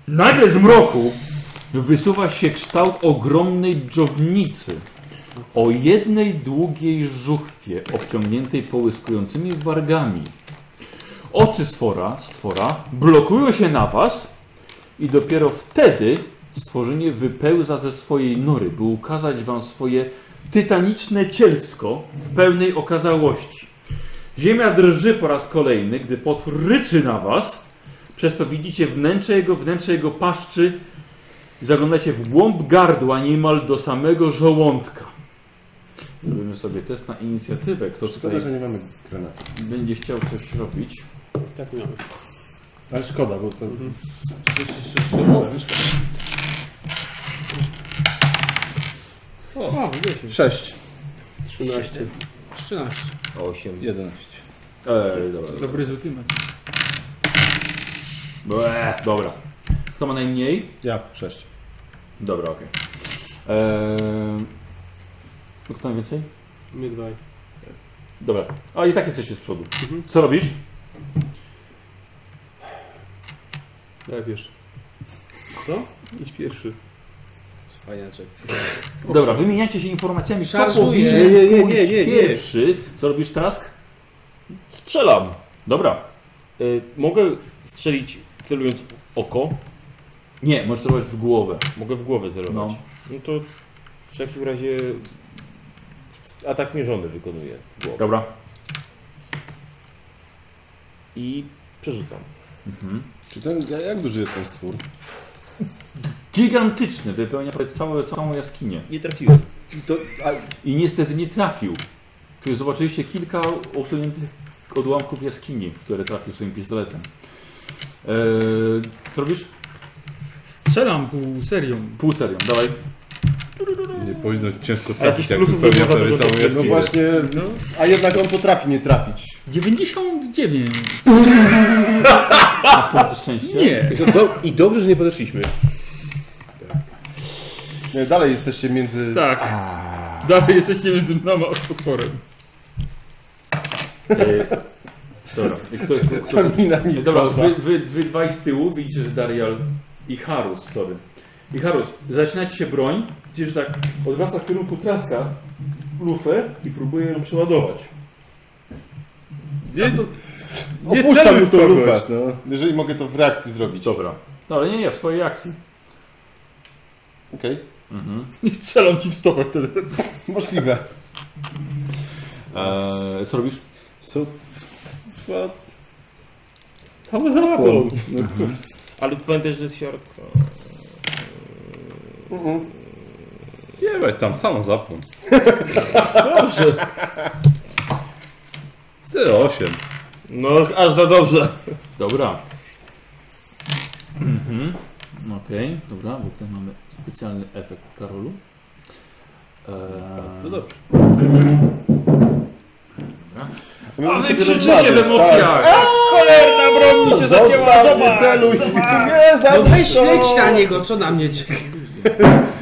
Nagle z mroku wysuwa się kształt ogromnej dżownicy o jednej długiej żuchwie obciągniętej połyskującymi wargami. Oczy stwora, stwora blokują się na was i dopiero wtedy stworzenie wypełza ze swojej nory, by ukazać wam swoje tytaniczne cielsko w pełnej okazałości. Ziemia drży po raz kolejny, gdy potwór ryczy na was. Przez to widzicie wnętrze jego, wnętrze jego paszczy. Zaglądacie w głąb gardła, niemal do samego żołądka. Zrobimy sobie test na inicjatywę. Kto Szkoda, tutaj że nie mamy granatu. będzie chciał coś robić? Tak miałem. Ale szkoda, bo to... Su, su, su, su. O, 6. 13. 13. 8. 11. Eee, dobra. dobra. Dobry rzut masz. Ble, Eee, dobra. Kto ma najmniej? Ja, 6. Dobra, okej. Eee, no kto ma więcej? My dwaj. Dobra. A i tak jesteście z przodu. Mhm. Co robisz? Daj pierwszy. Co? Idź pierwszy. Cwaniaczek. Dobra, wymieniacie się informacjami, kto Szarżuję. powinien Nie, nie, nie, pójść nie, nie, nie. pierwszy. Co robisz teraz? Strzelam. Dobra. E, Y, mogę strzelić celując w oko? Nie, możesz celować w głowę. Mogę w głowę celować. No. No, to w takim razie atak mierzony wykonuję w głowę. Dobra. I przerzucam. Czy ten, jak duży jest ten stwór? Gigantyczny, wypełnia prawie całą, całą jaskinię. Nie trafiłem. To, a, I niestety nie trafił. Tu zobaczyliście kilka usuniętych odłamków jaskini, w które trafił swoim pistoletem. Eee, co robisz? Strzelam pół serią. Pół serią, dawaj. Nie powinno ciężko A jakiś trafić, jak plusów wypełnia nie ma za dużo, prawie całą żeby- no jaskinię. właśnie, a jednak on potrafi nie trafić. 99. Masz punkty szczęścia. Nie. I, co, do, I dobrze, że nie podeszliśmy. Nie, dalej jesteście między... Tak. Dalej jesteście między mną a potworem. Eee, dobra, I kto, kto, kto, Ta mina nie Dobra, kosa. wy, wy, wy dwaj z tyłu widzicie, że Darial i Harus, sorry. I Harus, zaczyna ci się broń, widzisz, że tak odwraca w kierunku traska lufę i próbuje ją przeładować. Nie, to... Opuszczam celuj mu w tą kogoś, lufę. no. Jeżeli mogę to w reakcji zrobić. Okej. Dobra. No ale nie, nie, w swojej akcji. Mhm. I strzelam ci w stopę wtedy. Możliwe. Eee, co robisz? Co? Chyba... Całe zapłon. Ale pamiętaj, że siarka. Nie, weź tam samą zapłon. Dobrze. 0,8. No, aż za dobrze. Dobra. Mhm. Okej, dobra, bo tutaj mamy specjalny efekt Karolu. Eee, Co dobrze. A wy Cholerna broń mi się zacięła, tak. Zostaw, nie zobacz! celuj! Nie, No weź to. leć na niego, co na mnie czeka?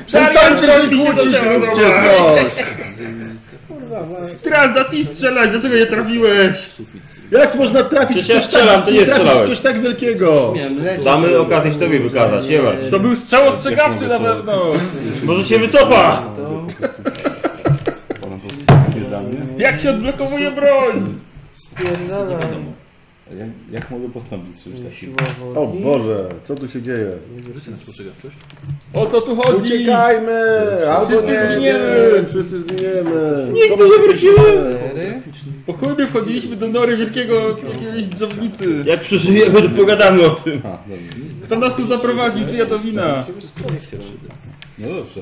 Przestańcie się mi się kłócić, zaczęła, róbcie coś! Teraz zacznij strzelać, dlaczego nie trafiłeś? Jak można trafić w Przecież ja coś strzelam, tak, to nie nie trafić w strzelałeś. coś tak wielkiego? Miałem lecieć. Damy okazję się tobie wykazać, nie martw. To był strzał ostrzegawczy na pewno. Może się wycofa! To... Jak się odblokowuje broń? Spierdalaj. Jak, jak mogę postąpić z czymś takim? Siłowo. O Boże, co tu się dzieje? Rzucę na spostrzegawczość. O co tu chodzi? Uciekajmy! Albo Wszyscy nie, zginiemy. nie, wszyscy zginiemy! Nigdy nie wrócimy! Cztery. Po chuj my wchodziliśmy do nory wielkiego jakiejś drzewnicy. Jak przeżyjemy, to pogadamy o tym. A, dobrze. Kto nas tu zaprowadził, czyja to wina? No dobrze.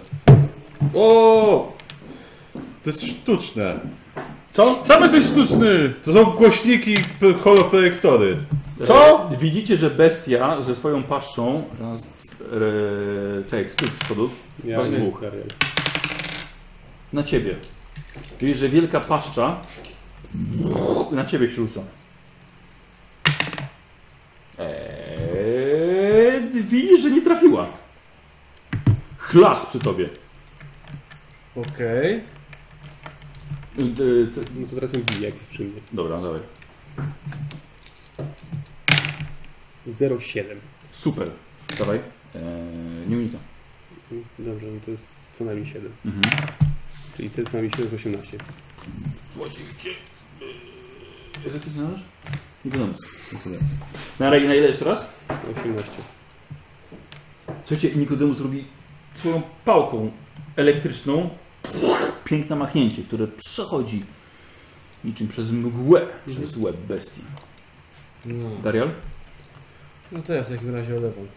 O! To jest sztuczne. Sam jesteś sztuczny! To są głośniki p- holoprojektory. Co? Widzicie, że bestia ze swoją paszczą. Raz, e, czekaj, tu z przodu. Ja Was nie, dwóch. Darial. Na ciebie. Widzisz, że wielka paszcza na ciebie się rzuca. Eee, widzisz, że nie trafiła. Chlas przy tobie. Okej. Y, y, ty- No to teraz mi bije jakiś przy mnie. Dobra, dawaj. 0,7. Super. Dawaj. Eee, nie unikam. Dobrze, no to jest co najmniej 7. Mhm. Czyli te co najmniej 7 z 18. Jak ty znalazłeś? Ignomus. Na, na ile jeszcze raz? 18. Słuchajcie, Nikodemus robi swoją pałką elektryczną piękne machnięcie, które przechodzi niczym przez mgłę, przez łeb bestii. No. Darial? no to ja w takim razie olewam.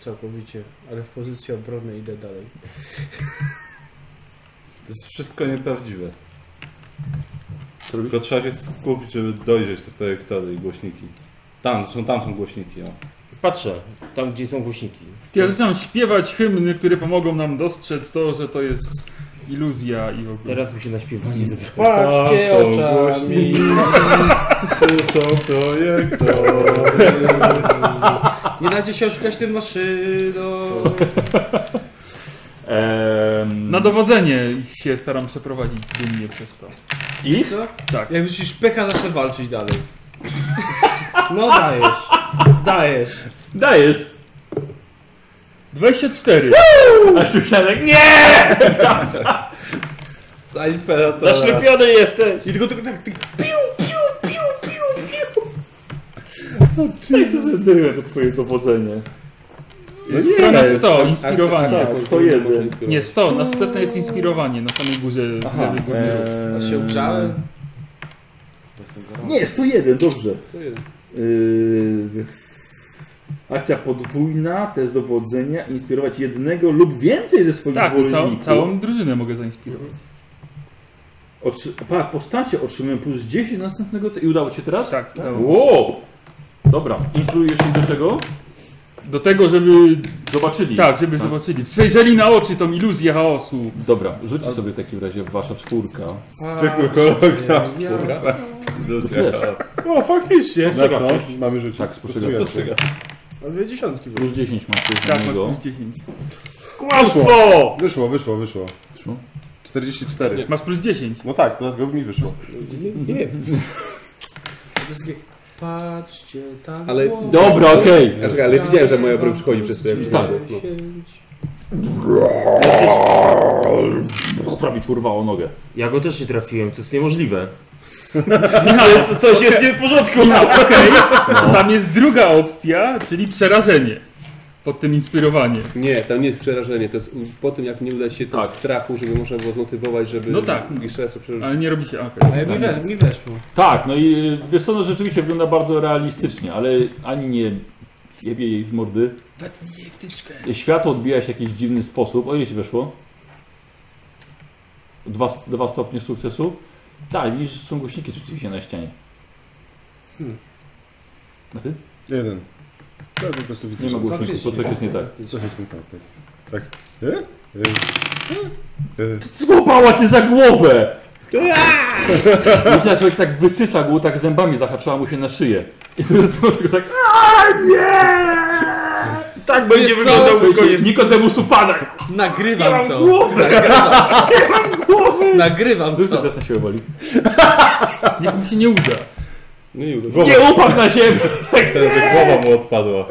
Całkowicie. Ale w pozycji obronnej idę dalej. To jest wszystko nieprawdziwe. Co robisz? Tylko trzeba się skupić, żeby dojrzeć te projektory i głośniki. Tam, zresztą tam są głośniki, o. Patrzę, tam gdzie są głośniki. Ja zaczynam śpiewać hymny, które pomogą nam dostrzec to, że to jest iluzja i w ogóle. Tak. Teraz mi się na śpiewanie zebrało. Patrzcie Tam są oczami. Co są projektory? Nie dajcie się oszukać tym maszyną. Ehm, Na dowodzenie się staram przeprowadzić dumnie przez to. I? Co? Tak. Jak wrzucisz peka, zacznę walczyć dalej. No dajesz. Dajesz. Dajesz! 24! A Szusianek, nie! Za imperatora. Zaszlepiony jesteś! I tylko, tylko tak, tylko Czyli co za tyle to twoje dowodzenie? No Strona jest. 100, tak. Akceptacja inspirowanie. konfliktu Tak, to jeden. można inspirować. Nie, 100, następne jest inspirowanie na samej górze w lewej górnej rogu. eee, Aż się ogrzałem. Nie, 101, dobrze. To jeden. Yy, akcja podwójna, test dowodzenia, inspirować jednego lub więcej ze swoich Tak, bo całą, zwolenników. całą drużynę mogę zainspirować. Otrzy... Pa, postacie otrzymują plus 10 następnego. Te... I udało ci się teraz? Tak. Wow! Dobra, instruujesz ich do czego? Do tego, żeby. Zobaczyli. Tak, żeby Tak. zobaczyli. Przejrzeli na oczy tą iluzję chaosu. Dobra, rzućcie sobie w takim razie wasza czwórka. tylko hologram. Ja, Iluzja. O, faktycznie. Na co? Mamy rzucić. Tak, spostrzegam. Spostrzegam. ale dwie dziesiątki były. Plus 10 macie z Tak, masz jednego. plus 10. Kłamstwo! Wyszło, wyszło, wyszło. Wyszło? 44. Masz plus 10. No tak, dodatkowo mi wyszło. Nie. Patrzcie tak tam. Ale- głowa. Dobra, okej. Ja czekaj, ale widziałem, że moja broń przychodzi przez to, jak Tak. No. Okay. Prawie ci urwało nogę. Ja go też nie trafiłem, to jest niemożliwe. Coś jest nie w porządku. Okej. No. Tam jest druga opcja, czyli przerażenie. Pod tym inspirowanie. Nie, tam nie jest przerażenie. To jest u- po tym, jak nie uda ci się to Tak. strachu, żeby można było zmotywować, żeby No tak. jeszcze raz to przeżyć. Ale nie robi się. Okej. Ale mi, we, mi weszło. Tak, no i y, wiesz co, no rzeczywiście wygląda bardzo realistycznie, ale ani nie jebie jej z mordy. Wetnij jej wtyczkę. Światło odbija się w jakiś dziwny sposób. O ile ci weszło? Dwa, dwa stopnie sukcesu? Tak, widzisz, są głośniki rzeczywiście na ścianie. Hmm. A ty? Jeden. Ja po prostu widzę, Nie ma że coś głośników, jest, bo coś jest nie tak. coś jest nie tak. Tak. tak. E? E? E? Złapała cię za głowę! Myślałem, że tak wysysa głowę, tak zębami zahaczyła mu się na szyję. I to to- tylko tak... A nie! Tak będzie Wiesz co? wyglądał Niko- Nikodemus upadek! Nie Nagrywam mam to. głowy! Nagrywam <laughs> Rzucę to. teraz na siłę woli. Niech mu się nie uda. No nie uda. Nie upadł na ziemię! Myślałem, że głowa mu odpadła.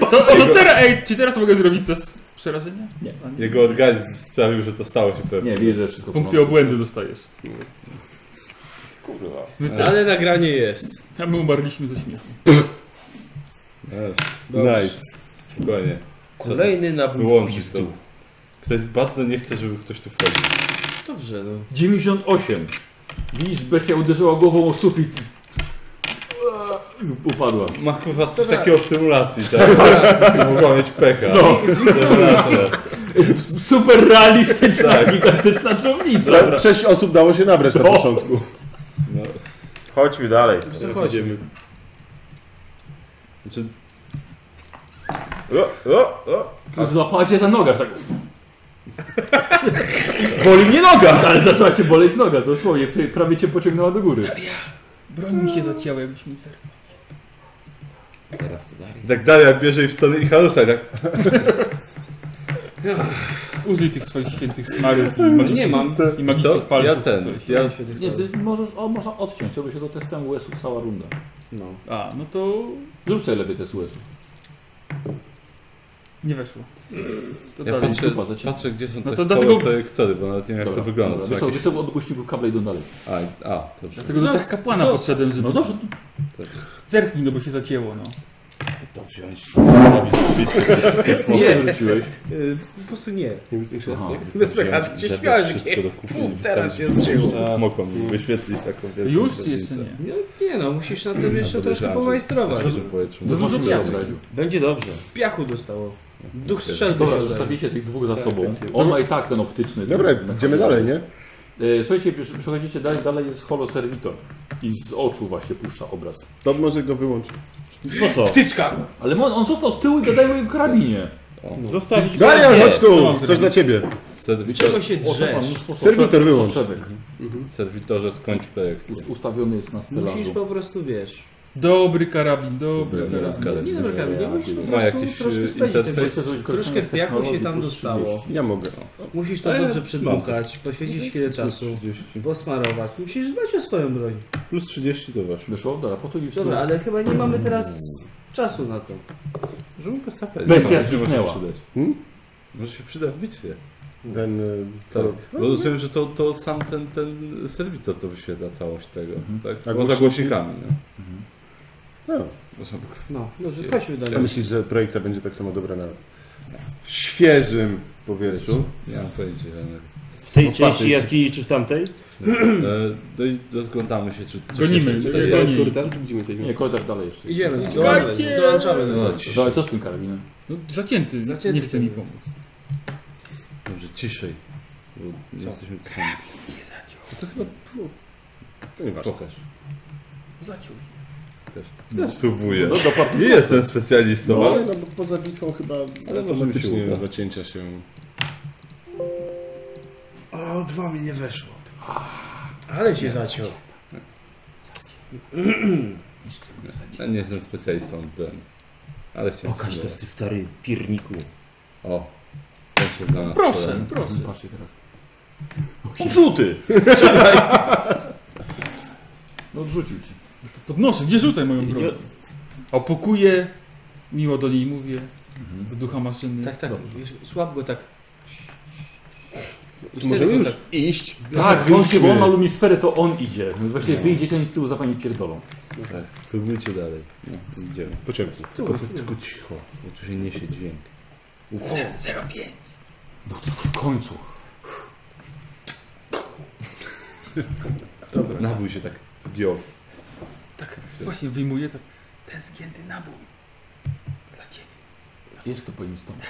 To, to No, teraz, ej, czy teraz mogę zrobić to z przerażenia? Nie. A nie. Jego organizm sprawił, że to stało się pewnie. Nie, widzę, że No. wszystko w Punkty porządku. obłędu dostajesz. Kurwa. My też. Ale nagranie jest. A my umarliśmy ze śmiechu. Nice. Spokojnie. Kolejny nawrót Wyłączyć to. pizdu. Ktoś bardzo nie chce, żeby ktoś tu wchodził. Dobrze, no. 98. Widzisz, bestia uderzyła głową o sufit. Eee, Upadła. Ma kurwa coś Dobra. takiego w symulacji, tak? Mogła mieć pecha. No. Dobra, tyle. Super realistyczna, Tak. gigantyczna czownica. Sześć osób dało się nabrać na No. początku. No. Chodźmy dalej. Co chodzi? Znaczy, Złapała cię za noga, tak. <laughs> Boli mnie noga! Ale zaczęła cię boleć noga, dosłownie. Ty- Prawie cię pociągnęła do góry. Broń mi się zacięła, jakbyś mi zerwał. Teraz to dalej. tak Daria bierze i wstanie i Harusa, tak? Użyj tych swoich świętych smarów i magicznych, Nie mam. i magicznych palców. Ja czy ten, coś. tak? ja Nie, ty możesz, o, można odciąć, żeby się to testem US-ów cała runda. No. A, no to Zrób sobie lepiej test US-ów. nie weszło. To Ja dalej. patrzę, dupa za ciebie. patrzę, gdzie są No te to dlatego- projektory, bo nawet nie wiem jak to wygląda. Dobra, No Są Wiesz co, jakieś... wiesz co, od głośników kable idą dalej. a, a, dobrze. Dlatego do Zas- tak kapłana zas- podszedłem, żeby... No dobrze, to Zerknij, no bo się zacięło, no. To wziąć. Nie, wróciłeś. y, po prostu nie. Aha. Bez pecha, cię śmiałeś, takie, pum, teraz się zdziło. Mogą mi wyświetlić taką wielką Już czy różnicę. jeszcze nie? No nie no, musisz na tym jeszcze troszkę Podejrzewam, że- pomajstrować. że powietrzu. Za dużo może piasku. piasek. Będzie dobrze. Piachu dostało. Duch strzelby się Dobra, odezwał. zostawicie tych dwóch za sobą. On ma i tak ten optyczny. Dobra, ten- idziemy dalej, nie? E, Słuchajcie, przy- przechodzicie dalej, dalej jest holoserwitor. I z oczu właśnie puszcza obraz. To może go wyłączyć. Po co? Wtyczka! Ale on, on został z tyłu i gadają o jego karabinie. Zostawić... Darian, chodź tu! Coś dla ciebie. Serwitor, się drze. Serwitor wyłącz. serwitorze, skończ projekcję. Ustawiony jest na stelażu. Musisz po prostu, wiesz... Dobry karabin, dobry Dobry karabin. karabin. Nie dobra, Kamil, nie musisz po Ma prostu jakiś, troszkę y, spędzić ten interfejs? czas. Troszkę w piachu się tam dostało. Ja mogę. Musisz to dobrze przedmuchać, poświęcić chwilę czasu, 30. posmarować. Musisz dbać o swoją broń. Plus 30 to właśnie. Wyszło? Dobra, po to już... No. Dobra, ale chyba nie mamy teraz czasu na to. Żeby go sapać. Bestia Może się zniknęła. przydać. Hmm? Może się przyda w bitwie. Ten... y, Tak. to- Bo rozumiem, że to, to sam ten, ten serwitor to wyświetla całość tego. Tak? A Bo za głośniki? głośnikami. Nie? No. Proszę, No, dobrze, chodźmy Ja dalej. myślisz, że projekcja będzie tak samo dobra na świeżym powietrzu? Nie mam pojęcia. ale- W tej No, części patrz, jaskini czy w tamtej? E, No i rozglądamy się, czy coś Gonimy, jeszcze tutaj goni. jest. Kurtar, czy gdzie my jesteśmy? Nie, korytarz dalej jeszcze. Idziemy, dołączamy, Czekajcie! dołączamy do No, tego. cisz. No ale co z tym karabinem? No, zacięty, Zacięty nie chce ten mi był. pomóc. Dobrze, ciszej. Bo nie jesteśmy tu <laughs> sami. A to chyba było... To nieważne. Pokaż. Zaciął się. Ja spróbuję. No, do Nie jestem specjalistą, No, ale... ale no, bo poza bitwą chyba Ale może mi się automatycznie uda. zacięcia się... O, dwa mi nie weszło. Ah, Ale się zaciął. Ja nie jestem specjalistą w broni. Ale chciałem... Pokaż to, spróbować. ty stary pierniku. O. Ten się zna na Proszę, stole. proszę. Patrzcie teraz. Zuty! No odrzucił ci. Podnoszę, nie rzucaj moją broń. Nie- Opakuję, miło do niej mówię, do ducha maszyny. Tak, tak, wiesz, słab go tak. To możemy już? Iść? Tak, chodźcie, bo on ma lumisferę, to on idzie. Więc właśnie wy idziecie, oni z tyłu za wami pierdolą. Tak, próbujcie dalej. No, idziemy. Po ciemku. Tylko, tylko cicho, bo tu się niesie dźwięk. No to w końcu. Dobra. Nabój się tak zgiął. Właśnie wyjmuję tak. Ten zgięty nabój. Dla ciebie. Wiesz, kto po nim stąd.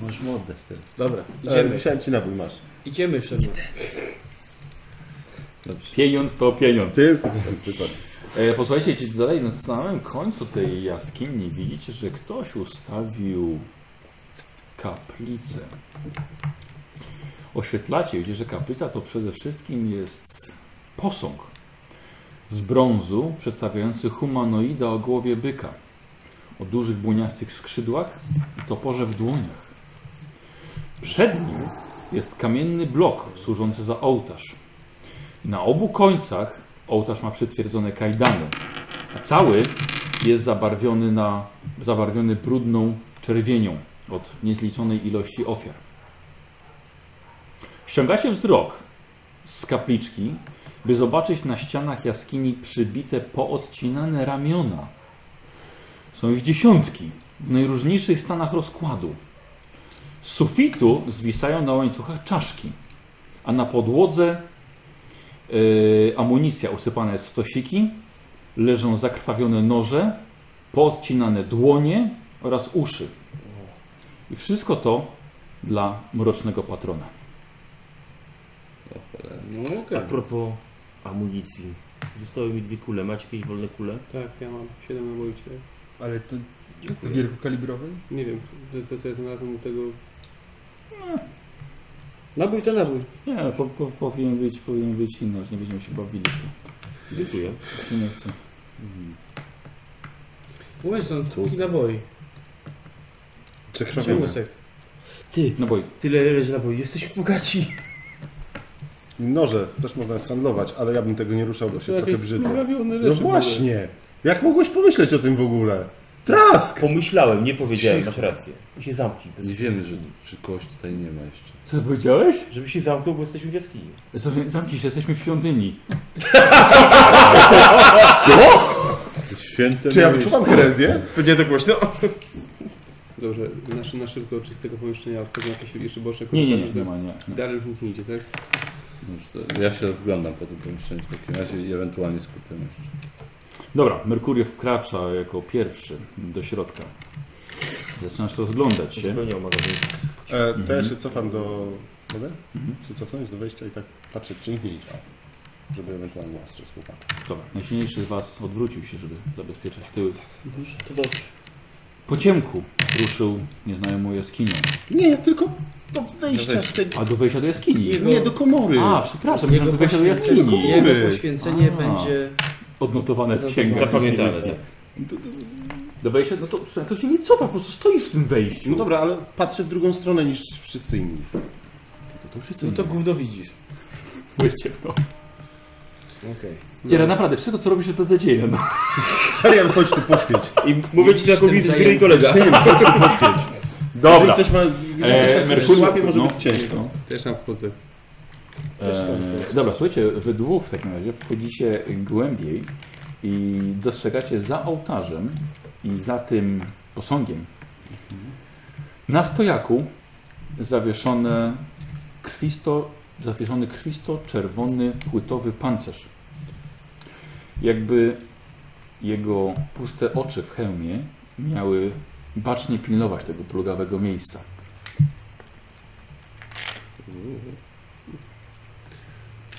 Możesz mu oddać ten. Dobra, Ale idziemy. Musiałem ci nabój, masz. Idziemy, Szymon. Dobrze. Pieniądz to pieniądz. To jest więc dokładnie. E, posłuchajcie, idziecie dalej na samym końcu tej jaskini widzicie, że ktoś ustawił kaplicę. Oświetlacie, widzicie, że kaplica to przede wszystkim jest posąg z brązu przedstawiający humanoida o głowie byka, o dużych błoniastych skrzydłach i toporze w dłoniach. Przed nim jest kamienny blok służący za ołtarz. Na obu końcach ołtarz ma przytwierdzone kajdany, a cały jest zabarwiony, na, zabarwiony brudną czerwienią od niezliczonej ilości ofiar. Ściągacie wzrok z kapliczki, by zobaczyć na ścianach jaskini przybite poodcinane ramiona. Są ich dziesiątki w najróżniejszych stanach rozkładu. Z sufitu zwisają na łańcuchach czaszki, a na podłodze Yy, amunicja usypana jest w stosiki, leżą zakrwawione noże, poodcinane dłonie oraz uszy. I wszystko to dla mrocznego patrona. No A okej. propos amunicji. Zostały mi dwie kule. Macie jakieś wolne kule? Tak, ja mam 7 naboi cztery. Ale to wielkokalibrowy? Nie wiem, to, to co ja znalazłem u tego... Nabój to nabój. Nie, po, po, powinien być, powinien być inny, już nie będziemy się bawili. Co? Dziękuję. Się nie chce. Mówię, są tłuki naboi. Przekrwawiony. Przymusek. Ty, No bo tyle leży naboi. Jesteśmy bogaci. Noże też można handlować, ale ja bym tego nie ruszał, bo się trochę brzydzę. skrawione No właśnie! Jak mogłeś pomyśleć o tym w ogóle? Trask! Pomyślałem, nie powiedziałem. Masz rację. I się zamknij. Nie wiemy, że czy kogoś tutaj nie ma jeszcze. co powiedziałeś? Żeby się zamknął, bo jesteśmy w jaskini. Zam- Zamknij się, jesteśmy w świątyni. Święte Czy ja miejsce. wyczuwam herezję? Będzie to głośno. Dobrze, na, na szybko od czystego pomieszczenia odchodzą jakieś jeszcze boczne Nie, nie, nie, korytarze, nie to ma, nie. jest- Dalej już nic nie idzie, tak? Dobrze, to Ja się rozglądam po tym pomieszczeniu w takim razie i ewentualnie skupiam jeszcze. Dobra, Merkurio wkracza jako pierwszy do środka. Zaczynasz rozglądać się. No Zupełnie omagowałem. E, to ja się cofam do... Mogę? Się cofnąć do wejścia i tak patrzeć, czy nikt nie idzie. Żeby ewentualnie ostrzec chłopaka. Dobra, najsilniejszy z was odwrócił się, żeby zabezpieczać tyły. To dobrze. Po ciemku ruszył nieznajomą jaskinią. Nie, tylko do wyjścia z tego. A do wejścia do jaskini. Jego- Nie, do komory. A, przepraszam, myślałem, Jego do wejścia do poświęcenie- jaskini. do komory. Jego poświęcenie A. będzie- Odnotowane w księgach. Zapamiętane, Wizyjskiej. tak. Do, do, do wejścia, no to, to się nie cofa, po prostu stoi w tym wejściu. No dobra, ale patrzy w drugą stronę niż wszyscy inni. To, to wszyscy No to nie. gówno widzisz. Bo jest ciemno. Okej. no. Dziera, naprawdę, wszystko co robisz jest beznadziejne. No. Karian, chodź tu poświeć. I mówię ci taką wizytę, gry kolega. Z tym, chodź tu poświeć. Jeżeli Dobra. ktoś ma, Eee, jeżeli ktoś ma Merkurio, eee, łapie, może no. być ciężko. Też tam wchodzę. E, dobra, słuchajcie, wy dwóch w takim razie wchodzicie głębiej i dostrzegacie za ołtarzem i za tym posągiem na stojaku zawieszone krwisto, zawieszony krwisto-czerwony płytowy pancerz. Jakby jego puste oczy w hełmie miały bacznie pilnować tego plugawego miejsca.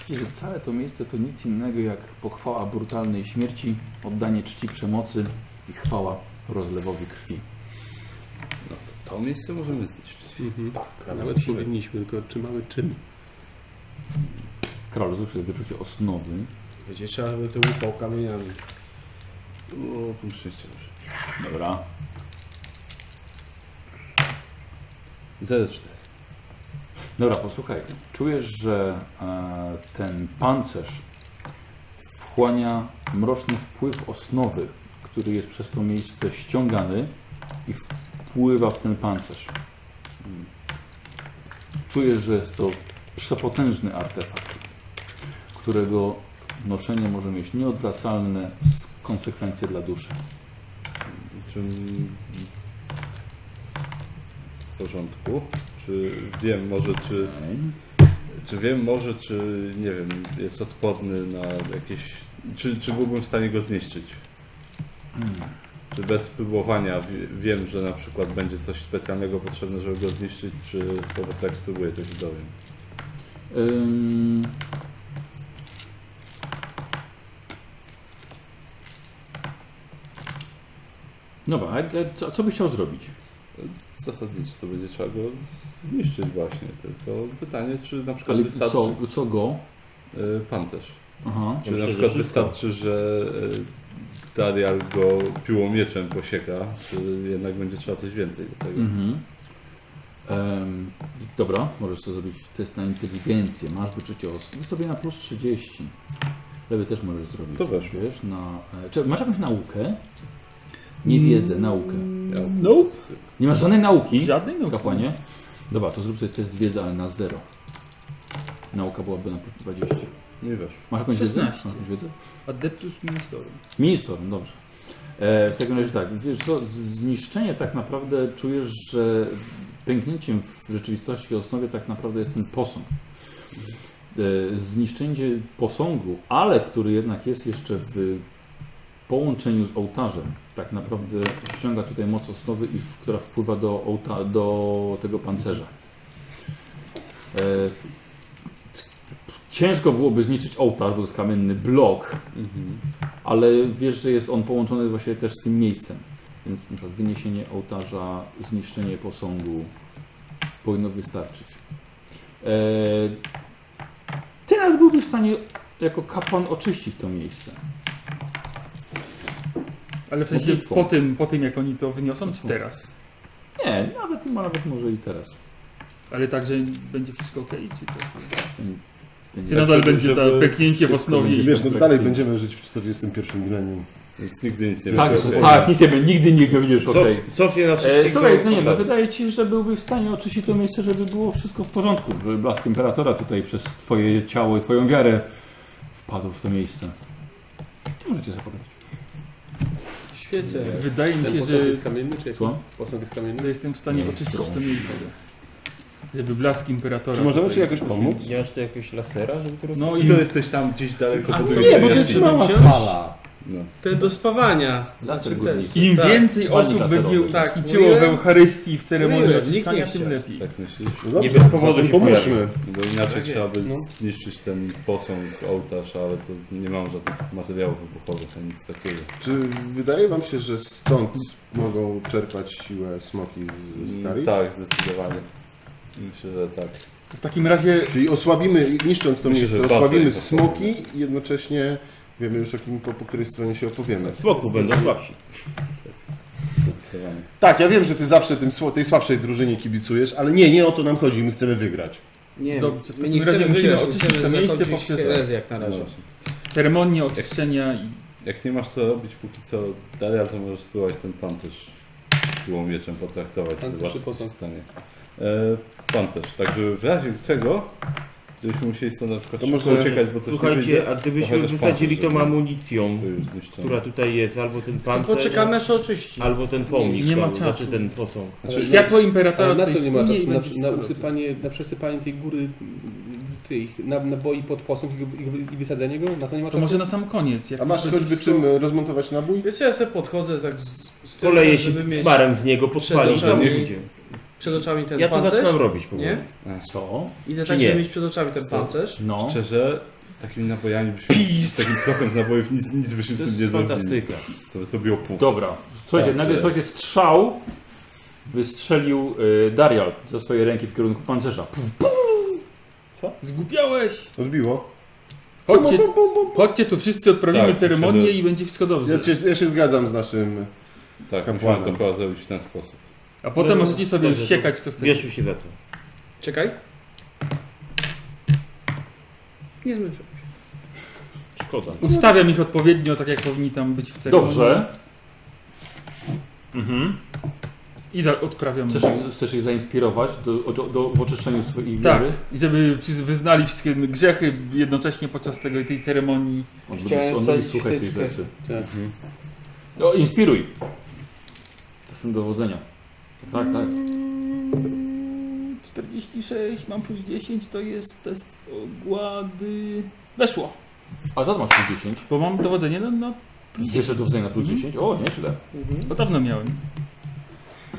Widzicie, że całe to miejsce to nic innego jak pochwała brutalnej śmierci, oddanie czci przemocy i chwała rozlewowi krwi. No to, to miejsce możemy zniszczyć. Tak, a nawet powinniśmy, tylko czy mamy czym? Karol, zrób sobie wyczucie osnowy. Będzie trzeba, żeby to łupał kamieniami. O, pół szczęścia już. Dobra. 0,4. Dobra, posłuchaj. Czujesz, że e, ten pancerz wchłania mroczny wpływ osnowy, który jest przez to miejsce ściągany i wpływa w ten pancerz. Czujesz, że jest to przepotężny artefakt, którego noszenie może mieć nieodwracalne s- konsekwencje dla duszy. Czy... W porządku. Czy wiem może, czy... Okej. Czy wiem może, czy nie wiem, jest odporny na jakieś... Czy, czy byłbym w stanie go zniszczyć? Hmm. Czy bez spróbowania wie- wiem, że na przykład będzie coś specjalnego potrzebne, żeby go zniszczyć, czy po prostu jak spróbuję, to się dowiem? Ym... Dobra, no a a co, co byś chciał zrobić? Zasadniczo to będzie trzeba go zniszczyć właśnie, tylko pytanie, czy na przykład Ale wystarczy co, co go? y, pancerz? Aha. Czy na przykład wystarczy, że y, Darial go piłą mieczem posieka, czy jednak będzie trzeba coś więcej do tego? Mhm. Em, dobra, możesz sobie zrobić test na inteligencję. Masz wyczucie osób. sobie na plus 30. Lewy też możesz zrobić. To weszło. Wiesz, na, e, czy masz jakąś naukę? Nie wiedzę, naukę. Ja- Nope. Nie masz żadnej nauki? Żadnej nauki. Kapłanie? Dobra, to zrób sobie test wiedzy, ale na 0. Nauka byłaby na plus 20. Nie weszło. Masz jakąś wiedzę? 16. Masz jakąś wiedzę? Adeptus Ministorum. Minister, no dobrze. E, w takim razie tak, wiesz co, z- zniszczenie tak naprawdę czujesz, że pęknięciem w rzeczywistości i osnowie tak naprawdę jest ten posąg. E, zniszczenie posągu, ale który jednak jest jeszcze w połączeniu z ołtarzem, tak naprawdę ściąga tutaj moc osnowy, i w, która wpływa do, ołta, do tego pancerza. E, c- ciężko byłoby zniszczyć ołtarz, bo to jest kamienny blok, ale wiesz, że jest on połączony właśnie też z tym miejscem. Więc na przykład wyniesienie ołtarza, zniszczenie posągu powinno wystarczyć. Eee, ty nawet byłbyś w stanie jako kapłan oczyścić to miejsce. Ale w sensie Modlitwą. po tym, po tym, jak oni to wyniosą, czy teraz? Nie, nawet, nawet może i teraz. Ale także będzie wszystko ok, czy to? Będzie- Czy nadal żeby- będzie to żeby pęknięcie w Znaczy, wszystko osnowie? i- będzie- Wiesz, no dalej będziemy żyć w 41 milenium. Więc nigdy nic nie Tak, wyszło. tak, nic nie będzie, nigdy nie będziesz Co, okej. Cofnie na E, wszystkiego. Słuchaj, no nie, no wydaje ci, że byłbyś w stanie oczyścić to miejsce, żeby było wszystko w porządku, żeby blask imperatora tutaj przez twoje ciało i twoją wiarę wpadł w to miejsce. Nie możecie sobie pogadać. Świecę. Wydaje mi Ten się, posąg że, jest kamienny, czy jaki? Słucham? Posąg jest kamienny? że jestem w stanie oczyścić to miejsce. Żeby blask imperatora. Czy możemy tutaj ci jakoś poświęcić. pomóc? Nie masz tu jakiegoś lasera, żeby to robić? No Czy i to jesteś tam gdzieś daleko? Nie, bo to jest mała sala. Te do spawania. Laser Znaczy górniczy. Im Tak. więcej Palnik osób laserowy. będzie Tak, uczestniczyło w mówiłem. Eucharystii i w ceremonii Mówiłem, nikt nie oczyszczania, tym chciał. lepiej. Tak myślisz? No dobrze, bez powodu zatem się pomóżmy. Bo inaczej trzeba by zniszczyć ten posąg, ołtarz, ale to nie mam żadnych materiałów wybuchowych ani nic takiego. Czy wydaje wam się, że stąd mogą czerpać siłę smoki z- z Skari? Tak, zdecydowanie. Myślę, że tak. To w takim razie Czyli osłabimy, niszcząc to Myślę, miejsce, że bardzo osłabimy ich smoki i jednocześnie wiemy już o kim, po, po której stronie się opowiemy. Tak. Smoku będą słabsi. Zdecydowanie. Tak, ja wiem, że ty zawsze tym, sła- tej słabszej drużynie kibicujesz, ale nie, nie o to nam chodzi, my chcemy wygrać. Nie, Dobrze, w My nie takim chcemy razie musimy wygrać, oczyścić to musimy miejsce zakończyć poprzez herezję jak na No razie. właśnie. ceremonię oczyszczenia i Jak nie masz co robić póki co dalej, to możesz spływać ten pancerz siłą mieczem potraktować. Pancerz zobaczyć, czy po co co? się stanie. E, pancerz. Tak, żeby w razie czego, gdybyśmy musieli stąd na przykład To to szybko może- uciekać, bo coś nie Słuchajcie, wyjdzie, a to gdybyśmy chociaż wysadzili pancerz, tą żeby- amunicją, Y, to już zniszczone. która tutaj jest, albo ten pancerz, Poczekamy aż oczyści. albo ten pomnik, Nie ma albo- czasu. znaczy ten posąg. Znaczy, światło Ale imperatora na tutaj co nie ma spłynie i czasu? Na, będzie na, wzrok. usypanie, na przesypanie tej góry mm, tych na, naboi pod posąg i, go- i, go- i wysadzenie go? Na to nie ma To czasu? może na sam koniec. jak A masz Znaczy, będzie choćby wszystko- czym e, rozmontować nabój? Wiesz, co, ja sobie podchodzę tak z, z tyłu, Poleję żeby się mieć smarem z niego, podpalić Przed tam oczami. ludzie. przed oczami ten Ja to pancerz. zaczynam robić powoli. Nie? Co? Idę Czy tak, nie? żeby mieć przed oczami ten pancerz. No. Szczerze, takimi nabojami byśmy... Z takim krokiem z nabojów nic, nic byśmy z To tym nie jest zrobili. fantastyka. To by zrobiło pół. Dobra. Słuchajcie, Tak, nagle e. słuchajcie, strzał wystrzelił y, Darial ze swojej ręki w kierunku pancerza. Puf, Zgłupiałeś! Odbiło. Chodźcie, chodźcie tu wszyscy odprawimy Tak, ceremonię myślę, że- i będzie wszystko dobrze. Ja się, ja się zgadzam z naszym... Tak, musimy Kapłanem. to chyba zrobić w ten sposób. A potem możecie sobie Dobrze, już siekać co chcecie. Bierzmy się za to. Czekaj. Nie zmęczyłem się. Szkoda. Ustawiam ich odpowiednio, tak jak powinni tam być w ceremonii. Dobrze. Mhm. I za, odprawiam. Chcesz, ich- chcesz ich zainspirować do, do, do w oczyszczeniu swojej Tak, wiary? i żeby wyznali wszystkie grzechy jednocześnie podczas tego tej ceremonii. On lubi, Chciałem on lubi wsadzić słuchać tych wtyczkę. rzeczy. Tak. Mhm. No, inspiruj. To są dowodzenia. Tak, tak. 46, mam plus 10, to jest test ogłady. Weszło, A za to masz plus 10. bo mam dowodzenie no, na, na Jeszcze dowodzenia na plus 10? O, nieźle. Bo dawno miałem.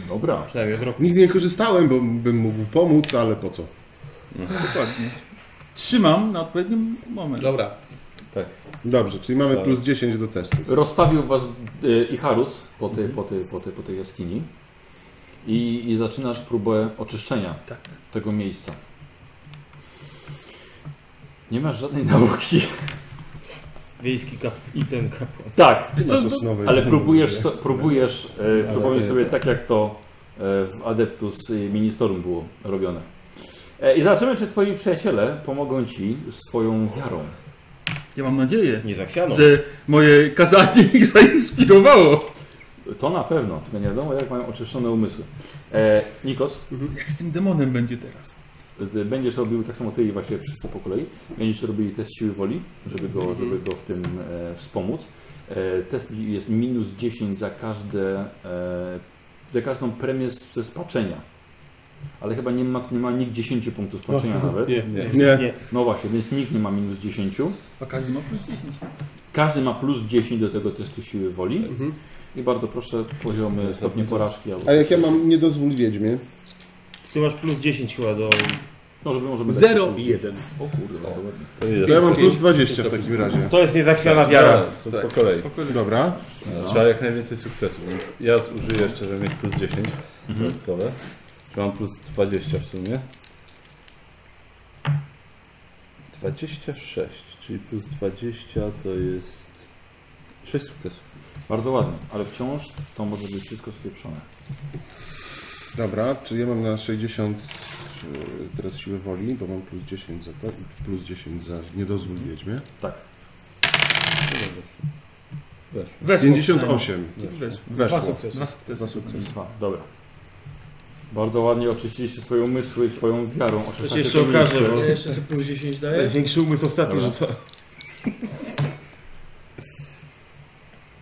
Dobra. Przynajmniej od roku. Nigdy nie korzystałem, bo bym mógł pomóc, ale po co? Dokładnie. Trzymam na odpowiednim moment. Dobra. Tak. Dobrze, czyli mamy Tak. plus 10 do testu. Rozstawił was y, Icharus po, ty, po, ty, po, ty, po tej jaskini i, i zaczynasz próbę oczyszczenia Tak. tego miejsca. Nie masz żadnej nauki. Wiejski kapitan kapłan. Tak, Ty co- masz osnowę. ale Ja próbujesz, nie so, próbujesz e, przypomnieć to- sobie tak, jak to e, w Adeptus Ministorum było robione. E, I zobaczymy, czy twoi przyjaciele pomogą ci swoją wiarą. Ja mam nadzieję, Nie zachwiano. że moje kazanie <laughs> ich zainspirowało. To na pewno, tylko nie wiadomo, jak mają oczyszczone umysły. E, Nikos, Jak z tym demonem będzie teraz? Ty Będziesz robił tak samo ty i właśnie wszyscy po kolei. Będziecie robili test siły woli, żeby go, żeby go w tym e, wspomóc. E, test jest minus 10 za każde, e, za każdą premię z- ze spaczenia. Ale chyba nie ma, nie ma nikt 10 punktów spaczenia nawet. Nie. No właśnie, więc nikt nie ma minus 10. A każdy ma plus 10. Każdy ma plus 10 do tego testu siły woli. I bardzo proszę poziomy, stopnie porażki. Albo A jak ja mam nie dozwól wiedźmie? Ty masz plus 10 chyba do... No, żeby możemy dać- Zero i jeden. O kurde, to ładnie. To jest. To ja mam plus 20 w takim razie. To jest niezachwiana wiara. Dobra, to po kolei. Dobra. Trzeba jak najwięcej sukcesów, więc ja zużyję jeszcze, żeby mieć plus 10 dodatkowe. Czy mam plus 20 w sumie? 26, czyli plus 20 to jest 6 sukcesów. Bardzo ładnie, ale wciąż to może być wszystko spieprzone. Dobra, czy ja mam na 60 e, teraz siły woli, bo mam plus 10 za to i plus 10 za niedozwól wiedźmie. Tak. Weszło. 58. Weszło. Weszło. Dwa sukcesy. Dwa sukcesy. Dwa, dobra. Bardzo ładnie oczyściliście swoje umysły i swoją wiarą. To się Oczyszczacie jeszcze to miejsce. okaże, bo... Ja jeszcze sobie plus 10 daję. Największy umysł ostatni Dobra. rzuca.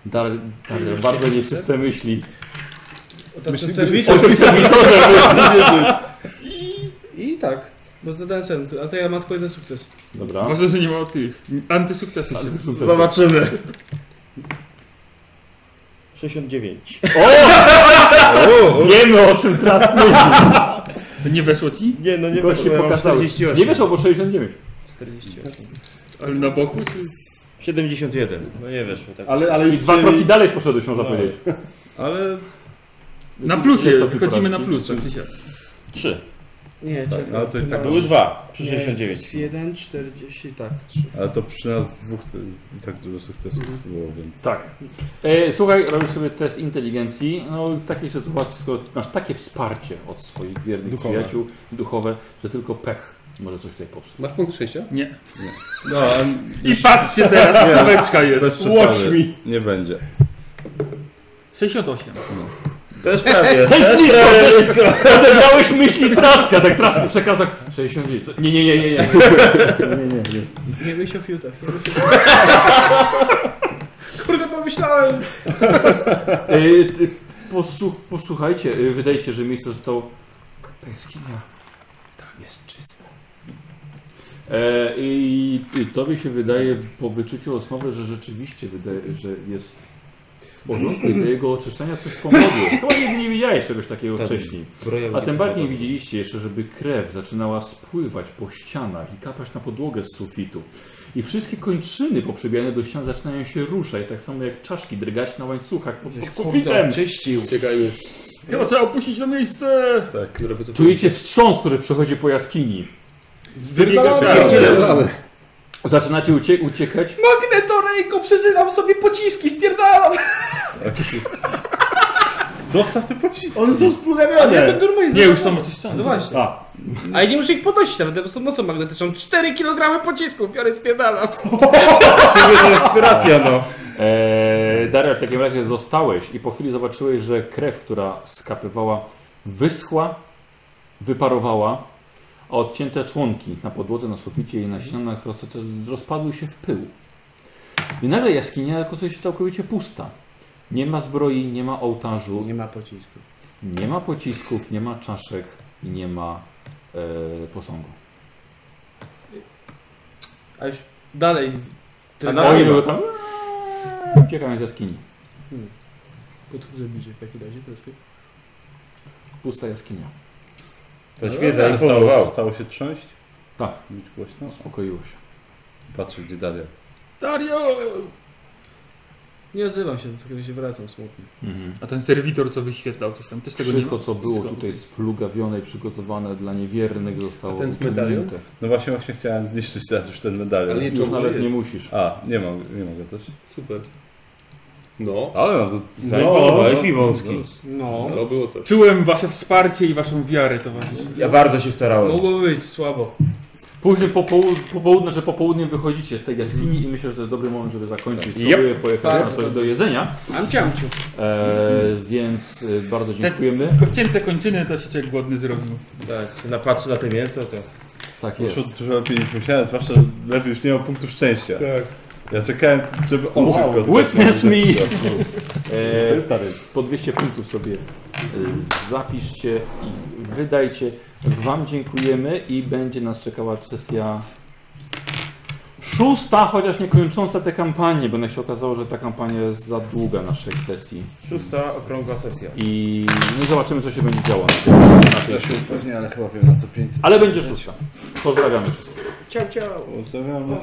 Dar, dar, bardzo nieczyste myśli. Otaczę Myśli- serwis. O tym serwitorze myślicie. I tak. Bo dodałem sen, a to ja mam tylko jeden sukces. No, Dobra. Może, że nie ma o tych antysukcesów. Sukces. Zobaczymy. 69. Wiemy o czym teraz myśli. To nie weszło ci? Nie, no nie Goście weszło, ja mam pokazały. 48. Nie weszło, bo 69. 48. Ale na boku? Czy... 71. No nie weszło tak. Ale, ale I już dwa wzięli- kroki dalej poszedłeś, można powiedzieć. Ale Na Jest plusie, to wychodzimy na porażki. plus. tak praktycznie. 3. Nie, czekaj. ale to i tak No. Chyba- Były 2 przy Nie, 69. 1, 40, tak, 3. Ale to przy nas dwóch to i tak dużo sukcesów było, więc... Tak. E, słuchaj, robisz sobie test inteligencji. No i w takiej sytuacji, skoro masz takie wsparcie od swoich wiernych Duchowe. przyjaciół, duchowe, że tylko pech może coś tutaj popsuć. Masz punkt szczęścia? Nie. No, a I patrzcie teraz, staweczka bez jest. przesady. Watch me. Nie będzie. 68. Też prawie. Też blisko, też blisko. Odebrałeś myśli traska, tak traska przekazał 69. Co- Nie, nie, nie, nie, nie. Nie myśl o fiutach. nie myśl <laughs> o- Kurde, pomyślałem! E, ty, posłuch, posłuchajcie, e, wydaje się, że miejsce zostało. Ta jaskinia. Tam jest czyste. E, i, I tobie się wydaje w- po wyczuciu osnowy, że rzeczywiście wydaje, że jest w porządku i do jego oczyszczenia coś pomogło. Chyba nigdy nie widziałeś czegoś takiego wcześniej. A tym bardziej widzieliście jeszcze, żeby krew zaczynała spływać po ścianach i kapać na podłogę z sufitu. I wszystkie kończyny poprzebijane do ścian zaczynają się ruszać, tak samo jak czaszki drgać na łańcuchach pod, pod sufitem. Czyścił. Uciekajmy. Chyba trzeba opuścić to miejsce. Tak. Czujecie wstrząs, który przechodzi po jaskini. No, Wypierdalamy. Zaczynacie ucie uciekać. Magnetorejko, przesyłam sobie pociski, spierdalam! Zostaw te pociski! One są splugawione! Ale to normalnie Nie, już są oczyszczone. No właśnie. A. A ja nie muszę ich podnosić nawet, bo są mocą magnetyczną. 4 kg pocisków, biorę spierdalam. Racja, no. Eee, Daria, w takim razie zostałeś i po chwili zobaczyłeś, że krew, która skapywała, wyschła, wyparowała, a odcięte członki na podłodze, na suficie i na Mhm. ścianach roz rozpadły się w pył. I nagle jaskinia okazuje się całkowicie pusta. Nie ma zbroi, nie ma ołtarzu, Nie ma pocisku. Nie ma pocisków, nie ma czaszek i nie ma e, posągu. A już dalej. A Ten na- Oni nie ma. były tam uciekają z jaskini. Podchodzę bliżej w takim razie troszkę. Pusta jaskinia. To Ale świeża stało, imponował. stało się trząść? Tak. Mówić głośno? Uspokoiło się. Patrzę, gdzie Daria. Dario! Nie odzywam się, w takim razie wracam smutny. A ten serwitor, co wyświetlał coś tam, też tego nie Wszystko, ma? co było Wszystko. tutaj splugawione i przygotowane dla niewiernych, zostało A ten medalion? uciągnięte. No właśnie, właśnie chciałem zniszczyć teraz już ten medalion. Ale nie Już Czemu nawet jest? nie musisz. A, nie mam, nie mogę też. Super. No. Ale nam to Zaimponowałeś mi wąski. No. To było coś. Czułem wasze wsparcie i waszą wiarę, towarzysze. Ja bardzo się starałem. Mogło być słabo. Później popołu- popołudne, że popołudniem wychodzicie z tej jaskini i myślę, że to jest dobry moment, żeby zakończyć. Yep. Sobie pojechać na Tak. sobie do jedzenia. Mam ciamciu. E, więc e, bardzo dziękujemy. Cięte kończyny to się człowiek głodny zrobił. Tak, napatrzy na te mięso, to... Tak jest. Poszło dużo lepiej niż myślałem, zwłaszcza lepiej już nie miał punktu szczęścia. Tak. Ja czekałem, żeby on Wow, tylko witness zaczął. me. To E, jest stary. po 200 punktów sobie e, zapiszcie i wydajcie. Wam dziękujemy i będzie nas czekała sesja szósta, chociaż nie kończąca tę kampanię, bo się okazało, że ta kampania jest za długa na 6 sesji. Szósta okrągła sesja. I no zobaczymy, co się będzie działo. Ja się uzpewnię, ale chyba wiem na co 500. Ale będzie szósta. Pozdrawiamy wszystkich. Ciao, ciao. Pozdrawiam.